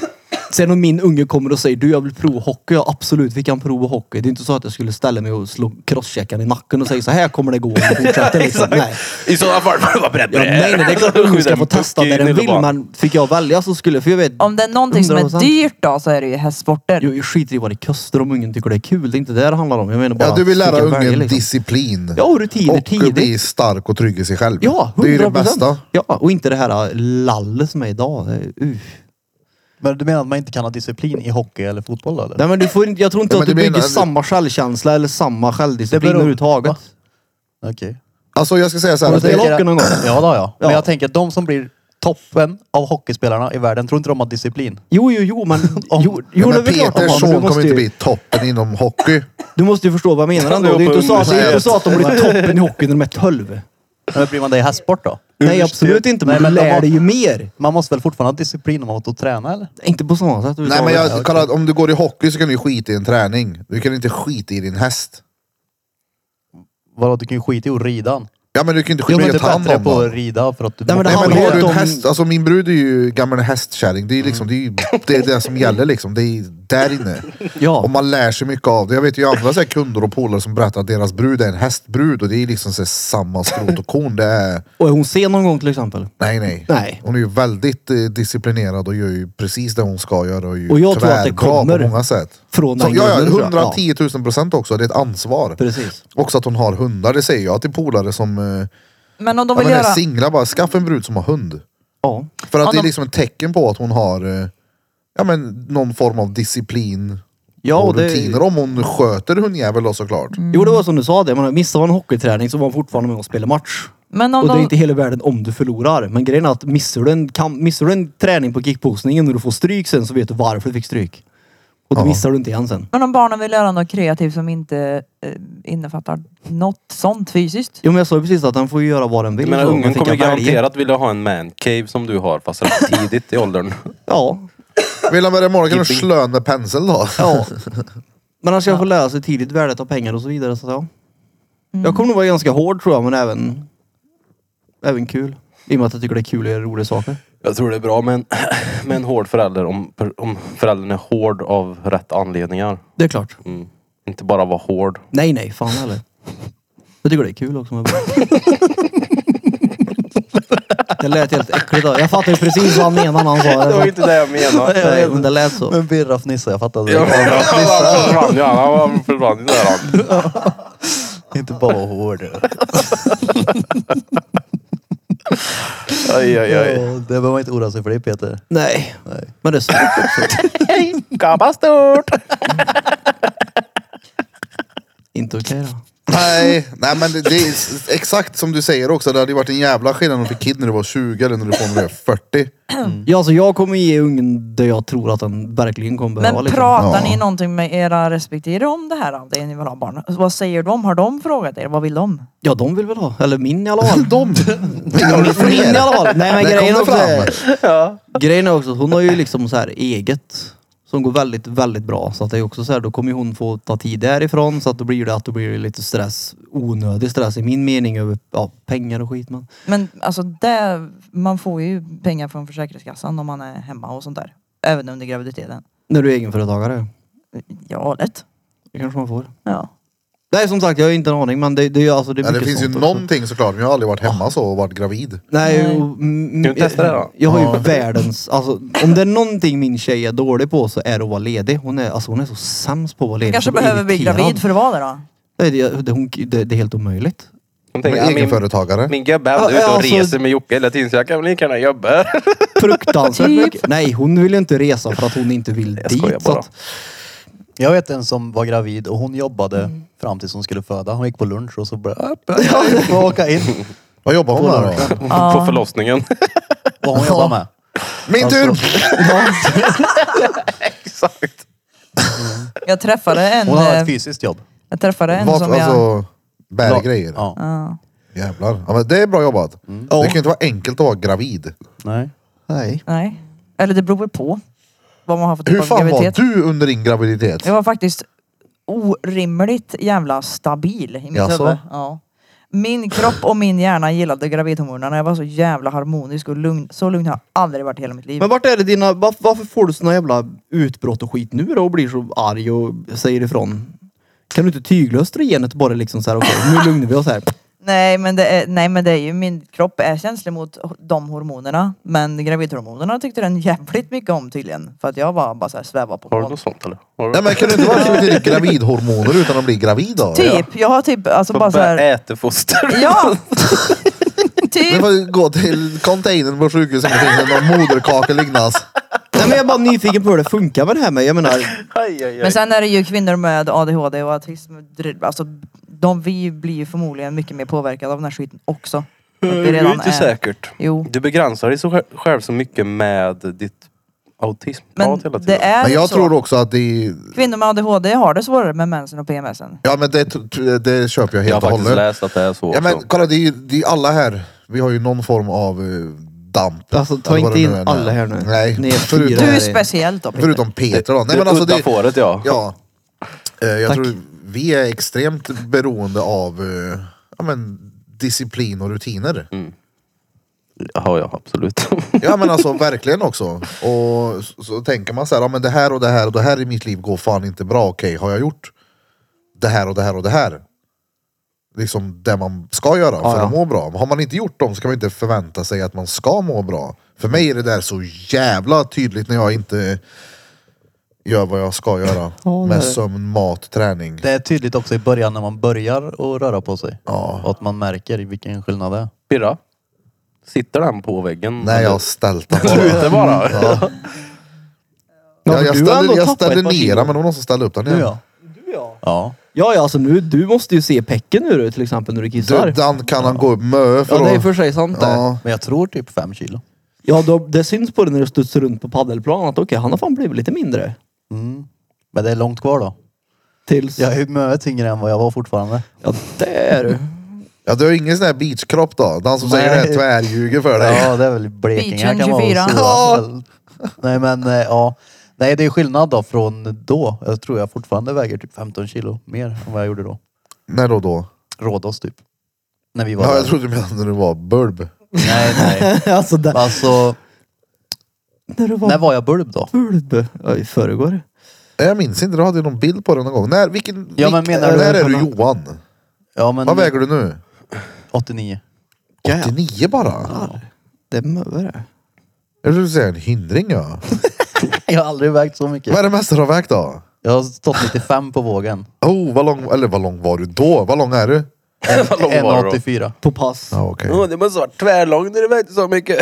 [SPEAKER 4] Sen om min unge kommer och säger du jag vill prova hockey. Ja absolut vi kan prova hockey. Det är inte så att jag skulle ställa mig och slå crosscheckan i nacken och säga så här kommer det gå. Om du fortsätter liksom. nej.
[SPEAKER 3] I sådana fall får du vara beredd på
[SPEAKER 4] Ja,
[SPEAKER 3] det.
[SPEAKER 4] nej, nej, det är klart att ungen ska få testa det den vill. Men fick jag välja så skulle För jag vet,
[SPEAKER 5] Om det är någonting som är
[SPEAKER 4] 100%.
[SPEAKER 5] dyrt då så är det ju hästsporter.
[SPEAKER 4] Jag, jag skiter i vad det kostar om ungen tycker det är kul. Det är inte det det handlar om. Jag menar bara
[SPEAKER 1] Ja, du vill lära
[SPEAKER 4] vilken
[SPEAKER 1] ungen
[SPEAKER 4] välja, liksom.
[SPEAKER 1] disciplin.
[SPEAKER 4] Ja, och rutiner
[SPEAKER 1] och
[SPEAKER 4] tidigt.
[SPEAKER 1] bli stark och trygg i sig själv.
[SPEAKER 4] Ja, 100%.
[SPEAKER 1] det är ju det bästa.
[SPEAKER 4] Ja, och inte det här äh, lallet som är idag. Det är- Uh.
[SPEAKER 2] Men du menar att man inte kan ha disciplin i hockey eller fotboll då, eller?
[SPEAKER 4] Nej men du får inte, jag tror inte
[SPEAKER 1] Ja,
[SPEAKER 4] att
[SPEAKER 1] men
[SPEAKER 4] du
[SPEAKER 1] det blir
[SPEAKER 4] bygger
[SPEAKER 1] en-
[SPEAKER 4] samma självkänsla eller samma
[SPEAKER 2] Det
[SPEAKER 4] självdisciplin
[SPEAKER 2] beror-
[SPEAKER 4] överhuvudtaget.
[SPEAKER 2] Va? Okej.
[SPEAKER 1] Alltså jag ska säga så här.
[SPEAKER 4] Har du
[SPEAKER 1] att det-
[SPEAKER 4] spelat hockey någon gång?
[SPEAKER 2] Ja, då, ja. Men
[SPEAKER 4] Ja.
[SPEAKER 2] jag tänker att de som blir toppen av hockeyspelarna i världen, tror inte de har disciplin?
[SPEAKER 4] Jo, jo, jo, men... Jo,
[SPEAKER 1] Ja,
[SPEAKER 4] jo, det är
[SPEAKER 1] men
[SPEAKER 4] väl klart de
[SPEAKER 1] Peters
[SPEAKER 4] har, men
[SPEAKER 1] son
[SPEAKER 4] du,
[SPEAKER 1] kommer
[SPEAKER 4] måste
[SPEAKER 1] inte
[SPEAKER 4] ju,
[SPEAKER 1] bli toppen inom hockey.
[SPEAKER 4] du måste ju förstå vad jag menar ändå.
[SPEAKER 3] Han
[SPEAKER 4] Det
[SPEAKER 3] är
[SPEAKER 4] är ju
[SPEAKER 3] på
[SPEAKER 4] inte så att- det är inte
[SPEAKER 3] universitet.
[SPEAKER 4] så att de blir toppen i hockey när de är 12.
[SPEAKER 2] Men blir man det i hästsport då?
[SPEAKER 4] Nej, absolut inte. Men
[SPEAKER 2] Nej,
[SPEAKER 4] du
[SPEAKER 2] men de
[SPEAKER 4] lär
[SPEAKER 2] har-
[SPEAKER 4] dig ju mer.
[SPEAKER 2] Man måste väl fortfarande ha disciplin om man måste träna eller?
[SPEAKER 4] Inte på sådana sätt.
[SPEAKER 1] Nej men jag, kolla, om du går i hockey så kan du ju skita i en träning. Du kan inte skita i din häst.
[SPEAKER 2] Vadå, du kan ju skita i att rida han.
[SPEAKER 1] Ja men du kan inte
[SPEAKER 2] Jo,
[SPEAKER 1] skita
[SPEAKER 2] men
[SPEAKER 1] i
[SPEAKER 2] du
[SPEAKER 1] att ta
[SPEAKER 2] är
[SPEAKER 1] hand
[SPEAKER 2] bättre
[SPEAKER 1] om
[SPEAKER 2] på
[SPEAKER 1] den.
[SPEAKER 2] att rida för att du...
[SPEAKER 4] Nej, men det
[SPEAKER 1] Nej,
[SPEAKER 4] handlar
[SPEAKER 1] men
[SPEAKER 4] ju
[SPEAKER 1] har
[SPEAKER 4] inte
[SPEAKER 1] du en
[SPEAKER 4] om-
[SPEAKER 1] häst, alltså min brud är ju gammal hästkärring. Det är ju liksom, det är ju det, är det som gäller liksom. Det är där inne. Och
[SPEAKER 4] Ja.
[SPEAKER 1] man lär sig mycket av det. Jag vet ju andra så här kunder och polare som berättar att deras brud är en hästbrud och det är liksom så här samma skrot och korn. Det är,
[SPEAKER 4] Och är hon sen någon gång till exempel?
[SPEAKER 1] nej, nej
[SPEAKER 4] Nej.
[SPEAKER 1] Hon är ju väldigt eh, disciplinerad och gör ju precis det hon ska göra. Och, är ju
[SPEAKER 4] Och jag tror att det
[SPEAKER 1] tvärbra
[SPEAKER 4] kommer
[SPEAKER 1] på många sätt.
[SPEAKER 4] från
[SPEAKER 1] så,
[SPEAKER 4] den
[SPEAKER 1] ja,
[SPEAKER 4] grunden,
[SPEAKER 1] ja,
[SPEAKER 4] tror jag.
[SPEAKER 1] 110 000 procent också. Det är ett ansvar.
[SPEAKER 4] Precis.
[SPEAKER 1] Också att hon har hundar. Det säger jag till polare som eh,
[SPEAKER 5] Men om de
[SPEAKER 1] ja,
[SPEAKER 5] vill
[SPEAKER 1] men är
[SPEAKER 5] göra...
[SPEAKER 1] singlar. Bara skaffa en brud som har hund.
[SPEAKER 4] Ja.
[SPEAKER 1] För att
[SPEAKER 5] Ja,
[SPEAKER 1] det är
[SPEAKER 5] de-
[SPEAKER 1] liksom ett tecken på att hon har eh, ja, men någon form av disciplin
[SPEAKER 4] Ja,
[SPEAKER 1] och
[SPEAKER 4] och det- Mm.
[SPEAKER 1] rutiner. Om hon sköter hundjävel då såklart.
[SPEAKER 4] Jo, det var som du sa det. Man missar man hockeyträning så var man fortfarande med och spelade match.
[SPEAKER 5] Men om
[SPEAKER 4] Och det är
[SPEAKER 5] de...
[SPEAKER 4] inte hela världen om du förlorar. Men grejen är att missar du en, kamp, missar du en träning på kickboxningen och du får stryk sen så vet du varför du fick stryk. Och då
[SPEAKER 1] Ja.
[SPEAKER 4] missar du inte igen sen.
[SPEAKER 5] Men om barnen vill göra något kreativt som inte eh, innefattar något sånt fysiskt.
[SPEAKER 4] Jo men jag sa ju precis att den får ju göra vad den vill.
[SPEAKER 3] Jag menar,
[SPEAKER 4] så man
[SPEAKER 3] ungen
[SPEAKER 4] fick
[SPEAKER 3] kommer
[SPEAKER 4] välja.
[SPEAKER 3] garanterat vilja ha en mancave som du har, fast rätt tidigt i åldern.
[SPEAKER 4] Ja.
[SPEAKER 1] Vill han börja morgon kan du slöa med pensel då.
[SPEAKER 4] ja. Men han ska få lära sig tidigt värdet av pengar och så vidare. Så att, ja. Jag kommer nog vara ganska hård tror jag men även, även kul. I och med att jag tycker det är kul att göra roliga saker.
[SPEAKER 3] Jag tror det är bra med en, med en hård förälder om, per- om föräldern är hård av rätt anledningar.
[SPEAKER 4] Det är klart.
[SPEAKER 3] Mm. Inte bara vara hård.
[SPEAKER 4] Nej nej, fan heller. Jag tycker det är kul också. men bara- Det lät helt äckligt. då. Jag fattar ju precis vad han menar när han sa det.
[SPEAKER 3] inte det jag menade.
[SPEAKER 4] Nej, men det lät så.
[SPEAKER 2] Men Birra fnissar, jag fattade.
[SPEAKER 3] Ja,
[SPEAKER 2] det.
[SPEAKER 3] han försvann ju. Han försvann ju där han.
[SPEAKER 2] Inte bara vara hård.
[SPEAKER 3] Aj, aj, aj.
[SPEAKER 2] Ja, Det behöver man inte oroa sig för det Peter.
[SPEAKER 4] Nej. Men det är stort också.
[SPEAKER 6] Gapa stort!
[SPEAKER 4] Inte okej då.
[SPEAKER 1] Nej, nej men det, det är s- exakt som du säger också. Det hade ju varit en jävla skillnad om du fick kid när du var 20 eller när du får när du är 40.
[SPEAKER 4] Ja, alltså jag kommer ge ungen det jag tror att den verkligen kommer behöva.
[SPEAKER 5] Men
[SPEAKER 4] liksom.
[SPEAKER 5] pratar
[SPEAKER 1] Ja.
[SPEAKER 5] ni någonting med era respektive om det här? Det ni vill ha barn? Vad säger de? Har de frågat er? Vad vill de?
[SPEAKER 4] Ja, de vill väl ha. Eller min i alla fall.
[SPEAKER 1] De!
[SPEAKER 4] min i alla fall. Nej, men
[SPEAKER 1] Där kom
[SPEAKER 4] grejen,
[SPEAKER 1] det
[SPEAKER 4] är också,
[SPEAKER 1] fram.
[SPEAKER 4] grejen är också att hon har ju liksom så här eget. Som går väldigt, väldigt bra. Så att det är också så här, då kommer ju hon få ta tid därifrån. Så att då blir det att då blir det lite stress. Onödig stress i min mening över ja, pengar och skit. Men
[SPEAKER 5] Men alltså det, man får ju pengar från Försäkringskassan om man är hemma och sånt där. Även under graviditeten.
[SPEAKER 4] när du är egenföretagare,
[SPEAKER 5] Ja, lätt.
[SPEAKER 4] det kanske man får.
[SPEAKER 5] Ja.
[SPEAKER 4] Nej, som sagt, jag har ju inte en aning. Men det, det, är ju- alltså, det, är
[SPEAKER 1] Ja, det
[SPEAKER 4] mycket
[SPEAKER 1] finns ju
[SPEAKER 4] sånt också.
[SPEAKER 1] någonting såklart, men jag har aldrig varit hemma så och varit gravid.
[SPEAKER 4] Nej,
[SPEAKER 5] Nej.
[SPEAKER 4] och, mm,
[SPEAKER 3] Ska vi testa det då?
[SPEAKER 4] Jag har ju världens, alltså om det är någonting min tjej är dålig på så är det att vara ledig. Hon är, alltså, hon är så sämst på att vara ledig.
[SPEAKER 5] Du kanske
[SPEAKER 4] Jag blir
[SPEAKER 5] behöver bli
[SPEAKER 4] irriterad.
[SPEAKER 5] gravid för att vara det då?
[SPEAKER 4] Nej, det, det, hon, det, det är helt omöjligt.
[SPEAKER 3] Jag
[SPEAKER 1] Men
[SPEAKER 3] tänker, ja, Min,
[SPEAKER 1] egenföretagare.
[SPEAKER 3] min gubbe han är
[SPEAKER 4] Ja,
[SPEAKER 3] ute och
[SPEAKER 4] alltså-
[SPEAKER 3] reser med Jocke hela tiden så jag kan väl lika gärna jobba.
[SPEAKER 4] Fruktansvärt
[SPEAKER 5] Typ.
[SPEAKER 4] mycket. Nej, hon vill ju inte resa för att hon inte vill
[SPEAKER 3] Jag skojar
[SPEAKER 4] dit. Så
[SPEAKER 3] bara.
[SPEAKER 4] att,
[SPEAKER 2] Jag vet en som var gravid och hon jobbade
[SPEAKER 4] Mm.
[SPEAKER 2] fram tills hon skulle föda. Hon gick på lunch och så började hon åka in.
[SPEAKER 1] Vad jobbar hon med då?
[SPEAKER 3] På förlossningen.
[SPEAKER 2] Vad hon jobbar med. Alltså,
[SPEAKER 1] Min tur!
[SPEAKER 4] Alltså,
[SPEAKER 3] Exakt.
[SPEAKER 5] Jag träffade en,
[SPEAKER 2] Hon har ett
[SPEAKER 5] eh,
[SPEAKER 2] fysiskt jobb.
[SPEAKER 5] jag träffade en
[SPEAKER 1] Vad,
[SPEAKER 5] som jag...
[SPEAKER 1] alltså, bär grejer.
[SPEAKER 2] Ja.
[SPEAKER 1] Jävlar. Ja, men det är bra jobbat.
[SPEAKER 3] Mm.
[SPEAKER 1] Det kan ju inte vara enkelt att vara gravid.
[SPEAKER 2] Nej.
[SPEAKER 4] nej.
[SPEAKER 5] Nej. Eller det beror väl på vad man har för typ
[SPEAKER 1] Hur
[SPEAKER 5] av
[SPEAKER 1] fan var
[SPEAKER 5] graviditet.
[SPEAKER 1] du under din graviditet?
[SPEAKER 5] Jag var faktiskt orimligt jävla stabil i mitt
[SPEAKER 1] Jaså?
[SPEAKER 5] huvud. Ja. Min kropp och min hjärna gillade gravidhormonerna. Jag var så jävla harmonisk och lugn. Så lugn har jag aldrig varit i hela mitt liv.
[SPEAKER 4] Men vart är det dina, var, varför får du såna jävla utbrott och skit nu då och blir så arg och säger ifrån? Kan du inte tyglöstra genet och bara liksom såhär, okej nu lugnar vi oss här.
[SPEAKER 5] Nej men, det är, nej men det är ju, min kropp är känslig mot de hormonerna. Men gravidhormonerna tyckte den jävligt mycket om tydligen. För att jag var bara såhär sväva på
[SPEAKER 3] Har du
[SPEAKER 5] moln.
[SPEAKER 3] något sånt eller? Har du?
[SPEAKER 1] Nej men kan du inte vara så mycket gravidhormoner utan att bli gravid då?
[SPEAKER 5] Typ, jag har typ alltså bara
[SPEAKER 3] Bara
[SPEAKER 5] såhär.
[SPEAKER 3] äter foster.
[SPEAKER 5] Ja!
[SPEAKER 1] Du
[SPEAKER 5] typ.
[SPEAKER 1] får gå till containern på sjukhuset och finns det någon moderkaka liknande.
[SPEAKER 4] Nej men jag är bara nyfiken på hur det funkar med det här med, jag menar,
[SPEAKER 3] Aj, aj,
[SPEAKER 5] Men
[SPEAKER 3] aj.
[SPEAKER 5] sen är det ju kvinnor med ADHD och autism. dr- Alltså, de, vi blir ju förmodligen mycket mer påverkade av den här skiten också. För att vi
[SPEAKER 3] Det är
[SPEAKER 5] redan
[SPEAKER 3] inte säkert.
[SPEAKER 5] Jo.
[SPEAKER 3] Du begränsar dig så sj- själv så mycket med ditt autismprat
[SPEAKER 5] Men
[SPEAKER 3] hela tiden.
[SPEAKER 5] det är
[SPEAKER 1] Men
[SPEAKER 5] ju
[SPEAKER 1] jag
[SPEAKER 5] så.
[SPEAKER 1] tror också att det
[SPEAKER 5] Kvinnor med ADHD har det svårare med mensen och PMSen.
[SPEAKER 1] Ja men det, t- t- det köper jag
[SPEAKER 3] jag har
[SPEAKER 1] helt och
[SPEAKER 3] faktiskt
[SPEAKER 1] hållet.
[SPEAKER 3] läst att det är så.
[SPEAKER 1] Ja men
[SPEAKER 3] också.
[SPEAKER 1] kolla det är ju det är alla här. Vi har ju någon form av eh, damp.
[SPEAKER 4] Alltså, ta
[SPEAKER 1] Eller vad
[SPEAKER 4] inte
[SPEAKER 1] det
[SPEAKER 4] in
[SPEAKER 1] nu är.
[SPEAKER 4] alla här nu. Ni
[SPEAKER 1] Nej.
[SPEAKER 4] är
[SPEAKER 1] Förutom,
[SPEAKER 5] Du
[SPEAKER 4] fyra.
[SPEAKER 5] är
[SPEAKER 4] Nej.
[SPEAKER 5] speciellt då Peter.
[SPEAKER 1] förutom Peter då. Nej
[SPEAKER 3] det
[SPEAKER 1] men alltså
[SPEAKER 3] udda
[SPEAKER 1] det,
[SPEAKER 3] fåret ja.
[SPEAKER 1] Ja. Eh, Jag
[SPEAKER 4] Tack.
[SPEAKER 1] tror vi är extremt beroende av eh, ja, men, disciplin och rutiner.
[SPEAKER 3] Har jag absolut.
[SPEAKER 1] Ja men alltså verkligen också. Och så, så tänker man så här, ja, men det här och det här och det här i mitt liv går fan inte bra. Okej, har jag gjort det här och det här och det här? Liksom det man ska göra för
[SPEAKER 4] ja.
[SPEAKER 1] att må bra. Har man inte gjort dem så kan man inte förvänta sig att man ska må bra. För mig är det där så jävla tydligt när jag inte gör vad jag ska göra.
[SPEAKER 4] Ja, det är
[SPEAKER 1] med
[SPEAKER 4] det.
[SPEAKER 1] sömn, mat, träning.
[SPEAKER 2] Det är tydligt också i början när man börjar att röra på sig.
[SPEAKER 1] Ja.
[SPEAKER 2] Och att man märker vilken skillnad det är.
[SPEAKER 3] Birra? Sitter den på väggen?
[SPEAKER 1] Nej, jag har ställt den bara.
[SPEAKER 3] Ute bara?
[SPEAKER 1] Ja.
[SPEAKER 4] Ja,
[SPEAKER 1] Jag,
[SPEAKER 4] för
[SPEAKER 1] jag
[SPEAKER 4] du har ändå
[SPEAKER 1] ställde, jag
[SPEAKER 4] tappat
[SPEAKER 1] ställde
[SPEAKER 4] ett par
[SPEAKER 1] ner
[SPEAKER 4] kilo.
[SPEAKER 1] den men det var någon som ställde upp den igen.
[SPEAKER 2] Ja.
[SPEAKER 4] Ja, ja, alltså nu, du måste ju se pecken nu då, till exempel när du
[SPEAKER 1] Du,
[SPEAKER 4] kissar.
[SPEAKER 1] den kan han gå upp mö för
[SPEAKER 4] Ja, det är
[SPEAKER 1] att-
[SPEAKER 4] i och för sig sant det.
[SPEAKER 1] Ja.
[SPEAKER 2] Men jag tror typ fem kilo.
[SPEAKER 4] Ja, då, det syns på det när du studsar runt på paddelplanen att okej, han har fan blivit lite mindre.
[SPEAKER 2] Mm. Men det är långt kvar då.
[SPEAKER 4] Tills...
[SPEAKER 2] Jag är ju mycket tyngre än vad jag var fortfarande.
[SPEAKER 4] Ja, det är du.
[SPEAKER 1] ja, du har ingen sån här beachkropp då? Den som
[SPEAKER 2] Nej.
[SPEAKER 1] säger det här tvärljuger för dig.
[SPEAKER 2] Ja, det är väl Blekinge
[SPEAKER 5] Beachen
[SPEAKER 2] jag kan vara
[SPEAKER 5] 24.
[SPEAKER 2] och
[SPEAKER 1] Ja.
[SPEAKER 2] sova. Nej men eh, ja. Nej det är skillnad då från då. Jag tror jag fortfarande väger typ 15 kilo mer än vad jag gjorde då.
[SPEAKER 1] När då då?
[SPEAKER 2] Rhodos typ. När vi var
[SPEAKER 1] Ja,
[SPEAKER 2] där.
[SPEAKER 1] jag trodde du menade när du var bulb.
[SPEAKER 2] Nej nej.
[SPEAKER 4] alltså, där,
[SPEAKER 2] Alltså,
[SPEAKER 4] när du var
[SPEAKER 2] när var jag bulb då?
[SPEAKER 4] bulb. Ja, i förrgår.
[SPEAKER 1] Nej, Jag minns inte, du hade ju någon bild på den någon gång. När, vilken,
[SPEAKER 2] Ja, men
[SPEAKER 1] vilken-
[SPEAKER 2] menar du-
[SPEAKER 1] när är du Johan?
[SPEAKER 2] Ja men
[SPEAKER 1] Vad väger du nu?
[SPEAKER 2] 89.
[SPEAKER 1] 89 bara?
[SPEAKER 4] Det är möre det.
[SPEAKER 1] Jag trodde du säga en hindring ja.
[SPEAKER 2] Jag har aldrig vägt så mycket.
[SPEAKER 1] Vad är det mesta du har vägt då?
[SPEAKER 2] Jag har stått 95 på vågen.
[SPEAKER 1] Oh, vad lång, eller vad lång var du då? Vad lång är du?
[SPEAKER 3] Vad lång var du då?
[SPEAKER 2] 1,84.
[SPEAKER 4] På pass.
[SPEAKER 1] Ja, okej.
[SPEAKER 3] Åh, det måste ha varit tvärlång när du vägde så mycket.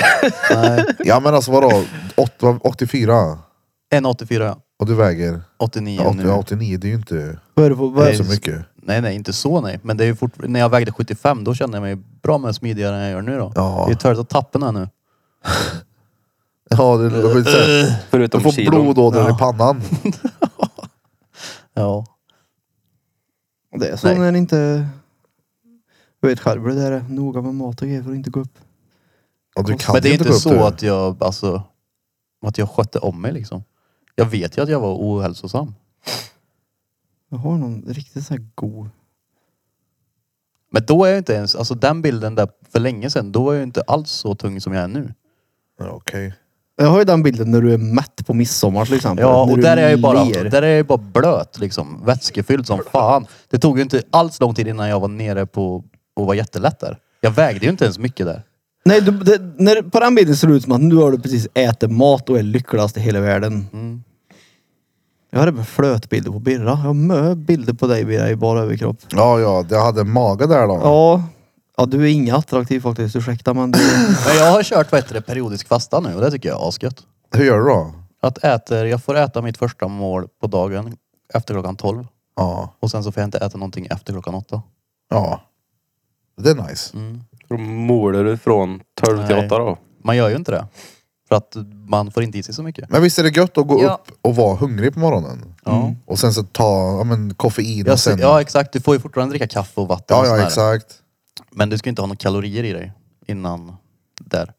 [SPEAKER 2] Nej,
[SPEAKER 1] ja men alltså vadå? Åt- 84?
[SPEAKER 2] 1,84 ja.
[SPEAKER 1] Och du väger?
[SPEAKER 2] 89
[SPEAKER 1] Ja,
[SPEAKER 2] nu.
[SPEAKER 1] 89, det är ju inte
[SPEAKER 4] Vad är det på, vad är
[SPEAKER 1] det är
[SPEAKER 4] det?
[SPEAKER 1] så mycket.
[SPEAKER 2] Nej, nej, inte så nej. Men det är ju fort... när jag vägde 75 då kände jag mig bra med smidigare än jag gör nu då.
[SPEAKER 1] Ja.
[SPEAKER 2] Det är törligt att tappa den här nu.
[SPEAKER 1] Ja, det låter så här. Du
[SPEAKER 3] Förutom
[SPEAKER 1] får
[SPEAKER 3] kilon.
[SPEAKER 1] blodådror i pannan.
[SPEAKER 2] Ja.
[SPEAKER 4] Det är så
[SPEAKER 2] Nej.
[SPEAKER 4] när det inte... Du vet själv hur det där är. Noga med mat och grejer för att inte gå upp.
[SPEAKER 1] Ja, du kan
[SPEAKER 2] Men det
[SPEAKER 1] ju
[SPEAKER 2] är inte
[SPEAKER 1] gå upp
[SPEAKER 2] så
[SPEAKER 1] det.
[SPEAKER 2] att jag alltså, att jag skötte om mig liksom. Jag vet ju att jag var ohälsosam.
[SPEAKER 4] Jag har någon riktigt så här god...
[SPEAKER 2] Men då är jag inte ens, alltså den bilden där för länge sedan, då var jag ju inte alls så tung som jag är nu.
[SPEAKER 1] Ja, Okej.
[SPEAKER 4] Jag har ju den bilden när du är mätt på midsommar till exempel.
[SPEAKER 2] Ja,
[SPEAKER 4] När
[SPEAKER 2] och
[SPEAKER 4] du
[SPEAKER 2] där är jag ju bara,
[SPEAKER 4] ler.
[SPEAKER 2] där är jag ju bara blöt liksom. Vätskefylld som fan. Det tog ju inte alls lång tid innan jag var nere på och var jättelätt där. Jag vägde ju inte ens mycket där.
[SPEAKER 4] Nej, du, det, när, på den bilden ser det ut som att nu har du precis ätit mat och är lyckligast i hela världen.
[SPEAKER 1] Mm.
[SPEAKER 4] Jag hade med flötbilder på Birra. Jag har mö bilder på dig Birra i bara överkropp.
[SPEAKER 1] Ja, ja, jag hade mage där då.
[SPEAKER 4] Ja. Ja, du är inga attraktiv faktiskt. Ursäkta men du...
[SPEAKER 2] Men jag har kört vad heter det, periodisk fasta nu och det tycker jag är asgött.
[SPEAKER 1] Hur gör du då?
[SPEAKER 2] Att äter, jag får äta mitt första mål på dagen efter klockan 12
[SPEAKER 1] Ja,
[SPEAKER 2] och sen så får jag inte äta någonting efter klockan 8.
[SPEAKER 1] ja. Det är nice.
[SPEAKER 2] Mm.
[SPEAKER 3] Då målar du från 12 till
[SPEAKER 2] Nej.
[SPEAKER 3] 8 då.
[SPEAKER 2] Man gör ju inte det. För att man får inte i sig så mycket.
[SPEAKER 1] Men visst är det gött att gå
[SPEAKER 5] Ja.
[SPEAKER 1] upp och vara hungrig på morgonen? Mm.
[SPEAKER 2] Ja.
[SPEAKER 1] Och sen så ta ja, men, koffein
[SPEAKER 2] Jag,
[SPEAKER 1] och sen...
[SPEAKER 2] ja exakt, du får ju fortfarande dricka kaffe och vatten
[SPEAKER 1] ja,
[SPEAKER 2] och
[SPEAKER 1] ja,
[SPEAKER 2] sån här.
[SPEAKER 1] exakt.
[SPEAKER 2] Men du ska inte ha några kalorier i dig innan där.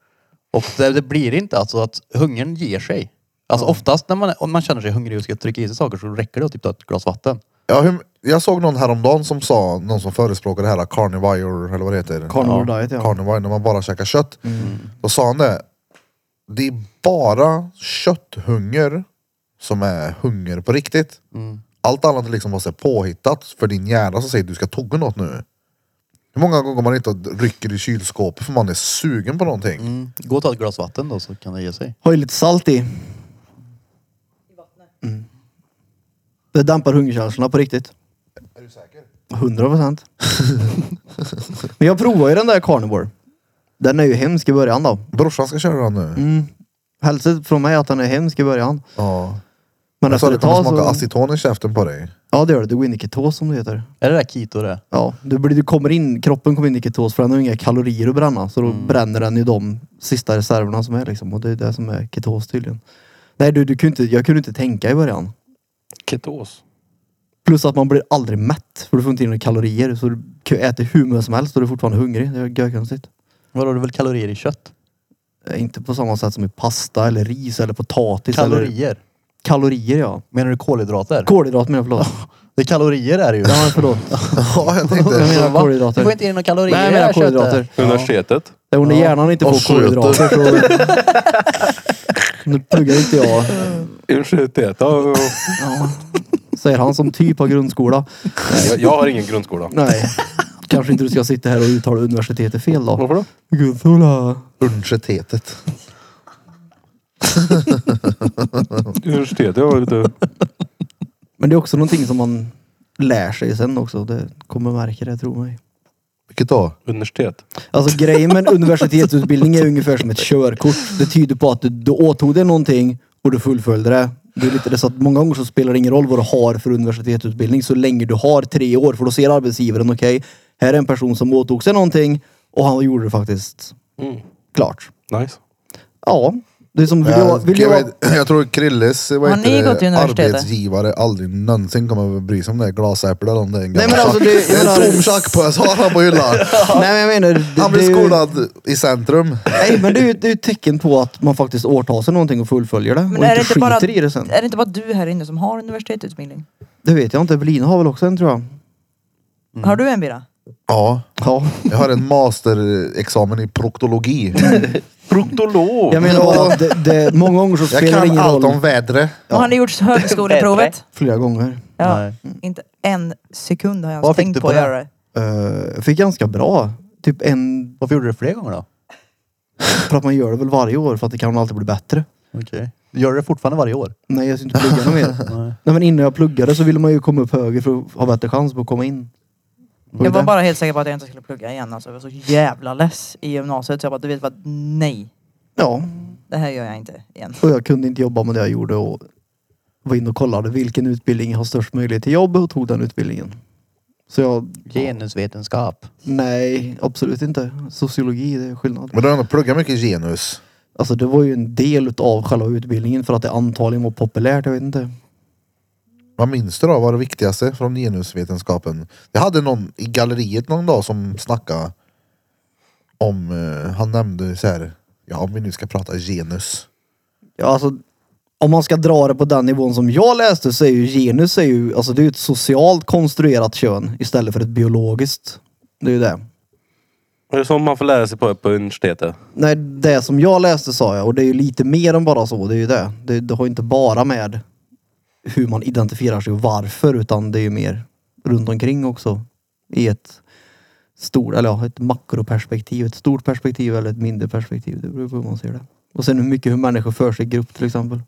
[SPEAKER 2] Och det, det blir inte alltså att hungern ger sig. Alltså oftast när man, om man känner sig hungrig och ska trycka i sig saker så räcker det att typ ta ett glas vatten.
[SPEAKER 1] Ja, hur, jag såg någon häromdagen som sa, någon som förespråkade det här carnivore, eller vad det heter?
[SPEAKER 4] Carnivore diet, ja. Mm.
[SPEAKER 1] Carnivore, när man bara käkar kött. Då sa han det, det är bara kötthunger som är hunger på riktigt.
[SPEAKER 4] Mm.
[SPEAKER 1] Allt annat är liksom bara så här påhittat för din hjärna som säger du ska tugga något nu. Hur många gånger man inte rycker i kylskåpet för man är sugen på någonting.
[SPEAKER 2] Mm. Gå och ta ett glas vatten då så kan det ge sig.
[SPEAKER 4] Har ju lite salt i. Mm. Det dämpar hungerkänslorna på riktigt.
[SPEAKER 1] Är du säker?
[SPEAKER 4] 100 procent. Men jag provar ju den där carnivore. Den är ju hemsk i början då.
[SPEAKER 1] Brorsan ska köra den nu.
[SPEAKER 4] Mm. Hälsa från mig att den är hemsk i början.
[SPEAKER 1] Ja.
[SPEAKER 4] Men alltså,
[SPEAKER 1] Jag sa
[SPEAKER 4] efter
[SPEAKER 1] det
[SPEAKER 4] ett
[SPEAKER 1] kommer
[SPEAKER 4] tag
[SPEAKER 1] smaka
[SPEAKER 4] så...
[SPEAKER 1] aceton i käften på dig.
[SPEAKER 4] Ja det gör det. Du går in i ketos som det heter.
[SPEAKER 2] Är det där keto det?
[SPEAKER 4] Ja, du, blir, du kommer in, kroppen kommer in i ketos för den har inga kalorier att bränna. Så då bränner den ju de sista reserverna som är liksom. Och det är det som är ketos tydligen. Nej du, du kunde inte, jag kunde inte tänka i början.
[SPEAKER 3] Ketos.
[SPEAKER 4] Plus att man blir aldrig mätt för du får inte in några kalorier. Så du kan ju äta hur mycket som helst och du är fortfarande hungrig. Det är görkonstigt.
[SPEAKER 2] Vadå, det är väl kalorier i kött?
[SPEAKER 4] Eh, Inte på samma sätt som i pasta eller ris eller potatis. Eller
[SPEAKER 2] Kalorier?
[SPEAKER 4] kalorier ja.
[SPEAKER 2] Menar du kolhydrater?
[SPEAKER 4] Kolhydrater menar jag förlåt.
[SPEAKER 2] det är kalorier är det ju.
[SPEAKER 4] Ja, förlåt.
[SPEAKER 1] Ja, jag tänkte.
[SPEAKER 4] Jag menar
[SPEAKER 2] Va?
[SPEAKER 4] kolhydrater.
[SPEAKER 2] Du får inte in några kalorier
[SPEAKER 4] Nej,
[SPEAKER 2] i
[SPEAKER 4] jag
[SPEAKER 2] det
[SPEAKER 4] menar
[SPEAKER 2] här köttet.
[SPEAKER 4] kolhydrater.
[SPEAKER 3] Universitetet.
[SPEAKER 4] Det är när hjärnan inte
[SPEAKER 1] Och
[SPEAKER 4] får kolhydrater. Så... Nu pluggar inte jag,
[SPEAKER 3] Universitet. Ja, ja,
[SPEAKER 4] säger han som typ har grundskola.
[SPEAKER 3] ja. jag, jag har ingen grundskola.
[SPEAKER 4] Nej, kanske inte du ska sitta här och uttala universitetet fel då.
[SPEAKER 3] Varför då?
[SPEAKER 4] Grundskola.
[SPEAKER 1] Universitetet.
[SPEAKER 3] Universitetet, jag har lite...
[SPEAKER 4] Men det är också någonting som man lär sig sen också. Det kommer märka det, tro mig.
[SPEAKER 1] Vilket då?
[SPEAKER 3] Universitet.
[SPEAKER 4] Alltså grejen med en universitetsutbildning är ungefär som ett körkort. Det tyder på att du, du åtog dig någonting och du fullföljde det. Det är lite det, så att många gånger så spelar det ingen roll vad du har för universitetsutbildning så länge du har tre år. För då ser arbetsgivaren, okej, här är en person som åtog sig någonting och han gjorde det faktiskt klart.
[SPEAKER 3] Mm, Nice.
[SPEAKER 4] Ja, det är som... Vill jag,
[SPEAKER 1] Jag,
[SPEAKER 4] vill
[SPEAKER 1] jag,
[SPEAKER 4] jag,
[SPEAKER 1] vet, jag tror Krilles vad
[SPEAKER 5] Har ni
[SPEAKER 1] heter
[SPEAKER 5] gått i
[SPEAKER 1] det,
[SPEAKER 5] universitetet?
[SPEAKER 1] arbetsgivare aldrig någonsin kommer att bry sig om det är glasäpple eller om det är en
[SPEAKER 4] Nej,
[SPEAKER 1] gammal
[SPEAKER 4] men alltså,
[SPEAKER 1] tjack-
[SPEAKER 4] det- jag
[SPEAKER 1] en
[SPEAKER 4] menar-
[SPEAKER 1] tom tjackpös har han på hyllan.
[SPEAKER 4] nej men jag menar... det-
[SPEAKER 1] Han
[SPEAKER 4] det är
[SPEAKER 1] blir
[SPEAKER 4] ju-
[SPEAKER 1] skolad i centrum.
[SPEAKER 4] Nej men det är ju det är ju ett tecken på att man faktiskt åtar sig någonting och fullföljer det.
[SPEAKER 5] Men
[SPEAKER 4] och
[SPEAKER 5] är
[SPEAKER 4] inte,
[SPEAKER 5] det, inte bara,
[SPEAKER 4] skiter i det sen.
[SPEAKER 5] är det inte bara du här inne som har universitetsutbildning?
[SPEAKER 4] Det vet jag inte. Evelina har väl också en tror jag.
[SPEAKER 5] Har du en Bira?
[SPEAKER 1] Ja,
[SPEAKER 4] Ja.
[SPEAKER 1] jag har en masterexamen i proktologi.
[SPEAKER 3] Proktolog.
[SPEAKER 4] Jag menar bara, att det, det, många gånger så
[SPEAKER 1] Jag
[SPEAKER 4] spelar det
[SPEAKER 1] kan
[SPEAKER 4] ingen roll.
[SPEAKER 1] allt om vädret.
[SPEAKER 5] Och har ni gjort högskoleprovet?
[SPEAKER 4] Flera gånger.
[SPEAKER 5] Ja.
[SPEAKER 2] Nej.
[SPEAKER 5] Inte en sekund har jag
[SPEAKER 2] Vad
[SPEAKER 5] ens
[SPEAKER 2] fick
[SPEAKER 5] tänkt
[SPEAKER 2] du
[SPEAKER 5] på
[SPEAKER 2] på
[SPEAKER 5] att
[SPEAKER 2] det?
[SPEAKER 5] göra det.
[SPEAKER 4] Eh, fick ganska bra. Typ en,
[SPEAKER 2] Varför gjorde du det fler gånger då?
[SPEAKER 4] för att man gör det väl varje år för att det kan alltid bli bättre.
[SPEAKER 2] Okej. Gör du det fortfarande varje år?
[SPEAKER 4] Nej jag ska inte plugga något mer. Nej men innan jag pluggade så ville man ju komma upp högre för att ha bättre chans på att komma in.
[SPEAKER 5] Jag var
[SPEAKER 4] det?
[SPEAKER 5] bara helt säker på att jag inte skulle plugga igen. Alltså, jag var så jävla less i gymnasiet så jag bara, du vet vad, nej.
[SPEAKER 4] Ja.
[SPEAKER 5] Det här gör jag inte igen.
[SPEAKER 4] Och jag kunde inte jobba med det jag gjorde och var inne och kollade vilken utbildning har störst möjlighet till jobb och tog den utbildningen. Så jag,
[SPEAKER 2] Genusvetenskap.
[SPEAKER 4] nej absolut inte. Sociologi det är skillnad.
[SPEAKER 1] Men du har ändå pluggat mycket genus.
[SPEAKER 4] Alltså det var ju en del av själva utbildningen för att det antagligen var populärt, jag vet inte.
[SPEAKER 1] Vad minns du då? Vad var det viktigaste från genusvetenskapen? Jag hade någon i galleriet någon dag som snackade om, eh, han nämnde så här, ja om vi nu ska prata genus.
[SPEAKER 4] Ja, alltså, om man ska dra det på den nivån som jag läste så är ju genus är ju, alltså det är ju ett socialt konstruerat kön istället för ett biologiskt. Det är ju det.
[SPEAKER 3] Är det sånt man får lära sig på, på universitetet?
[SPEAKER 4] Nej, det som jag läste sa jag och det är ju lite mer än bara så, det är ju det. Det, det har ju inte bara med hur man identifierar sig och varför utan det är ju mer runt omkring också. I ett stort, eller ja, ett makroperspektiv, ett stort perspektiv eller ett mindre perspektiv. Det beror på hur man ser det. Och sen hur mycket hur människor för sig i grupp till exempel.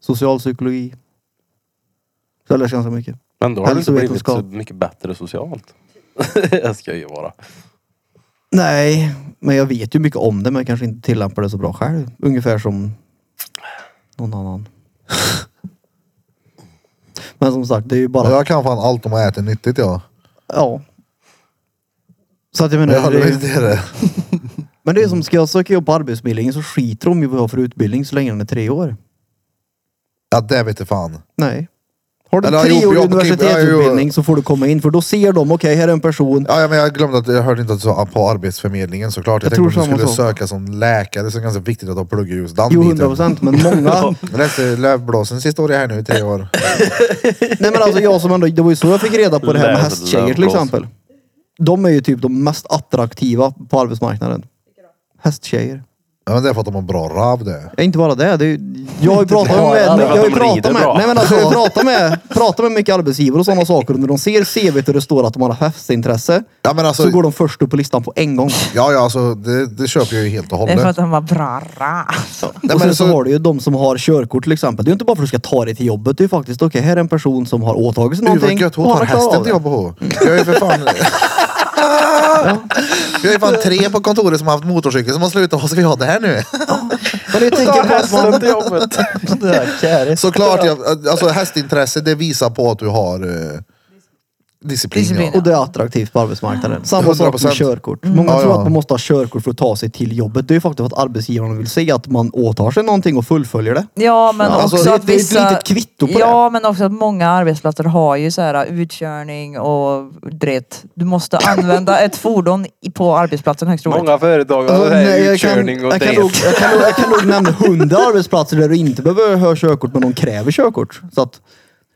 [SPEAKER 4] Socialpsykologi. Så jag läste ganska mycket.
[SPEAKER 3] Men då har det inte blivit
[SPEAKER 4] Hälsovetenskap.
[SPEAKER 3] så mycket bättre socialt. jag ska ju vara.
[SPEAKER 4] Nej, men jag vet ju mycket om det men jag kanske inte tillämpar det så bra själv. Ungefär som någon annan. men som sagt, det är ju bara...
[SPEAKER 1] Jag kan fan allt om att äta nyttigt jag.
[SPEAKER 4] Ja. Så att jag menar,
[SPEAKER 1] Jag hade
[SPEAKER 4] det är,
[SPEAKER 1] väl inte
[SPEAKER 4] ju-
[SPEAKER 1] det.
[SPEAKER 4] men det är som, ska jag söka jobb på Arbetsförmedlingen så skiter de ju vad jag har för utbildning så länge den är tre år.
[SPEAKER 1] Ja det vet du fan.
[SPEAKER 4] Nej. Har du
[SPEAKER 1] Eller, ja, jo,
[SPEAKER 4] treårig
[SPEAKER 1] jag- okej, ja,
[SPEAKER 4] universitetsutbildning
[SPEAKER 1] jo.
[SPEAKER 4] så får du komma in för då ser de, okej här är en person.
[SPEAKER 1] Ja, ja, men jag glömde att jag hörde inte att du sa på arbetsförmedlingen såklart. Jag,
[SPEAKER 4] Jag
[SPEAKER 1] tänkte
[SPEAKER 4] tror
[SPEAKER 1] om du
[SPEAKER 4] samma
[SPEAKER 1] skulle
[SPEAKER 4] sak.
[SPEAKER 1] söka som läkare så är det ganska viktigt att de pluggar just den
[SPEAKER 4] Jo,
[SPEAKER 1] biten.
[SPEAKER 4] 100 procent, men många.
[SPEAKER 1] Jag läste Lövblåsens historia här nu i tre år.
[SPEAKER 4] Nej men alltså jag som ändå, det var ju så jag fick reda på det här med
[SPEAKER 3] Läs-
[SPEAKER 4] hästtjejer till
[SPEAKER 3] lövblås.
[SPEAKER 4] exempel. De är ju typ de mest attraktiva på arbetsmarknaden. Hästtjejer.
[SPEAKER 1] Ja, men det är för att de har bra rav det.
[SPEAKER 4] Ja, inte bara det. det är ju, jag har ju pratat med,
[SPEAKER 2] bara
[SPEAKER 4] jag
[SPEAKER 2] det.
[SPEAKER 4] har ju
[SPEAKER 3] Att de rider
[SPEAKER 4] pratat med,
[SPEAKER 3] bra.
[SPEAKER 4] nej, men alltså, jag har pratat med, pratat med mycket arbetsgivare och sådana saker. Och när de ser CVt och det står att de har hästintresse
[SPEAKER 1] Ja, men alltså,
[SPEAKER 4] så går de först upp på listan på en gång.
[SPEAKER 1] ja, ja, alltså det, det köper jag ju helt och
[SPEAKER 5] Det är
[SPEAKER 1] hållet.
[SPEAKER 5] för att han var bra ra. Alltså.
[SPEAKER 1] Nej, men
[SPEAKER 4] och sen så
[SPEAKER 1] så-
[SPEAKER 4] har du ju de som har körkort till exempel. Det är ju inte bara för att du ska ta dig till jobbet. Det är ju faktiskt, okej här är en person som har åtagit sig
[SPEAKER 1] Gud
[SPEAKER 4] någonting.
[SPEAKER 1] vad gött, hon
[SPEAKER 4] och han
[SPEAKER 1] tar
[SPEAKER 4] har klarat
[SPEAKER 1] hästen
[SPEAKER 4] av
[SPEAKER 1] till
[SPEAKER 4] det.
[SPEAKER 1] jobbet hon.
[SPEAKER 4] Mm.
[SPEAKER 1] Jag är för fan... Jag är fan tre på kontoret som har haft motorcykel som har slutat. Vad ska vi ha det här nu?
[SPEAKER 4] Men jag tänker på att man...
[SPEAKER 3] till jobbet.
[SPEAKER 2] Sådär, käris.
[SPEAKER 1] Såklart, jag, alltså hästintresse det visar på att du har eh, disciplin.
[SPEAKER 5] Disciplin,
[SPEAKER 1] Ja.
[SPEAKER 4] Och det är attraktivt på arbetsmarknaden. Samma sak med
[SPEAKER 1] 100%.
[SPEAKER 4] körkort.
[SPEAKER 3] Mm.
[SPEAKER 4] Många
[SPEAKER 1] Ja,
[SPEAKER 4] tror
[SPEAKER 1] ja.
[SPEAKER 4] att man måste ha körkort för att ta sig till jobbet. Det är ju faktiskt för att arbetsgivarna vill se att man åtar sig någonting och fullföljer det.
[SPEAKER 5] Ja men
[SPEAKER 4] Ja,
[SPEAKER 5] också
[SPEAKER 4] alltså, det är-
[SPEAKER 5] att
[SPEAKER 4] det är ett
[SPEAKER 5] vissa...
[SPEAKER 4] litet kvitto på det.
[SPEAKER 5] Ja men också att många arbetsplatser har ju så här uh, utkörning och dret. Du måste använda ett fordon i- på arbetsplatsen högst troligt.
[SPEAKER 3] Många företag har
[SPEAKER 4] Alltså,
[SPEAKER 3] det här
[SPEAKER 4] nej, jag kan-
[SPEAKER 3] utkörning och
[SPEAKER 4] jag kan
[SPEAKER 3] det.
[SPEAKER 4] nog- jag kan nog- Jag kan nog nämna hundra arbetsplatser där du inte behöver ha körkort men de kräver körkort. Så att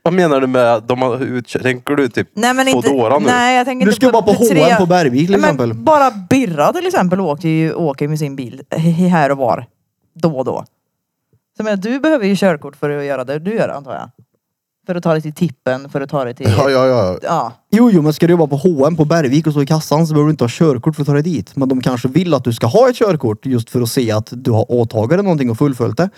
[SPEAKER 3] Vad menar du med att de har utkörning? Tänker du typ
[SPEAKER 5] Nej men inte...
[SPEAKER 3] Foodora nu?
[SPEAKER 5] Nej jag tänker
[SPEAKER 4] du
[SPEAKER 5] inte
[SPEAKER 4] ska bara på
[SPEAKER 5] pizzeria.
[SPEAKER 4] H&M på Bergvik till
[SPEAKER 5] Nej, men
[SPEAKER 4] exempel.
[SPEAKER 5] Bara Birra till exempel åker ju åker med sin bil he- he- här och var. Då och då. Så men, du behöver ju körkort för att göra det du gör antar jag. För att ta dig till tippen, för att ta dig till...
[SPEAKER 1] Ja, ja, ja.
[SPEAKER 5] ja.
[SPEAKER 4] Jo, jo, men ska du jobba på H&M på Bergvik och stå i kassan så behöver du inte ha körkort för att ta dig dit. Men de kanske vill att du ska ha ett körkort just för att se att du har åtagit dig någonting och fullföljt det.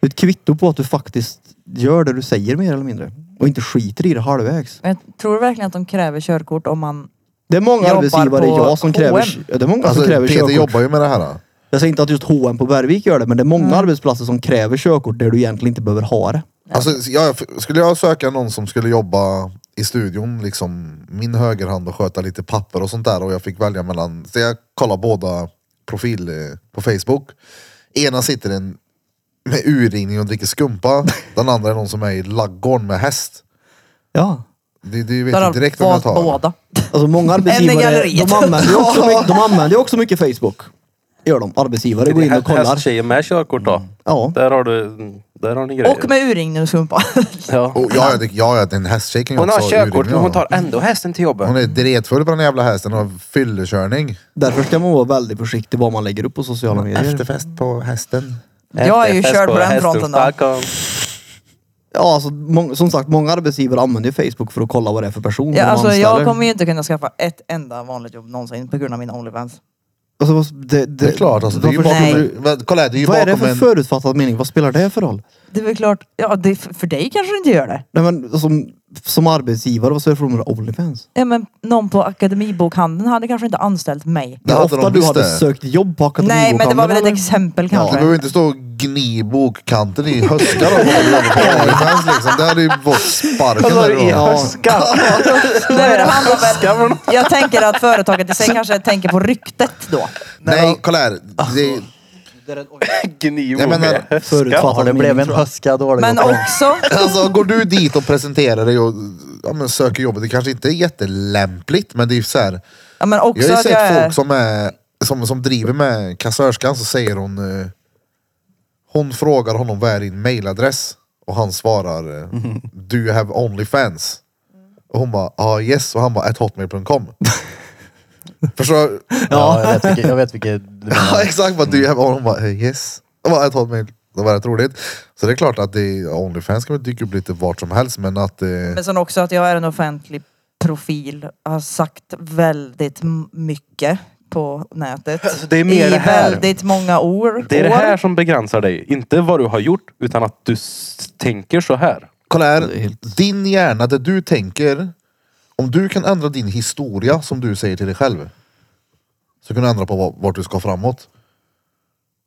[SPEAKER 4] Det är ett kvitto på att du faktiskt gör det du säger mer eller mindre. Och inte skiter i det halvvägs.
[SPEAKER 5] Men jag tror verkligen att de kräver körkort om man...
[SPEAKER 4] Det är många
[SPEAKER 5] Jobbar
[SPEAKER 4] arbetsgivare
[SPEAKER 5] på
[SPEAKER 4] jag som
[SPEAKER 5] H&M.
[SPEAKER 4] kräver, ja, det är många
[SPEAKER 1] Alltså,
[SPEAKER 4] som kräver
[SPEAKER 1] Peter
[SPEAKER 4] körkort.
[SPEAKER 1] jobbar ju med det här.
[SPEAKER 4] Jag säger inte att just H&M på Bergvik gör det, men det är många arbetsplatser som kräver körkort där du egentligen inte behöver ha det.
[SPEAKER 1] Alltså, jag, skulle jag söka någon som skulle jobba i studion, liksom min högerhand och sköta lite papper och sånt där och jag fick välja mellan, så jag kollar båda profil eh, på Facebook. Ena sitter en med urringning och dricker skumpa, den andra är någon som är i laggården med häst.
[SPEAKER 4] Ja.
[SPEAKER 1] Det, det vet
[SPEAKER 5] Där
[SPEAKER 1] jag
[SPEAKER 5] har
[SPEAKER 1] direkt om jag
[SPEAKER 5] valt
[SPEAKER 1] tar.
[SPEAKER 5] båda.
[SPEAKER 4] Alltså många arbetsgivare,
[SPEAKER 5] galleriet.
[SPEAKER 4] de använder ju också, mycket- de använder ju också mycket Facebook. Gör de. Arbetsgivare går in och kollar.
[SPEAKER 3] Hästtjejer med körkort då?
[SPEAKER 4] Ja.
[SPEAKER 3] Där har du, där har ni grejer.
[SPEAKER 5] Och med urringningssumpa.
[SPEAKER 3] ja.
[SPEAKER 1] Och ja, det- ja, ja, en hästtjej kan ju
[SPEAKER 3] Hon har
[SPEAKER 1] också ha
[SPEAKER 3] körkort
[SPEAKER 1] urringning,
[SPEAKER 3] men hon
[SPEAKER 1] Alltså, ja.
[SPEAKER 3] tar ändå hästen till jobbet.
[SPEAKER 1] Hon är dretfull på den jävla hästen och har fyllekörning.
[SPEAKER 4] Därför ska man vara väldigt försiktig vad man lägger upp på sociala
[SPEAKER 5] Mm,
[SPEAKER 4] medier.
[SPEAKER 1] Efterfest på hästen.
[SPEAKER 5] Jag är ju
[SPEAKER 3] Häst
[SPEAKER 5] körd på den
[SPEAKER 3] hästen
[SPEAKER 5] fronten då.
[SPEAKER 3] Stockholm.
[SPEAKER 4] Ja, alltså, mång- som sagt, många arbetsgivare använder ju Facebook för att kolla vad det är för person
[SPEAKER 5] Ja,
[SPEAKER 4] de
[SPEAKER 5] alltså, jag
[SPEAKER 4] anställer.
[SPEAKER 5] kommer ju inte kunna skaffa ett enda vanligt jobb någonsin på grund av min Onlyfans.
[SPEAKER 4] Alltså, vad- det, det,
[SPEAKER 1] Det är klart, alltså, det är ju
[SPEAKER 4] varför-
[SPEAKER 1] bakom,
[SPEAKER 5] Nej.
[SPEAKER 1] Vad- kolla, här, det är ju
[SPEAKER 4] Vad är det
[SPEAKER 1] bakom
[SPEAKER 4] för
[SPEAKER 1] en...
[SPEAKER 4] förutfattad mening? Vad spelar det för roll?
[SPEAKER 5] Det är väl klart, ja det, för dig kanske det inte gör det.
[SPEAKER 4] Nej, men, som, som arbetsgivare, vad spelar det för roll med Onlyfans?
[SPEAKER 5] Ja, men någon på Akademibokhandeln hade kanske inte anställt mig.
[SPEAKER 1] Det
[SPEAKER 4] Det är
[SPEAKER 1] hade
[SPEAKER 4] ofta
[SPEAKER 1] de
[SPEAKER 4] du
[SPEAKER 1] visst
[SPEAKER 4] hade
[SPEAKER 1] det.
[SPEAKER 4] sökt jobb på
[SPEAKER 5] Nej
[SPEAKER 4] Akademibokhandeln.
[SPEAKER 5] men det var väl ett
[SPEAKER 4] eller?
[SPEAKER 5] exempel
[SPEAKER 1] Ja, du
[SPEAKER 5] kanske.
[SPEAKER 1] behöver inte stå och gni i bokkanten i höskar och hålla på Onlyfans liksom. Det hade ju fått sparken där och då.
[SPEAKER 4] Alltså, Ja,
[SPEAKER 5] Nej, men det handlar väl, jag tänker att företaget i sig kanske tänker på ryktet då.
[SPEAKER 1] Nej, kolla här. Det,
[SPEAKER 3] Gni
[SPEAKER 1] jag menar,
[SPEAKER 2] Ja,
[SPEAKER 4] förutfattad
[SPEAKER 2] det
[SPEAKER 4] mening.
[SPEAKER 2] blev en
[SPEAKER 4] tror jag.
[SPEAKER 2] höska dålig.
[SPEAKER 5] Men också,
[SPEAKER 1] alltså, går du dit och presenterar dig och ja, men söker jobbet, det kanske inte är jättelämpligt men det är ju så här.
[SPEAKER 5] ja, men
[SPEAKER 1] Jag
[SPEAKER 5] också
[SPEAKER 1] har ju
[SPEAKER 5] att jag
[SPEAKER 1] sett
[SPEAKER 5] är...
[SPEAKER 1] folk som, är, som, som driver med kassörskan så säger hon eh, Hon frågar honom vad är din mailadress? Och han svarar eh, Do you have Onlyfans? Och hon bara ah, yes och han bara at hotmail.com Förstår
[SPEAKER 2] Ja, jag vet vilket, jag vet vilket du menar.
[SPEAKER 1] Ja exakt, bara, do you have Onlyfans? Hon bara eh, yes. Och bara, at hotmail. Det var rätt roligt. Så det är klart att det, Onlyfans kan väl dyka upp lite vart som helst men att eh,
[SPEAKER 5] Men sen också att jag är en offentlig profil. Har sagt väldigt m- mycket på nätet.
[SPEAKER 3] Alltså, det är mer
[SPEAKER 5] I
[SPEAKER 3] det här.
[SPEAKER 5] väldigt många år.
[SPEAKER 3] Det är det
[SPEAKER 5] år.
[SPEAKER 3] här som begränsar dig. Inte vad du har gjort, utan att du s- tänker så här.
[SPEAKER 1] Kolla här,
[SPEAKER 4] Det är helt-
[SPEAKER 1] din hjärna, det du tänker. Om du kan ändra din historia som du säger till dig själv. Så kan du ändra på va- vart du ska framåt.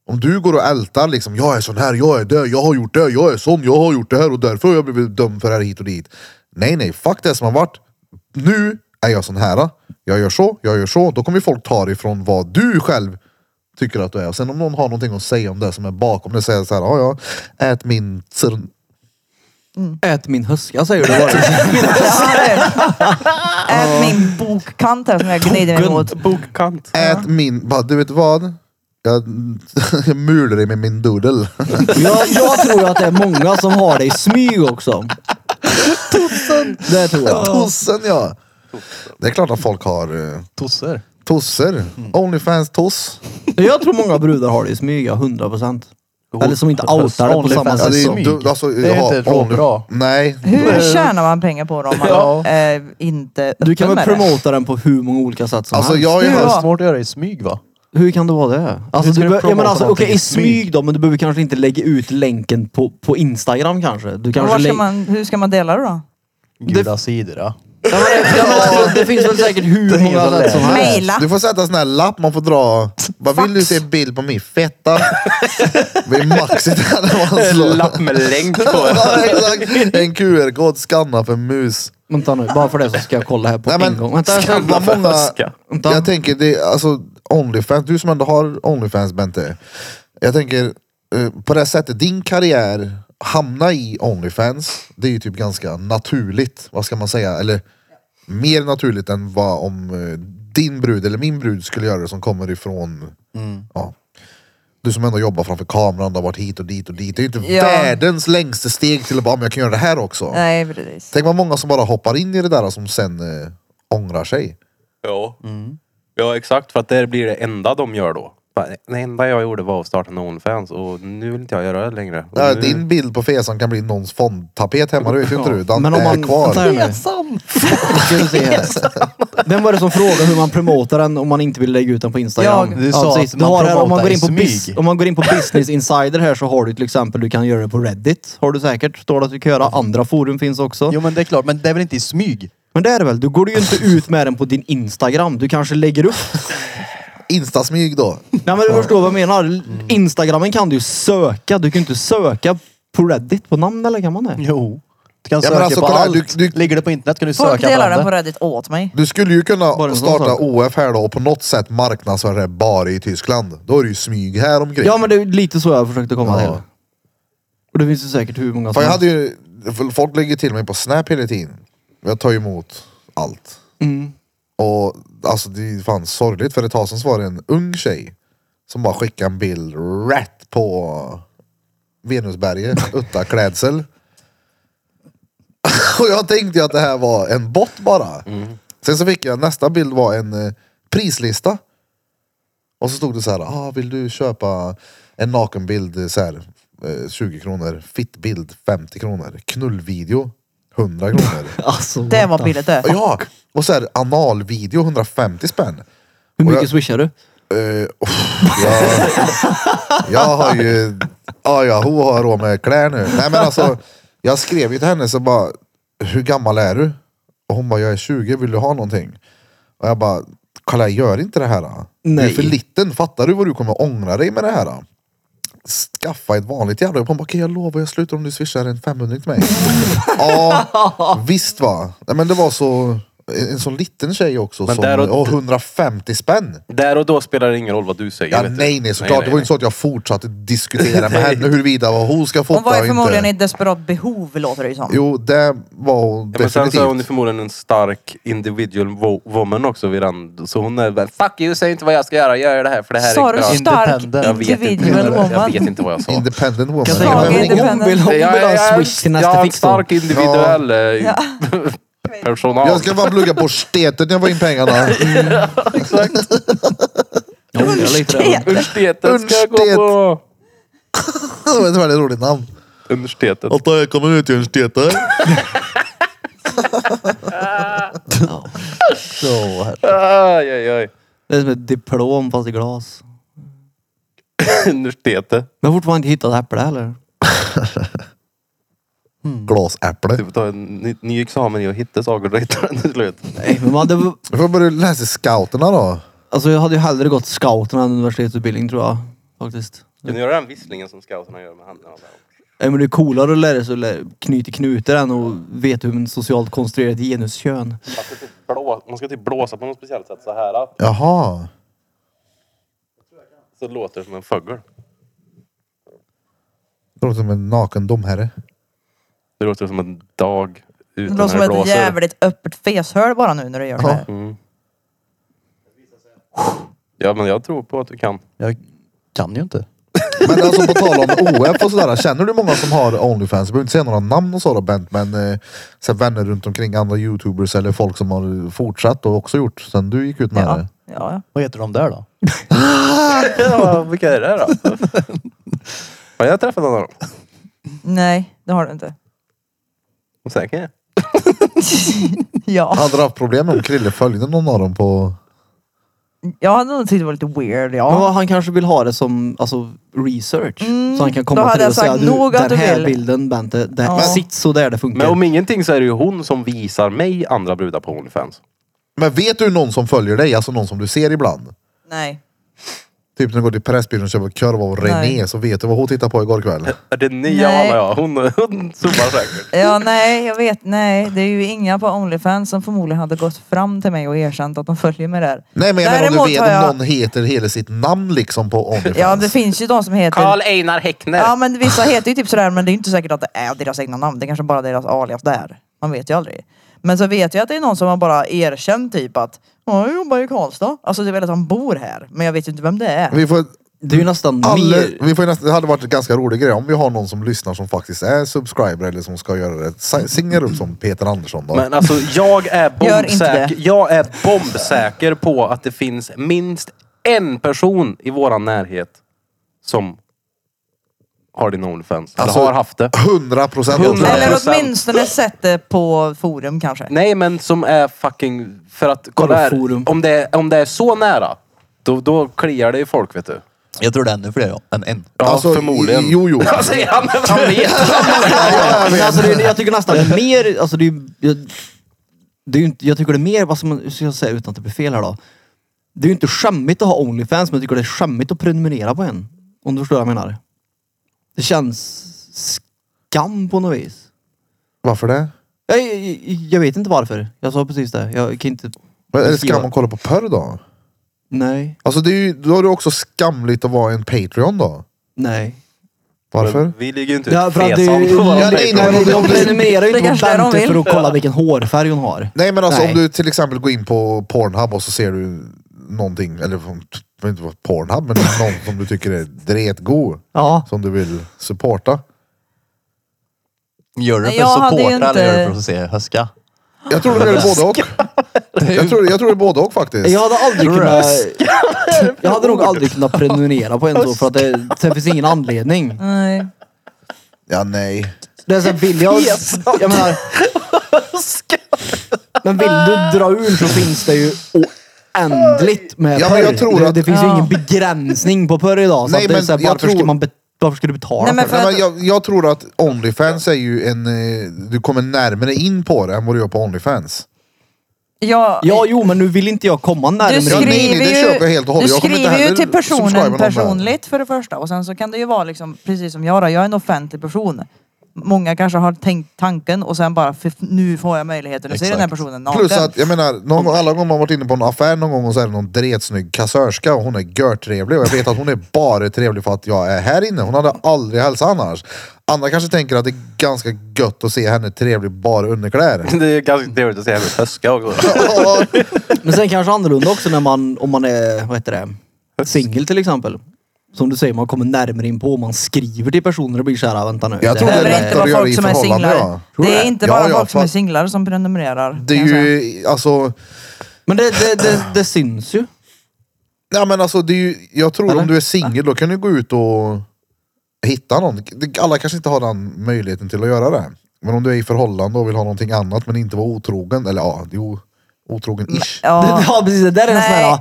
[SPEAKER 1] Om du går och ältar liksom, jag är sån här, jag är det, jag har gjort det, jag är sån, jag har gjort det här och därför har jag blivit dömd för det här hit och dit. Nej, nej, fuck det som har varit. Nu är jag sån här. Jag gör så, jag gör så. Då kommer folk ta dig ifrån vad du själv tycker att du är. Och sen om någon har någonting att säga om det som är bakom det, säger så här, ja ja, ät min
[SPEAKER 4] Ät min huska säger du bara.
[SPEAKER 5] Ja, det är det. Ät min bokkant här som jag gnider mig mot.
[SPEAKER 3] Bokkant.
[SPEAKER 1] Ät min... Bara, du vet vad? Jag, jag mular dig med min doodle.
[SPEAKER 4] jag, jag tror att det är många som har det i smyg också. Tusen! Det tror jag.
[SPEAKER 1] Tossen ja! Det är klart att folk har eh,
[SPEAKER 2] Tosser.
[SPEAKER 1] tosser. Onlyfans toss.
[SPEAKER 4] Jag tror många brudar har det i smyg, ja. 100 procent. Eller som inte outar det på samma
[SPEAKER 2] Onlyfans.
[SPEAKER 1] Ja,
[SPEAKER 4] sätt.
[SPEAKER 1] det
[SPEAKER 2] Alltså,
[SPEAKER 1] är,
[SPEAKER 2] smyg.
[SPEAKER 1] du, alltså,
[SPEAKER 2] Det är
[SPEAKER 1] ja,
[SPEAKER 2] inte råbra.
[SPEAKER 1] Nej.
[SPEAKER 5] Hur tjänar man pengar på det om man eh, inte är
[SPEAKER 4] Du kan
[SPEAKER 5] öppen
[SPEAKER 4] väl
[SPEAKER 5] med det?
[SPEAKER 4] promota den på hur många olika sätt som
[SPEAKER 1] Alltså
[SPEAKER 4] helst?
[SPEAKER 1] jag har ju
[SPEAKER 5] Ja.
[SPEAKER 2] Det
[SPEAKER 1] hört...
[SPEAKER 2] är svårt att göra i smyg va?
[SPEAKER 4] Hur kan det vara det? Alltså,
[SPEAKER 2] ska
[SPEAKER 4] du
[SPEAKER 2] du
[SPEAKER 4] bör, jag menar
[SPEAKER 2] promota
[SPEAKER 4] alltså,
[SPEAKER 2] någonting
[SPEAKER 4] okej
[SPEAKER 2] i
[SPEAKER 4] i smyg då, men du behöver kanske inte lägga ut länken på, på Instagram kanske. Du
[SPEAKER 5] Och
[SPEAKER 4] kanske
[SPEAKER 5] var ska
[SPEAKER 4] lä-
[SPEAKER 5] man, hur ska man dela det då?
[SPEAKER 2] Gula sidor ja.
[SPEAKER 4] Ja, men det, jag menar, det, det finns väl säkert hur många sätt som helst.
[SPEAKER 5] Maila.
[SPEAKER 1] Du får sätta en sån här lapp man får dra. Vad vill du se bild på min fetta? Det är maxigt här när man
[SPEAKER 3] En
[SPEAKER 1] slår.
[SPEAKER 3] lapp med länk på.
[SPEAKER 1] Ja, exakt. En QR-kod skanna för mus.
[SPEAKER 4] Vänta nu, bara för det så ska jag kolla här på
[SPEAKER 1] Nej,
[SPEAKER 4] en
[SPEAKER 1] men,
[SPEAKER 4] gång. Vänta, jag ska...
[SPEAKER 1] Jävla
[SPEAKER 3] Skanna för
[SPEAKER 1] många-
[SPEAKER 3] huska.
[SPEAKER 4] Vänta.
[SPEAKER 1] Jag tänker, det, är- alltså Onlyfans, du som ändå har Onlyfans Bente. Jag tänker, eh, på det här sättet, din karriär, hamna i Onlyfans, det är ju typ ganska naturligt. Vad ska man säga? Eller mer naturligt än vad om eh, din brud eller min brud skulle göra det som kommer ifrån,
[SPEAKER 5] Mm.
[SPEAKER 1] ja. Du som ändå jobbar framför kameran, du har varit hit och dit och dit. Det är ju inte
[SPEAKER 5] Ja.
[SPEAKER 1] världens längsta steg till att bara, "Ah, men jag kan göra det här också.
[SPEAKER 5] Nej precis.
[SPEAKER 1] Tänk vad många som bara hoppar in i det där och som sen eh, ångrar sig.
[SPEAKER 3] Ja. Mm. ja, exakt. För att det blir det enda de gör då. Det enda jag gjorde var att starta en Onlyfans och nu vill inte jag göra det längre. Och
[SPEAKER 1] Ja,
[SPEAKER 3] nu...
[SPEAKER 1] din bild på fesan kan bli någons fondtapet hemma, det vet ju inte du. Den
[SPEAKER 4] Men om
[SPEAKER 1] är
[SPEAKER 4] man... Vänta
[SPEAKER 1] kvar.
[SPEAKER 4] här nu. Ska vi se här. Vem var det som frågade hur man promotar den om man inte vill lägga ut den på Instagram?
[SPEAKER 2] Jag. Du sa
[SPEAKER 4] precis.
[SPEAKER 2] att man
[SPEAKER 4] har här, om,
[SPEAKER 2] promotar
[SPEAKER 4] man går
[SPEAKER 2] i
[SPEAKER 4] in på
[SPEAKER 2] smyg.
[SPEAKER 4] bus- om man går in på business insider här så har du till exempel, du kan göra det på Reddit. Har du säkert. Står det att du kan göra. Andra forum finns också.
[SPEAKER 2] Jo men det är klart, men det är väl inte i smyg?
[SPEAKER 4] Men det är det väl. Du går ju inte ut med den på din Instagram. Du kanske lägger upp.
[SPEAKER 1] Instasmyg då.
[SPEAKER 4] Nej men du förstår vad jag menar. Instagramen kan du ju söka. Du kan ju inte söka på Reddit på namn eller kan man det?
[SPEAKER 2] Jo. Du kan
[SPEAKER 1] men
[SPEAKER 2] söka
[SPEAKER 1] alltså,
[SPEAKER 2] på
[SPEAKER 1] kolla här,
[SPEAKER 2] allt.
[SPEAKER 1] du- du-
[SPEAKER 2] Ligger det på internet kan du
[SPEAKER 5] Folk
[SPEAKER 2] söka
[SPEAKER 5] delar den
[SPEAKER 2] bland
[SPEAKER 5] på
[SPEAKER 2] det.
[SPEAKER 5] Reddit åt mig.
[SPEAKER 1] Du skulle ju
[SPEAKER 4] Bara
[SPEAKER 1] kunna
[SPEAKER 4] en sån
[SPEAKER 1] starta
[SPEAKER 4] sak.
[SPEAKER 1] OF här då och på något sätt marknadsföra det bara i Tyskland. Då är det ju smyg här omkring.
[SPEAKER 4] Ja men det är lite så jag försökte komma
[SPEAKER 1] Ja.
[SPEAKER 4] till. Och det finns ju säkert hur många
[SPEAKER 1] För
[SPEAKER 4] som
[SPEAKER 1] jag hade ju, för folk lägger till mig på Snap hela tiden. Jag tar ju emot allt.
[SPEAKER 4] Mm.
[SPEAKER 1] Och alltså det är fan sorgligt för ett tag sedan så var det en ung tjej som bara skickade en bild rätt på Venusberget, utta klädsel. Och jag tänkte ju att det här var en bot bara.
[SPEAKER 4] Mm.
[SPEAKER 1] Sen så fick jag, nästa bild var en eh, prislista. Och så stod det så här, ah, vill du köpa en nakenbild eh, så här, eh, 20 kronor, fittbild 50 kronor, knullvideo 100 kronor.
[SPEAKER 4] Alltså,
[SPEAKER 5] Det
[SPEAKER 4] what
[SPEAKER 5] var
[SPEAKER 4] the-
[SPEAKER 5] billigt det.
[SPEAKER 1] ja, och så här analvideo 150 spänn. Och
[SPEAKER 4] Hur mycket
[SPEAKER 1] jag-
[SPEAKER 4] swishar du?
[SPEAKER 1] Eh, uff, jag, jag har ju, ja ja, hon har råd med kläder nu. Nej men alltså, jag skrev ju till henne så bara, hur gammal är du? Och hon bara, jag är 20, vill du ha någonting? Och jag bara, Kalle gör inte det här. då. Du är
[SPEAKER 4] Nej.
[SPEAKER 1] för liten, fattar du vad du kommer ångra dig med det här? då? Skaffa ett vanligt jävla jobb. Hon bara, okej jag lovar jag slutar om du swishar en 500 till mig. ja, visst va. Nej, men det var så, en sån liten tjej också.
[SPEAKER 3] Men
[SPEAKER 1] Som,
[SPEAKER 3] där och-
[SPEAKER 1] och 150 spänn.
[SPEAKER 3] Där och då spelar det ingen roll vad du säger.
[SPEAKER 1] Ja,
[SPEAKER 3] vet du.
[SPEAKER 1] nej, nej såklart. det var ju inte så att jag fortsatte diskutera med henne huruvida vad hon ska
[SPEAKER 5] Hon
[SPEAKER 1] fota
[SPEAKER 5] var ju förmodligen
[SPEAKER 1] och inte.
[SPEAKER 5] i ett desperat behov låter det ju som.
[SPEAKER 1] Jo, det var hon
[SPEAKER 3] Ja, men sen
[SPEAKER 1] definitivt.
[SPEAKER 3] så är hon ju förmodligen en stark individual wo- woman också vid den. Så hon är väl, fuck you, säg inte vad jag ska göra, jag gör det här för det här
[SPEAKER 5] Sa
[SPEAKER 3] är
[SPEAKER 5] du
[SPEAKER 3] bra.
[SPEAKER 5] stark
[SPEAKER 2] Independent.
[SPEAKER 3] Jag vet, inte,
[SPEAKER 5] individual
[SPEAKER 3] jag, jag
[SPEAKER 5] woman?
[SPEAKER 3] vet inte vad jag sa.
[SPEAKER 1] Independent woman.
[SPEAKER 4] Kan
[SPEAKER 5] säga
[SPEAKER 1] Ja,
[SPEAKER 5] vad
[SPEAKER 1] men
[SPEAKER 5] hon-
[SPEAKER 1] hon-
[SPEAKER 4] Hon vill, hon vill
[SPEAKER 3] Jag-
[SPEAKER 4] ha en
[SPEAKER 3] jag-
[SPEAKER 4] swish till
[SPEAKER 3] Jag
[SPEAKER 4] nästa
[SPEAKER 3] är en
[SPEAKER 4] fix då.
[SPEAKER 3] stark individuell eh, personal.
[SPEAKER 1] Jag ska bara plugga på stetet när jag får in pengarna.
[SPEAKER 4] Jag undrar lite det.
[SPEAKER 3] Universitetet ska jag gå
[SPEAKER 1] Universitet.
[SPEAKER 3] på.
[SPEAKER 1] Det var ett väldigt roligt namn.
[SPEAKER 3] Universitetet.
[SPEAKER 1] Och då jag kommer ut till universitetet.
[SPEAKER 4] Så här.
[SPEAKER 3] Aj, aj, aj.
[SPEAKER 4] Det är som ett diplom fast i glas.
[SPEAKER 3] Universitetet.
[SPEAKER 4] Men jag har fortfarande inte hittat äpple heller.
[SPEAKER 1] Glasäpple.
[SPEAKER 3] Du får ta en ny, ny examen i att hitta saker och hitta den till slut.
[SPEAKER 4] Nej, men man hade,
[SPEAKER 1] Jag får börja läsa scouterna då.
[SPEAKER 4] alltså jag hade ju hellre gått scouten än universitetsutbildning tror jag. Faktiskt.
[SPEAKER 3] Kan du göra den visslingen som scouterna gör med händerna?
[SPEAKER 4] Nej, men det är coolare att lära sig att lä- knyta knutar än att veta hur en socialt konstruerat genuskön.
[SPEAKER 3] Man ska typ blå- Man ska typ blåsa på något speciellt sätt så här.
[SPEAKER 1] Jaha.
[SPEAKER 3] Så låter det som en fågel.
[SPEAKER 1] Det låter som en naken domherre.
[SPEAKER 3] Det låter som en dag
[SPEAKER 5] Det
[SPEAKER 3] utan
[SPEAKER 5] låter
[SPEAKER 3] när
[SPEAKER 5] som
[SPEAKER 3] det
[SPEAKER 5] ett
[SPEAKER 3] blåser.
[SPEAKER 5] jävligt öppet feshål bara nu när du gör så
[SPEAKER 1] Ja.
[SPEAKER 5] här.
[SPEAKER 3] Mm. Ja men jag tror på att du kan.
[SPEAKER 2] Jag kan ju inte.
[SPEAKER 1] Men alltså på tal om OF och sådär. Känner du många som har Onlyfans? Du behöver inte säga några namn och sådär Bent, men eh, så här, vänner runt omkring, andra youtubers eller folk som har fortsatt och också gjort sen du gick ut med
[SPEAKER 5] Ja.
[SPEAKER 1] det.
[SPEAKER 5] Ja, ja.
[SPEAKER 2] Vad heter de där då?
[SPEAKER 3] Ja, vilka är det då? Har jag träffat någon av dem?
[SPEAKER 5] Nej, det har du inte.
[SPEAKER 3] Säkert.
[SPEAKER 5] Ja.
[SPEAKER 1] Hade du haft problem om Krille följde någon av dem på...
[SPEAKER 5] Jag hade nog tyckt det var lite weird,
[SPEAKER 4] Men
[SPEAKER 5] ja.
[SPEAKER 4] vad, han kanske vill ha det som alltså, research.
[SPEAKER 5] Mm,
[SPEAKER 4] Så han kan
[SPEAKER 5] då
[SPEAKER 4] komma
[SPEAKER 5] hade
[SPEAKER 4] till dig
[SPEAKER 5] jag
[SPEAKER 4] och säga
[SPEAKER 5] sagt,
[SPEAKER 4] du,
[SPEAKER 5] nog att
[SPEAKER 4] den
[SPEAKER 5] du
[SPEAKER 4] här
[SPEAKER 5] vill."
[SPEAKER 4] bilden Bente, den
[SPEAKER 5] Ja.
[SPEAKER 4] sitt så där det
[SPEAKER 3] Men
[SPEAKER 4] funkar.
[SPEAKER 3] om ingenting så är det ju hon som visar mig andra brudar på Onlyfans.
[SPEAKER 1] Men vet du någon som följer dig? Alltså någon som du ser ibland?
[SPEAKER 5] Nej.
[SPEAKER 1] Typ när du går till Pressbyrån och köper korv av René
[SPEAKER 5] Nej.
[SPEAKER 1] så vet du vad hon tittade på igår kväll.
[SPEAKER 3] Är det nya av
[SPEAKER 5] Nej.
[SPEAKER 3] alla ja. Hon, hon zoomar säkert.
[SPEAKER 5] Ja, nej, jag vet, nej. Det är ju inga på Onlyfans som förmodligen hade gått fram till mig och erkänt att de följer mig där.
[SPEAKER 1] Nej men jag menar om
[SPEAKER 5] Däremot
[SPEAKER 1] du vet
[SPEAKER 5] har jag-
[SPEAKER 1] om någon heter hela sitt namn liksom på Onlyfans.
[SPEAKER 5] Ja, det finns ju de som heter...
[SPEAKER 6] Karl Einar Häckner.
[SPEAKER 5] Ja, men vissa heter ju typ sådär, men det är ju inte säkert att det är deras egna namn. Det är kanske bara deras alias där. Man vet ju aldrig. Men så vet jag att det är någon som har bara erkänt typ att Ja, jag jobbar i Karlstad. Alltså det är väl att han bor här. Men jag vet ju inte vem det är.
[SPEAKER 1] Vi får
[SPEAKER 4] det är ju nästan
[SPEAKER 1] Alla,
[SPEAKER 4] mer...
[SPEAKER 1] vi får ju nästan, det hade varit en ganska rolig grej om vi har någon som lyssnar som faktiskt är subscriber eller som ska göra det. Si- Signa upp som Peter Andersson då.
[SPEAKER 3] Men alltså jag är
[SPEAKER 5] Gör inte det.
[SPEAKER 3] bombsäker, jag är bombsäker på att det finns minst en person i våran närhet som har din Onlyfans.
[SPEAKER 1] Alltså-
[SPEAKER 3] Eller har haft det.
[SPEAKER 1] 100 procent.
[SPEAKER 3] Hundra.
[SPEAKER 5] Eller
[SPEAKER 3] 100%.
[SPEAKER 5] åtminstone sett det på forum kanske.
[SPEAKER 3] Nej men som är fucking... För att kolla
[SPEAKER 4] Kolla
[SPEAKER 3] här,
[SPEAKER 4] forum.
[SPEAKER 3] om det, är- om det är så nära, då, då kliar det i folk vet du.
[SPEAKER 2] Jag tror det är ännu fler ja, än en.
[SPEAKER 3] Ja
[SPEAKER 4] Alltså,
[SPEAKER 3] förmodligen.
[SPEAKER 1] Alltså, Jo,
[SPEAKER 3] Alltså,
[SPEAKER 1] jo.
[SPEAKER 3] Ja, säger han, men han vet.
[SPEAKER 4] Ja, men alltså, det, är- jag tycker nästan mer, alltså det är, ju- jag, det är ju inte, jag tycker det är mer, vad ska man ska jag säga utan att det blir fel här då. Det är ju inte skämmigt att ha Onlyfans men jag tycker det är skämmigt att prenumerera på en. Om du förstår vad jag menar. Det känns skam på något vis.
[SPEAKER 1] Varför det?
[SPEAKER 4] Jag, jag, jag vet inte varför. Jag sa precis det. Jag kan inte...
[SPEAKER 1] Men är det
[SPEAKER 4] beskriva.
[SPEAKER 1] skam man kolla på porr då?
[SPEAKER 4] Nej.
[SPEAKER 1] Alltså det är ju, då är det också skamligt att vara en Patreon då.
[SPEAKER 4] Nej.
[SPEAKER 1] Varför?
[SPEAKER 3] Vi ligger ju inte
[SPEAKER 4] Ja,
[SPEAKER 3] ut
[SPEAKER 4] för att det-
[SPEAKER 3] fesan på våran
[SPEAKER 1] Ja, nej,
[SPEAKER 3] Patreon.
[SPEAKER 1] nej,
[SPEAKER 4] De,
[SPEAKER 1] men-
[SPEAKER 4] de prenumererar ju
[SPEAKER 5] Det
[SPEAKER 4] inte på
[SPEAKER 5] kanske är det de
[SPEAKER 4] Bente
[SPEAKER 5] vill.
[SPEAKER 4] för att kolla vilken hårfärg hon har.
[SPEAKER 1] Nej men alltså
[SPEAKER 4] Nej.
[SPEAKER 1] om du till exempel går in på Pornhub och så ser du någonting, eller jag vet inte vad Pornhub, men någon som du tycker är dretgod.
[SPEAKER 4] Ja.
[SPEAKER 1] Som du vill supporta.
[SPEAKER 2] Gör du det för
[SPEAKER 5] Nej, jag
[SPEAKER 2] att
[SPEAKER 5] hade ju
[SPEAKER 2] supporta eller
[SPEAKER 5] inte-
[SPEAKER 2] gör du det för att se höska?
[SPEAKER 1] Jag tror det är både och. Jag tror, jag tror det är både och faktiskt.
[SPEAKER 4] Jag hade aldrig kunnat... Jag hade nog aldrig kunnat prenumerera på en så för att det, sen finns ingen anledning.
[SPEAKER 5] Nej.
[SPEAKER 1] Ja nej.
[SPEAKER 4] Det är så här, vill jag... Jag menar... Men vill du dra ur så finns det ju oändligt med
[SPEAKER 1] Ja, men jag
[SPEAKER 4] porr.
[SPEAKER 1] tror
[SPEAKER 4] det,
[SPEAKER 1] att-
[SPEAKER 4] det finns ju
[SPEAKER 5] Ja.
[SPEAKER 4] ingen begränsning på porr idag. Så
[SPEAKER 1] Nej,
[SPEAKER 4] att det är
[SPEAKER 1] men
[SPEAKER 4] så här,
[SPEAKER 1] jag
[SPEAKER 4] varför,
[SPEAKER 1] tror-
[SPEAKER 4] ska man be, varför ska du betala
[SPEAKER 5] Nej, men
[SPEAKER 4] för
[SPEAKER 5] för-
[SPEAKER 4] det?
[SPEAKER 1] Nej,
[SPEAKER 5] att-
[SPEAKER 1] men jag, jag tror att Onlyfans är ju en... eh, Du kommer närmare in på det än vad du gör på Onlyfans.
[SPEAKER 5] Jag,
[SPEAKER 4] Ja, jo, men nu vill inte jag komma närmare.
[SPEAKER 1] nej,
[SPEAKER 5] du
[SPEAKER 1] nej, det
[SPEAKER 5] skriver
[SPEAKER 1] köper jag
[SPEAKER 5] ju,
[SPEAKER 1] helt och hållet.
[SPEAKER 5] du
[SPEAKER 1] Jag kommer inte
[SPEAKER 5] skriver ju
[SPEAKER 1] heller
[SPEAKER 5] till
[SPEAKER 1] subscriba
[SPEAKER 5] personen
[SPEAKER 1] någon där.
[SPEAKER 5] personligt för det första. Och sen så kan det ju vara liksom, precis som jag då, jag är en offentlig person. Många kanske har tänkt tanken och sen bara, "Fy- nu får jag möjligheten att se den här
[SPEAKER 2] Exakt.
[SPEAKER 5] personen naken.
[SPEAKER 1] Plus att, jag menar, någon, gång- alla gånger man varit inne på en affär någon gång och så är det någon dretsnygg kassörska och hon är görtrevlig och jag vet att hon är bara trevlig för att jag är här inne. Hon hade aldrig hälsat annars. Andra kanske tänker att det är ganska gött att se henne trevlig bara underkläder.
[SPEAKER 3] Det är ganska trevligt att se henne höska också.
[SPEAKER 1] Ja,
[SPEAKER 4] Men sen kanske annorlunda också när man, om man är, vad heter det, singel till exempel. Som du säger, man kommer närmare in på och man skriver till personer och blir såhär, vänta nu.
[SPEAKER 1] Jag
[SPEAKER 4] det
[SPEAKER 1] tror
[SPEAKER 5] det
[SPEAKER 4] här
[SPEAKER 1] det
[SPEAKER 5] behöver
[SPEAKER 1] är
[SPEAKER 5] inte
[SPEAKER 1] lättare att
[SPEAKER 5] vara
[SPEAKER 1] göra
[SPEAKER 5] folk
[SPEAKER 1] i
[SPEAKER 5] som är
[SPEAKER 1] förhållande,
[SPEAKER 5] singlar.
[SPEAKER 1] ja.
[SPEAKER 4] Tror
[SPEAKER 5] Det är
[SPEAKER 4] det?
[SPEAKER 5] inte
[SPEAKER 1] Ja,
[SPEAKER 5] bara
[SPEAKER 1] ja,
[SPEAKER 5] folk som är
[SPEAKER 1] fast-
[SPEAKER 5] singlar som prenumererar.
[SPEAKER 1] det är
[SPEAKER 5] kan jag säga.
[SPEAKER 1] ju, alltså...
[SPEAKER 4] Men det, det, det, det syns ju.
[SPEAKER 1] Nej men alltså det är ju, jag tror
[SPEAKER 4] Eller?
[SPEAKER 1] om du är singel då kan du gå ut och hitta någon. Det- Alla kanske inte har den möjligheten till att göra det. Men om du är i förhållande och vill ha någonting annat men inte vara otrogen, eller ja, jo, otrogen-ish.
[SPEAKER 4] Ja,
[SPEAKER 5] Ja.
[SPEAKER 4] precis. Det där är en sån
[SPEAKER 5] Nej.
[SPEAKER 4] här,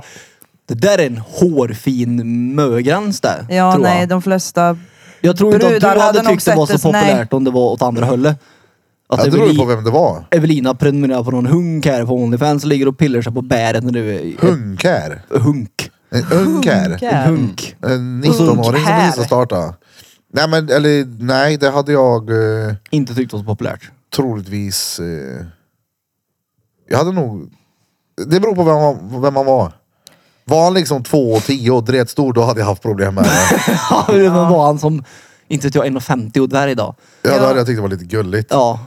[SPEAKER 4] det där är en hårfin mögräns där.
[SPEAKER 5] Ja,
[SPEAKER 4] tror
[SPEAKER 5] nej,
[SPEAKER 4] jag.
[SPEAKER 5] de flesta...
[SPEAKER 4] jag tror inte att du
[SPEAKER 5] brudar
[SPEAKER 4] hade,
[SPEAKER 5] hade nog
[SPEAKER 4] tyckt det var så
[SPEAKER 5] sett det- nej.
[SPEAKER 4] populärt om det var åt andra hållet. Att
[SPEAKER 1] Ja, det beror ju
[SPEAKER 4] Eveli-
[SPEAKER 1] på vem det var.
[SPEAKER 4] Evelina prenumererar på någon hunk här på Onlyfans och ligger och pillar sig på bäret när du är
[SPEAKER 1] Hunkär.
[SPEAKER 4] hunk.
[SPEAKER 1] En unkär.
[SPEAKER 5] Hunkär.
[SPEAKER 4] Hunk.
[SPEAKER 1] En 19-åring som
[SPEAKER 5] Hunkär.
[SPEAKER 1] gissar starta. Nej men eller nej, det hade jag eh,
[SPEAKER 4] Inte tyckt det var så populärt.
[SPEAKER 1] troligtvis... Eh, jag hade nog... Det beror på vem man, vem man var. Var han liksom två och tio och dretstor, då hade jag haft problem med det.
[SPEAKER 4] Ja, men vad var han som Inte att jag är 1,50 och dvärg idag.
[SPEAKER 1] Ja,
[SPEAKER 5] Ja.
[SPEAKER 1] det hade jag tyckt var lite gulligt.
[SPEAKER 4] Ja.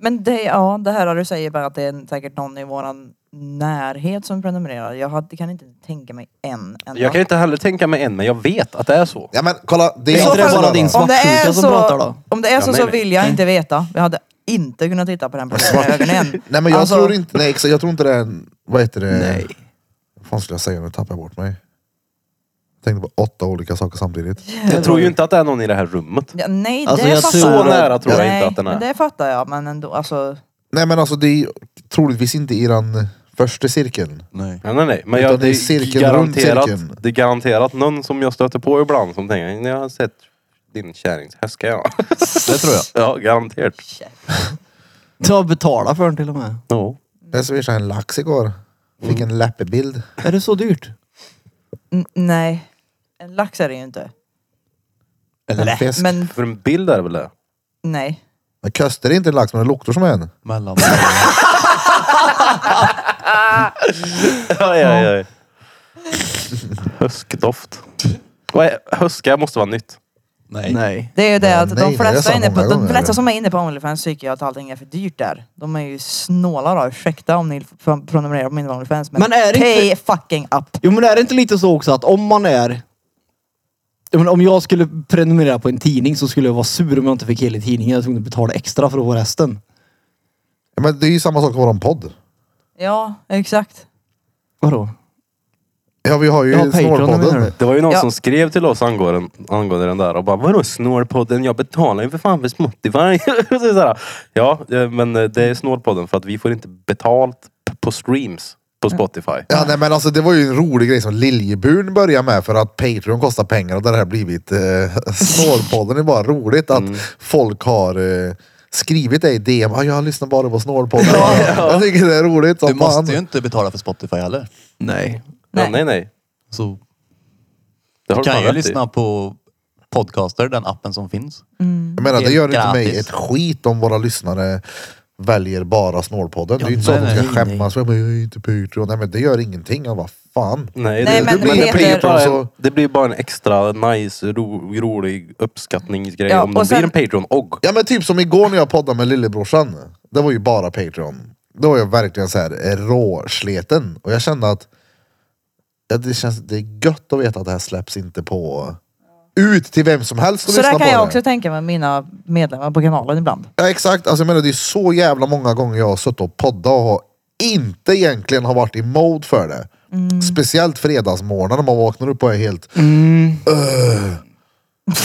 [SPEAKER 5] Men det, ja, det här har du säger bara att det är säkert någon i våran närhet som prenumererar. Jag hade, kan inte tänka mig en enda.
[SPEAKER 3] Jag kan inte heller tänka mig än, men jag vet att det är så.
[SPEAKER 1] Ja men kolla, det är,
[SPEAKER 4] Är inte
[SPEAKER 1] inte
[SPEAKER 4] det bara
[SPEAKER 1] sådär,
[SPEAKER 4] din
[SPEAKER 1] va?
[SPEAKER 4] smak?
[SPEAKER 5] om det är
[SPEAKER 4] svartsjuka
[SPEAKER 5] så,
[SPEAKER 4] som pratar då?
[SPEAKER 5] Om det är så,
[SPEAKER 3] nej,
[SPEAKER 5] så
[SPEAKER 3] nej.
[SPEAKER 5] vill jag inte veta. Jag hade inte kunnat titta på den personen i ögonen.
[SPEAKER 1] Nej men jag
[SPEAKER 5] Alltså,
[SPEAKER 1] tror inte, nej exakt, jag tror inte det är en, vad heter det? Nej. Vad fan skulle jag säga nu? Tappade jag bort mig. Jag tänkte på åtta olika saker samtidigt.
[SPEAKER 3] Jag tror ju inte att det är någon i det här rummet.
[SPEAKER 5] Ja, nej,
[SPEAKER 4] Alltså,
[SPEAKER 5] det
[SPEAKER 4] jag
[SPEAKER 5] fattar
[SPEAKER 4] tror-
[SPEAKER 5] jag.
[SPEAKER 3] Så nära tror jag
[SPEAKER 5] Nej,
[SPEAKER 3] inte att den
[SPEAKER 5] men
[SPEAKER 3] är.
[SPEAKER 5] Det fattar jag, men ändå alltså.
[SPEAKER 1] Nej men alltså det är troligtvis inte i den första cirkeln.
[SPEAKER 2] Nej.
[SPEAKER 3] Nej, nej, nej. Men
[SPEAKER 1] Utan
[SPEAKER 3] jag,
[SPEAKER 1] det är
[SPEAKER 3] det, är
[SPEAKER 1] cirkeln runt
[SPEAKER 3] garanterat,
[SPEAKER 1] cirkeln.
[SPEAKER 3] det är garanterat någon som jag stöter på ibland som tänker, jag har sett din kärringshäst ska jag.
[SPEAKER 2] Det tror jag.
[SPEAKER 3] ja, garanterat.
[SPEAKER 4] Du har betalat för den till och med.
[SPEAKER 3] Ja.
[SPEAKER 1] Jag swishade en lax igår. Fick en läppebild.
[SPEAKER 4] Är det så dyrt?
[SPEAKER 5] N- nej, en lax är det ju inte.
[SPEAKER 1] En fisk.
[SPEAKER 5] Men
[SPEAKER 3] För en bild är det väl det?
[SPEAKER 5] nej.
[SPEAKER 1] Men köster är inte en lax men det luktar som en.
[SPEAKER 2] Mellan.
[SPEAKER 3] Ja, ja, ja. Höskdoft. Vad är- Höska måste vara nytt.
[SPEAKER 2] Nej.
[SPEAKER 4] Nej.
[SPEAKER 5] Det är ju det
[SPEAKER 1] Ja,
[SPEAKER 5] att
[SPEAKER 1] nej,
[SPEAKER 5] de
[SPEAKER 1] det är
[SPEAKER 5] flesta,
[SPEAKER 1] så
[SPEAKER 5] är inne på,
[SPEAKER 1] många
[SPEAKER 5] de
[SPEAKER 1] gånger,
[SPEAKER 5] flesta
[SPEAKER 1] eller?
[SPEAKER 5] som är inne på Onlyfans tycker ju att allting är för dyrt där. De är ju snåla då. Ursäkta om ni f- prenumererar på min Onlyfans men,
[SPEAKER 4] Men är det
[SPEAKER 5] pay fucking up.
[SPEAKER 4] Jo men är det inte lite så också att om man är... Jag menar, om jag skulle prenumerera på en tidning så skulle jag vara sur om jag inte fick hela tidningen. Jag tvungen att betala extra för att få resten.
[SPEAKER 1] Ja, Men det är ju samma sak med våran podd.
[SPEAKER 5] Ja, exakt.
[SPEAKER 4] Vadå?
[SPEAKER 1] Ja vi har ju
[SPEAKER 4] Ja, Patreon, menar
[SPEAKER 1] snålpodden.
[SPEAKER 4] du?
[SPEAKER 3] Det var ju någon
[SPEAKER 5] Ja.
[SPEAKER 3] som skrev till oss angående, angående den där och bara vadå snålpodden? Jag betalar ju för fan för Spotify. Och så är det så här, ja, eh, men eh, det är snålpodden för att vi får inte betalt p- på streams på Spotify.
[SPEAKER 1] Ja nej, men alltså det var ju en rolig grej som Liljeburn började med för att Patreon kostar pengar och det här har blivit eh, snålpodden. Det är bara roligt att
[SPEAKER 2] Mm.
[SPEAKER 1] folk har eh, skrivit det i DM. Ah, jag lyssnar bara på snålpodden. Jag tycker det är roligt som
[SPEAKER 2] Du måste ju
[SPEAKER 1] fan.
[SPEAKER 2] inte betala för Spotify heller.
[SPEAKER 4] Nej.
[SPEAKER 3] Nej, nej.
[SPEAKER 5] Nej.
[SPEAKER 3] nej.
[SPEAKER 2] Så
[SPEAKER 3] Det
[SPEAKER 2] du
[SPEAKER 3] har du
[SPEAKER 2] kan
[SPEAKER 3] fan
[SPEAKER 2] ju
[SPEAKER 3] rätt i.
[SPEAKER 2] lyssna på podcaster, den appen som finns.
[SPEAKER 1] Jag menar det gör
[SPEAKER 2] Helt
[SPEAKER 1] inte mig
[SPEAKER 2] gratis.
[SPEAKER 1] ett skit om våra lyssnare väljer bara snålpodden. det är ju inte så
[SPEAKER 2] nej,
[SPEAKER 1] att de ska
[SPEAKER 2] nej,
[SPEAKER 1] skämmas. Jag, bara, jag är inte Patreon. Nej men det gör ingenting. Jag bara, fan.
[SPEAKER 3] Nej,
[SPEAKER 5] Nej,
[SPEAKER 3] det,
[SPEAKER 5] men
[SPEAKER 3] det, blir,
[SPEAKER 5] det
[SPEAKER 3] det, blir
[SPEAKER 5] heter-
[SPEAKER 3] bara en,
[SPEAKER 1] så-
[SPEAKER 3] det blir bara en extra nice, ro, rolig uppskattningsgrej
[SPEAKER 5] Ja,
[SPEAKER 3] om de
[SPEAKER 5] och sen-
[SPEAKER 3] blir en Patreon och
[SPEAKER 1] Ja men typ som igår när jag poddade med lillebrorsan. Det var ju bara Patreon. Då var jag verkligen så här eh, råsleten. Och jag kände att ja, det känns det är gött att veta att det här släpps inte på ut till vem som helst och
[SPEAKER 5] Så
[SPEAKER 1] lyssna
[SPEAKER 5] där
[SPEAKER 1] på
[SPEAKER 5] kan
[SPEAKER 1] det.
[SPEAKER 5] jag också tänka med mina medlemmar på kanalen ibland.
[SPEAKER 1] Ja exakt, alltså jag menar det är så jävla många gånger jag har suttit och poddat och har inte egentligen har varit i mode för det.
[SPEAKER 5] Mm.
[SPEAKER 1] Speciellt fredagsmorgnar när man vaknar upp och är helt...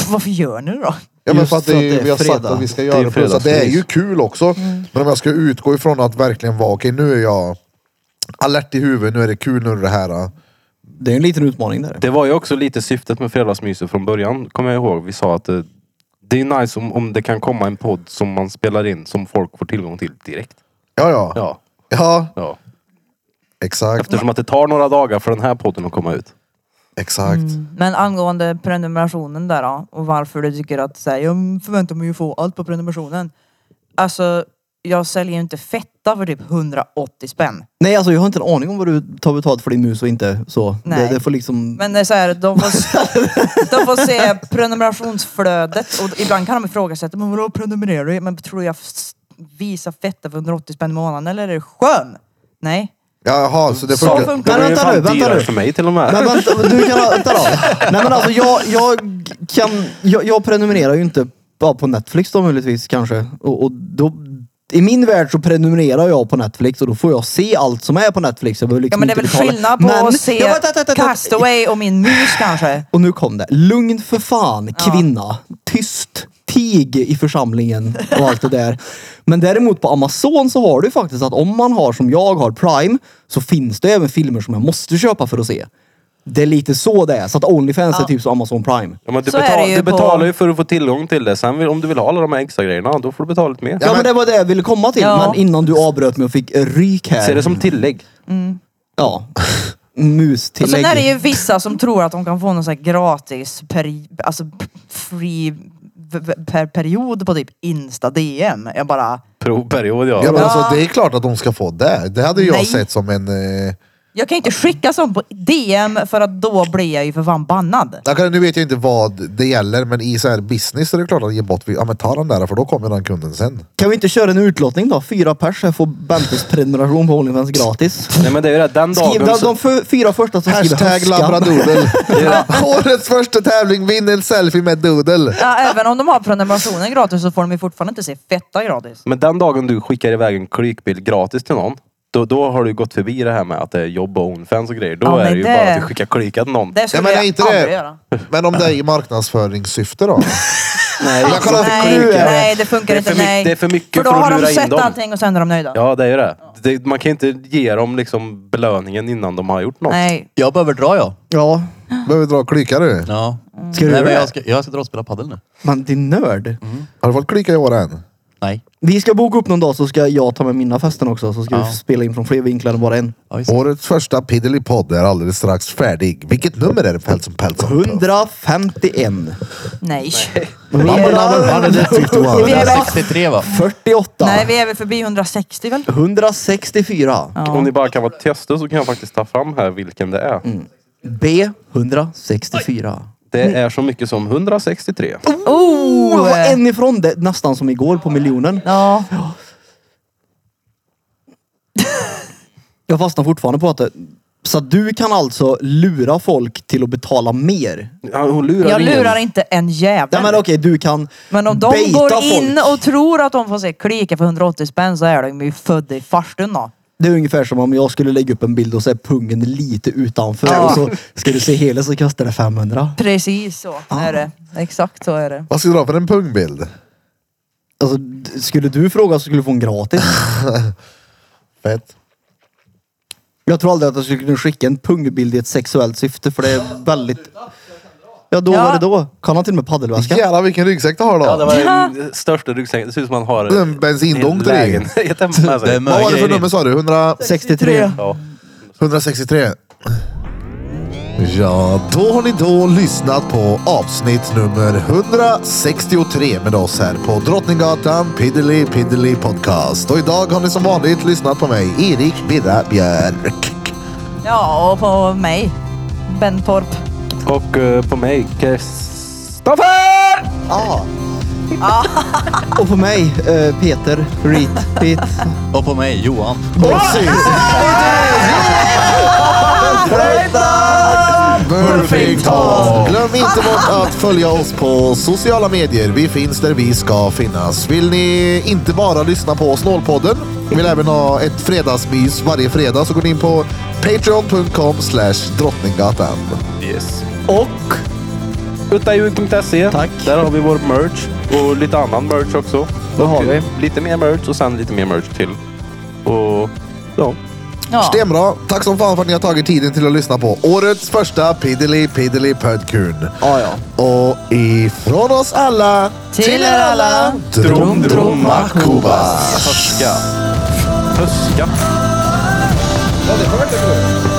[SPEAKER 5] Varför gör ni det då?
[SPEAKER 1] Ja, men
[SPEAKER 4] Just
[SPEAKER 1] för att det är, vi har sagt
[SPEAKER 4] fredag.
[SPEAKER 1] att vi ska
[SPEAKER 3] Det
[SPEAKER 1] göra
[SPEAKER 3] är
[SPEAKER 1] det. Plus att det är ju kul också. Men om jag ska utgå ifrån att verkligen vara, okej nu är jag alert i huvudet, nu är det kul, nu är det det här.
[SPEAKER 4] Det är en liten utmaning där.
[SPEAKER 3] Det var ju också lite syftet med Fredagsmyset från början, kommer jag ihåg. Vi sa att eh, det är nice om, om det kan komma en podd som man spelar in som folk får tillgång till direkt.
[SPEAKER 1] Ja, ja. Ja,
[SPEAKER 3] Ja, ja.
[SPEAKER 1] exakt.
[SPEAKER 3] Eftersom att det tar några dagar för den här podden att komma ut.
[SPEAKER 1] Exakt.
[SPEAKER 5] Men angående prenumerationen där då, och varför du tycker att så här, jag förväntar mig ju få allt på prenumerationen. Alltså, jag säljer ju inte fetta för typ 180 spänn.
[SPEAKER 4] Nej alltså jag har inte en aning om vad du tar betalt för din mus och inte så.
[SPEAKER 5] Nej.
[SPEAKER 4] Det, det får liksom...
[SPEAKER 5] Men det är så här, de får, de får se prenumerationsflödet och ibland kan de ifrågasätta, men vadå prenumererar du? Men tror jag s- visar fetta för 180 spänn i månaden eller är det skön? Nej.
[SPEAKER 1] Jaha, så det
[SPEAKER 3] Så
[SPEAKER 1] funkar.
[SPEAKER 5] funkar
[SPEAKER 3] det blir ju
[SPEAKER 4] vänta
[SPEAKER 3] fan
[SPEAKER 4] nu, vänta
[SPEAKER 3] dyrare
[SPEAKER 4] nu.
[SPEAKER 3] för mig till och med.
[SPEAKER 4] Men vänta, men du kan ha- vänta då. Nej men alltså jag, jag kan, jag, jag prenumererar ju inte ja, på Netflix då möjligtvis kanske. Och, och då, i min värld så prenumererar jag på Netflix och då får jag se allt som är på Netflix. Jag behöver
[SPEAKER 5] Ja
[SPEAKER 4] liksom
[SPEAKER 5] men det är
[SPEAKER 4] inte
[SPEAKER 5] väl
[SPEAKER 4] betala.
[SPEAKER 5] skillnad på
[SPEAKER 4] Men-
[SPEAKER 5] att se
[SPEAKER 4] Ja, vänta, vänta, vänta, vänta.
[SPEAKER 5] Castaway och min mus kanske.
[SPEAKER 4] Och nu kom det. Lugn för fan kvinna. Tyst. Tig i församlingen och allt det där. Men däremot på Amazon så har du faktiskt att om man har som jag har Prime så finns det även filmer som jag måste köpa för att se. Det är lite så det är. Så att Onlyfans är typ som Amazon Prime.
[SPEAKER 3] Ja, men du
[SPEAKER 5] Så är det
[SPEAKER 3] betal,
[SPEAKER 5] ju
[SPEAKER 3] du
[SPEAKER 5] på-
[SPEAKER 3] betalar ju för att få tillgång till det. Sen vill, om du vill ha alla de här extra grejerna, då får du betala lite mer.
[SPEAKER 4] Ja, men det var det jag ville komma till.
[SPEAKER 5] Ja.
[SPEAKER 4] Men innan du avbröt mig och fick ryk här.
[SPEAKER 3] Se det som tillägg.
[SPEAKER 4] Ja.
[SPEAKER 5] Och
[SPEAKER 4] Mustillägg.
[SPEAKER 5] sen är Mm. Alltså, det ju vissa som tror att de kan få någon sån här gratis peri, alltså p- free v- v- per period på typ Insta DM. Jag bara,
[SPEAKER 3] Provperiod ja.
[SPEAKER 1] Ja, men alltså, det är klart att de ska få det. Det hade jag
[SPEAKER 5] Nej.
[SPEAKER 1] sett som en... Eh,
[SPEAKER 5] Jag kan ju inte skicka sånt på DM för att då blir jag ju för fan bannad.
[SPEAKER 1] Jag kan- Nu vet jag inte vad det gäller, men i så här business är det klart att ge bort. Ja men ta den där för då kommer den kunden sen.
[SPEAKER 4] Kan vi inte köra en utlottning då? Fyra pers här får Bentes prenumeration på Onlyfans gratis.
[SPEAKER 3] Nej men det är ju det, den
[SPEAKER 4] Skriv
[SPEAKER 3] dagen...
[SPEAKER 4] de,
[SPEAKER 3] så-
[SPEAKER 4] de för, fyra första som skriver
[SPEAKER 1] Hashtag
[SPEAKER 4] höskan.
[SPEAKER 1] labradoodle. Årets första tävling, vinn en selfie med doodle.
[SPEAKER 5] Ja, även om de har prenumerationen gratis så får de ju fortfarande inte se fetta gratis.
[SPEAKER 3] Men den dagen du skickar iväg en klikbild gratis till någon, då, då har du gått förbi det här med att det är jobb och Onlyfans och grejer. Då
[SPEAKER 5] Ja,
[SPEAKER 3] är
[SPEAKER 5] men
[SPEAKER 3] det ju
[SPEAKER 5] det-
[SPEAKER 3] bara att du skickar klikat till någon.
[SPEAKER 5] Det
[SPEAKER 1] Ja,
[SPEAKER 5] skulle
[SPEAKER 1] men är
[SPEAKER 5] jag
[SPEAKER 1] inte
[SPEAKER 5] aldrig
[SPEAKER 1] det.
[SPEAKER 5] göra.
[SPEAKER 1] Men om det är i marknadsföringssyfte då?
[SPEAKER 3] Nej,
[SPEAKER 1] Jag kollar inte
[SPEAKER 5] Nej,
[SPEAKER 1] klikat.
[SPEAKER 5] nej, det funkar
[SPEAKER 3] Det är
[SPEAKER 5] inte.
[SPEAKER 3] för mycket-
[SPEAKER 5] Nej.
[SPEAKER 3] det är för mycket
[SPEAKER 5] då
[SPEAKER 3] för att
[SPEAKER 5] har
[SPEAKER 3] lura
[SPEAKER 5] de
[SPEAKER 3] in
[SPEAKER 5] sett
[SPEAKER 3] dem.
[SPEAKER 5] allting och sen är de nöjda.
[SPEAKER 3] Ja, det är ju det. det. Man kan inte ge dem liksom belöningen innan de har gjort något.
[SPEAKER 5] Nej.
[SPEAKER 2] Jag behöver dra jag.
[SPEAKER 4] Ja,
[SPEAKER 1] Behöver dra klyka du?
[SPEAKER 2] Ja.
[SPEAKER 4] Ska
[SPEAKER 2] Nej,
[SPEAKER 4] du göra
[SPEAKER 2] men
[SPEAKER 4] det?
[SPEAKER 2] jag, ska, jag ska dra och spela padel nu.
[SPEAKER 4] men din nörd.
[SPEAKER 1] Har du fått klyka i år än?
[SPEAKER 2] Nej.
[SPEAKER 4] Vi ska boka upp någon dag så ska jag ta med mina festen också. Så ska
[SPEAKER 2] Ja.
[SPEAKER 4] vi spela in från fler vinklar än bara en.
[SPEAKER 2] Ja, just det.
[SPEAKER 1] Årets första Piddelipod är alldeles strax färdig. Vilket nummer är det Pelson Pelson?
[SPEAKER 4] 151.
[SPEAKER 5] Nej. Vi är väl-
[SPEAKER 2] 163 va?
[SPEAKER 4] 48.
[SPEAKER 5] Nej, vi är väl förbi 160 väl?
[SPEAKER 4] 164.
[SPEAKER 3] Om ni bara kan vara tysta så kan jag faktiskt ta fram här vilken det är.
[SPEAKER 5] Mm.
[SPEAKER 4] B. 164.
[SPEAKER 3] Det är så mycket som 163.
[SPEAKER 4] Oh, jag var en ifrån det. Nästan som igår på miljonen.
[SPEAKER 5] Ja.
[SPEAKER 4] Jag fastnar fortfarande på att det, Så att du kan alltså lura folk till att betala mer?
[SPEAKER 3] Ja, hon lurar
[SPEAKER 5] Jag
[SPEAKER 3] ingen.
[SPEAKER 5] lurar inte en
[SPEAKER 4] Ja
[SPEAKER 5] jävel.
[SPEAKER 4] men okej, du kan
[SPEAKER 5] Men om de
[SPEAKER 4] baita
[SPEAKER 5] går
[SPEAKER 4] folk.
[SPEAKER 5] in och tror att de får se klika för 180 spänn så är de ju födda i farstun då.
[SPEAKER 4] Det är ungefär som om jag skulle lägga upp en bild och så är pungen lite utanför
[SPEAKER 5] Ja.
[SPEAKER 4] och så ska du se hela så kostar det 500.
[SPEAKER 5] Precis så är det. Exakt så är det.
[SPEAKER 1] Vad ska du dra för en pungbild?
[SPEAKER 4] Alltså, d- skulle du fråga så skulle du få en gratis.
[SPEAKER 1] Fett.
[SPEAKER 4] Jag tror aldrig att jag skulle kunna skicka en pungbild i ett sexuellt syfte för det är väldigt... Ja då
[SPEAKER 5] Ja.
[SPEAKER 4] var det då. Kan han till och med paddelväska?
[SPEAKER 1] Jävlar vilken ryggsäck du har då.
[SPEAKER 3] Ja, det var den största ryggsäcken. Det ser ut som man har
[SPEAKER 1] En bensindunk
[SPEAKER 3] hel
[SPEAKER 1] där i.
[SPEAKER 3] lägenhet hemma med
[SPEAKER 2] Det är
[SPEAKER 3] sig.
[SPEAKER 1] Vad var det för
[SPEAKER 2] grejer.
[SPEAKER 1] nummer sa du? 100...
[SPEAKER 4] 63.
[SPEAKER 3] Ja.
[SPEAKER 1] 163. Ja, då har ni då lyssnat på avsnitt nummer 163 med oss här på Drottninggatan Piddly Piddly Podcast. Och idag har ni som vanligt lyssnat på mig, Erik Birra Björk.
[SPEAKER 5] Ja, och på mig. Bentorp.
[SPEAKER 3] Och eh, på mig, Kristoffer!
[SPEAKER 4] Och på mig, eh, Peter, Reet, Pete.
[SPEAKER 2] Och på mig, Johan.
[SPEAKER 1] Perfect House. Glöm inte bort att följa oss på sociala medier. Vi finns där vi ska finnas. Vill ni inte bara lyssna på Snålpodden, vill även ha ett fredagsmys varje fredag så går ni in på patreon.com slash drottninggatan.
[SPEAKER 3] Yes.
[SPEAKER 4] Och
[SPEAKER 3] Uttajuk.se.
[SPEAKER 4] Tack.
[SPEAKER 3] Där har vi vår merch och lite annan merch också.
[SPEAKER 4] Vad har
[SPEAKER 3] Och
[SPEAKER 4] vi?
[SPEAKER 3] Lite mer merch och sen lite mer merch till. Och ja.
[SPEAKER 5] Ja.
[SPEAKER 1] Stenbra! Tack som fan för att ni har tagit tiden till att lyssna på årets första Piddly Piddly Pödkun.
[SPEAKER 4] Ja, ja.
[SPEAKER 1] Och ifrån oss alla
[SPEAKER 5] Till er alla.
[SPEAKER 1] Drom Droma Kubas.
[SPEAKER 3] Höska. Höska.
[SPEAKER 1] Ja, det hörde du.